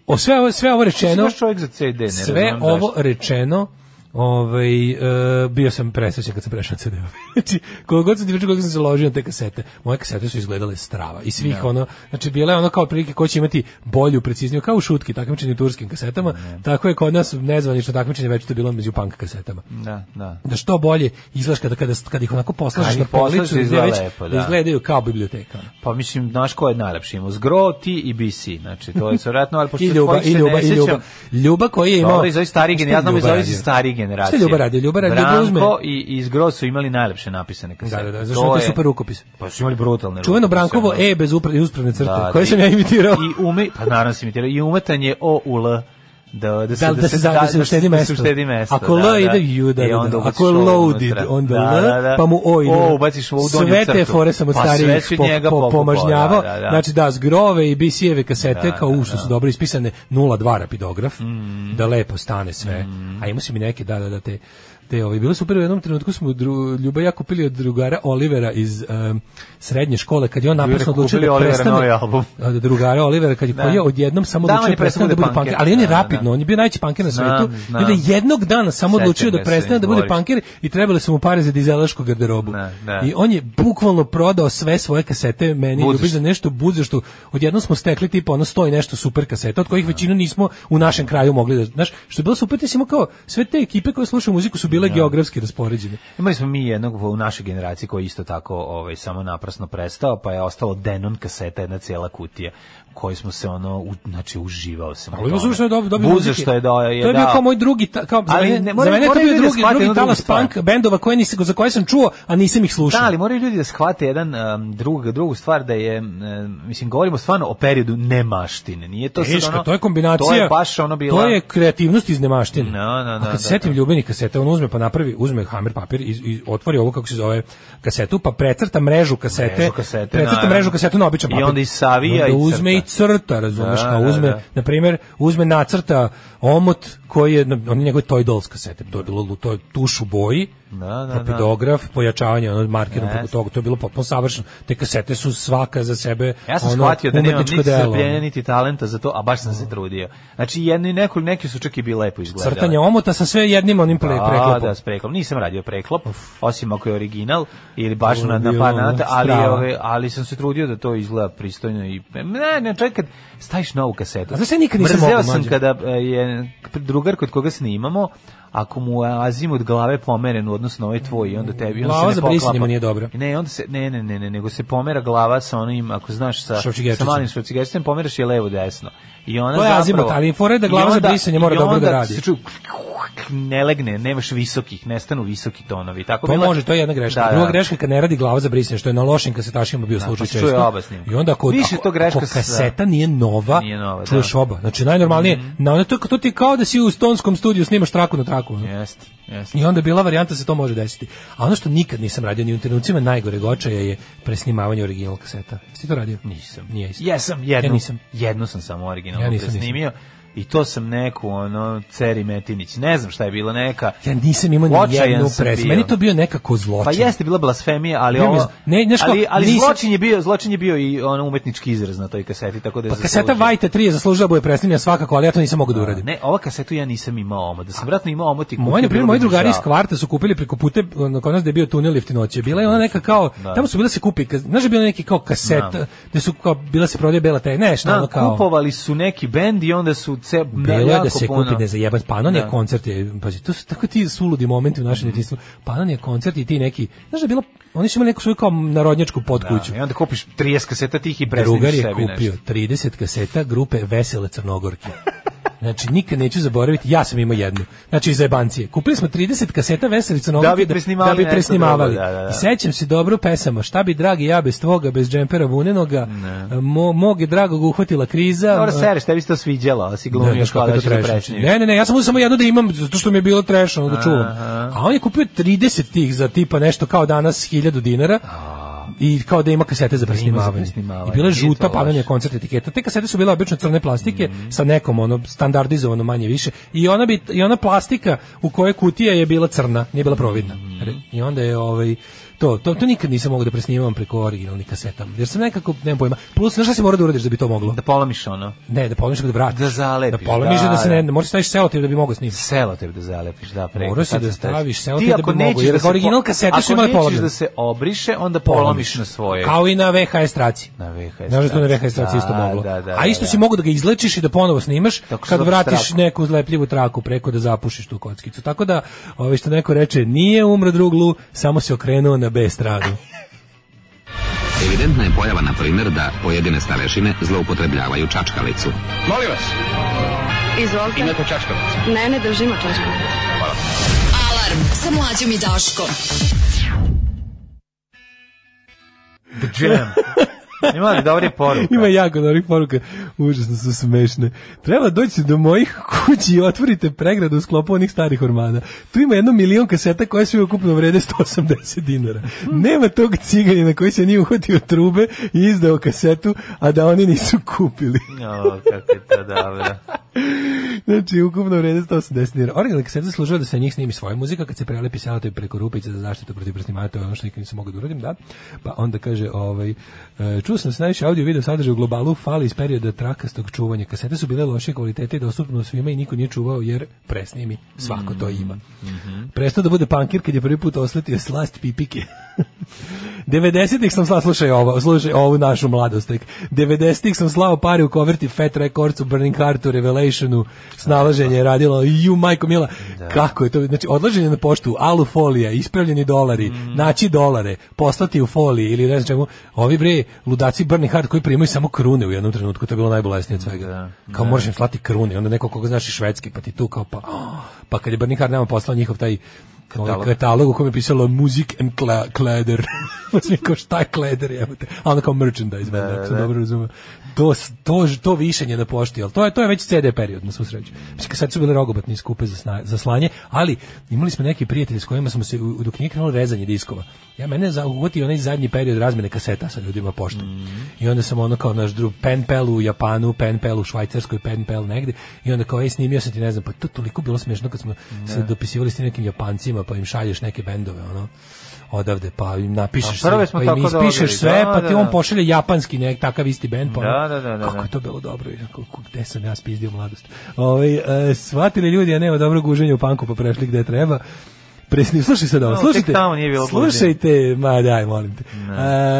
Speaker 7: o sve ovo, sve ovo rečeno,
Speaker 6: Imaš čovjek za CD, ne
Speaker 7: sve
Speaker 6: razumem
Speaker 7: ovo
Speaker 6: zašto.
Speaker 7: rečeno, Ovaj e, bio sam presrećan kad sam prešao na CD. [laughs] znači, koliko god sam ti pričao, koliko sam se ložio na te kasete, moje kasete su izgledale strava. I
Speaker 6: Da.
Speaker 7: svih ono, znači bila je ono kao prilike ko će imati bolju, precizniju, kao u šutki, takmičenje u turskim kasetama, tako je kod nas nezvanično takmičenje već to bilo među punk kasetama
Speaker 6: Da, da.
Speaker 7: da što bolje izgledaš kada kada kada ih onako poslažeš
Speaker 6: Kad
Speaker 7: na
Speaker 6: ih poslažeš,
Speaker 7: policu
Speaker 6: da
Speaker 7: da
Speaker 6: izgleda
Speaker 7: već
Speaker 6: lepo,
Speaker 7: da
Speaker 6: da.
Speaker 7: izgledaju kao biblioteka.
Speaker 6: Pa mislim, znaš ko je najlepši imao? Zgro, ti i BC. Znači,
Speaker 7: [laughs]
Speaker 6: to je vjerojatno, ali pošto
Speaker 7: I ljuba
Speaker 6: tvojih
Speaker 7: i
Speaker 6: se
Speaker 7: ljuba
Speaker 6: ne
Speaker 7: i ljuba.
Speaker 6: sjećam,
Speaker 7: Ljuba koji je imao
Speaker 6: Dobro, Pa iz ovih starih
Speaker 7: Šta je
Speaker 6: generacija, ja znam iz
Speaker 7: Ljuba
Speaker 6: ovih
Speaker 7: radio?
Speaker 6: starih generacija.
Speaker 7: Šta je ljuba radio? Ljuba radio
Speaker 6: Branko
Speaker 7: uzme.
Speaker 6: i, i Zgro su imali najlepše napisane kasete.
Speaker 7: Da, da, da, zašto to je
Speaker 6: je-
Speaker 7: super rukopis.
Speaker 6: Pa su imali brutalne
Speaker 7: Čuveno
Speaker 6: rukopise,
Speaker 7: Brankovo
Speaker 6: ono.
Speaker 7: E bez upra- uspravne crte,
Speaker 6: Da,
Speaker 7: koje
Speaker 6: da,
Speaker 7: sam
Speaker 6: i-
Speaker 7: ja imitirao.
Speaker 6: I ume, pa naravno si imitirao, i umetanje O u L. da da se
Speaker 7: da, da se da, da se uštedi
Speaker 6: da se
Speaker 7: mesto.
Speaker 6: uštedi mesto,
Speaker 7: Ako
Speaker 6: da,
Speaker 7: L
Speaker 6: da.
Speaker 7: ide U da,
Speaker 6: I
Speaker 7: da,
Speaker 6: onda
Speaker 7: da.
Speaker 6: ubaciš
Speaker 7: Ako je
Speaker 6: O unutra.
Speaker 7: loaded onda L,
Speaker 6: Da, da, da.
Speaker 7: pa mu O ide.
Speaker 6: O, ubaciš ovu donju
Speaker 7: Sve te
Speaker 6: crtu.
Speaker 7: fore sam od
Speaker 6: Pa sve
Speaker 7: starijih
Speaker 6: si
Speaker 7: po,
Speaker 6: njega
Speaker 7: po,
Speaker 6: pokupao,
Speaker 7: pomažnjavao.
Speaker 6: da, da, da.
Speaker 7: Znači da zgrove i BC-eve kasete
Speaker 6: Da,
Speaker 7: kao
Speaker 6: da,
Speaker 7: u što su
Speaker 6: da. Mm.
Speaker 7: dobro ispisane 02 rapidograf da lepo stane sve. A ima se mi neke da da da te te ovi. Bilo super u jednom trenutku smo dru, Ljuba i ja kupili od drugara Olivera iz em, srednje škole kad je on naprasno odlučio
Speaker 6: kupili
Speaker 7: da
Speaker 6: Olivera
Speaker 7: prestane.
Speaker 6: novi album.
Speaker 7: Od drugara Olivera kad je
Speaker 6: Da.
Speaker 7: pojeo odjednom samo
Speaker 6: Da, on
Speaker 7: odlučio
Speaker 6: je
Speaker 7: da prestane da bude punker. Ali on je
Speaker 6: Da, da,
Speaker 7: rapidno,
Speaker 6: da.
Speaker 7: on je bio najveći punker na
Speaker 6: Znam,
Speaker 7: svetu. I
Speaker 6: znam.
Speaker 7: onda jednog dana samo
Speaker 6: Sećam
Speaker 7: odlučio
Speaker 6: ga
Speaker 7: da
Speaker 6: se,
Speaker 7: prestane da bude
Speaker 6: Boris.
Speaker 7: punker i trebali su mu pare za dizelašku garderobu.
Speaker 6: Da, da.
Speaker 7: I on je bukvalno prodao sve svoje kasete meni
Speaker 6: Budzaš.
Speaker 7: ljubi za nešto budze što odjednom smo stekli tipa ono sto i nešto super kaseta od kojih
Speaker 6: Da.
Speaker 7: većinu nismo u našem kraju mogli da znaš što je bilo super ti si imao kao sve te ekipe koje slušaju muziku su
Speaker 6: Da.
Speaker 7: bile geografski raspoređene.
Speaker 6: Imali smo mi jednog u našoj generaciji koji je isto tako ovaj samo naprasno prestao, pa je ostalo Denon kaseta jedna cijela kutija koju smo se ono u, znači uživao sam. u
Speaker 7: Ali ima
Speaker 6: tome.
Speaker 7: suviše dobro dobro
Speaker 6: Buze
Speaker 7: muzike.
Speaker 6: što je dao je
Speaker 7: To je bio
Speaker 6: dao.
Speaker 7: kao moj drugi ta, kao za
Speaker 6: Ali
Speaker 7: mene,
Speaker 6: ne,
Speaker 7: za
Speaker 6: moraju-
Speaker 7: mene je to
Speaker 6: moraju
Speaker 7: bio
Speaker 6: ljudi da
Speaker 7: drugi
Speaker 6: shvate
Speaker 7: drugi
Speaker 6: jednu drugu
Speaker 7: talas
Speaker 6: stvar.
Speaker 7: punk bendova koje nisam za koje sam čuo a nisam ih slušao.
Speaker 6: Da, ali moraju ljudi da shvate jedan um, drug, drugu stvar da je, um, mislim, govorimo stvarno o periodu nemaštine. Nije to sad
Speaker 7: Teška,
Speaker 6: ono...
Speaker 7: to je kombinacija.
Speaker 6: To je baš ono bila...
Speaker 7: To je kreativnost iz nemaštine.
Speaker 6: No, no, no,
Speaker 7: A kad
Speaker 6: da,
Speaker 7: se setim
Speaker 6: da.
Speaker 7: ljubenih kaseta, on uzme pa napravi, uzme hammer papir i, i otvori ovo kako se zove kasetu, pa precrta mrežu kasete.
Speaker 6: Mrežu kasete,
Speaker 7: precrta
Speaker 6: naravno.
Speaker 7: mrežu kasete na običan
Speaker 6: I
Speaker 7: papir.
Speaker 6: onda i savija
Speaker 7: onda
Speaker 6: i
Speaker 7: uzme i crta, razumeš,
Speaker 6: Da,
Speaker 7: kao
Speaker 6: da,
Speaker 7: uzme,
Speaker 6: da.
Speaker 7: na primjer, uzme nacrta omot koji je na- on je njegov Toy Dolls kasete, to je bilo lu- to je tuš u boji.
Speaker 6: Da, da, da.
Speaker 7: rapidograf, pojačavanje ono markerom preko
Speaker 6: Jeste.
Speaker 7: toga, to je bilo potpuno savršeno. Te kasete su svaka za sebe
Speaker 6: Ja sam
Speaker 7: ono,
Speaker 6: shvatio da nemam
Speaker 7: umetničko
Speaker 6: niti
Speaker 7: delo, ono.
Speaker 6: strpljenja, niti talenta za to, a baš sam se trudio. Znači, jedno i neko, neki su čak i bi lepo izgledali.
Speaker 7: crtanje omota sa sve jednim onim pre,
Speaker 6: Da,
Speaker 7: preklopom.
Speaker 6: da, s preklopom. Nisam radio preklop, osim ako je original ili baš
Speaker 7: Ovo je
Speaker 6: na na
Speaker 7: bilo,
Speaker 6: par nata, ali
Speaker 7: strava.
Speaker 6: ove, ali sam se trudio da to izgleda pristojno i ne, ne, čovjek kad staviš novu kasetu.
Speaker 7: A znaš šta ja nikad nisam
Speaker 6: Mrzeo
Speaker 7: mogao,
Speaker 6: sam
Speaker 7: mlađe?
Speaker 6: kada e, je drugar kod koga snimamo, ako mu je azim od glave pomeren u odnosu na ovaj tvoj i onda tebi i onda
Speaker 7: Glava
Speaker 6: se
Speaker 7: za
Speaker 6: ne
Speaker 7: brisanje
Speaker 6: poklapa.
Speaker 7: mu nije dobra.
Speaker 6: Ne, onda se ne, ne, ne, ne, nego se pomera glava sa onim, ako znaš sa sa
Speaker 7: Šrafčigerčicom.
Speaker 6: malim šrafčigerčicom pomeraš je levo desno. I ona
Speaker 7: To je
Speaker 6: zapravo-
Speaker 7: azimut, ali fora je da glava
Speaker 6: i
Speaker 7: za
Speaker 6: onda-
Speaker 7: brisanje mora
Speaker 6: i
Speaker 7: dobro da
Speaker 6: onda
Speaker 7: radi.
Speaker 6: se čuju ne legne, nemaš visokih, nestanu visoki tonovi. Tako
Speaker 7: To
Speaker 6: bila-
Speaker 7: Pa može, to je jedna greška.
Speaker 6: Da, da.
Speaker 7: Druga greška je kad ne radi glava za brisanje, što je na lošim kasetašima bio slučaj
Speaker 6: pa se
Speaker 7: često.
Speaker 6: čuje oba snimka.
Speaker 7: I onda ako,
Speaker 6: Više
Speaker 7: ako,
Speaker 6: to greška
Speaker 7: ako
Speaker 6: sa-
Speaker 7: kaseta nije nova,
Speaker 6: Nije nova, da. Mhm.
Speaker 7: čuješ oba. Znači najnormalnije, na ono to, to ti je kao da si u stonskom studiju snimaš traku na traku. ono.
Speaker 6: Jeste, jeste.
Speaker 7: I onda je bila varijanta da se to može desiti. A ono što nikad nisam radio ni u trenucima najgore gočaja je presnimavanje original kaseta. Jesi ti to radio?
Speaker 6: Nisam.
Speaker 7: Nije isto.
Speaker 6: Jesam, jednu.
Speaker 7: Ja nisam.
Speaker 6: Jednu sam samo originalno
Speaker 7: Ja
Speaker 6: ja
Speaker 7: nisam, nisam.
Speaker 6: snimio. I to sam neku, ono, Ceri Metinić. Ne znam šta je bila neka.
Speaker 7: Ja nisam imao ni
Speaker 6: Očajan
Speaker 7: jednu
Speaker 6: sam
Speaker 7: presnimu.
Speaker 6: bio.
Speaker 7: Meni je to bio nekako zločin.
Speaker 6: Pa jeste bila blasfemija, ali
Speaker 7: Bio mi
Speaker 6: ovo...
Speaker 7: z- ne, znaš ko,
Speaker 6: ali, ali
Speaker 7: nisam-
Speaker 6: zločin je bio, zločin je bio i ono umetnički izraz na toj kaseti, tako da je
Speaker 7: Pa kaseta
Speaker 6: zaslužio.
Speaker 7: Vajte 3 je zaslužila da bude presnimljena svakako, ali ja to nisam mogao da uradim.
Speaker 6: Ne, ova kasetu ja nisam imao omot. Da sam vratno imao omot i kupio,
Speaker 7: Moji, na primjer,
Speaker 6: bilo
Speaker 7: moji
Speaker 6: bi mi
Speaker 7: drugari iz
Speaker 6: žao.
Speaker 7: kvarta su kupili preko puta, ono, kod nas da je bio tunel lift noće. Bila je ona neka kao,
Speaker 6: Da.
Speaker 7: tamo su bile se kupi, ka- znaš da je bila neki kao kaseta,
Speaker 6: Da.
Speaker 7: gde su kao, bila se prodaje bela taj, ne, šta
Speaker 6: Da,
Speaker 7: ono kao...
Speaker 6: kupovali su neki bend i onda su ce,
Speaker 7: Bilo je
Speaker 6: jako
Speaker 7: da se
Speaker 6: puno.
Speaker 7: kupi ne zajeban Panon je
Speaker 6: Da. Mhm.
Speaker 7: koncert je, pazi, to su tako ti suludi momenti u našem djetinjstvu. Panon je koncert i ti neki, znaš da je bilo, oni su imali neku svoju kao narodnjačku podkuću.
Speaker 6: Da, I onda kupiš 30 kaseta tih i presniš
Speaker 7: Drugar
Speaker 6: sebi
Speaker 7: je
Speaker 6: nešto.
Speaker 7: kupio 30 kaseta grupe Vesele Crnogorke. Znači, nikad neću zaboraviti, ja sam imao jednu. Znači, iz zajebancije. Kupili smo 30 kaseta Veseli Crnogorke
Speaker 6: Da bi presnimavali
Speaker 7: da bi
Speaker 6: nešto
Speaker 7: presnimavali.
Speaker 6: drugo, da, da, da.
Speaker 7: I sećam se dobro pesama. Šta bi, dragi, ja bez tvoga, bez džempera vunenoga, mo, mog je dragog uhvatila kriza.
Speaker 6: Da, Dobro, seri, šta bi se to sviđalo, a si glumio
Speaker 7: Da, znaš kako
Speaker 6: škola
Speaker 7: je
Speaker 6: da
Speaker 7: to
Speaker 6: ćeš da
Speaker 7: trash.
Speaker 6: prečniš.
Speaker 7: Ne, ne, ne, ja sam uzeo samo jedno da imam, zato što mi je bilo trash, ono da čuvam.
Speaker 6: Aha.
Speaker 7: A on je kupio 30 tih za tipa nešto kao danas 1000 dinara. I kao da ima kasete za presnimavanje.
Speaker 6: presnimavanje.
Speaker 7: I bila je
Speaker 6: Nije
Speaker 7: žuta
Speaker 6: to
Speaker 7: panelja
Speaker 6: loše.
Speaker 7: koncert etiketa. Te kasete su bile obično crne plastike sa nekom ono standardizovano manje više. I ona bi i ona plastika u kojoj kutija je bila crna, nije bila providna.
Speaker 6: Mhm.
Speaker 7: Re- I onda je ovaj to, to, to nikad nisam mogao da presnimavam preko originalnih kaseta. Jer sam nekako, nemam pojma. Plus, znaš šta se mora da uradiš da bi to moglo?
Speaker 6: Da polomiš ono.
Speaker 7: Ne, da polomiš da vratiš.
Speaker 6: Da zalepiš,
Speaker 7: Da polomiš da,
Speaker 6: da,
Speaker 7: se ne,
Speaker 6: da.
Speaker 7: moraš staviš selotip da bi mogao snimati.
Speaker 6: Selo tebi da zalepiš, da preko.
Speaker 7: Morao si
Speaker 6: sad
Speaker 7: da
Speaker 6: sam teć.
Speaker 7: staviš selo
Speaker 6: Ti
Speaker 7: tebi da
Speaker 6: ako
Speaker 7: bi mogao,
Speaker 6: nećeš
Speaker 7: jer
Speaker 6: da se po-
Speaker 7: original kasete su imale
Speaker 6: Ako nećeš
Speaker 7: polomljene.
Speaker 6: da se obriše, onda polomiš na svoje.
Speaker 7: Kao i na VHS traci.
Speaker 6: Na VHS
Speaker 7: Znaš da to na
Speaker 6: traci.
Speaker 7: VHS traci
Speaker 6: Da,
Speaker 7: isto moglo.
Speaker 6: da, da,
Speaker 7: A isto
Speaker 6: da,
Speaker 7: si
Speaker 6: da.
Speaker 7: mogao da ga izlečiš i da ponovo snimaš
Speaker 6: Tako što
Speaker 7: kad
Speaker 6: dobiš
Speaker 7: vratiš
Speaker 6: traku.
Speaker 7: neku zlepljivu traku preko da zapušiš tu kockicu. Tako da, ovaj što neko reče, nije umro druglu, samo se okrenuo na B stranu.
Speaker 2: Evidentna je pojava, na primjer, da pojedine starešine zloupotrebljavaju čačkalicu.
Speaker 8: Molim vas,
Speaker 9: Izvolite.
Speaker 8: to čačkalicu.
Speaker 9: Ne, ne držimo čašku.
Speaker 5: Alarm sa mlađom i Daškom.
Speaker 6: The Jam. [laughs] Ima li dobrih poruka?
Speaker 7: Ima jako dobrih poruka. Užasno su smešne. Treba doći do mojih kući i otvorite pregradu u sklopu onih starih ormana. Tu ima jedno milion kaseta koje sve ukupno vrede 180 dinara. Nema tog ciganina koji se nije uhvatio trube i izdao kasetu, a da oni nisu kupili.
Speaker 6: O, kako je to dobro.
Speaker 7: Znači, ukupno vrede 180 dinara. Originalne kasete služila da se na njih snimi svoja muzika, kad se prelepi selotej preko rupice za zaštitu protiv prsnimara, to je ono što nikad nisam mogao da uradim, da. Pa onda kaže, ovaj, e, čuo sam da se najviše audio i video sadržaja u globalu, fali iz perioda trakastog čuvanja. Kasete su bile loše kvalitete i dostupno svima i niko nije čuvao jer presnimi, svako to ima. Prestao da bude pankir kad je prvi put osletio slast pipike. 90-ih sam slao, slušaj ovo, slušaj ovu našu mladost. tek. 90-ih sam slao pare u koverti Fat Records, u Burning Heartu, Revelationu, snalaženje je radilo, ju majko mila, kako je to, znači odlaženje na poštu, alu folija, ispravljeni dolari, naći dolare, poslati u foliji ili ne znam čemu, ovi bre, ludaci Burning Heart koji primaju samo krune u jednom trenutku, to je bilo najbolesnije od svega. kao moraš im slati krune, onda neko koga znaš i švedski, pa ti tu kao pa, pa kad je Burning Heart nama poslao njihov taj katalog. katalog u kojem je pisalo Music and Kla- Kleder. [laughs] Mislim, kao šta je Kleder, jebote. A onda kao merchandise, da, ako sam dobro razumio. To, s- to, ž- to višenje na pošti, ali to je, to je već CD period, na svu sreću. Mislim, sad su bile rogobatne i skupe za, sna- za slanje, ali imali smo neke prijatelje s kojima smo se, u- u- dok nije krenulo rezanje diskova, ja mene zagotio onaj zadnji period razmene kaseta sa ljudima poštom.
Speaker 6: Mhm.
Speaker 7: I onda sam ono kao naš drug pen pal u Japanu, pen pal u Švajcarskoj, pen pal negde. I onda kao, ej, snimio sam ti, ne znam, pa to toliko bilo smešno kad smo
Speaker 6: Da.
Speaker 7: se dopisivali s tim nekim Japancima, pa im šalješ neke bendove, ono odavde, pa im napišeš
Speaker 6: A prve
Speaker 7: sve,
Speaker 6: smo
Speaker 7: pa im
Speaker 6: tako dobili,
Speaker 7: ispišeš sve,
Speaker 6: da,
Speaker 7: pa
Speaker 6: da,
Speaker 7: ti on
Speaker 6: da.
Speaker 7: pošalje japanski nek takav isti bend, pa ono,
Speaker 6: Da, da, da, da,
Speaker 7: kako
Speaker 6: da.
Speaker 7: je to bilo dobro, i onako, ku- gde sam ja spizdio mladost. Ovaj e, shvatili ljudi, a nema dobrog guženja u panku, pa prešli gde treba. Presni, slušaj sad ovo,
Speaker 6: No,
Speaker 7: slušajte,
Speaker 6: tek tamo nije bilo guženja.
Speaker 7: slušajte, ma daj, molim te.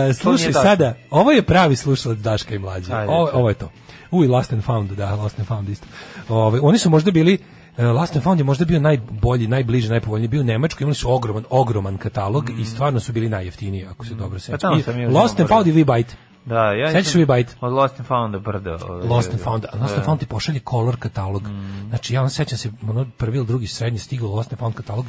Speaker 7: E, slušaj
Speaker 6: tačno.
Speaker 7: sada, ovo je pravi slušalac Daška i mlađe.
Speaker 6: Ajde,
Speaker 7: Ovo,
Speaker 6: čao.
Speaker 7: ovo je to. Uj, Last and Found, da, Last and Found isto. Ove, oni su možda bili e, Last and Found je možda bio najbolji, najbliži, najpovoljniji. Bio u Nemačkoj, imali su ogroman, ogroman katalog i stvarno su bili najjeftiniji, ako se dobro sećam.
Speaker 6: Mm. Pa tamo
Speaker 7: I
Speaker 6: sam ja
Speaker 7: Lost
Speaker 6: uzimao
Speaker 7: and Found i We Bite.
Speaker 6: Da, ja
Speaker 7: Sećaš
Speaker 6: nisam-
Speaker 7: li Bite?
Speaker 6: Od Lost and Found brdo. ovaj,
Speaker 7: Lost and Found, a Lost
Speaker 6: da. Mm.
Speaker 7: and Found ti pošalje color katalog. Znači ja vam sećam se, ono prvi ili drugi srednji stigao Lost and Found katalog.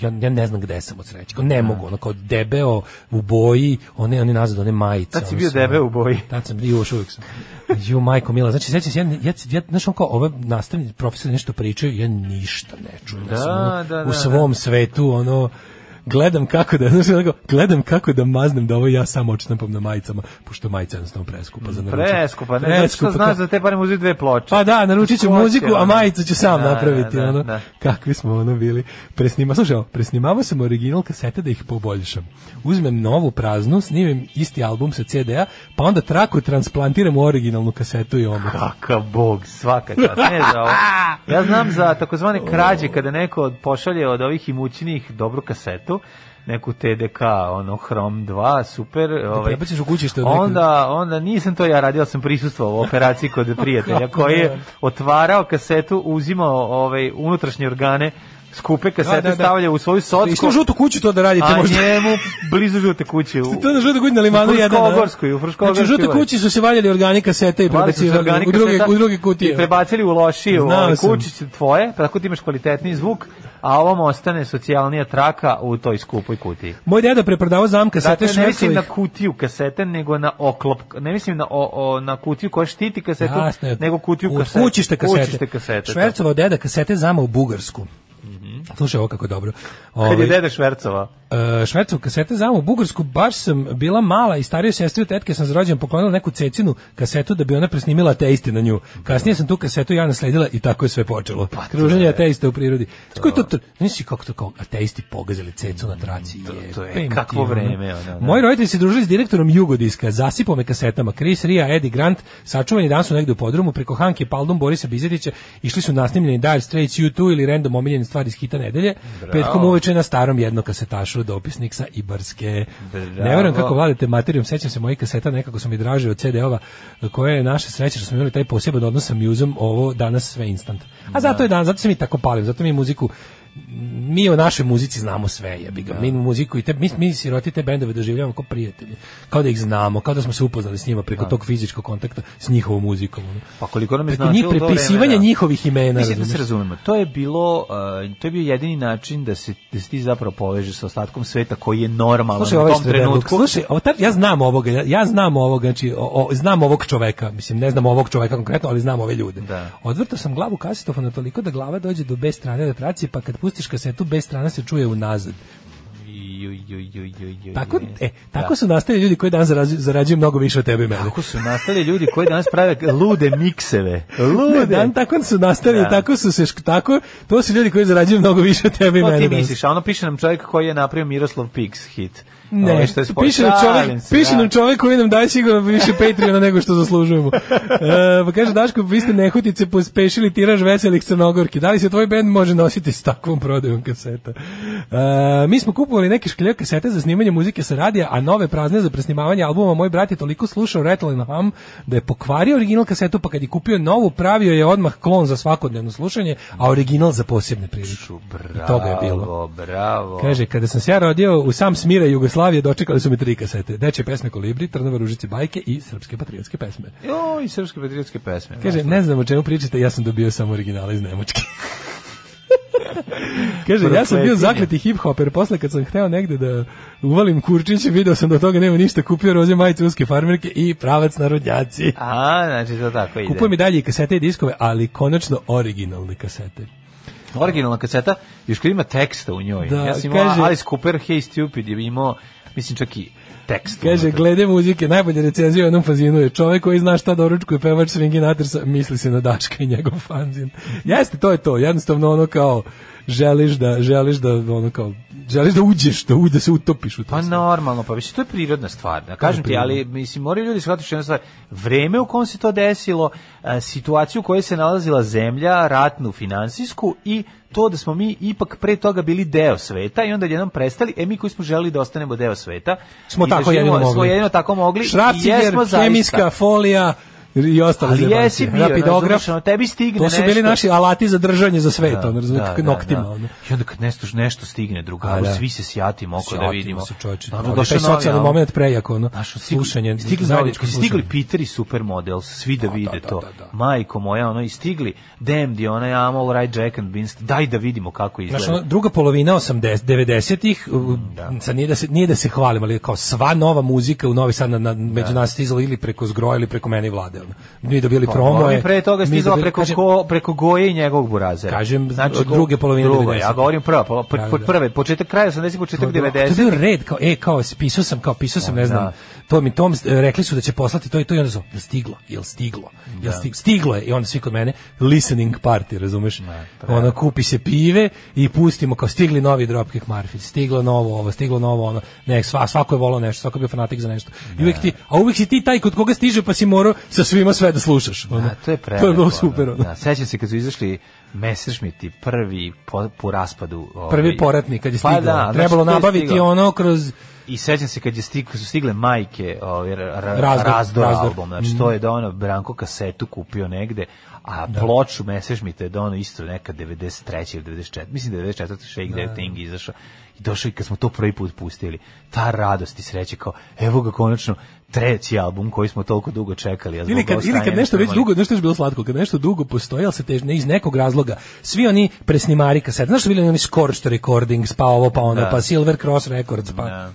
Speaker 7: Ja, ja ne znam gde sam od sreće. Kao,
Speaker 6: Da.
Speaker 7: Ne mogu, ono kao debeo u boji, one one nazad one majice.
Speaker 6: Tad si
Speaker 7: ono
Speaker 6: bio
Speaker 7: sve.
Speaker 6: debeo u boji.
Speaker 7: Tad sam bio još uvijek sam. Ju majko mila, znači sećam se ja ja, ja znaš on kao ove nastavni profesori nešto pričaju, ja ništa ne čujem. ja sam, ono,
Speaker 6: Da, da, da,
Speaker 7: u svom svetu ono gledam kako da znači onako, gledam kako da maznem da ovo ja samo očnapam na majicama, pošto majica je jednostavno preskupa za naručiti.
Speaker 6: Preskupa, ne, zato što
Speaker 7: Preskupa,
Speaker 6: znaš da
Speaker 7: kao-
Speaker 6: te pare uzeti dve ploče.
Speaker 7: pa da, naručit ću
Speaker 6: Ko će,
Speaker 7: muziku, a
Speaker 6: ono?
Speaker 7: majicu ću sam
Speaker 6: Da,
Speaker 7: napraviti.
Speaker 6: da, da,
Speaker 7: ono.
Speaker 6: da.
Speaker 7: Kakvi smo ono bili. Presnima, slušaj, ovo, presnimavao sam original kasete da ih poboljšam. Uzmem novu praznu, snimim isti album sa CD-a, pa onda traku transplantiram u originalnu kasetu i ono.
Speaker 6: Kakav bog, svaka čast, ne za ovo. Ja znam za takozvane krađe kada neko od- pošalje od ovih imućnih dobru kasetu, neku TDK, ono Hrom 2, super. Ovaj,
Speaker 7: Da prebaciš u kućište od nekog.
Speaker 6: onda, onda nisam to ja radio, ali sam prisustvovao u operaciji kod prijatelja
Speaker 7: [laughs] Kako
Speaker 6: koji
Speaker 7: ne?
Speaker 6: je otvarao kasetu, uzimao ovaj, unutrašnje organe, skupe kasete,
Speaker 7: da, da.
Speaker 6: stavlja u svoju
Speaker 7: I
Speaker 6: socku,
Speaker 7: što žutu kuću to da radite
Speaker 6: a
Speaker 7: možda?
Speaker 6: njemu blizu žute kuće. U,
Speaker 7: [laughs] To na žutu kuću na limanu
Speaker 6: U
Speaker 7: jedan. da?
Speaker 6: Fruškogorskoj, u Fruškogorskoj
Speaker 7: Znači, u žutu
Speaker 6: ulici.
Speaker 7: kući su se valjali organi kasete i
Speaker 6: Vadi su se
Speaker 7: prebacivali
Speaker 6: organi
Speaker 7: u druge,
Speaker 6: kaseta
Speaker 7: u druge
Speaker 6: I
Speaker 7: kutije.
Speaker 6: prebacili u lošiju,
Speaker 7: Znao
Speaker 6: ovaj,
Speaker 7: sam.
Speaker 6: kućiće tvoje, tako ti imaš kvalitetniji zvuk, a ovom ostane socijalnija traka u toj skupoj kutiji.
Speaker 7: Moj deda preprodavao zamka kasete
Speaker 6: Dakle, ne mislim na
Speaker 7: Švecovih.
Speaker 6: kutiju kasete, nego na oklop, ne mislim na, o, o, na kutiju koja štiti kasetu,
Speaker 7: Jasno je.
Speaker 6: nego kutiju
Speaker 7: Od
Speaker 6: kasete.
Speaker 7: Kućište kasete.
Speaker 6: Kućište kasete. da. Mhm.
Speaker 7: Švercova deda kasete zama u Bugarsku. Slušaj, ovo kako je dobro.
Speaker 6: Kad
Speaker 7: Ovaj,
Speaker 6: je deda Švercova.
Speaker 7: e, Švercov kasete zama u Bugarsku, baš sam bila mala i stariju sestri od tetke sam za rođendan poklonila neku cecinu kasetu da bi ona presnimila ateisti na nju. Kasnije sam tu kasetu ja nasledila i tako je sve počelo.
Speaker 6: Pa,
Speaker 7: Kruženje ateista u prirodi. Kako je to? to nisi kako to kao ateisti pogazili cecu na traci.
Speaker 6: to je
Speaker 7: jebem ti,
Speaker 6: kakvo
Speaker 7: ono.
Speaker 6: vreme, ono, da.
Speaker 7: Moji roditelji se družili s direktorom Jugodiska, zasipao me kasetama. Chris Ria, Eddie Grant, sačuvani dan su negde u podrumu, preko Hanke Paldum, Borisa Bizetića, išli su nasnimljeni Dire Straits, U2 ili random omiljeni stvari iz hita nedelje, petkom uveče na starom jednokasetašu dopisnik sa Ibarske.
Speaker 6: Bravo.
Speaker 7: Ne verujem kako vladate materijom, sećam se mojih kaseta, nekako su mi draže od CD-ova, koje je naša sreća što smo imali taj poseban odnos sa muzom, ovo danas sve instant. A zato je dan, zato se mi tako palim, zato mi muziku mi o našoj muzici znamo sve, jebi
Speaker 6: Da.
Speaker 7: ga. Mi muziku i te, mi, mi siroti te bendove doživljavamo kao prijatelje. Kao da ih znamo, kao da smo se upoznali s njima preko tog fizičkog kontakta s njihovom muzikom. ono.
Speaker 6: Da. Pa koliko nam je
Speaker 7: Preko njih
Speaker 6: značilo to
Speaker 7: prepisivanja
Speaker 6: vreme, da.
Speaker 7: njihovih imena.
Speaker 6: Mislim da se
Speaker 7: razumeš?
Speaker 6: razumemo. To je bilo uh, to je bio jedini način da se da se ti zapravo povežeš sa ostatkom sveta koji je normalan
Speaker 7: Slušaj,
Speaker 6: u
Speaker 7: ovaj
Speaker 6: tom
Speaker 7: što je Rebel,
Speaker 6: trenutku.
Speaker 7: Slušaj, ovo tar- ja znam ovoga, ja, ja znam ovoga, znači o, o- znam ovog čoveka, mislim ne znam ovog čoveka konkretno, ali znam ove ljude.
Speaker 6: Da.
Speaker 7: Odvrtao sam glavu kasetofona toliko da glava dođe do B strane retracije, pa kad pustiš kasetu B strana se čuje unazad.
Speaker 6: Ju, ju, ju, ju, ju,
Speaker 7: Tako,
Speaker 6: ju.
Speaker 7: e, tako su nastali ljudi koji danas zarađuju, zarađuju mnogo više od tebe i mene.
Speaker 6: Da. Tako su nastali ljudi koji danas prave lude mikseve. Lude.
Speaker 7: Ne, dan tako su nastavili,
Speaker 6: Da.
Speaker 7: tako su se, šk- tako, to su ljudi koji zarađuju mnogo više od tebe i
Speaker 6: Ko
Speaker 7: mene.
Speaker 6: ti
Speaker 7: danas.
Speaker 6: misliš? A ono piše nam čovjek koji je napravio Miroslav Pix hit. Ovaj
Speaker 7: Ne,
Speaker 6: što je spoj-
Speaker 7: piše nam
Speaker 6: Šalim
Speaker 7: čovjek,
Speaker 6: se,
Speaker 7: piše
Speaker 6: da.
Speaker 7: nam čovjek koji nam daje sigurno više Patreona nego što zaslužujemo. E, pa kaže Daško, vi ste nehotice pospešili tiraž veselih crnogorki. Da li se tvoj bend može nositi s takvom prodajom kaseta? E, mi smo kupovali neke škljive kasete za snimanje muzike sa radija, a nove prazne za presnimavanje albuma. Moj brat je toliko slušao Rattle and Hum da je pokvario original kasetu, pa kad je kupio novu, pravio je odmah klon za svakodnevno slušanje, a original za posebne prilike. I toga je bilo.
Speaker 6: Bravo, bravo.
Speaker 7: Kaže, kada sam se ja rodio u sam smire Jugoslavije, dočekali su mi tri kasete. Deče pesme Kolibri, Trnova ružice bajke i srpske patriotske pesme.
Speaker 6: Jo, i srpske patriotske pesme.
Speaker 7: Kaže, ne znam o čemu pričate, ja sam dobio samo originale iz Nemočke. [laughs]
Speaker 6: da.
Speaker 7: Kaže, ja sam
Speaker 6: Prokletinje.
Speaker 7: bio zakleti hip-hopper, posle kad sam hteo negde da uvalim kurčiće, video sam da od toga nema ništa, kupio roze majice uske farmerke i pravac narodnjaci.
Speaker 6: A, znači to tako ide.
Speaker 7: Kupujem i dalje i kasete i diskove, ali konačno originalne kasete.
Speaker 6: Originalna kaseta, još kad ima teksta u njoj.
Speaker 7: Da,
Speaker 6: ja sam imao
Speaker 7: kaže-
Speaker 6: Alice Cooper, Hey Stupid, je imao, mislim čak i tekst.
Speaker 7: Kaže,
Speaker 6: unutra.
Speaker 7: glede muzike, najbolje recenzija u jednom fazinu je čovjek koji zna šta doručkuje pevač Swingin' Atersa, misli se na Daška i njegov fanzin. Jeste, to je to, jednostavno ono kao, želiš da, želiš da, ono kao, želiš da uđeš, da, u, da se utopiš u to.
Speaker 6: Pa
Speaker 7: sve.
Speaker 6: normalno, pa mislim, to je prirodna stvar, da kažem ti,
Speaker 7: prirodno.
Speaker 6: ali mislim, moraju ljudi shvatiti jednu stvar, vreme u kom se to desilo, e, situaciju u kojoj se nalazila zemlja, ratnu, finansijsku i to da smo mi ipak pre toga bili deo sveta i onda jednom prestali, e mi koji smo želili da ostanemo deo sveta,
Speaker 7: Smo
Speaker 6: i da
Speaker 7: tako
Speaker 6: živimo-
Speaker 7: jedino
Speaker 6: Smo
Speaker 7: mogli.
Speaker 6: jedino tako mogli i
Speaker 7: Šrafciger,
Speaker 6: jesmo zaista.
Speaker 7: hemijska folija, i ostale
Speaker 6: Ali
Speaker 7: zebancije.
Speaker 6: jesi bio,
Speaker 7: Rapidograf.
Speaker 6: razumeš, ono, tebi stigne
Speaker 7: To su bili
Speaker 6: nešto.
Speaker 7: naši alati za držanje za svet, ono, razumiješ, kako noktima,
Speaker 6: da.
Speaker 7: ono.
Speaker 6: I onda kad nešto, nešto stigne drugaru,
Speaker 7: A, da.
Speaker 6: svi se sjatimo oko da
Speaker 7: Sjatimo
Speaker 6: vidimo.
Speaker 7: se, čoveče,
Speaker 6: Ono,
Speaker 7: ali
Speaker 6: došao
Speaker 7: taj
Speaker 6: novi
Speaker 7: socijalni
Speaker 6: album.
Speaker 7: moment prejak, ono,
Speaker 6: Znaš, stigli-
Speaker 7: slušanje,
Speaker 6: Stigli,
Speaker 7: zajedničko
Speaker 6: zajednički, stigli
Speaker 7: slušanje.
Speaker 6: Peter i Supermodel, svi da, vide
Speaker 7: da,
Speaker 6: to.
Speaker 7: da, da.
Speaker 6: Majko moja, ono, i stigli Damned i onaj I'm all right, Jack and Beans, daj da vidimo kako izgleda.
Speaker 7: Znaš, ono, druga polovina 80 90-ih, sad nije da se nije da se hvalim, ali kao sva nova muzika u Novi Sad na, na među nas stizala ili preko zgroja ili preko mene i vlade. Ono. Mi dobili
Speaker 6: Da. Pa,
Speaker 7: promo.
Speaker 6: oni pre toga je stizao preko, ko, preko Goje i njegovog burazera. Znači,
Speaker 7: Kažem, od druge polovine
Speaker 6: drugo,
Speaker 7: 90-ih.
Speaker 6: Ja govorim prva, pol- pr,
Speaker 7: Da,
Speaker 6: pr,
Speaker 7: da.
Speaker 6: prve, početak kraja 80, početak
Speaker 7: To je
Speaker 6: 90.
Speaker 7: bio red, kao, e, kao, pisao sam, kao, pisao sam, ne znam,
Speaker 6: da.
Speaker 7: to mi tom, e, rekli su da će poslati to i to i onda su, jel stiglo, jel stiglo,
Speaker 6: Da.
Speaker 7: jel stiglo, stiglo je, i onda svi kod mene, listening party, razumeš,
Speaker 6: pa da.
Speaker 7: ono, kupi se pive i pustimo, kao, stigli novi Dropkick Murphys, stiglo novo ovo, stiglo novo ono, ne, sva, svako je volao nešto, svako je bio fanatik za nešto, I
Speaker 6: Da.
Speaker 7: uvek ti, a uvek si ti taj kod koga stiže, pa si morao sa svima sve da slušaš, ono,
Speaker 6: Da, to je prelepo.
Speaker 7: to je bilo
Speaker 6: ono.
Speaker 7: super, ono.
Speaker 6: Da, sećam se kad su izašli Messerschmitti prvi po, po raspadu. Ovaj,
Speaker 7: Prvi poratnik kad je
Speaker 6: Pa
Speaker 7: stiglo,
Speaker 6: da,
Speaker 7: trebalo
Speaker 6: znači, to je
Speaker 7: nabaviti
Speaker 6: stiglo.
Speaker 7: ono kroz
Speaker 6: I sećam se kad je stig, su stigle majke ovaj, ra, ra-
Speaker 7: Razdor,
Speaker 6: razdor,
Speaker 7: Razdor. Mhm.
Speaker 6: album, znači to je da ono Branko kasetu kupio negde, a
Speaker 7: Da.
Speaker 6: ploču Messerschmitta je da ono isto neka 93. ili 94. Mislim da je 94. Shake That Thing izašao. I došao i kad smo to prvi put pustili, ta radost i sreće kao, evo ga konačno, treći album koji smo toliko dugo čekali. a zbog
Speaker 7: Ili kad, ili kad
Speaker 6: ostajanja
Speaker 7: nešto
Speaker 6: nismo
Speaker 7: već
Speaker 6: imali.
Speaker 7: dugo, nešto je bilo slatko, kad nešto dugo postoji, ali se tež, ne, iz nekog razloga, svi oni presnimari kaseta, znaš što bili oni Scorched Recordings, pa ovo, pa ono,
Speaker 6: Da.
Speaker 7: pa Silver Cross Records, pa
Speaker 6: Da.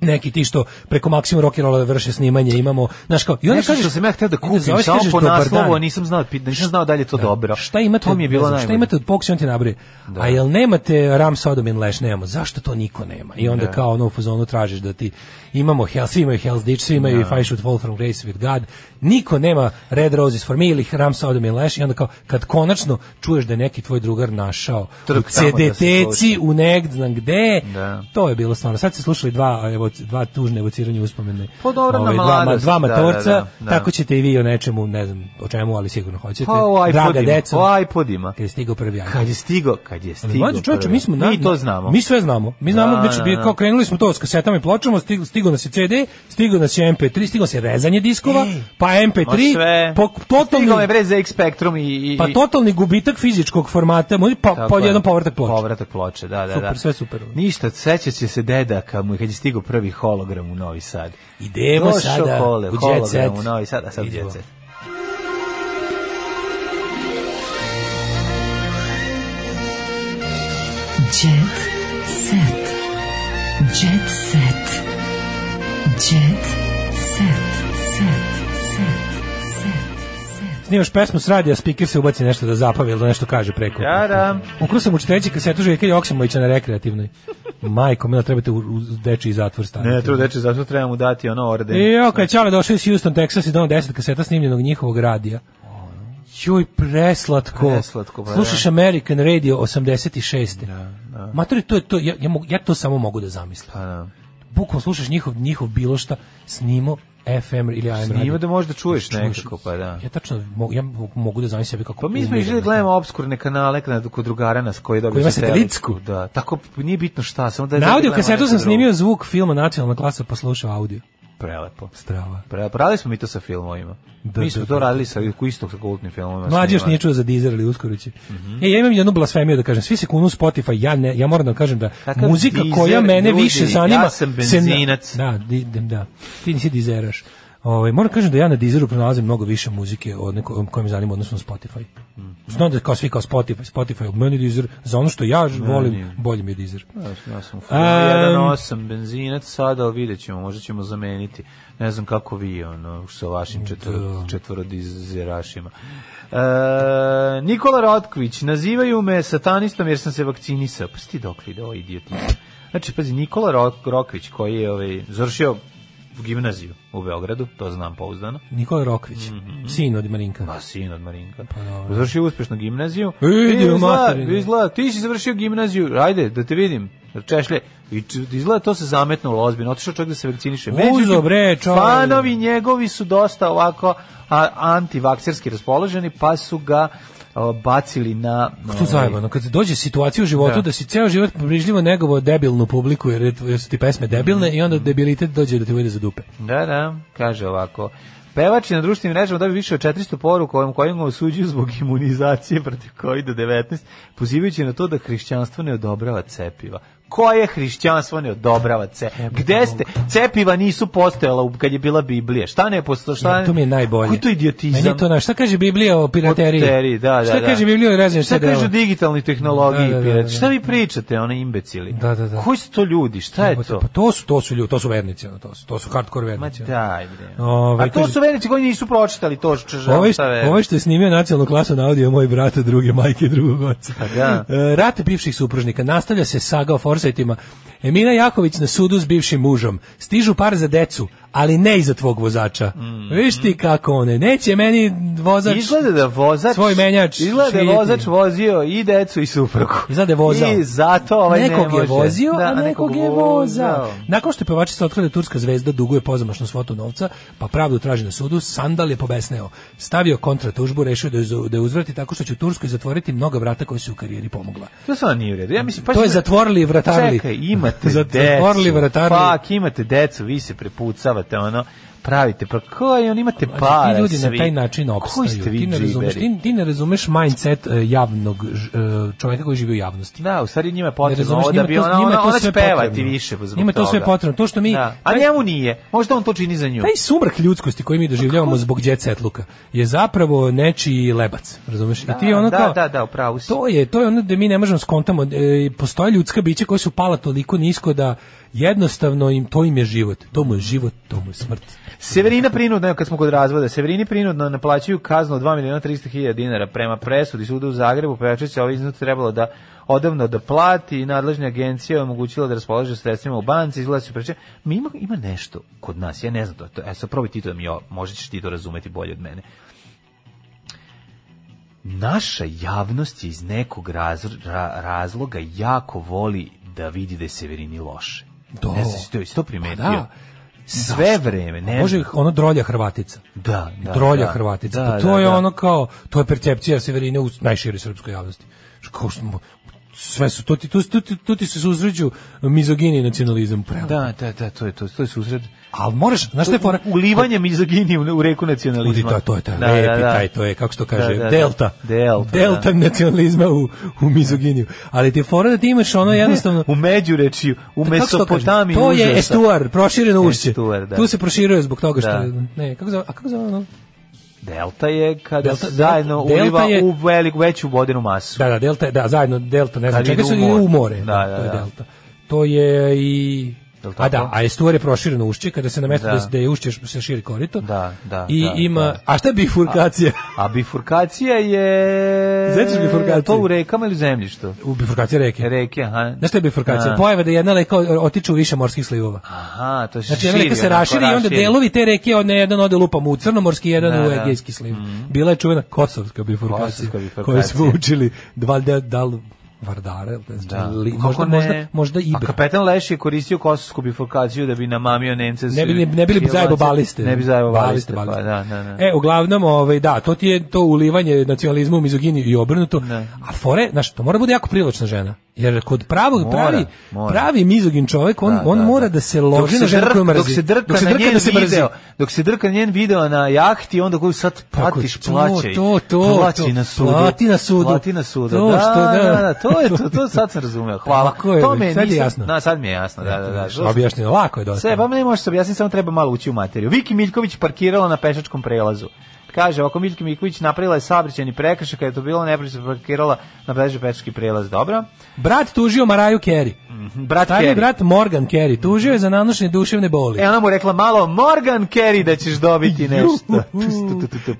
Speaker 7: neki ti što preko Maximum Rock'n'Rolla vrše snimanje, imamo, znaš kao, i onda
Speaker 6: Nešto
Speaker 7: kažeš,
Speaker 6: što sam ja hteo da
Speaker 7: i
Speaker 6: kupim,
Speaker 7: zoveš,
Speaker 6: samo
Speaker 7: kažeš,
Speaker 6: po
Speaker 7: "Dobar
Speaker 6: naslovu, a
Speaker 7: dan." Da.
Speaker 6: nisam znao, pit- nisam znao dalje to dobro.
Speaker 7: Šta imate?
Speaker 6: To mi je
Speaker 7: ne
Speaker 6: bilo
Speaker 7: znam,
Speaker 6: najbolje. Da.
Speaker 7: Šta imate od Poksa, on ti nabraje. A jel nemate Ram Sodom in Lash? Nemamo. Zašto to niko nema? I
Speaker 6: Da.
Speaker 7: onda kao ono u fazonu tražiš da ti imamo Hell, svi imaju Hell's Ditch, svi
Speaker 6: Da.
Speaker 7: imaju If I Should Fall From Grace With God. Niko nema Red Roses For Me ili Ram Sodom in Lash. I onda kao kad konačno čuješ da je neki tvoj drugar našao
Speaker 6: Trg
Speaker 7: u
Speaker 6: tamo da se
Speaker 7: CDT-ci,
Speaker 6: sluša.
Speaker 7: u negd znam gde,
Speaker 6: Da.
Speaker 7: to je bilo stvarno. Sad ste slušali dva, evo, evoci- dva tužne evociranja uspomene. Ovaj,
Speaker 6: Pa dobro, na
Speaker 7: dva,
Speaker 6: mladost,
Speaker 7: dva
Speaker 6: da, da,
Speaker 7: matorca,
Speaker 6: da, da.
Speaker 7: tako ćete i vi o nečemu, ne znam o čemu, ali sigurno hoćete.
Speaker 6: Pa o
Speaker 7: Draga
Speaker 6: iPodima,
Speaker 7: deco,
Speaker 6: o iPodima.
Speaker 7: kad je stigao prvi iPod.
Speaker 6: Kad je stigo, kad je
Speaker 7: Ali
Speaker 6: stigo.
Speaker 7: Mlađe čoveče,
Speaker 6: prvi.
Speaker 7: mi smo...
Speaker 6: Mi to znamo.
Speaker 7: Mi sve znamo. Mi znamo,
Speaker 6: Da,
Speaker 7: da,
Speaker 6: da,
Speaker 7: bi,
Speaker 6: da.
Speaker 7: kao krenuli smo to s kasetama i pločama, stiglo, stiglo nas je CD, stiglo nas je MP3, stiglo se rezanje diskova, pa
Speaker 6: Ma
Speaker 7: MP3,
Speaker 6: sve.
Speaker 7: po, totalni,
Speaker 6: Stigao je bre za X Spectrum i... i
Speaker 7: pa totalni gubitak fizičkog formata, moj, pa,
Speaker 6: Tako
Speaker 7: pa
Speaker 6: je.
Speaker 7: jedan povratak ploče.
Speaker 6: Povratak ploče, da, da, da.
Speaker 7: Super, sve super.
Speaker 6: Ništa, sećat će se deda kad mu je- kad je stigao prvi hologram u Novi Sad.
Speaker 7: Idemo
Speaker 6: Došao
Speaker 7: sada
Speaker 6: kole,
Speaker 7: u Jet
Speaker 6: hologram
Speaker 7: Set.
Speaker 6: u Novi Sad, a sad
Speaker 7: Idemo.
Speaker 6: Jet Set.
Speaker 5: Jet set. Jet set. Jet set. Set. Set. Set. Set.
Speaker 7: Snimaš pesmu s radija, speaker se ubaci nešto da zapavi ili da nešto kaže preko.
Speaker 6: Da, da.
Speaker 7: Ukru sam u četreći kasetu Željka Joksimovića na rekreativnoj. Majko, mila, trebate u, u dečiji zatvor staviti.
Speaker 6: Ne, tu deče, zašto treba da- mu dati ono orden?
Speaker 7: I jo, kad je Čale došao iz Houston, Texas i donao 10 kaseta snimljenog njihovog radija. Joj, preslatko.
Speaker 6: Preslatko, pa da.
Speaker 7: Slušaš American Radio 86. Matori, to je to, ja, ja, mogu- ja to samo mogu da zamislim.
Speaker 6: Pa, da.
Speaker 7: Bukvom slušaš njihov, njihov bilo šta, snimo FM ili AM radio.
Speaker 6: Snima da možeš da čuješ
Speaker 7: Čuješ.
Speaker 6: nekako, pa da.
Speaker 7: Ja tačno mogu, ja mogu da zamislim sebe kako...
Speaker 6: Pa mi smo
Speaker 7: umiram
Speaker 6: išli da
Speaker 7: na
Speaker 6: gledamo obskurne kanale kada- kod drugara nas koji dobio
Speaker 7: Koji ima satelitsku.
Speaker 6: Da, tako nije bitno šta, samo da... da
Speaker 7: Na audio
Speaker 6: gledamo
Speaker 7: kasetu
Speaker 6: nešto
Speaker 7: sam
Speaker 6: drugo.
Speaker 7: snimio zvuk filma Nacionalna klasa pa slušao audio.
Speaker 6: Prelepo.
Speaker 7: Strava.
Speaker 6: Pre, pravili smo mi to sa filmovima.
Speaker 7: Da,
Speaker 6: mi smo
Speaker 7: da,
Speaker 6: to
Speaker 7: da.
Speaker 6: radili sa istog sa kultnim filmovima.
Speaker 7: Mlađi još
Speaker 6: snimali.
Speaker 7: nije čuo za Deezer ili uskoro će.
Speaker 6: Mhm.
Speaker 7: E, ja imam jednu blasfemiju da kažem. Svi se kunu u Spotify, ja, ne, ja moram da vam kažem da
Speaker 6: Kakav
Speaker 7: muzika
Speaker 6: Deezer,
Speaker 7: koja mene
Speaker 6: ljudi,
Speaker 7: više
Speaker 6: ja
Speaker 7: zanima...
Speaker 6: sam
Speaker 7: se na-
Speaker 6: benzinac.
Speaker 7: Da, di, dem- da, ti nisi Deezeraš. Ovaj moram kažem da ja na Deezeru pronalazim mnogo više muzike od neko kojom zanima odnosno na Spotify.
Speaker 6: Mhm.
Speaker 7: Znam da kao svi kao Spotify, Spotify, meni Deezer, za ono što ja volim, bolje mi je Deezer.
Speaker 6: Ja sam- Ja sam u
Speaker 7: Em.
Speaker 6: 1.8 benzinac sada, ali vidjet ćemo, možda ćemo zameniti. Ne znam kako vi, ono, sa
Speaker 7: Da.
Speaker 6: vašim četvor, četvorodizerašima. E, Nikola Rotkvić, nazivaju me satanistom jer sam se vakcinisao. Pa si ti dok vidio, ovo idiot. Znači, pazi, Nikola Rok- Rokvić koji je ovaj, završio gimnaziju u Beogradu, to znam pouzdano,
Speaker 7: Nikola Rokvić,
Speaker 6: Mhm.
Speaker 7: sin
Speaker 6: [laughs]
Speaker 7: od Marinka.
Speaker 6: Pa sin od Marinka. Završio uspešno gimnaziju.
Speaker 7: Idi
Speaker 6: Ti
Speaker 7: u
Speaker 6: izgleda-
Speaker 7: materinu.
Speaker 6: izgleda, ti si završio gimnaziju. Ajde, da te vidim. Češlje. I č- izgleda to se zametnulo ozbiljno. Otišao čovjek da se vakciniše.
Speaker 7: Uzo, bre, čovjek.
Speaker 6: Fanovi njegovi su dosta ovako a, antivakserski raspoloženi, pa su ga a, bacili na...
Speaker 7: To je zajebano, kad dođe situacija u životu
Speaker 6: Ovaj. Da.
Speaker 7: da, si ceo život brižljivo negovo debilnu publiku, jer, je tvo- jer su ti pesme debilne i
Speaker 6: Mm.
Speaker 7: onda debilitet dođe da te uvede za dupe.
Speaker 6: Da, da, kaže ovako. Pevač je na društvenim mrežama dobio više od 400 poruka kojim kojim ga osuđuju zbog imunizacije protiv COVID-19, pozivajući na to da hrišćanstvo ne odobrava cepiva. Koje hrišćanstvo ne odobrava cepiva? Gde ste? Cepiva nisu postojala u- kad je bila Biblija. Šta ne postoje? Šta
Speaker 7: Ja, to mi je najbolje.
Speaker 6: Pa, Koji to idiotizam?
Speaker 7: Meni je to na, šta kaže Biblija o pirateriji?
Speaker 6: Poteri, da, da,
Speaker 7: šta
Speaker 6: da.
Speaker 7: kaže Biblija o razinu
Speaker 6: Šta kaže o digitalnoj tehnologiji?
Speaker 7: Da, da, da,
Speaker 6: pirati?
Speaker 7: da.
Speaker 6: Šta vi pričate, one imbecili?
Speaker 7: Da, da, da.
Speaker 6: Koji su to ljudi? Šta je to?
Speaker 7: Pa to su, to su ljudi, to su vernici, ono, to su, to su hardcore
Speaker 6: Ma
Speaker 7: vernici. ono.
Speaker 6: daj, bre.
Speaker 7: Ovaj,
Speaker 6: A to
Speaker 7: kaže-
Speaker 6: su vernici koji nisu pročitali to što žele.
Speaker 7: Ovaj
Speaker 6: šta
Speaker 7: što,
Speaker 6: vernici.
Speaker 7: ovaj što je snimio nacionalnu klasu na audio je moj brat od druge majke i drugog oca.
Speaker 6: Pa da.
Speaker 7: E, Rat bivših supružnika nastavlja se saga o Forsajtima. Emina Jaković na sudu s bivšim mužom. Stižu par za decu, ali ne i za tvog vozača. Viš ti kako one. Neće meni vozač...
Speaker 6: Mm, Izgleda da vozač
Speaker 7: znači Svoj menjač
Speaker 6: Izgleda da je
Speaker 7: širiti.
Speaker 6: vozač vozio i decu i suprugu.
Speaker 7: Izgleda da je vozao.
Speaker 6: I zato ovaj ne
Speaker 7: nekog
Speaker 6: može.
Speaker 7: je vozio,
Speaker 6: Da,
Speaker 7: a nekog je vozao. Nakon što je pevačica otkrila da turska zvezda duguje pozamašnu svotu novca, pa pravdu traži na sudu, Sandal je pobesneo. Stavio kontratužbu, rešio da je, uz- da je uzvrati tako što će u Turskoj zatvoriti mnoga vrata koja su u karijeri pomogla.
Speaker 6: To stvarno nije u redu. Ja mislim, pa
Speaker 7: to je
Speaker 6: ima-
Speaker 7: zatvorili i vratarili.
Speaker 6: Čekaj, imate
Speaker 7: Zat-
Speaker 6: decu.
Speaker 7: [laughs] Zatvorili i vratarili.
Speaker 6: Pak, imate decu, vi se prepucavate, ono, pravite, pa koji, on imate
Speaker 7: Ali
Speaker 6: para
Speaker 7: Znači, ti ljudi na
Speaker 6: svi.
Speaker 7: taj način
Speaker 6: Koji
Speaker 7: opstaju.
Speaker 6: ste vi
Speaker 7: Ti ne razumeš,
Speaker 6: džiberi?
Speaker 7: ti, ti ne razumeš mindset e, javnog ž- e, čoveka koji živi u javnosti.
Speaker 6: Da, u stvari njima je
Speaker 7: Ne
Speaker 6: potrebno
Speaker 7: razumeš,
Speaker 6: ovo da
Speaker 7: njima
Speaker 6: bi
Speaker 7: to-
Speaker 6: ona,
Speaker 7: njima
Speaker 6: ona,
Speaker 7: je to
Speaker 6: ona će
Speaker 7: sve
Speaker 6: pevati
Speaker 7: potrebno.
Speaker 6: više zbog toga.
Speaker 7: Njima je to sve potrebno. To što mi-
Speaker 6: Da. A
Speaker 7: taj-
Speaker 6: njemu nije. Možda on to čini za nju.
Speaker 7: Taj sumrak ljudskosti
Speaker 6: Pa
Speaker 7: koji mi doživljavamo zbog jet setluka je zapravo nečiji lebac, razumeš? I ti ono
Speaker 6: da,
Speaker 7: kao,
Speaker 6: da, da, u pravu si.
Speaker 7: To je, to je ono da mi ne možemo skontamo, e, postoje ljudska bića koja su pala toliko nisko da jednostavno im, to im je život, to mu je život, to mu je smrt.
Speaker 6: Severina prinudno, evo kad smo kod razvoda, Severini prinudno naplaćuju kaznu od 2 miliona 300 hiljada dinara prema presudi suda u Zagrebu, pevačica ovaj iznut trebalo da odavno da plati i nadležna agencija je omogućila da raspolaže sredstvima u banci, izgleda su preče. Mi ima, ima nešto kod nas, ja ne znam to, to e, sad probaj ti to da mi, o- možda ćeš ti to razumeti bolje od mene. Naša javnost je iz nekog razr- ra- razloga jako voli da vidi da je Severini loše.
Speaker 7: Do.
Speaker 6: Ne znam, si to, si to primetio?
Speaker 7: Pa da.
Speaker 6: Sve
Speaker 7: Zašto? Pa
Speaker 6: vreme, ne
Speaker 7: Može ono drolja Hrvatica.
Speaker 6: Da, da,
Speaker 7: drolja
Speaker 6: da.
Speaker 7: Hrvatica.
Speaker 6: Da,
Speaker 7: pa to
Speaker 6: da,
Speaker 7: je
Speaker 6: da.
Speaker 7: ono kao, to je percepcija Severine u najširoj srpskoj javnosti. Š- Kao što mu- sve su, to ti, tu, tu, tu, tu ti se susreću mizogini i nacionalizam. Prema.
Speaker 6: Da, da, da, to je to, to je susret.
Speaker 7: Ali moraš, znaš šta je fora?
Speaker 6: Ulivanje mizoginije u, u reku nacionalizma.
Speaker 7: Udi, to, to je taj lepi, taj, to je, kako se to kaže,
Speaker 6: Da, da, da.
Speaker 7: delta.
Speaker 6: Delta, da.
Speaker 7: nacionalizma u, u mizoginiju. Ali ti je fora da ti imaš ono jednostavno... Pa
Speaker 6: U Međurečiju, u
Speaker 7: Kako se to kaže?
Speaker 6: Mesopotamiji
Speaker 7: To je
Speaker 6: užasa.
Speaker 7: estuar, prošireno ušće.
Speaker 6: Estuar, da.
Speaker 7: Tu se proširuje zbog toga što...
Speaker 6: Da.
Speaker 7: je- Ne, kako zove, a kako zove ono?
Speaker 6: Delta je kada
Speaker 7: Delta-
Speaker 6: zajedno
Speaker 7: delta
Speaker 6: uliva
Speaker 7: je-
Speaker 6: u veliku veću vodenu masu.
Speaker 7: Da, da, delta, je- da, zajedno delta, ne znam,
Speaker 6: Kad
Speaker 7: čega
Speaker 6: idu
Speaker 7: su
Speaker 6: u
Speaker 7: i
Speaker 6: more.
Speaker 7: u more.
Speaker 6: Da, da,
Speaker 7: to je
Speaker 6: da.
Speaker 7: delta. To je i...
Speaker 6: Jel tako?
Speaker 7: A da, a estuar je prošireno ušće, kada se na mesto
Speaker 6: Da.
Speaker 7: da, da je ušće se širi korito.
Speaker 6: Da, da,
Speaker 7: I
Speaker 6: da,
Speaker 7: ima...
Speaker 6: da.
Speaker 7: A šta je bifurkacija?
Speaker 6: A bifurkacija je...
Speaker 7: Sećaš bifurkaciju?
Speaker 6: To u rekama ili u zemljištu?
Speaker 7: U bifurkacija reke.
Speaker 6: Reke, aha.
Speaker 7: Znaš šta je bifurkacija?
Speaker 6: Aha.
Speaker 7: Pojava da jedna leka otiče u više morskih slivova.
Speaker 6: Aha, to se
Speaker 7: Znači,
Speaker 6: širi.
Speaker 7: jedna reka se
Speaker 6: onako,
Speaker 7: raširi i onda
Speaker 6: raširi.
Speaker 7: delovi te reke, od ne, jedan ode lupam u crnomorski, jedan
Speaker 6: Da,
Speaker 7: u
Speaker 6: da.
Speaker 7: egejski sliv. Bila je čuvena kosovska bifurkacija,
Speaker 6: Kosovska bifurkacija.
Speaker 7: koju smo učili, dva, da, da, li Vardare, da.
Speaker 6: Da.
Speaker 7: Li,
Speaker 6: Kako
Speaker 7: možda,
Speaker 6: ne?
Speaker 7: možda, možda Ibra.
Speaker 6: A kapetan Leš je koristio kosovsku bifurkaciju da bi namamio Nemce. s-
Speaker 7: ne bi ne, ne bili bi zajebo baliste.
Speaker 6: Ne bi zajebo baliste, pa
Speaker 7: baliste.
Speaker 6: da, da, da.
Speaker 7: E, uglavnom, ovaj da, to ti je to ulivanje nacionalizma u mizoginiju i obrnuto. A fore, znaš, to mora da bude jako privlačna žena. Jer kod pravog
Speaker 6: Mora,
Speaker 7: pravi
Speaker 6: mora.
Speaker 7: pravi mizogin čovjek, on
Speaker 6: Da,
Speaker 7: on
Speaker 6: da,
Speaker 7: mora
Speaker 6: da.
Speaker 7: da se
Speaker 6: Dok
Speaker 7: loži na ženu
Speaker 6: drk-
Speaker 7: koju mrzi.
Speaker 6: Dok se drka, na njen
Speaker 7: da se mrzi.
Speaker 6: video, dok se drka na njen video na jahti, onda koju sad pratiš,
Speaker 7: Pa to,
Speaker 6: plaćaj.
Speaker 7: to, to,
Speaker 6: plaći
Speaker 7: to.
Speaker 6: na sudu.
Speaker 7: Plati na sudu.
Speaker 6: Plati na sudu.
Speaker 7: To
Speaker 6: da,
Speaker 7: što, da.
Speaker 6: da, da, to je to, to sad sam
Speaker 7: [laughs]
Speaker 6: razumeo. Hvala.
Speaker 7: Tako je,
Speaker 6: to me
Speaker 7: sad je
Speaker 6: nisam-
Speaker 7: jasno.
Speaker 6: Na, sad mi je jasno, da, da, da. To sam-
Speaker 7: Objašnjeno, lako je dosta.
Speaker 6: Sve, pa ne možeš se objasniti, samo treba malo ući u materiju. Viki Miljković parkirala na pešačkom prelazu. Kaže, ako Miljki Miljković napravila je saobraćajni prekršaj, kada je to bilo neprično parkirala na pešački pešački prelaz, dobro.
Speaker 7: Brat tužio Maraju Kerry.
Speaker 6: Brat
Speaker 7: Stari
Speaker 6: Kerry.
Speaker 7: brat Morgan Kerry tužio je za nanošenje duševne boli.
Speaker 6: E, ona mu rekla malo, Morgan Kerry da ćeš dobiti nešto.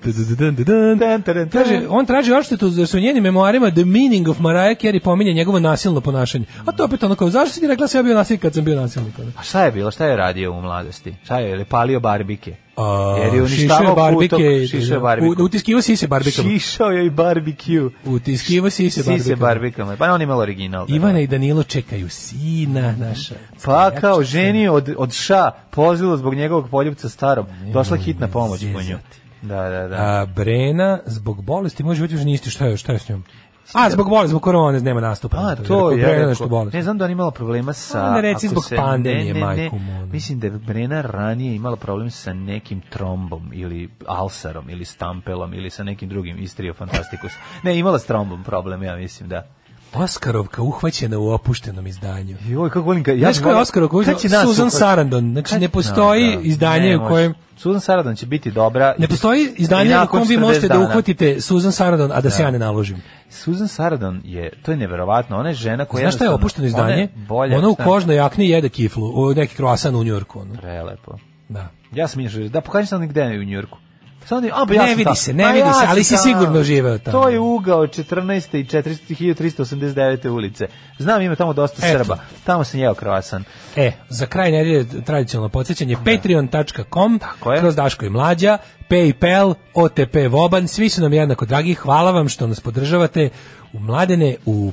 Speaker 6: Tan, taran, tan.
Speaker 7: Kaže, on traži odštetu jer su u njenim memoarima The Meaning of Mariah Carey pominje njegovo nasilno ponašanje. A to je opet ono kao, zašto si ti rekla da sam ja bio nasilnik kad sam bio nasilnik? ono?
Speaker 6: A šta je bilo? Šta je radio u mladosti? Šta je? Je palio barbike?
Speaker 7: A,
Speaker 6: Jer je
Speaker 7: šišao
Speaker 6: uništavao
Speaker 7: barbike i-
Speaker 6: putok, šišao je barbiku.
Speaker 7: u- Utiskivo sise barbikama.
Speaker 6: Šišao je i barbecue.
Speaker 7: Utiskivo sise
Speaker 6: Sise
Speaker 7: barbikama.
Speaker 6: barbikama. Pa on imao original. da.
Speaker 7: Ivana i Danilo čekaju sina naša.
Speaker 6: Pa kao ženi od, od ša pozilo zbog njegovog poljubca starom. Došla hitna pomoć po nju.
Speaker 7: zezati.
Speaker 6: Da, da, da.
Speaker 7: A, Brena zbog bolesti može biti niste šta je, šta je s njom? A, zbog bolesti, zbog korone nema nastupa. da
Speaker 6: A,
Speaker 7: Rekao,
Speaker 6: to je,
Speaker 7: Brena
Speaker 6: rekao,
Speaker 7: nešto bolest.
Speaker 6: ne znam da on imala problema sa...
Speaker 7: A, ne reci
Speaker 6: ako
Speaker 7: zbog pandemije, majku mu, ono.
Speaker 6: Mislim da je Brena ranije imala problem sa nekim trombom ili alsarom ili stampelom ili sa nekim drugim istrio fantastikus. ne, imala s trombom problem, ja mislim, da.
Speaker 7: Oskarovka uhvaćena u opuštenom izdanju.
Speaker 6: Joj, kako volim... Ka, ja
Speaker 7: Znaš
Speaker 6: bih
Speaker 7: ko je
Speaker 6: volao-
Speaker 7: Oskar
Speaker 6: Kad će nas
Speaker 7: Susan
Speaker 6: uhvat-
Speaker 7: Sarandon. Znači,
Speaker 6: Kad-
Speaker 7: ne postoji
Speaker 6: Da, da.
Speaker 7: izdanje
Speaker 6: Ne
Speaker 7: u kojem...
Speaker 6: može. E, Susan Sarandon će biti dobra.
Speaker 7: Ne postoji izdanje u
Speaker 6: nakon
Speaker 7: kojem vi
Speaker 6: 40
Speaker 7: možete da
Speaker 6: dana.
Speaker 7: uhvatite Susan Sarandon, a da se ja ne naložim.
Speaker 6: Susan Sarandon je, to je neverovatno, ona je žena koja...
Speaker 7: Znaš šta je
Speaker 6: jednostavno-
Speaker 7: opušteno izdanje?
Speaker 6: Ona, je bolja,
Speaker 7: Ona u
Speaker 6: šta?
Speaker 7: kožnoj jakni jede kiflu, o, neki kroasan u Njorku. ono.
Speaker 6: Prelepo.
Speaker 7: Da.
Speaker 6: Ja sam inače, da pokažem sam gde je u Njujorku. Sad oni, a, pa
Speaker 7: Ne
Speaker 6: ja sam
Speaker 7: vidi
Speaker 6: tamo.
Speaker 7: se, ne
Speaker 6: A
Speaker 7: vidi
Speaker 6: ja
Speaker 7: se,
Speaker 6: sam
Speaker 7: ali si
Speaker 6: tamo.
Speaker 7: sigurno živeo tamo.
Speaker 6: To je ugao 14. i 400 1389. ulice. Znam, ima tamo dosta
Speaker 7: Eto.
Speaker 6: Srba. Tamo sam jeo kroasan.
Speaker 7: E, za kraj nedelje tradicionalno podsjećanje patreon.com
Speaker 6: Da. Tako je.
Speaker 7: kroz Daško i Mlađa, Paypal, OTP Voban, svi su nam jednako dragi, hvala vam što nas podržavate u Mladene, u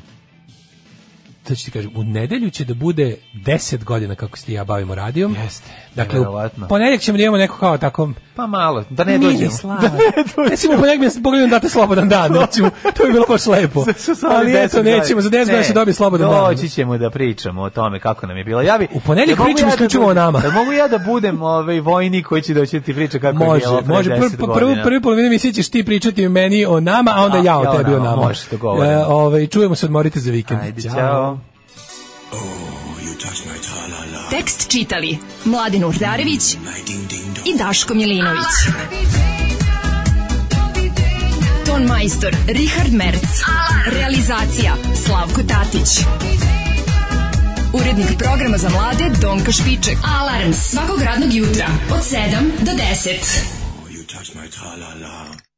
Speaker 7: sad ću ti kažem, u nedelju će da bude 10 godina kako se ti i ja bavimo radijom.
Speaker 6: Jeste,
Speaker 7: Dakle, u
Speaker 6: nevjerovatno.
Speaker 7: ponedjeljak ćemo da imamo neko kao tako
Speaker 6: Pa malo, da ne
Speaker 7: mini
Speaker 6: dođemo.
Speaker 7: slavu. [laughs] Recimo, ponedjeljak mi se pogledam date
Speaker 6: [laughs]
Speaker 7: slobodan dan,
Speaker 6: Da.
Speaker 7: recimo, to bi bilo baš lepo.
Speaker 6: Sa- sa ovih
Speaker 7: Ali eto,
Speaker 6: 10
Speaker 7: nećemo, za 10
Speaker 6: Ne,
Speaker 7: godina se dobije slobodan dan.
Speaker 6: Doći ćemo da pričamo o tome kako nam je bilo. Ja bi,
Speaker 7: U ponedjeljak
Speaker 6: da mogu
Speaker 7: pričamo
Speaker 6: ja da
Speaker 7: isključivo
Speaker 6: budem-
Speaker 7: o nama.
Speaker 6: Da mogu ja da budem ovaj vojnik koji će doći da ti priča kako je
Speaker 7: Može,
Speaker 6: bilo pre
Speaker 7: može.
Speaker 6: 10
Speaker 7: Prvi, prvi,
Speaker 6: godina.
Speaker 7: prvi polovinu mi ćeš ti pričati meni o nama, a onda
Speaker 6: A,
Speaker 7: ja o tebi o nama.
Speaker 6: Može, dogovoreno.
Speaker 7: E, ovaj, čujemo se, odmorite za vikend.
Speaker 6: Ajde, ćao.
Speaker 5: Tekst čitali Mladin Urdarević i Daško Milinović. Ton majstor Richard Merc. Realizacija Slavko Tatić. Urednik programa za mlade Donka Špiček. Alarms svakog radnog jutra od 7 do 10.
Speaker 10: You touch my tra-la-la.